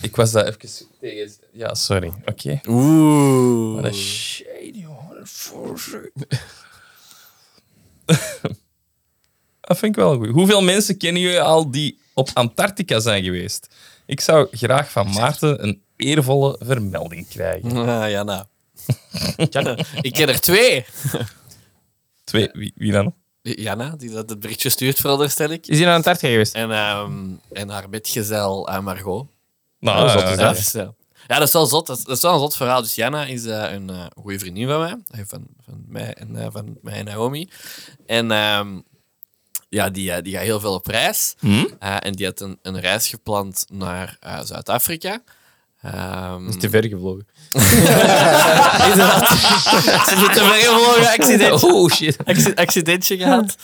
Speaker 1: Ik was daar even tegen... Ja, sorry. Oké.
Speaker 4: Oeh.
Speaker 1: Wat een shady hoor. Dat vind ik wel goed. Hoeveel mensen kennen jullie al die op Antarctica zijn geweest? Ik zou graag van Maarten een eervolle vermelding krijgen.
Speaker 4: Ah, ja, nou. ik ken er twee.
Speaker 1: Twee, wie, wie dan?
Speaker 4: Jana, die dat het berichtje stuurt, veronderstel ik.
Speaker 2: Is hij naar Antarctica geweest?
Speaker 4: En, ehm, en haar metgezel eh, Margot.
Speaker 1: Nou, eh,
Speaker 2: dat is Ja.
Speaker 4: Ja, dat is, eh, ja, dat is wel zot. Dat is, dat is wel een zot verhaal. Dus Jana is eh, een eh, goede vriendin van mij. Eh, Van, van, mij en, eh, van mij en Naomi. En ehm, ja, die, eh, die gaat heel veel op reis. Eh, en die had een, een reis gepland naar eh, Zuid-Afrika. Ehm,
Speaker 2: Is te ver gevlogen.
Speaker 4: Ze zit een vergevogen accident.
Speaker 2: Oh shit.
Speaker 4: acci- accidentje gehad.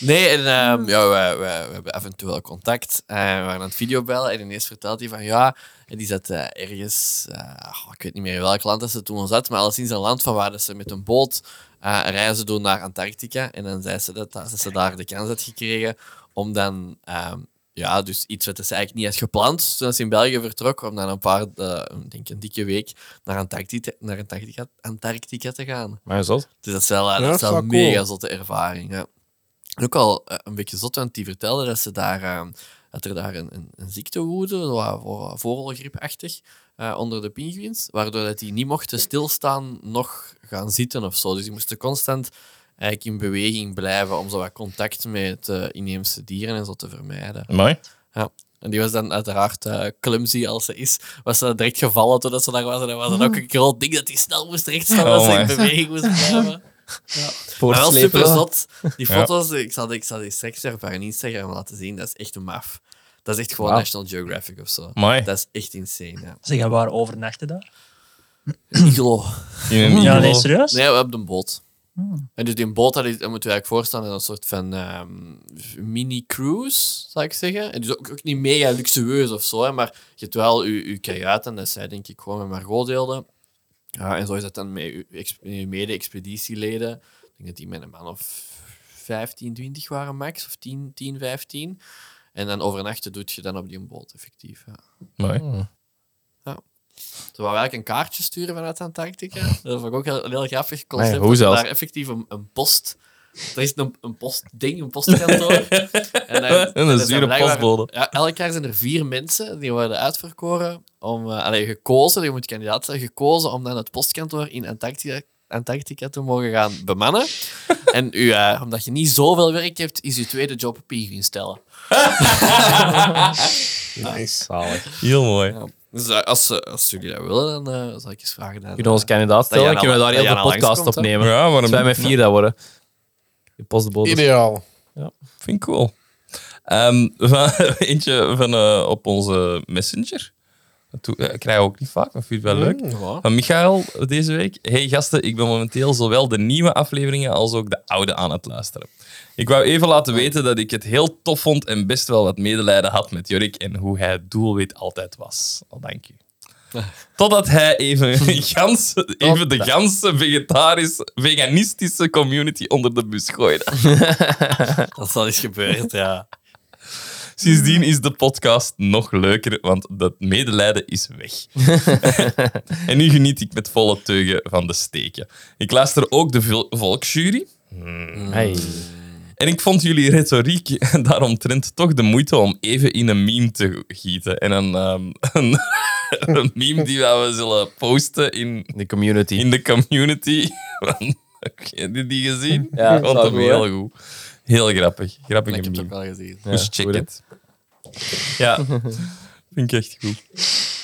Speaker 4: Nee, en ehm, ja, we, we, we hebben af en toe wel contact. Eh, we waren aan het videobellen en ineens vertelt hij van ja, en die zat eh, ergens, eh, oh, ik weet niet meer in welk land dat ze toen al zat, maar alleszins een land van waar dat ze met een boot eh, reizen doen naar Antarctica. En dan zei ze dat, dat ze daar de kans had gekregen om dan, ehm, ja, dus iets wat ze eigenlijk niet had gepland toen ze in België vertrok, om dan een paar, eh, ik denk een dikke week naar Antarctica, naar Antarctica, Antarctica te gaan.
Speaker 2: Maar zo.
Speaker 4: Dus dat is wel, eh, dat
Speaker 3: dat
Speaker 4: is wel
Speaker 3: is
Speaker 4: een
Speaker 3: wel cool.
Speaker 4: mega zotte ervaring. Ja. En Ook al eh, een beetje zot, want die vertelde dat, ze daar, eh, dat er daar een, een, een ziekte woedde, zo wat voor, vooralgriepachtig, eh, onder de pinguïns, waardoor dat die niet mochten stilstaan, nog gaan zitten of zo. Dus die moesten constant eigenlijk in beweging blijven om zo wat contact met eh, inheemse dieren en zo te vermijden.
Speaker 1: Mooi.
Speaker 4: En die was dan uiteraard eh, clumsy als ze is. Was ze direct gevallen totdat ze daar was. En dat was dan ook een groot ding dat hij snel moest rechtstaan als ze in
Speaker 1: Hmm. Oh my.
Speaker 4: beweging moest blijven. Maar wel super zot. Die
Speaker 1: Ja.
Speaker 4: foto's, ik, zal, ik zal die straks even op haar Instagram laten zien. Dat is echt een maf. Dat is echt gewoon
Speaker 2: Wauw.
Speaker 4: National Geographic of zo.
Speaker 1: Mooi.
Speaker 4: Dat is echt insane. Ja.
Speaker 5: Zeg, en waar overnachten daar?
Speaker 4: Iglo.
Speaker 1: In een
Speaker 5: Ja, nee,
Speaker 1: igloo.
Speaker 5: serieus?
Speaker 4: Nee, we hebben een boot. En dus die boot, dat, is- dat moeten we eigenlijk voorstellen, als een soort van ehm, mini-cruise, zou ik zeggen. En dus ook, ook niet mega luxueus of zo, hè, maar je hebt wel je, je kajuit en dat zij denk ik gewoon met Margot deelden. Ja, en zo is dat dan met je ex- je mede-expeditieleden. Ik denk dat die met een man of 15, 20 waren max, of 10, 10 15. En dan overnachten doet je dan op die boot, effectief. Ja.
Speaker 1: Mooi.
Speaker 4: Ze wou eigenlijk een kaartje sturen vanuit Antarctica. Dat vond ik ook heel, een heel grappig
Speaker 2: Maar
Speaker 4: concept.
Speaker 2: ja, hoe
Speaker 4: dat ze
Speaker 2: zelfs?
Speaker 4: daar effectief een, een post... Er is een, een postding, een postkantoor. en dan- en dan zijn
Speaker 1: zure
Speaker 4: blijkbaar-
Speaker 1: postbode.
Speaker 4: Ja, elk jaar zijn er vier mensen die worden uitverkoren. Om, eh allee, gekozen, je moet kandidaat zijn, gekozen om dan het postkantoor in Antarctica, Antarctica te mogen gaan bemannen. en u, eh, omdat je niet zoveel werk hebt, is uw tweede job pinguïn stellen.
Speaker 3: Nice.
Speaker 1: Heel mooi.
Speaker 4: Ja. Dus eh, als, ze- als jullie dat willen, dan eh, zal ik eens vragen. aan,
Speaker 2: Kunnen we ons kandidaat stellen?
Speaker 4: Dat Jana-
Speaker 2: kunnen we daar
Speaker 4: dat
Speaker 2: heel veel
Speaker 4: Jana
Speaker 2: podcast
Speaker 4: langskomt, hè?
Speaker 2: opnemen?
Speaker 1: Ja,
Speaker 2: Als
Speaker 1: waarom
Speaker 2: wij met vier dat worden. De postbode.
Speaker 3: Ideaal.
Speaker 1: Vind ik cool. Ehm, van, eentje van, eh, op onze messenger. Dat doe- eh, krijg je ook niet vaak, maar vind ik wel leuk.
Speaker 4: Ja.
Speaker 1: Van Michael deze week. Hey gasten, ik ben momenteel zowel de nieuwe afleveringen als ook de oude aan het luisteren. Ik wou even laten weten dat ik het heel tof vond en best wel wat medelijden had met Jorik en hoe hij het doelwit altijd was. Al dank u. Totdat hij even, gans, even de ganse vegetarisch, veganistische community onder de bus gooide.
Speaker 4: Dat is al eens gebeurd, ja.
Speaker 1: Sindsdien is de podcast nog leuker, want dat medelijden is weg. en nu geniet ik met volle teugen van de steken. Ik luister ook de vol- volksjury. En ik vond jullie retoriek daaromtrent toch de moeite om even in een meme te gieten. En een, ehm, een, een meme die we zullen posten in,
Speaker 2: De community.
Speaker 1: in de community. Want, Heb je die gezien?
Speaker 2: Ja,
Speaker 1: ik vond
Speaker 2: dat
Speaker 1: hem
Speaker 2: is wel
Speaker 1: heel goed. Heel grappig. Grappige
Speaker 4: Ik heb het
Speaker 1: meme.
Speaker 4: ook wel gezien.
Speaker 1: Dus check
Speaker 2: goed, hè?
Speaker 1: it. Ja, vind ik echt goed.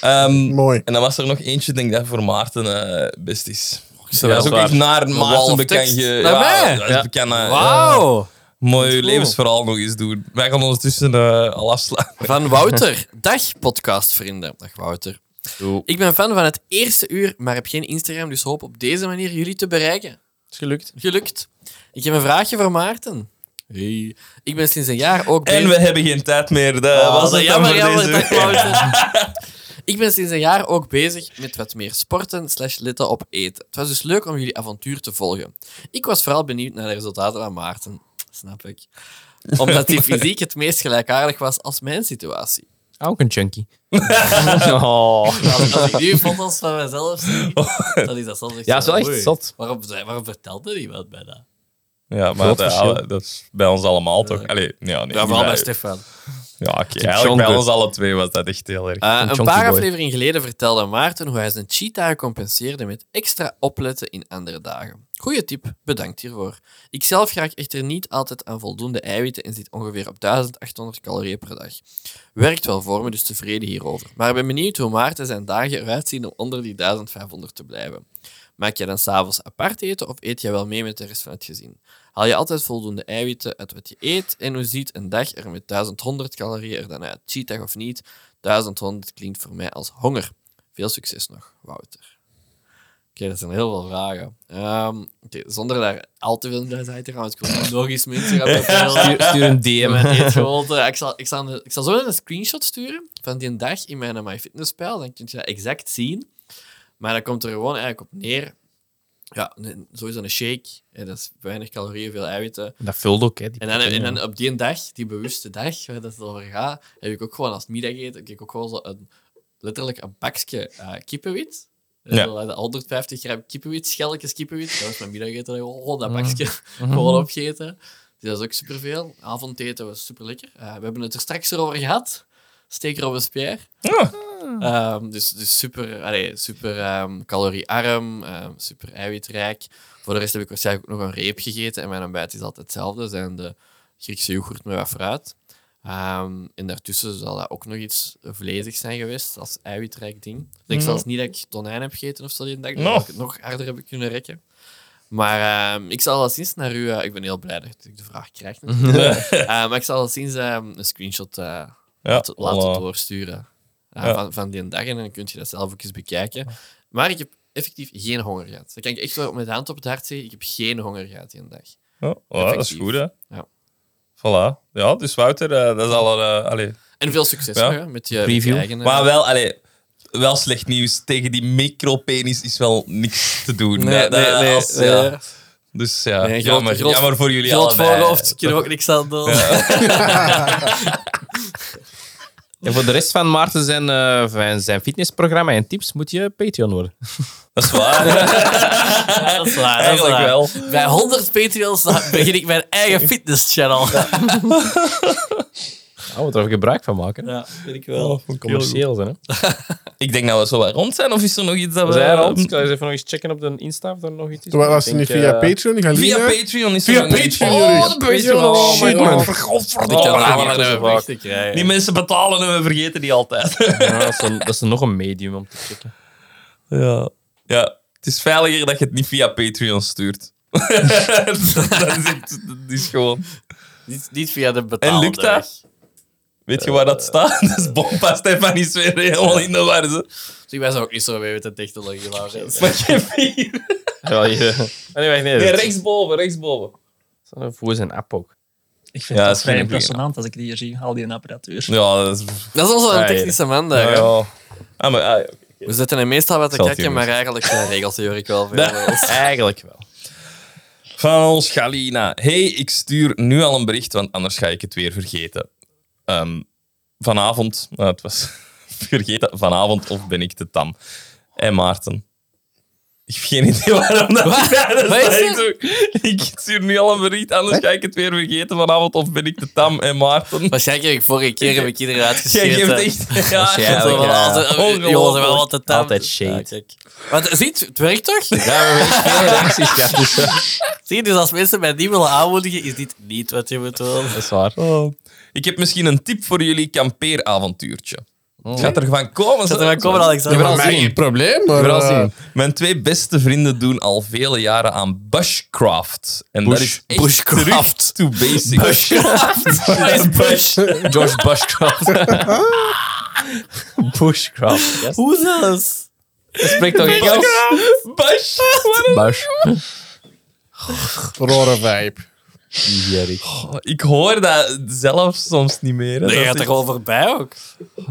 Speaker 1: Ehm,
Speaker 3: Mooi.
Speaker 1: En dan was er nog eentje, denk ik, dat voor Maarten eh, best is. Ze
Speaker 2: Ja,
Speaker 1: was ook
Speaker 2: waar.
Speaker 1: echt naar Maarten
Speaker 4: of
Speaker 1: bekend.
Speaker 4: tekst.
Speaker 1: ge-
Speaker 4: Naar mij?
Speaker 1: dat is
Speaker 2: Ja.
Speaker 1: bekend, eh,
Speaker 4: Wauw!
Speaker 1: Mooi
Speaker 4: Cool.
Speaker 1: levensverhaal nog eens doen. Wij gaan ondertussen eh, al afslaan.
Speaker 4: Van Wouter. Dag, podcastvrienden. Dag, Wouter. Ik ben fan van het eerste uur, maar heb geen Instagram, dus hoop op deze manier jullie te bereiken.
Speaker 2: is gelukt.
Speaker 4: Gelukt. Ik heb een vraagje voor Maarten. Hey. Ik ben sinds een jaar ook
Speaker 1: En
Speaker 4: bezig...
Speaker 1: we hebben geen tijd meer. Dat
Speaker 4: Ah,
Speaker 1: was
Speaker 4: dat
Speaker 1: het Oh,
Speaker 4: is
Speaker 1: jammer,
Speaker 4: jammer,
Speaker 1: voor
Speaker 4: jammer.
Speaker 1: deze week.
Speaker 4: Dag, Wouter. Ik ben sinds een jaar ook bezig met wat meer sporten slash letten op eten. Het was dus leuk om jullie avontuur te volgen. Ik was vooral benieuwd naar de resultaten van Maarten. Snap ik. Omdat die fysiek het meest gelijkaardig was als mijn situatie.
Speaker 2: Ah, Ook een chunky. oh.
Speaker 4: Als, als ik nu foto's van mezelf zie, dan is dat soms echt
Speaker 2: Ja, is wel
Speaker 4: zo,
Speaker 2: echt
Speaker 4: oei.
Speaker 2: zot.
Speaker 4: Waarom, zei- waarom vertelde niemand mij dat?
Speaker 1: Ja, maar
Speaker 2: Groot
Speaker 1: dat,
Speaker 2: verschil.
Speaker 1: ja, dat is bij ons allemaal toch? Allee, ja, nee,
Speaker 4: Ja, vooral bij
Speaker 1: bij-
Speaker 4: Stefan.
Speaker 1: Ja, oké.
Speaker 2: John
Speaker 1: Eigenlijk bij
Speaker 2: Doe.
Speaker 1: ons alle twee was dat echt heel erg.
Speaker 4: Eh, een
Speaker 2: chunky
Speaker 4: paar
Speaker 2: boy.
Speaker 4: afleveringen geleden vertelde Maarten hoe hij zijn cheetah compenseerde met extra opletten in andere dagen. Goeie tip, bedankt hiervoor. Ikzelf raak echter niet altijd aan voldoende eiwitten en zit ongeveer op 1800 calorieën per dag. Werkt wel voor me, dus tevreden hierover. Maar ik ben benieuwd hoe Maarten zijn dagen eruit zien om onder die 1500 te blijven. Maak jij dan s'avonds apart eten of eet jij wel mee met de rest van het gezin? Haal je altijd voldoende eiwitten uit wat je eet en hoe ziet een dag er met 1100 calorieën er dan uit? Cheatdag of niet? 1100 klinkt voor mij als honger. Veel succes nog, Wouter. Oké, dat zijn heel veel vragen. Ehm, oké, zonder daar al te veel naar uit te gaan, want ik wil nog eens mensen gaan vertellen.
Speaker 2: Stuur, stuur een
Speaker 4: Ja,
Speaker 2: DM.
Speaker 4: maar het gewoon, eh, ik, zal, ik, zal, een- ik zal zo een screenshot sturen van die dag in mijn MyFitnesspeil. Dan kun je dat exact zien. Maar dan komt er gewoon eigenlijk op neer. Ja, een- sowieso een shake. En dat is weinig calorieën, veel eiwitten.
Speaker 2: Dat vult ook, hè. die
Speaker 4: En dan, en
Speaker 2: proteïne.
Speaker 4: dan op die dag, die bewuste dag waar dat het over gaat, heb ik ook gewoon als middageten, heb ik ook gewoon zo een, letterlijk een bakje eh, kippenwit. Eh,
Speaker 1: Ja.
Speaker 4: Ja. 150 gram kippenwit, schelletjes kippenwit. Dat was mijn middageten. Gewoon
Speaker 2: Mm.
Speaker 4: dat bakje
Speaker 2: Mhm.
Speaker 4: gewoon opgegeten. Dus dat is ook superveel. Avondeten was super lekker. we hebben het er straks over gehad. Steker op een speer.
Speaker 1: Ja.
Speaker 2: Oh.
Speaker 4: Ehm, dus, dus super, allee, super ehm, caloriearm, ehm, super eiwitrijk. Voor de rest heb ik waarschijnlijk ook nog een reep gegeten. En mijn ontbijt is altijd hetzelfde. Zijn de Griekse yoghurt met wat fruit. Ehm, en daartussen zal dat ook nog iets vlezig zijn geweest, als eiwitrijk ding. Ik denk zelfs niet dat ik tonijn heb gegeten of zo die dag,
Speaker 1: Nog.
Speaker 4: dat ik het nog harder heb kunnen rekken. Maar ehm, ik zal al sinds naar u... eh, ik ben heel blij dat ik de vraag krijg. natuurlijk. Eh, maar ik zal al sinds ehm, een screenshot eh,
Speaker 1: Ja,
Speaker 4: laten, laten
Speaker 1: voilà.
Speaker 4: doorsturen eh,
Speaker 1: Ja.
Speaker 4: van, van die dag. En dan kun je dat zelf ook eens bekijken. Maar ik heb effectief geen honger gehad. Dat kan ik echt wel met de hand op het hart zeggen. Ik heb geen honger gehad die dag.
Speaker 1: Ja, oh, dat is
Speaker 4: Effectief.
Speaker 1: goed, hè?
Speaker 4: Ja.
Speaker 1: Voilà. Ja, dus Wouter, eh, dat is al... eh allee.
Speaker 4: En veel succes
Speaker 1: Ja.
Speaker 4: nog, hè, met je, met je
Speaker 2: Preview.
Speaker 4: eigen... eh,
Speaker 1: Maar wel, allee, wel slecht nieuws. Tegen die micropenis is wel niks te doen.
Speaker 4: Nee,
Speaker 1: Dat- dat-
Speaker 4: nee, nee.
Speaker 1: als-
Speaker 4: nee.
Speaker 1: ja. Dus ja,
Speaker 4: Nee, groot-
Speaker 1: jammer,
Speaker 4: groot-
Speaker 1: jammer voor jullie
Speaker 4: Groot
Speaker 1: allebei.
Speaker 4: voorhoofd, kunnen we ook niks aan doen.
Speaker 2: En voor de rest van Maarten zijn, eh, van zijn fitnessprogramma en tips moet je Patreon worden.
Speaker 1: Dat is waar.
Speaker 4: dat is waar. dat is
Speaker 1: Eigenlijk
Speaker 4: waar.
Speaker 1: wel.
Speaker 4: Bij 100 Patreons begin ik mijn eigen fitness-channel.
Speaker 2: Oh, moet er even gebruik van maken. hè.
Speaker 4: Ja, vind ik wel.
Speaker 5: Oh,
Speaker 2: Commercieel zijn, hè.
Speaker 1: Ik denk dat we zo wat rond zijn, of is er nog iets dat we...
Speaker 2: Zijn er al? Ik zal eens even nog eens checken op de Insta of er nog iets is.
Speaker 3: Terwijl als
Speaker 2: Ik
Speaker 3: je nu
Speaker 2: denk,
Speaker 3: via
Speaker 2: eh,
Speaker 3: Patreon gaat
Speaker 1: Via
Speaker 3: leren-
Speaker 1: Patreon is
Speaker 3: Via
Speaker 1: er nog een-
Speaker 3: Patreon,
Speaker 1: Oh,
Speaker 3: Joris.
Speaker 1: de Patreon.
Speaker 2: Oh,
Speaker 1: Oh,
Speaker 2: shit,
Speaker 1: my
Speaker 2: man.
Speaker 1: god.
Speaker 4: Ik kan
Speaker 1: Oh, maar
Speaker 4: het niet
Speaker 1: dat is
Speaker 4: zo
Speaker 1: waar.
Speaker 4: weg te krijgen.
Speaker 1: Die mensen betalen en we vergeten die altijd.
Speaker 2: ja, dat, is een, dat is nog een medium om te checken.
Speaker 1: Ja. ja. Het is veiliger dat je het niet via Patreon stuurt. dat, is echt- dat is gewoon...
Speaker 4: Niet, niet via de
Speaker 1: En
Speaker 4: betaalde
Speaker 1: lukt dat?
Speaker 4: weg.
Speaker 1: Weet je waar dat staat? Dat is Bompa Stefanie Sweer helemaal in de war. Zo.
Speaker 4: Dus ik was ook niet zo mee met de technologie, Laurens.
Speaker 1: Maar je vier.
Speaker 2: Ja, je... Ah, nee, wacht, nee.
Speaker 1: Nee,
Speaker 2: dat-
Speaker 1: rechtsboven, rechtsboven.
Speaker 2: dat is Voor zijn app ook.
Speaker 5: Ik vind
Speaker 1: Ja, dat
Speaker 5: dat
Speaker 1: is
Speaker 5: vrij
Speaker 1: geen goeie,
Speaker 5: impressionant als ik die hier zie, al die apparatuur.
Speaker 1: Ja, dat is...
Speaker 4: Dat is onze
Speaker 1: Ah, ja.
Speaker 4: technische man daar.
Speaker 1: Ja,
Speaker 4: hè.
Speaker 1: ja. Ah, maar... ah, ja.
Speaker 4: We zitten hem meestal wat te
Speaker 1: Zal het
Speaker 4: kakken,
Speaker 1: hier
Speaker 4: maar eigenlijk eh, regelt de Jorik wel veel.
Speaker 2: Eigenlijk wel.
Speaker 1: Van ons Galina. Hey, ik stuur nu al een bericht, want anders ga ik het weer vergeten. Ehm, vanavond, nou, het was vergeten, vanavond of ben ik te tam? Hé Maarten. Ik heb geen idee waarom dat, Ja, dat
Speaker 4: Wat is
Speaker 1: staat
Speaker 4: er?
Speaker 1: niet ook. Ik stuur nu al een bericht, anders ga ik het weer vergeten. Vanavond of ben ik te tam? En Maarten.
Speaker 4: Waarschijnlijk heb ik vorige keer heb ik iedereen
Speaker 1: Jij
Speaker 4: uitgeschreven.
Speaker 1: geeft echt... Ja,
Speaker 4: Ja,
Speaker 2: Eigenlijk,
Speaker 4: wel
Speaker 2: ja.
Speaker 4: altijd,
Speaker 1: Ongelooflijk.
Speaker 4: jongens zijn wel altijd tam.
Speaker 2: Altijd shade.
Speaker 4: Ja, kijk. Want, ziet, het werkt toch? Zie je, dus als mensen mij niet willen aanmoedigen, is dit niet wat je moet doen.
Speaker 2: Dat is waar.
Speaker 1: Oh. Ik heb misschien een tip voor jullie kampeeravontuurtje. Het gaat er van komen.
Speaker 4: Zet er
Speaker 1: zo.
Speaker 4: maar komen, Alexander.
Speaker 3: Maar geen probleem, maar...
Speaker 1: Vooral
Speaker 3: eh,
Speaker 1: zien. Mijn twee beste vrienden doen al vele jaren aan bushcraft. En dat is echt
Speaker 4: bushcraft.
Speaker 1: terug to basics.
Speaker 4: Waar is Bush?
Speaker 2: George Bushcraft. Bushcraft. Yes.
Speaker 4: Hoe zelfs?
Speaker 2: Spreekt toch Engels?
Speaker 1: Bush.
Speaker 2: Bush.
Speaker 3: Rare vibe.
Speaker 1: Oh, Ik hoor dat zelf soms niet meer. hè.
Speaker 4: Dat
Speaker 1: Dat
Speaker 4: gaat
Speaker 1: is
Speaker 4: er gewoon voorbij ook.
Speaker 1: echt-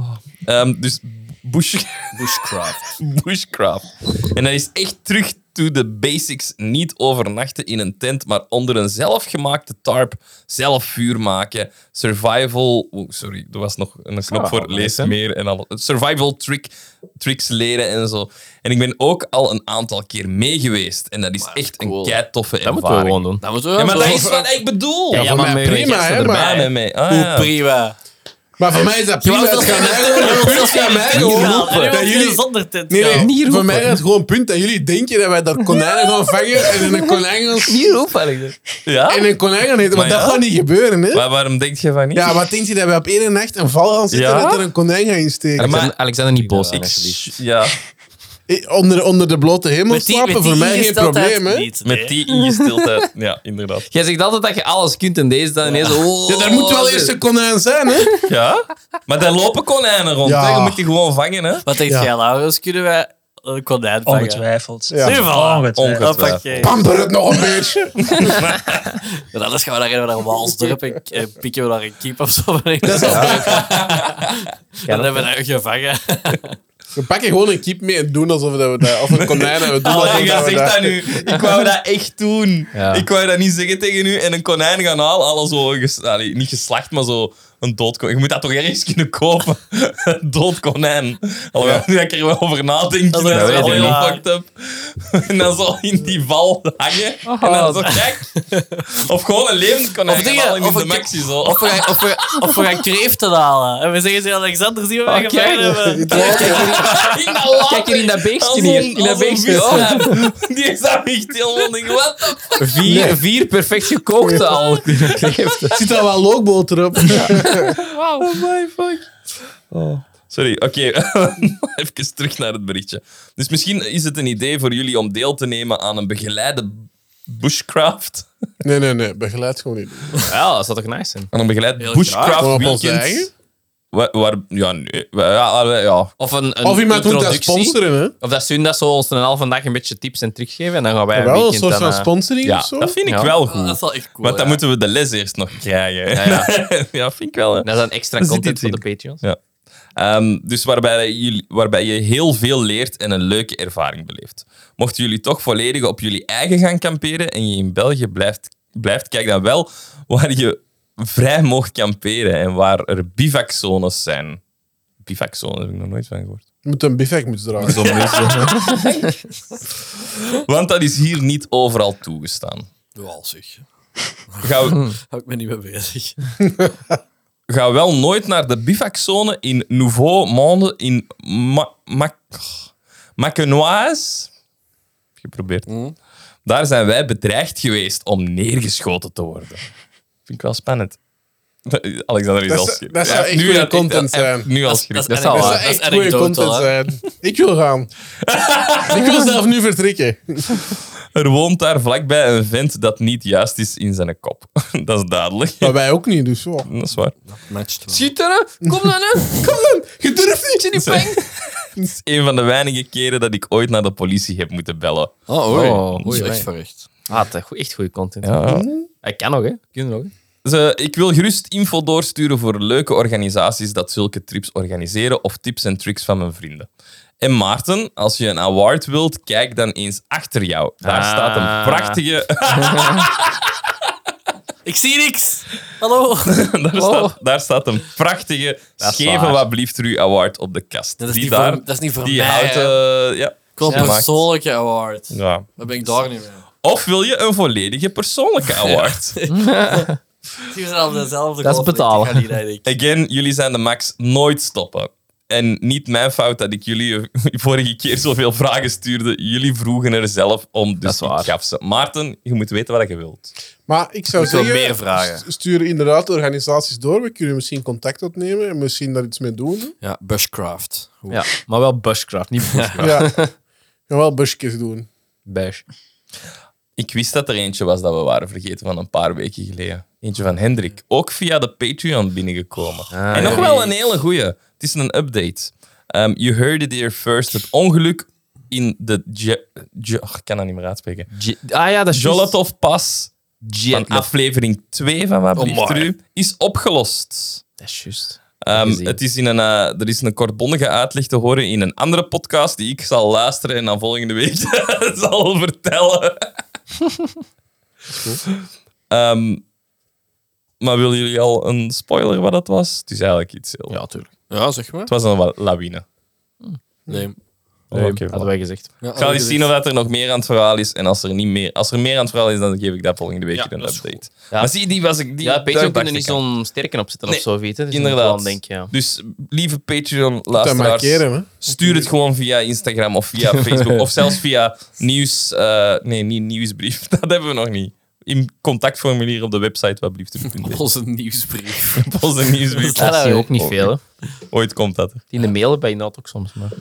Speaker 1: Ehm, dus bush... bushcraft. bushcraft. En dat is echt terug to the basics. Niet overnachten in een tent, maar onder een zelfgemaakte tarp zelf vuur maken. Survival... oh, sorry, er was nog een knop
Speaker 2: Ah,
Speaker 1: voor
Speaker 2: nice,
Speaker 1: lees
Speaker 2: hè?
Speaker 1: meer en al. Survival trick, tricks leren en zo. En ik ben ook al een aantal keer mee geweest. En dat is echt
Speaker 4: cool.
Speaker 1: een kei toffe
Speaker 2: Dat moeten we
Speaker 1: ervaring.
Speaker 2: gewoon doen.
Speaker 4: Dat moeten we
Speaker 1: Ja,
Speaker 4: wel
Speaker 1: maar dat
Speaker 4: zo-
Speaker 1: is wat ik bedoel.
Speaker 3: Ja, voor mij prima, hè,
Speaker 1: Ja,
Speaker 3: maar...
Speaker 1: nee, nee. Ah,
Speaker 4: Hoe
Speaker 1: ja.
Speaker 4: prima.
Speaker 3: Maar voor mij is dat prima.
Speaker 4: was
Speaker 3: Het
Speaker 4: dat
Speaker 3: gaat
Speaker 4: zo-
Speaker 3: mij gewoon een punt gaat mij gewoon
Speaker 4: Ja,
Speaker 3: dat jullie...
Speaker 4: zonder tent
Speaker 3: Nee, nee,
Speaker 4: gaan.
Speaker 3: voor mij is het gewoon een punt dat jullie denken dat wij dat konijnen gaan vangen en in een konijn gaan...
Speaker 1: Ja?
Speaker 3: En een konijn gaan eten, want
Speaker 1: Maar
Speaker 3: dat
Speaker 1: ja.
Speaker 3: gaat niet gebeuren, hè?
Speaker 1: Maar waarom denk je van niet?
Speaker 3: Ja, maar denk je dat we op één nacht een val gaan zitten
Speaker 1: Ja?
Speaker 3: dat er een konijn gaat insteken?
Speaker 2: Alexander,
Speaker 1: Maar-
Speaker 2: Alexander niet boos zijn,
Speaker 1: Ik-
Speaker 2: alsjeblieft.
Speaker 1: ja,
Speaker 3: Eh, Onder, onder de blote hemel
Speaker 4: Met die-
Speaker 3: slapen,
Speaker 4: met die
Speaker 3: voor mij geen
Speaker 4: ingesteldheid
Speaker 3: probleem, hè?
Speaker 4: niet, nee.
Speaker 1: met die ingesteldheid. Ja, inderdaad.
Speaker 2: Jij zegt altijd dat je alles kunt en deze dan ineens... Oh,
Speaker 3: Ja, daar moet wel eerst een konijn zijn, hè?
Speaker 1: Ja? Maar daar lopen konijnen rond.
Speaker 3: Ja.
Speaker 1: Hè? Je moet die gewoon vangen, hè?
Speaker 4: Wat denkt
Speaker 3: Ja.
Speaker 4: jij, Laurens? Kunnen wij een konijn vangen?
Speaker 5: Ongetwijfeld.
Speaker 3: Ja.
Speaker 4: Nu voilà.
Speaker 5: Ongetwijfeld.
Speaker 1: Ongetwijfeld.
Speaker 4: Hoppakee.
Speaker 3: Pamper het nog een beetje.
Speaker 4: Ja, anders gaan we daar even naar Walsdorp en, en pikken we daar een kip of zo. van. en dan hebben we daar gevangen.
Speaker 3: We pakken gewoon een kiep mee en doen alsof dat we dat... Of een konijn en we doen
Speaker 1: Oh,
Speaker 3: alsof
Speaker 1: jij
Speaker 3: dat we
Speaker 1: zegt
Speaker 3: dat...
Speaker 1: dat nu. Ik wou dat echt doen.
Speaker 2: Ja.
Speaker 1: Ik wou dat niet zeggen tegen u en een konijn gaan halen. Alles zo, ges- allee, niet geslacht, maar zo een dood konijn. Je moet dat toch ergens kunnen kopen? Een dood konijn. Alhoewel, nu dat ik er wel over nadenk, dat
Speaker 4: Dat
Speaker 1: is
Speaker 4: is
Speaker 1: wel
Speaker 4: wel
Speaker 1: heel
Speaker 4: waar.
Speaker 1: fucked up. En dan zo in die val hangen. En dan zo, kijk. Of gewoon een levend konijn
Speaker 4: Of
Speaker 1: gaan
Speaker 4: dingen-
Speaker 1: halen in
Speaker 4: of
Speaker 1: de
Speaker 4: een-
Speaker 1: maxi. Zo.
Speaker 4: Of we, gaan, of, we, of we gaan kreeften halen. En we zeggen ze, Alexander, zie je wat we
Speaker 2: Ah, kijk.
Speaker 4: gevangen hebben.
Speaker 1: in dat water.
Speaker 2: Kijk hier in dat beestje
Speaker 1: Als
Speaker 2: hier,
Speaker 1: een-
Speaker 2: in dat
Speaker 1: als een
Speaker 2: beestje.
Speaker 1: vis. Die is dat echt helemaal ding. What the fuck?
Speaker 2: Vier, vier perfect gekookte al.
Speaker 3: Er zit al wel lookboter op.
Speaker 1: Sorry, oké. Even terug naar het berichtje. Dus misschien is het een idee voor jullie om deel te nemen aan een begeleide bushcraft.
Speaker 3: Nee, nee, nee. Begeleid gewoon niet.
Speaker 2: Ja, dat zou toch nice zijn?
Speaker 1: Aan een begeleid
Speaker 4: Heel
Speaker 1: bushcraft
Speaker 3: graag. Gewoon op ons
Speaker 1: weekend.
Speaker 3: eigen?
Speaker 1: Waar, waar, ja, nee. Wa- Ja, ja, ja.
Speaker 2: Of, een, een
Speaker 3: Of iemand moet dat
Speaker 2: introductie.
Speaker 3: sponsoren, hè?
Speaker 2: Of dat ze hun dat zo ons een halve dag een beetje tips en tricks geven en dan gaan wij een
Speaker 3: Wel een
Speaker 2: weekend
Speaker 3: soort
Speaker 2: dan,
Speaker 3: van
Speaker 2: eh,
Speaker 3: sponsoring
Speaker 1: ja
Speaker 3: of zo?
Speaker 1: dat vind ik
Speaker 2: Ja.
Speaker 1: wel
Speaker 4: Oh, dat
Speaker 1: goed.
Speaker 4: is wel echt cool.
Speaker 1: Want dan
Speaker 4: ja.
Speaker 1: moeten we de les eerst nog krijgen. Ja, vind ik wel. hè.
Speaker 2: Dat is dan extra
Speaker 1: zit
Speaker 2: content
Speaker 1: iets
Speaker 2: voor
Speaker 1: in.
Speaker 2: de Patreons.
Speaker 1: Ehm, dus waarbij, jullie, waarbij je heel veel leert en een leuke ervaring beleeft. Mochten jullie toch volledig op jullie eigen gaan kamperen en je in België blijft, blijft kijk dan wel waar je vrij mag kamperen en waar er bivakzones zijn. Bivakzones heb ik nog nooit van gehoord.
Speaker 3: Je moet een bivak moeten dragen.
Speaker 1: Zo'n beetje. Want dat is hier niet overal toegestaan.
Speaker 4: Wel, zeg.
Speaker 1: Ga,
Speaker 4: Hou ik me niet mee bezig.
Speaker 1: ga wel nooit naar de bivakzone in Nouveau Monde in Ma Ma Macenoise. Geprobeerd.
Speaker 4: Mm.
Speaker 1: Daar zijn wij bedreigd geweest om neergeschoten te worden. Vind ik wel spannend. Alexander is
Speaker 3: Dat
Speaker 1: al
Speaker 3: zou-
Speaker 1: schrik.
Speaker 3: dat zou
Speaker 1: Hij heeft
Speaker 3: echt
Speaker 1: nu
Speaker 3: goede
Speaker 1: al-
Speaker 3: content
Speaker 1: hij heeft
Speaker 3: zijn.
Speaker 1: Nu al
Speaker 4: Dat is-
Speaker 1: schrik.
Speaker 4: dat is
Speaker 1: Dat is al
Speaker 4: echt-
Speaker 3: Dat
Speaker 1: waar.
Speaker 3: zou
Speaker 4: dat is
Speaker 3: echt goede
Speaker 4: anekdotal,
Speaker 3: content
Speaker 4: hè?
Speaker 3: zijn. Ik wil gaan. ik wil zelf nu vertrekken.
Speaker 1: Er woont daar vlakbij een vent dat niet juist is in zijn kop. dat is duidelijk.
Speaker 3: Maar wij ook niet, dus zo.
Speaker 1: Dat is waar.
Speaker 4: Matcht wel.
Speaker 1: Schieten, kom dan, hè.
Speaker 3: Kom dan, je durft niet.
Speaker 1: Dat is- Dat is een van de weinige keren dat ik ooit naar de politie heb moeten bellen.
Speaker 4: Oh, oei.
Speaker 2: Oh, oei,
Speaker 4: Slecht
Speaker 2: oei.
Speaker 4: verricht.
Speaker 2: Ah, dat is echt goede content. Mm.
Speaker 1: Ja.
Speaker 2: Hij kan nog, hè? Kunnen nog. hè.
Speaker 1: Ze- ik wil gerust info doorsturen voor leuke organisaties dat zulke trips organiseren of tips en tricks van mijn vrienden. En Maarten, als je een award wilt, kijk dan eens achter jou. Daar
Speaker 2: Ah.
Speaker 1: staat een prachtige...
Speaker 4: Ik zie niks. Hallo.
Speaker 1: daar,
Speaker 3: Oh.
Speaker 1: staat, daar staat een prachtige
Speaker 2: Dat is
Speaker 1: Scheven
Speaker 2: waar.
Speaker 1: wat blieft u award op de kast.
Speaker 4: Dat is
Speaker 1: die
Speaker 4: niet
Speaker 1: daar,
Speaker 4: voor- dat is niet voor
Speaker 1: die
Speaker 4: mij,
Speaker 1: houdt... eh, ja,
Speaker 4: Ik wil een
Speaker 1: gemaakt.
Speaker 4: persoonlijke award.
Speaker 1: Ja.
Speaker 4: Wat ben ik daar nu mee?
Speaker 1: Of wil je een volledige persoonlijke award?
Speaker 4: Die we zijn op dezelfde
Speaker 2: Dat is
Speaker 4: golflengte.
Speaker 2: betalen.
Speaker 4: Ik ga niet rijden, ik.
Speaker 1: Again, jullie zijn de max nooit stoppen. En niet mijn fout dat ik jullie vorige keer zoveel vragen stuurde. Jullie vroegen er zelf om, dus ik
Speaker 2: waar.
Speaker 1: gaf ze. Maarten, je moet weten wat je wilt.
Speaker 3: Maar ik zou
Speaker 4: Ik wil
Speaker 3: zeggen,
Speaker 4: meer vragen.
Speaker 3: st- stuur inderdaad de organisaties door. We kunnen misschien contact opnemen en misschien daar iets mee doen.
Speaker 4: Ja, Bushcraft. Hoe-
Speaker 2: Ja, maar wel bushcraft, niet bushcraft.
Speaker 3: Ja. En wel busjes doen.
Speaker 2: Bush.
Speaker 1: Ik wist dat er eentje was dat we waren vergeten van een paar weken geleden. Eentje van Hendrik. Ook via de Patreon binnengekomen. en nog wel een hele goeie. Het is een update. Ehm you heard it here first. Het ongeluk in de... Je- Je- oh, ik kan dat niet meer uitspreken.
Speaker 2: Ah ja, dat is
Speaker 1: Jolotov Pas van aflevering 2 van Wat Blieft er u? is opgelost.
Speaker 2: Dat is juist.
Speaker 1: Ehm,
Speaker 2: Gezien.
Speaker 1: het is in een, eh, er is een kortbondige uitleg te horen in een andere podcast die ik zal luisteren en dan volgende week zal vertellen. Ehm, maar willen jullie al een spoiler wat dat was? Het is eigenlijk iets heel...
Speaker 2: Ja, tuurlijk.
Speaker 4: Ja, zeg maar.
Speaker 1: Het was een wa- lawine.
Speaker 4: Nee.
Speaker 2: Nee,
Speaker 1: Oké,
Speaker 2: hadden
Speaker 1: voilà.
Speaker 2: wij gezegd.
Speaker 4: Ja,
Speaker 1: Ik ga eens zien of dat er nog meer aan het verhaal is. En als er, niet meer, als er meer aan het verhaal is, dan geef ik dat volgende week
Speaker 4: Ja,
Speaker 1: in een
Speaker 4: dat is goed.
Speaker 1: update.
Speaker 2: Ja.
Speaker 1: Maar zie, die was ik... Die,
Speaker 2: Ja,
Speaker 1: daar
Speaker 2: Patreon
Speaker 1: dacht
Speaker 2: kunnen
Speaker 1: ik
Speaker 2: niet
Speaker 1: aan.
Speaker 2: zo'n sterken op zitten
Speaker 1: Nee,
Speaker 2: of zo, weet je. Dus
Speaker 1: Inderdaad.
Speaker 2: Denk, ja.
Speaker 1: Dus lieve
Speaker 3: Dat
Speaker 1: Patreon-luisteraars,
Speaker 3: markeren, hè.
Speaker 1: stuur het gewoon via Instagram of via Facebook. of zelfs via nieuws... eh, nee, niet nieuwsbrief. Dat hebben we nog niet. In contactformulier op de website,
Speaker 4: Op
Speaker 1: watblieft.nl.
Speaker 4: Onze nieuwsbrief.
Speaker 1: Onze nieuwsbrief.
Speaker 2: Dat zie je ook niet veel, hè.
Speaker 1: Ooit komt dat er.
Speaker 2: In de mailen bij Nat ook soms, maar...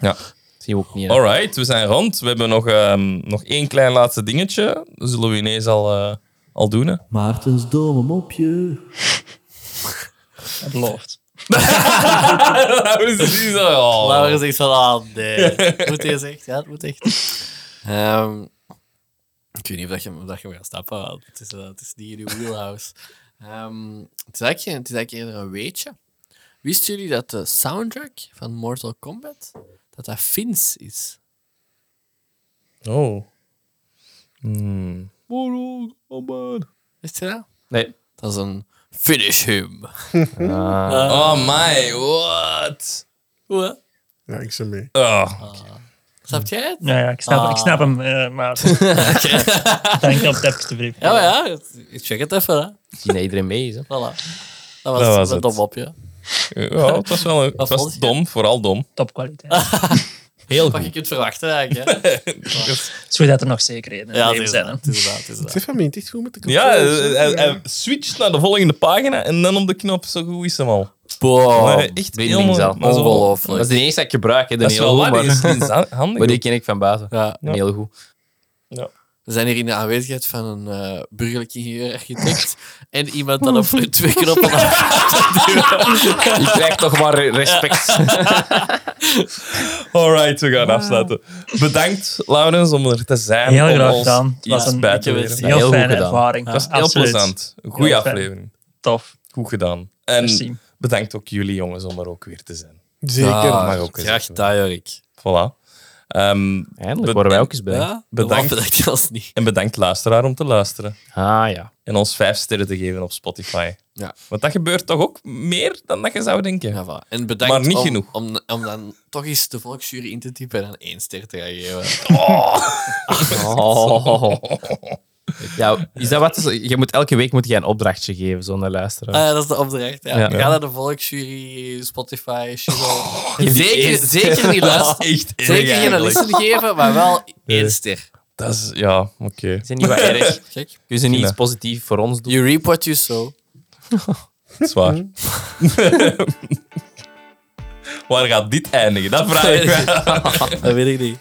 Speaker 1: Ja.
Speaker 2: Zie je ook niet, hè.
Speaker 1: Alright, we zijn rond. We hebben nog, ehm, nog één klein laatste dingetje. Dat zullen we ineens al, eh, al doen, hè?
Speaker 7: Maartens domme mopje.
Speaker 5: Dat belooft.
Speaker 1: Nou, Precies, oh.
Speaker 4: Laura zegt van, ah nee. Moet je echt, ja, het moet echt. Ehm, ik weet niet of, dat je, of dat je me gaat stappen, want het is, eh, het is niet in uw wheelhouse. Ehm, het, is eigenlijk, geen- het is eigenlijk eerder een weetje. Wisten jullie dat de soundtrack van Mortal Kombat, dat dat Fins is?
Speaker 1: Oh.
Speaker 4: Wist je dat?
Speaker 2: Nee.
Speaker 4: Dat is een finish him.
Speaker 1: Oh my, what?
Speaker 4: Wat?
Speaker 3: Ja, ik zit mee.
Speaker 1: Oh.
Speaker 4: Snap jij het?
Speaker 5: Ja, ja, ik snap, ik snap hem, eh, maar... Dank op tips te brief.
Speaker 4: Ja, maar ja, het- ik check het even, hè.
Speaker 2: Zie dat iedereen mee is, hè.
Speaker 4: Voilà. Dat was,
Speaker 1: Dat was
Speaker 4: een
Speaker 1: het.
Speaker 4: dom mopje.
Speaker 1: Ja, het was wel een, het
Speaker 4: vond
Speaker 1: was
Speaker 4: je?
Speaker 1: dom, vooral dom.
Speaker 5: Topkwaliteit.
Speaker 2: Heel
Speaker 4: Wat je
Speaker 2: goed.
Speaker 4: kunt verwachten, eigenlijk. Hè?
Speaker 5: Het is goed dat er Dus nog zekerheden in
Speaker 4: Ja,
Speaker 5: het
Speaker 4: het
Speaker 5: leven
Speaker 4: is
Speaker 5: zijn.
Speaker 4: dat.
Speaker 5: hè.
Speaker 4: Het is dat, het is dat.
Speaker 3: Stefan, ben je het echt goed met de
Speaker 1: Ja,
Speaker 3: controles, hè?
Speaker 1: hij,
Speaker 4: eh,
Speaker 1: hij- hij switcht naar de volgende pagina en dan op de knop, zo goed is hem al.
Speaker 4: Boah,
Speaker 1: Nee, echt
Speaker 2: Blindings
Speaker 1: helemaal-
Speaker 2: al.
Speaker 1: maar zo-
Speaker 4: ongelooflijk.
Speaker 2: Dat is de eerste dat ik gebruik, hè. De
Speaker 1: Dat is
Speaker 2: hele
Speaker 1: wel
Speaker 2: goed,
Speaker 1: waar, die
Speaker 2: maar-
Speaker 1: is, die is ha- handig.
Speaker 2: Maar die ken ik van buiten.
Speaker 4: Ja,
Speaker 2: Een Heel goed.
Speaker 4: we zijn hier in de aanwezigheid van een eh, burgerlijk ingenieur-architect en iemand dat op de twee knoppen af-
Speaker 2: Je krijgt toch maar respect.
Speaker 1: Alright, we gaan afsluiten. Bedankt, Laurens, om er te zijn.
Speaker 5: Heel
Speaker 1: om
Speaker 5: graag
Speaker 1: ons
Speaker 5: gedaan. Het
Speaker 1: iets
Speaker 5: was een
Speaker 1: bij te
Speaker 5: heel,
Speaker 1: leren.
Speaker 2: Ja, heel goed
Speaker 5: fijne
Speaker 2: gedaan.
Speaker 5: ervaring.
Speaker 1: Dat was heel
Speaker 5: Absoluut.
Speaker 1: plezant. Een goede
Speaker 5: Heel fijn.
Speaker 1: aflevering.
Speaker 5: Tof.
Speaker 1: Goed gedaan. En
Speaker 5: Merci.
Speaker 1: bedankt ook jullie, jongens, om er ook weer te zijn.
Speaker 3: Zeker.
Speaker 4: Ah,
Speaker 1: mag ook eens
Speaker 4: Graag
Speaker 1: even.
Speaker 4: gedaan, Jorik.
Speaker 1: Voilà. Eindelijk
Speaker 2: Eindelijk worden wij ook eens bij.
Speaker 4: Ja,
Speaker 1: Bedankt.
Speaker 4: bedankt. Bedankt als niet.
Speaker 1: En bedankt luisteraar om te luisteren.
Speaker 2: Ah ja.
Speaker 1: En ons vijf sterren te geven op Spotify.
Speaker 4: Ja.
Speaker 1: Want dat gebeurt toch ook meer dan dat je zou denken.
Speaker 4: Ja, voilà. En bedankt
Speaker 1: Maar niet
Speaker 4: om,
Speaker 1: genoeg.
Speaker 4: Om, om dan toch eens de volksjury in te typen en dan één ster te gaan geven.
Speaker 2: Oh. Ja, is dat wat? Je moet elke week moet jij een opdrachtje geven, zo'n luisteraar.
Speaker 4: Ah, dat is de opdracht. Ja.
Speaker 2: Ja.
Speaker 4: Ga naar de volksjury, Spotify, Shiro.
Speaker 2: die
Speaker 4: zeker,
Speaker 2: één-
Speaker 4: zeker niet luisteren.
Speaker 1: Echt
Speaker 4: Zeker geen listen geven, maar wel één ster.
Speaker 1: Dat is, ja, oké.
Speaker 2: Is niet wat erg?
Speaker 4: Kijk.
Speaker 2: Kun je niet iets positiefs voor ons doen?
Speaker 4: You reap what you sow.
Speaker 1: Dat is waar. Waar gaat dit eindigen? Dat vraag ik me.
Speaker 4: Dat weet ik niet.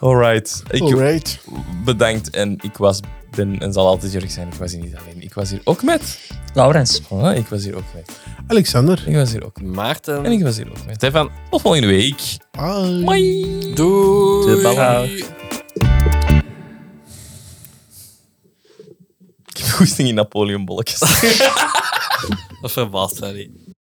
Speaker 1: Alright. Ik
Speaker 3: Alright.
Speaker 1: bedankt en ik was ben en zal altijd Jurk zijn. Ik was hier niet alleen. Ik was hier ook met.
Speaker 5: Laurens.
Speaker 1: Voilà, ik was hier ook met.
Speaker 3: Alexander.
Speaker 1: Ik was hier ook met.
Speaker 4: Maarten.
Speaker 1: En ik was hier ook met. Stefan, tot volgende week.
Speaker 3: Bye.
Speaker 4: Doei.
Speaker 2: De ballen.
Speaker 1: Ik heb goesting in Napoleon bolletjes.
Speaker 4: Dat verbaast mij niet.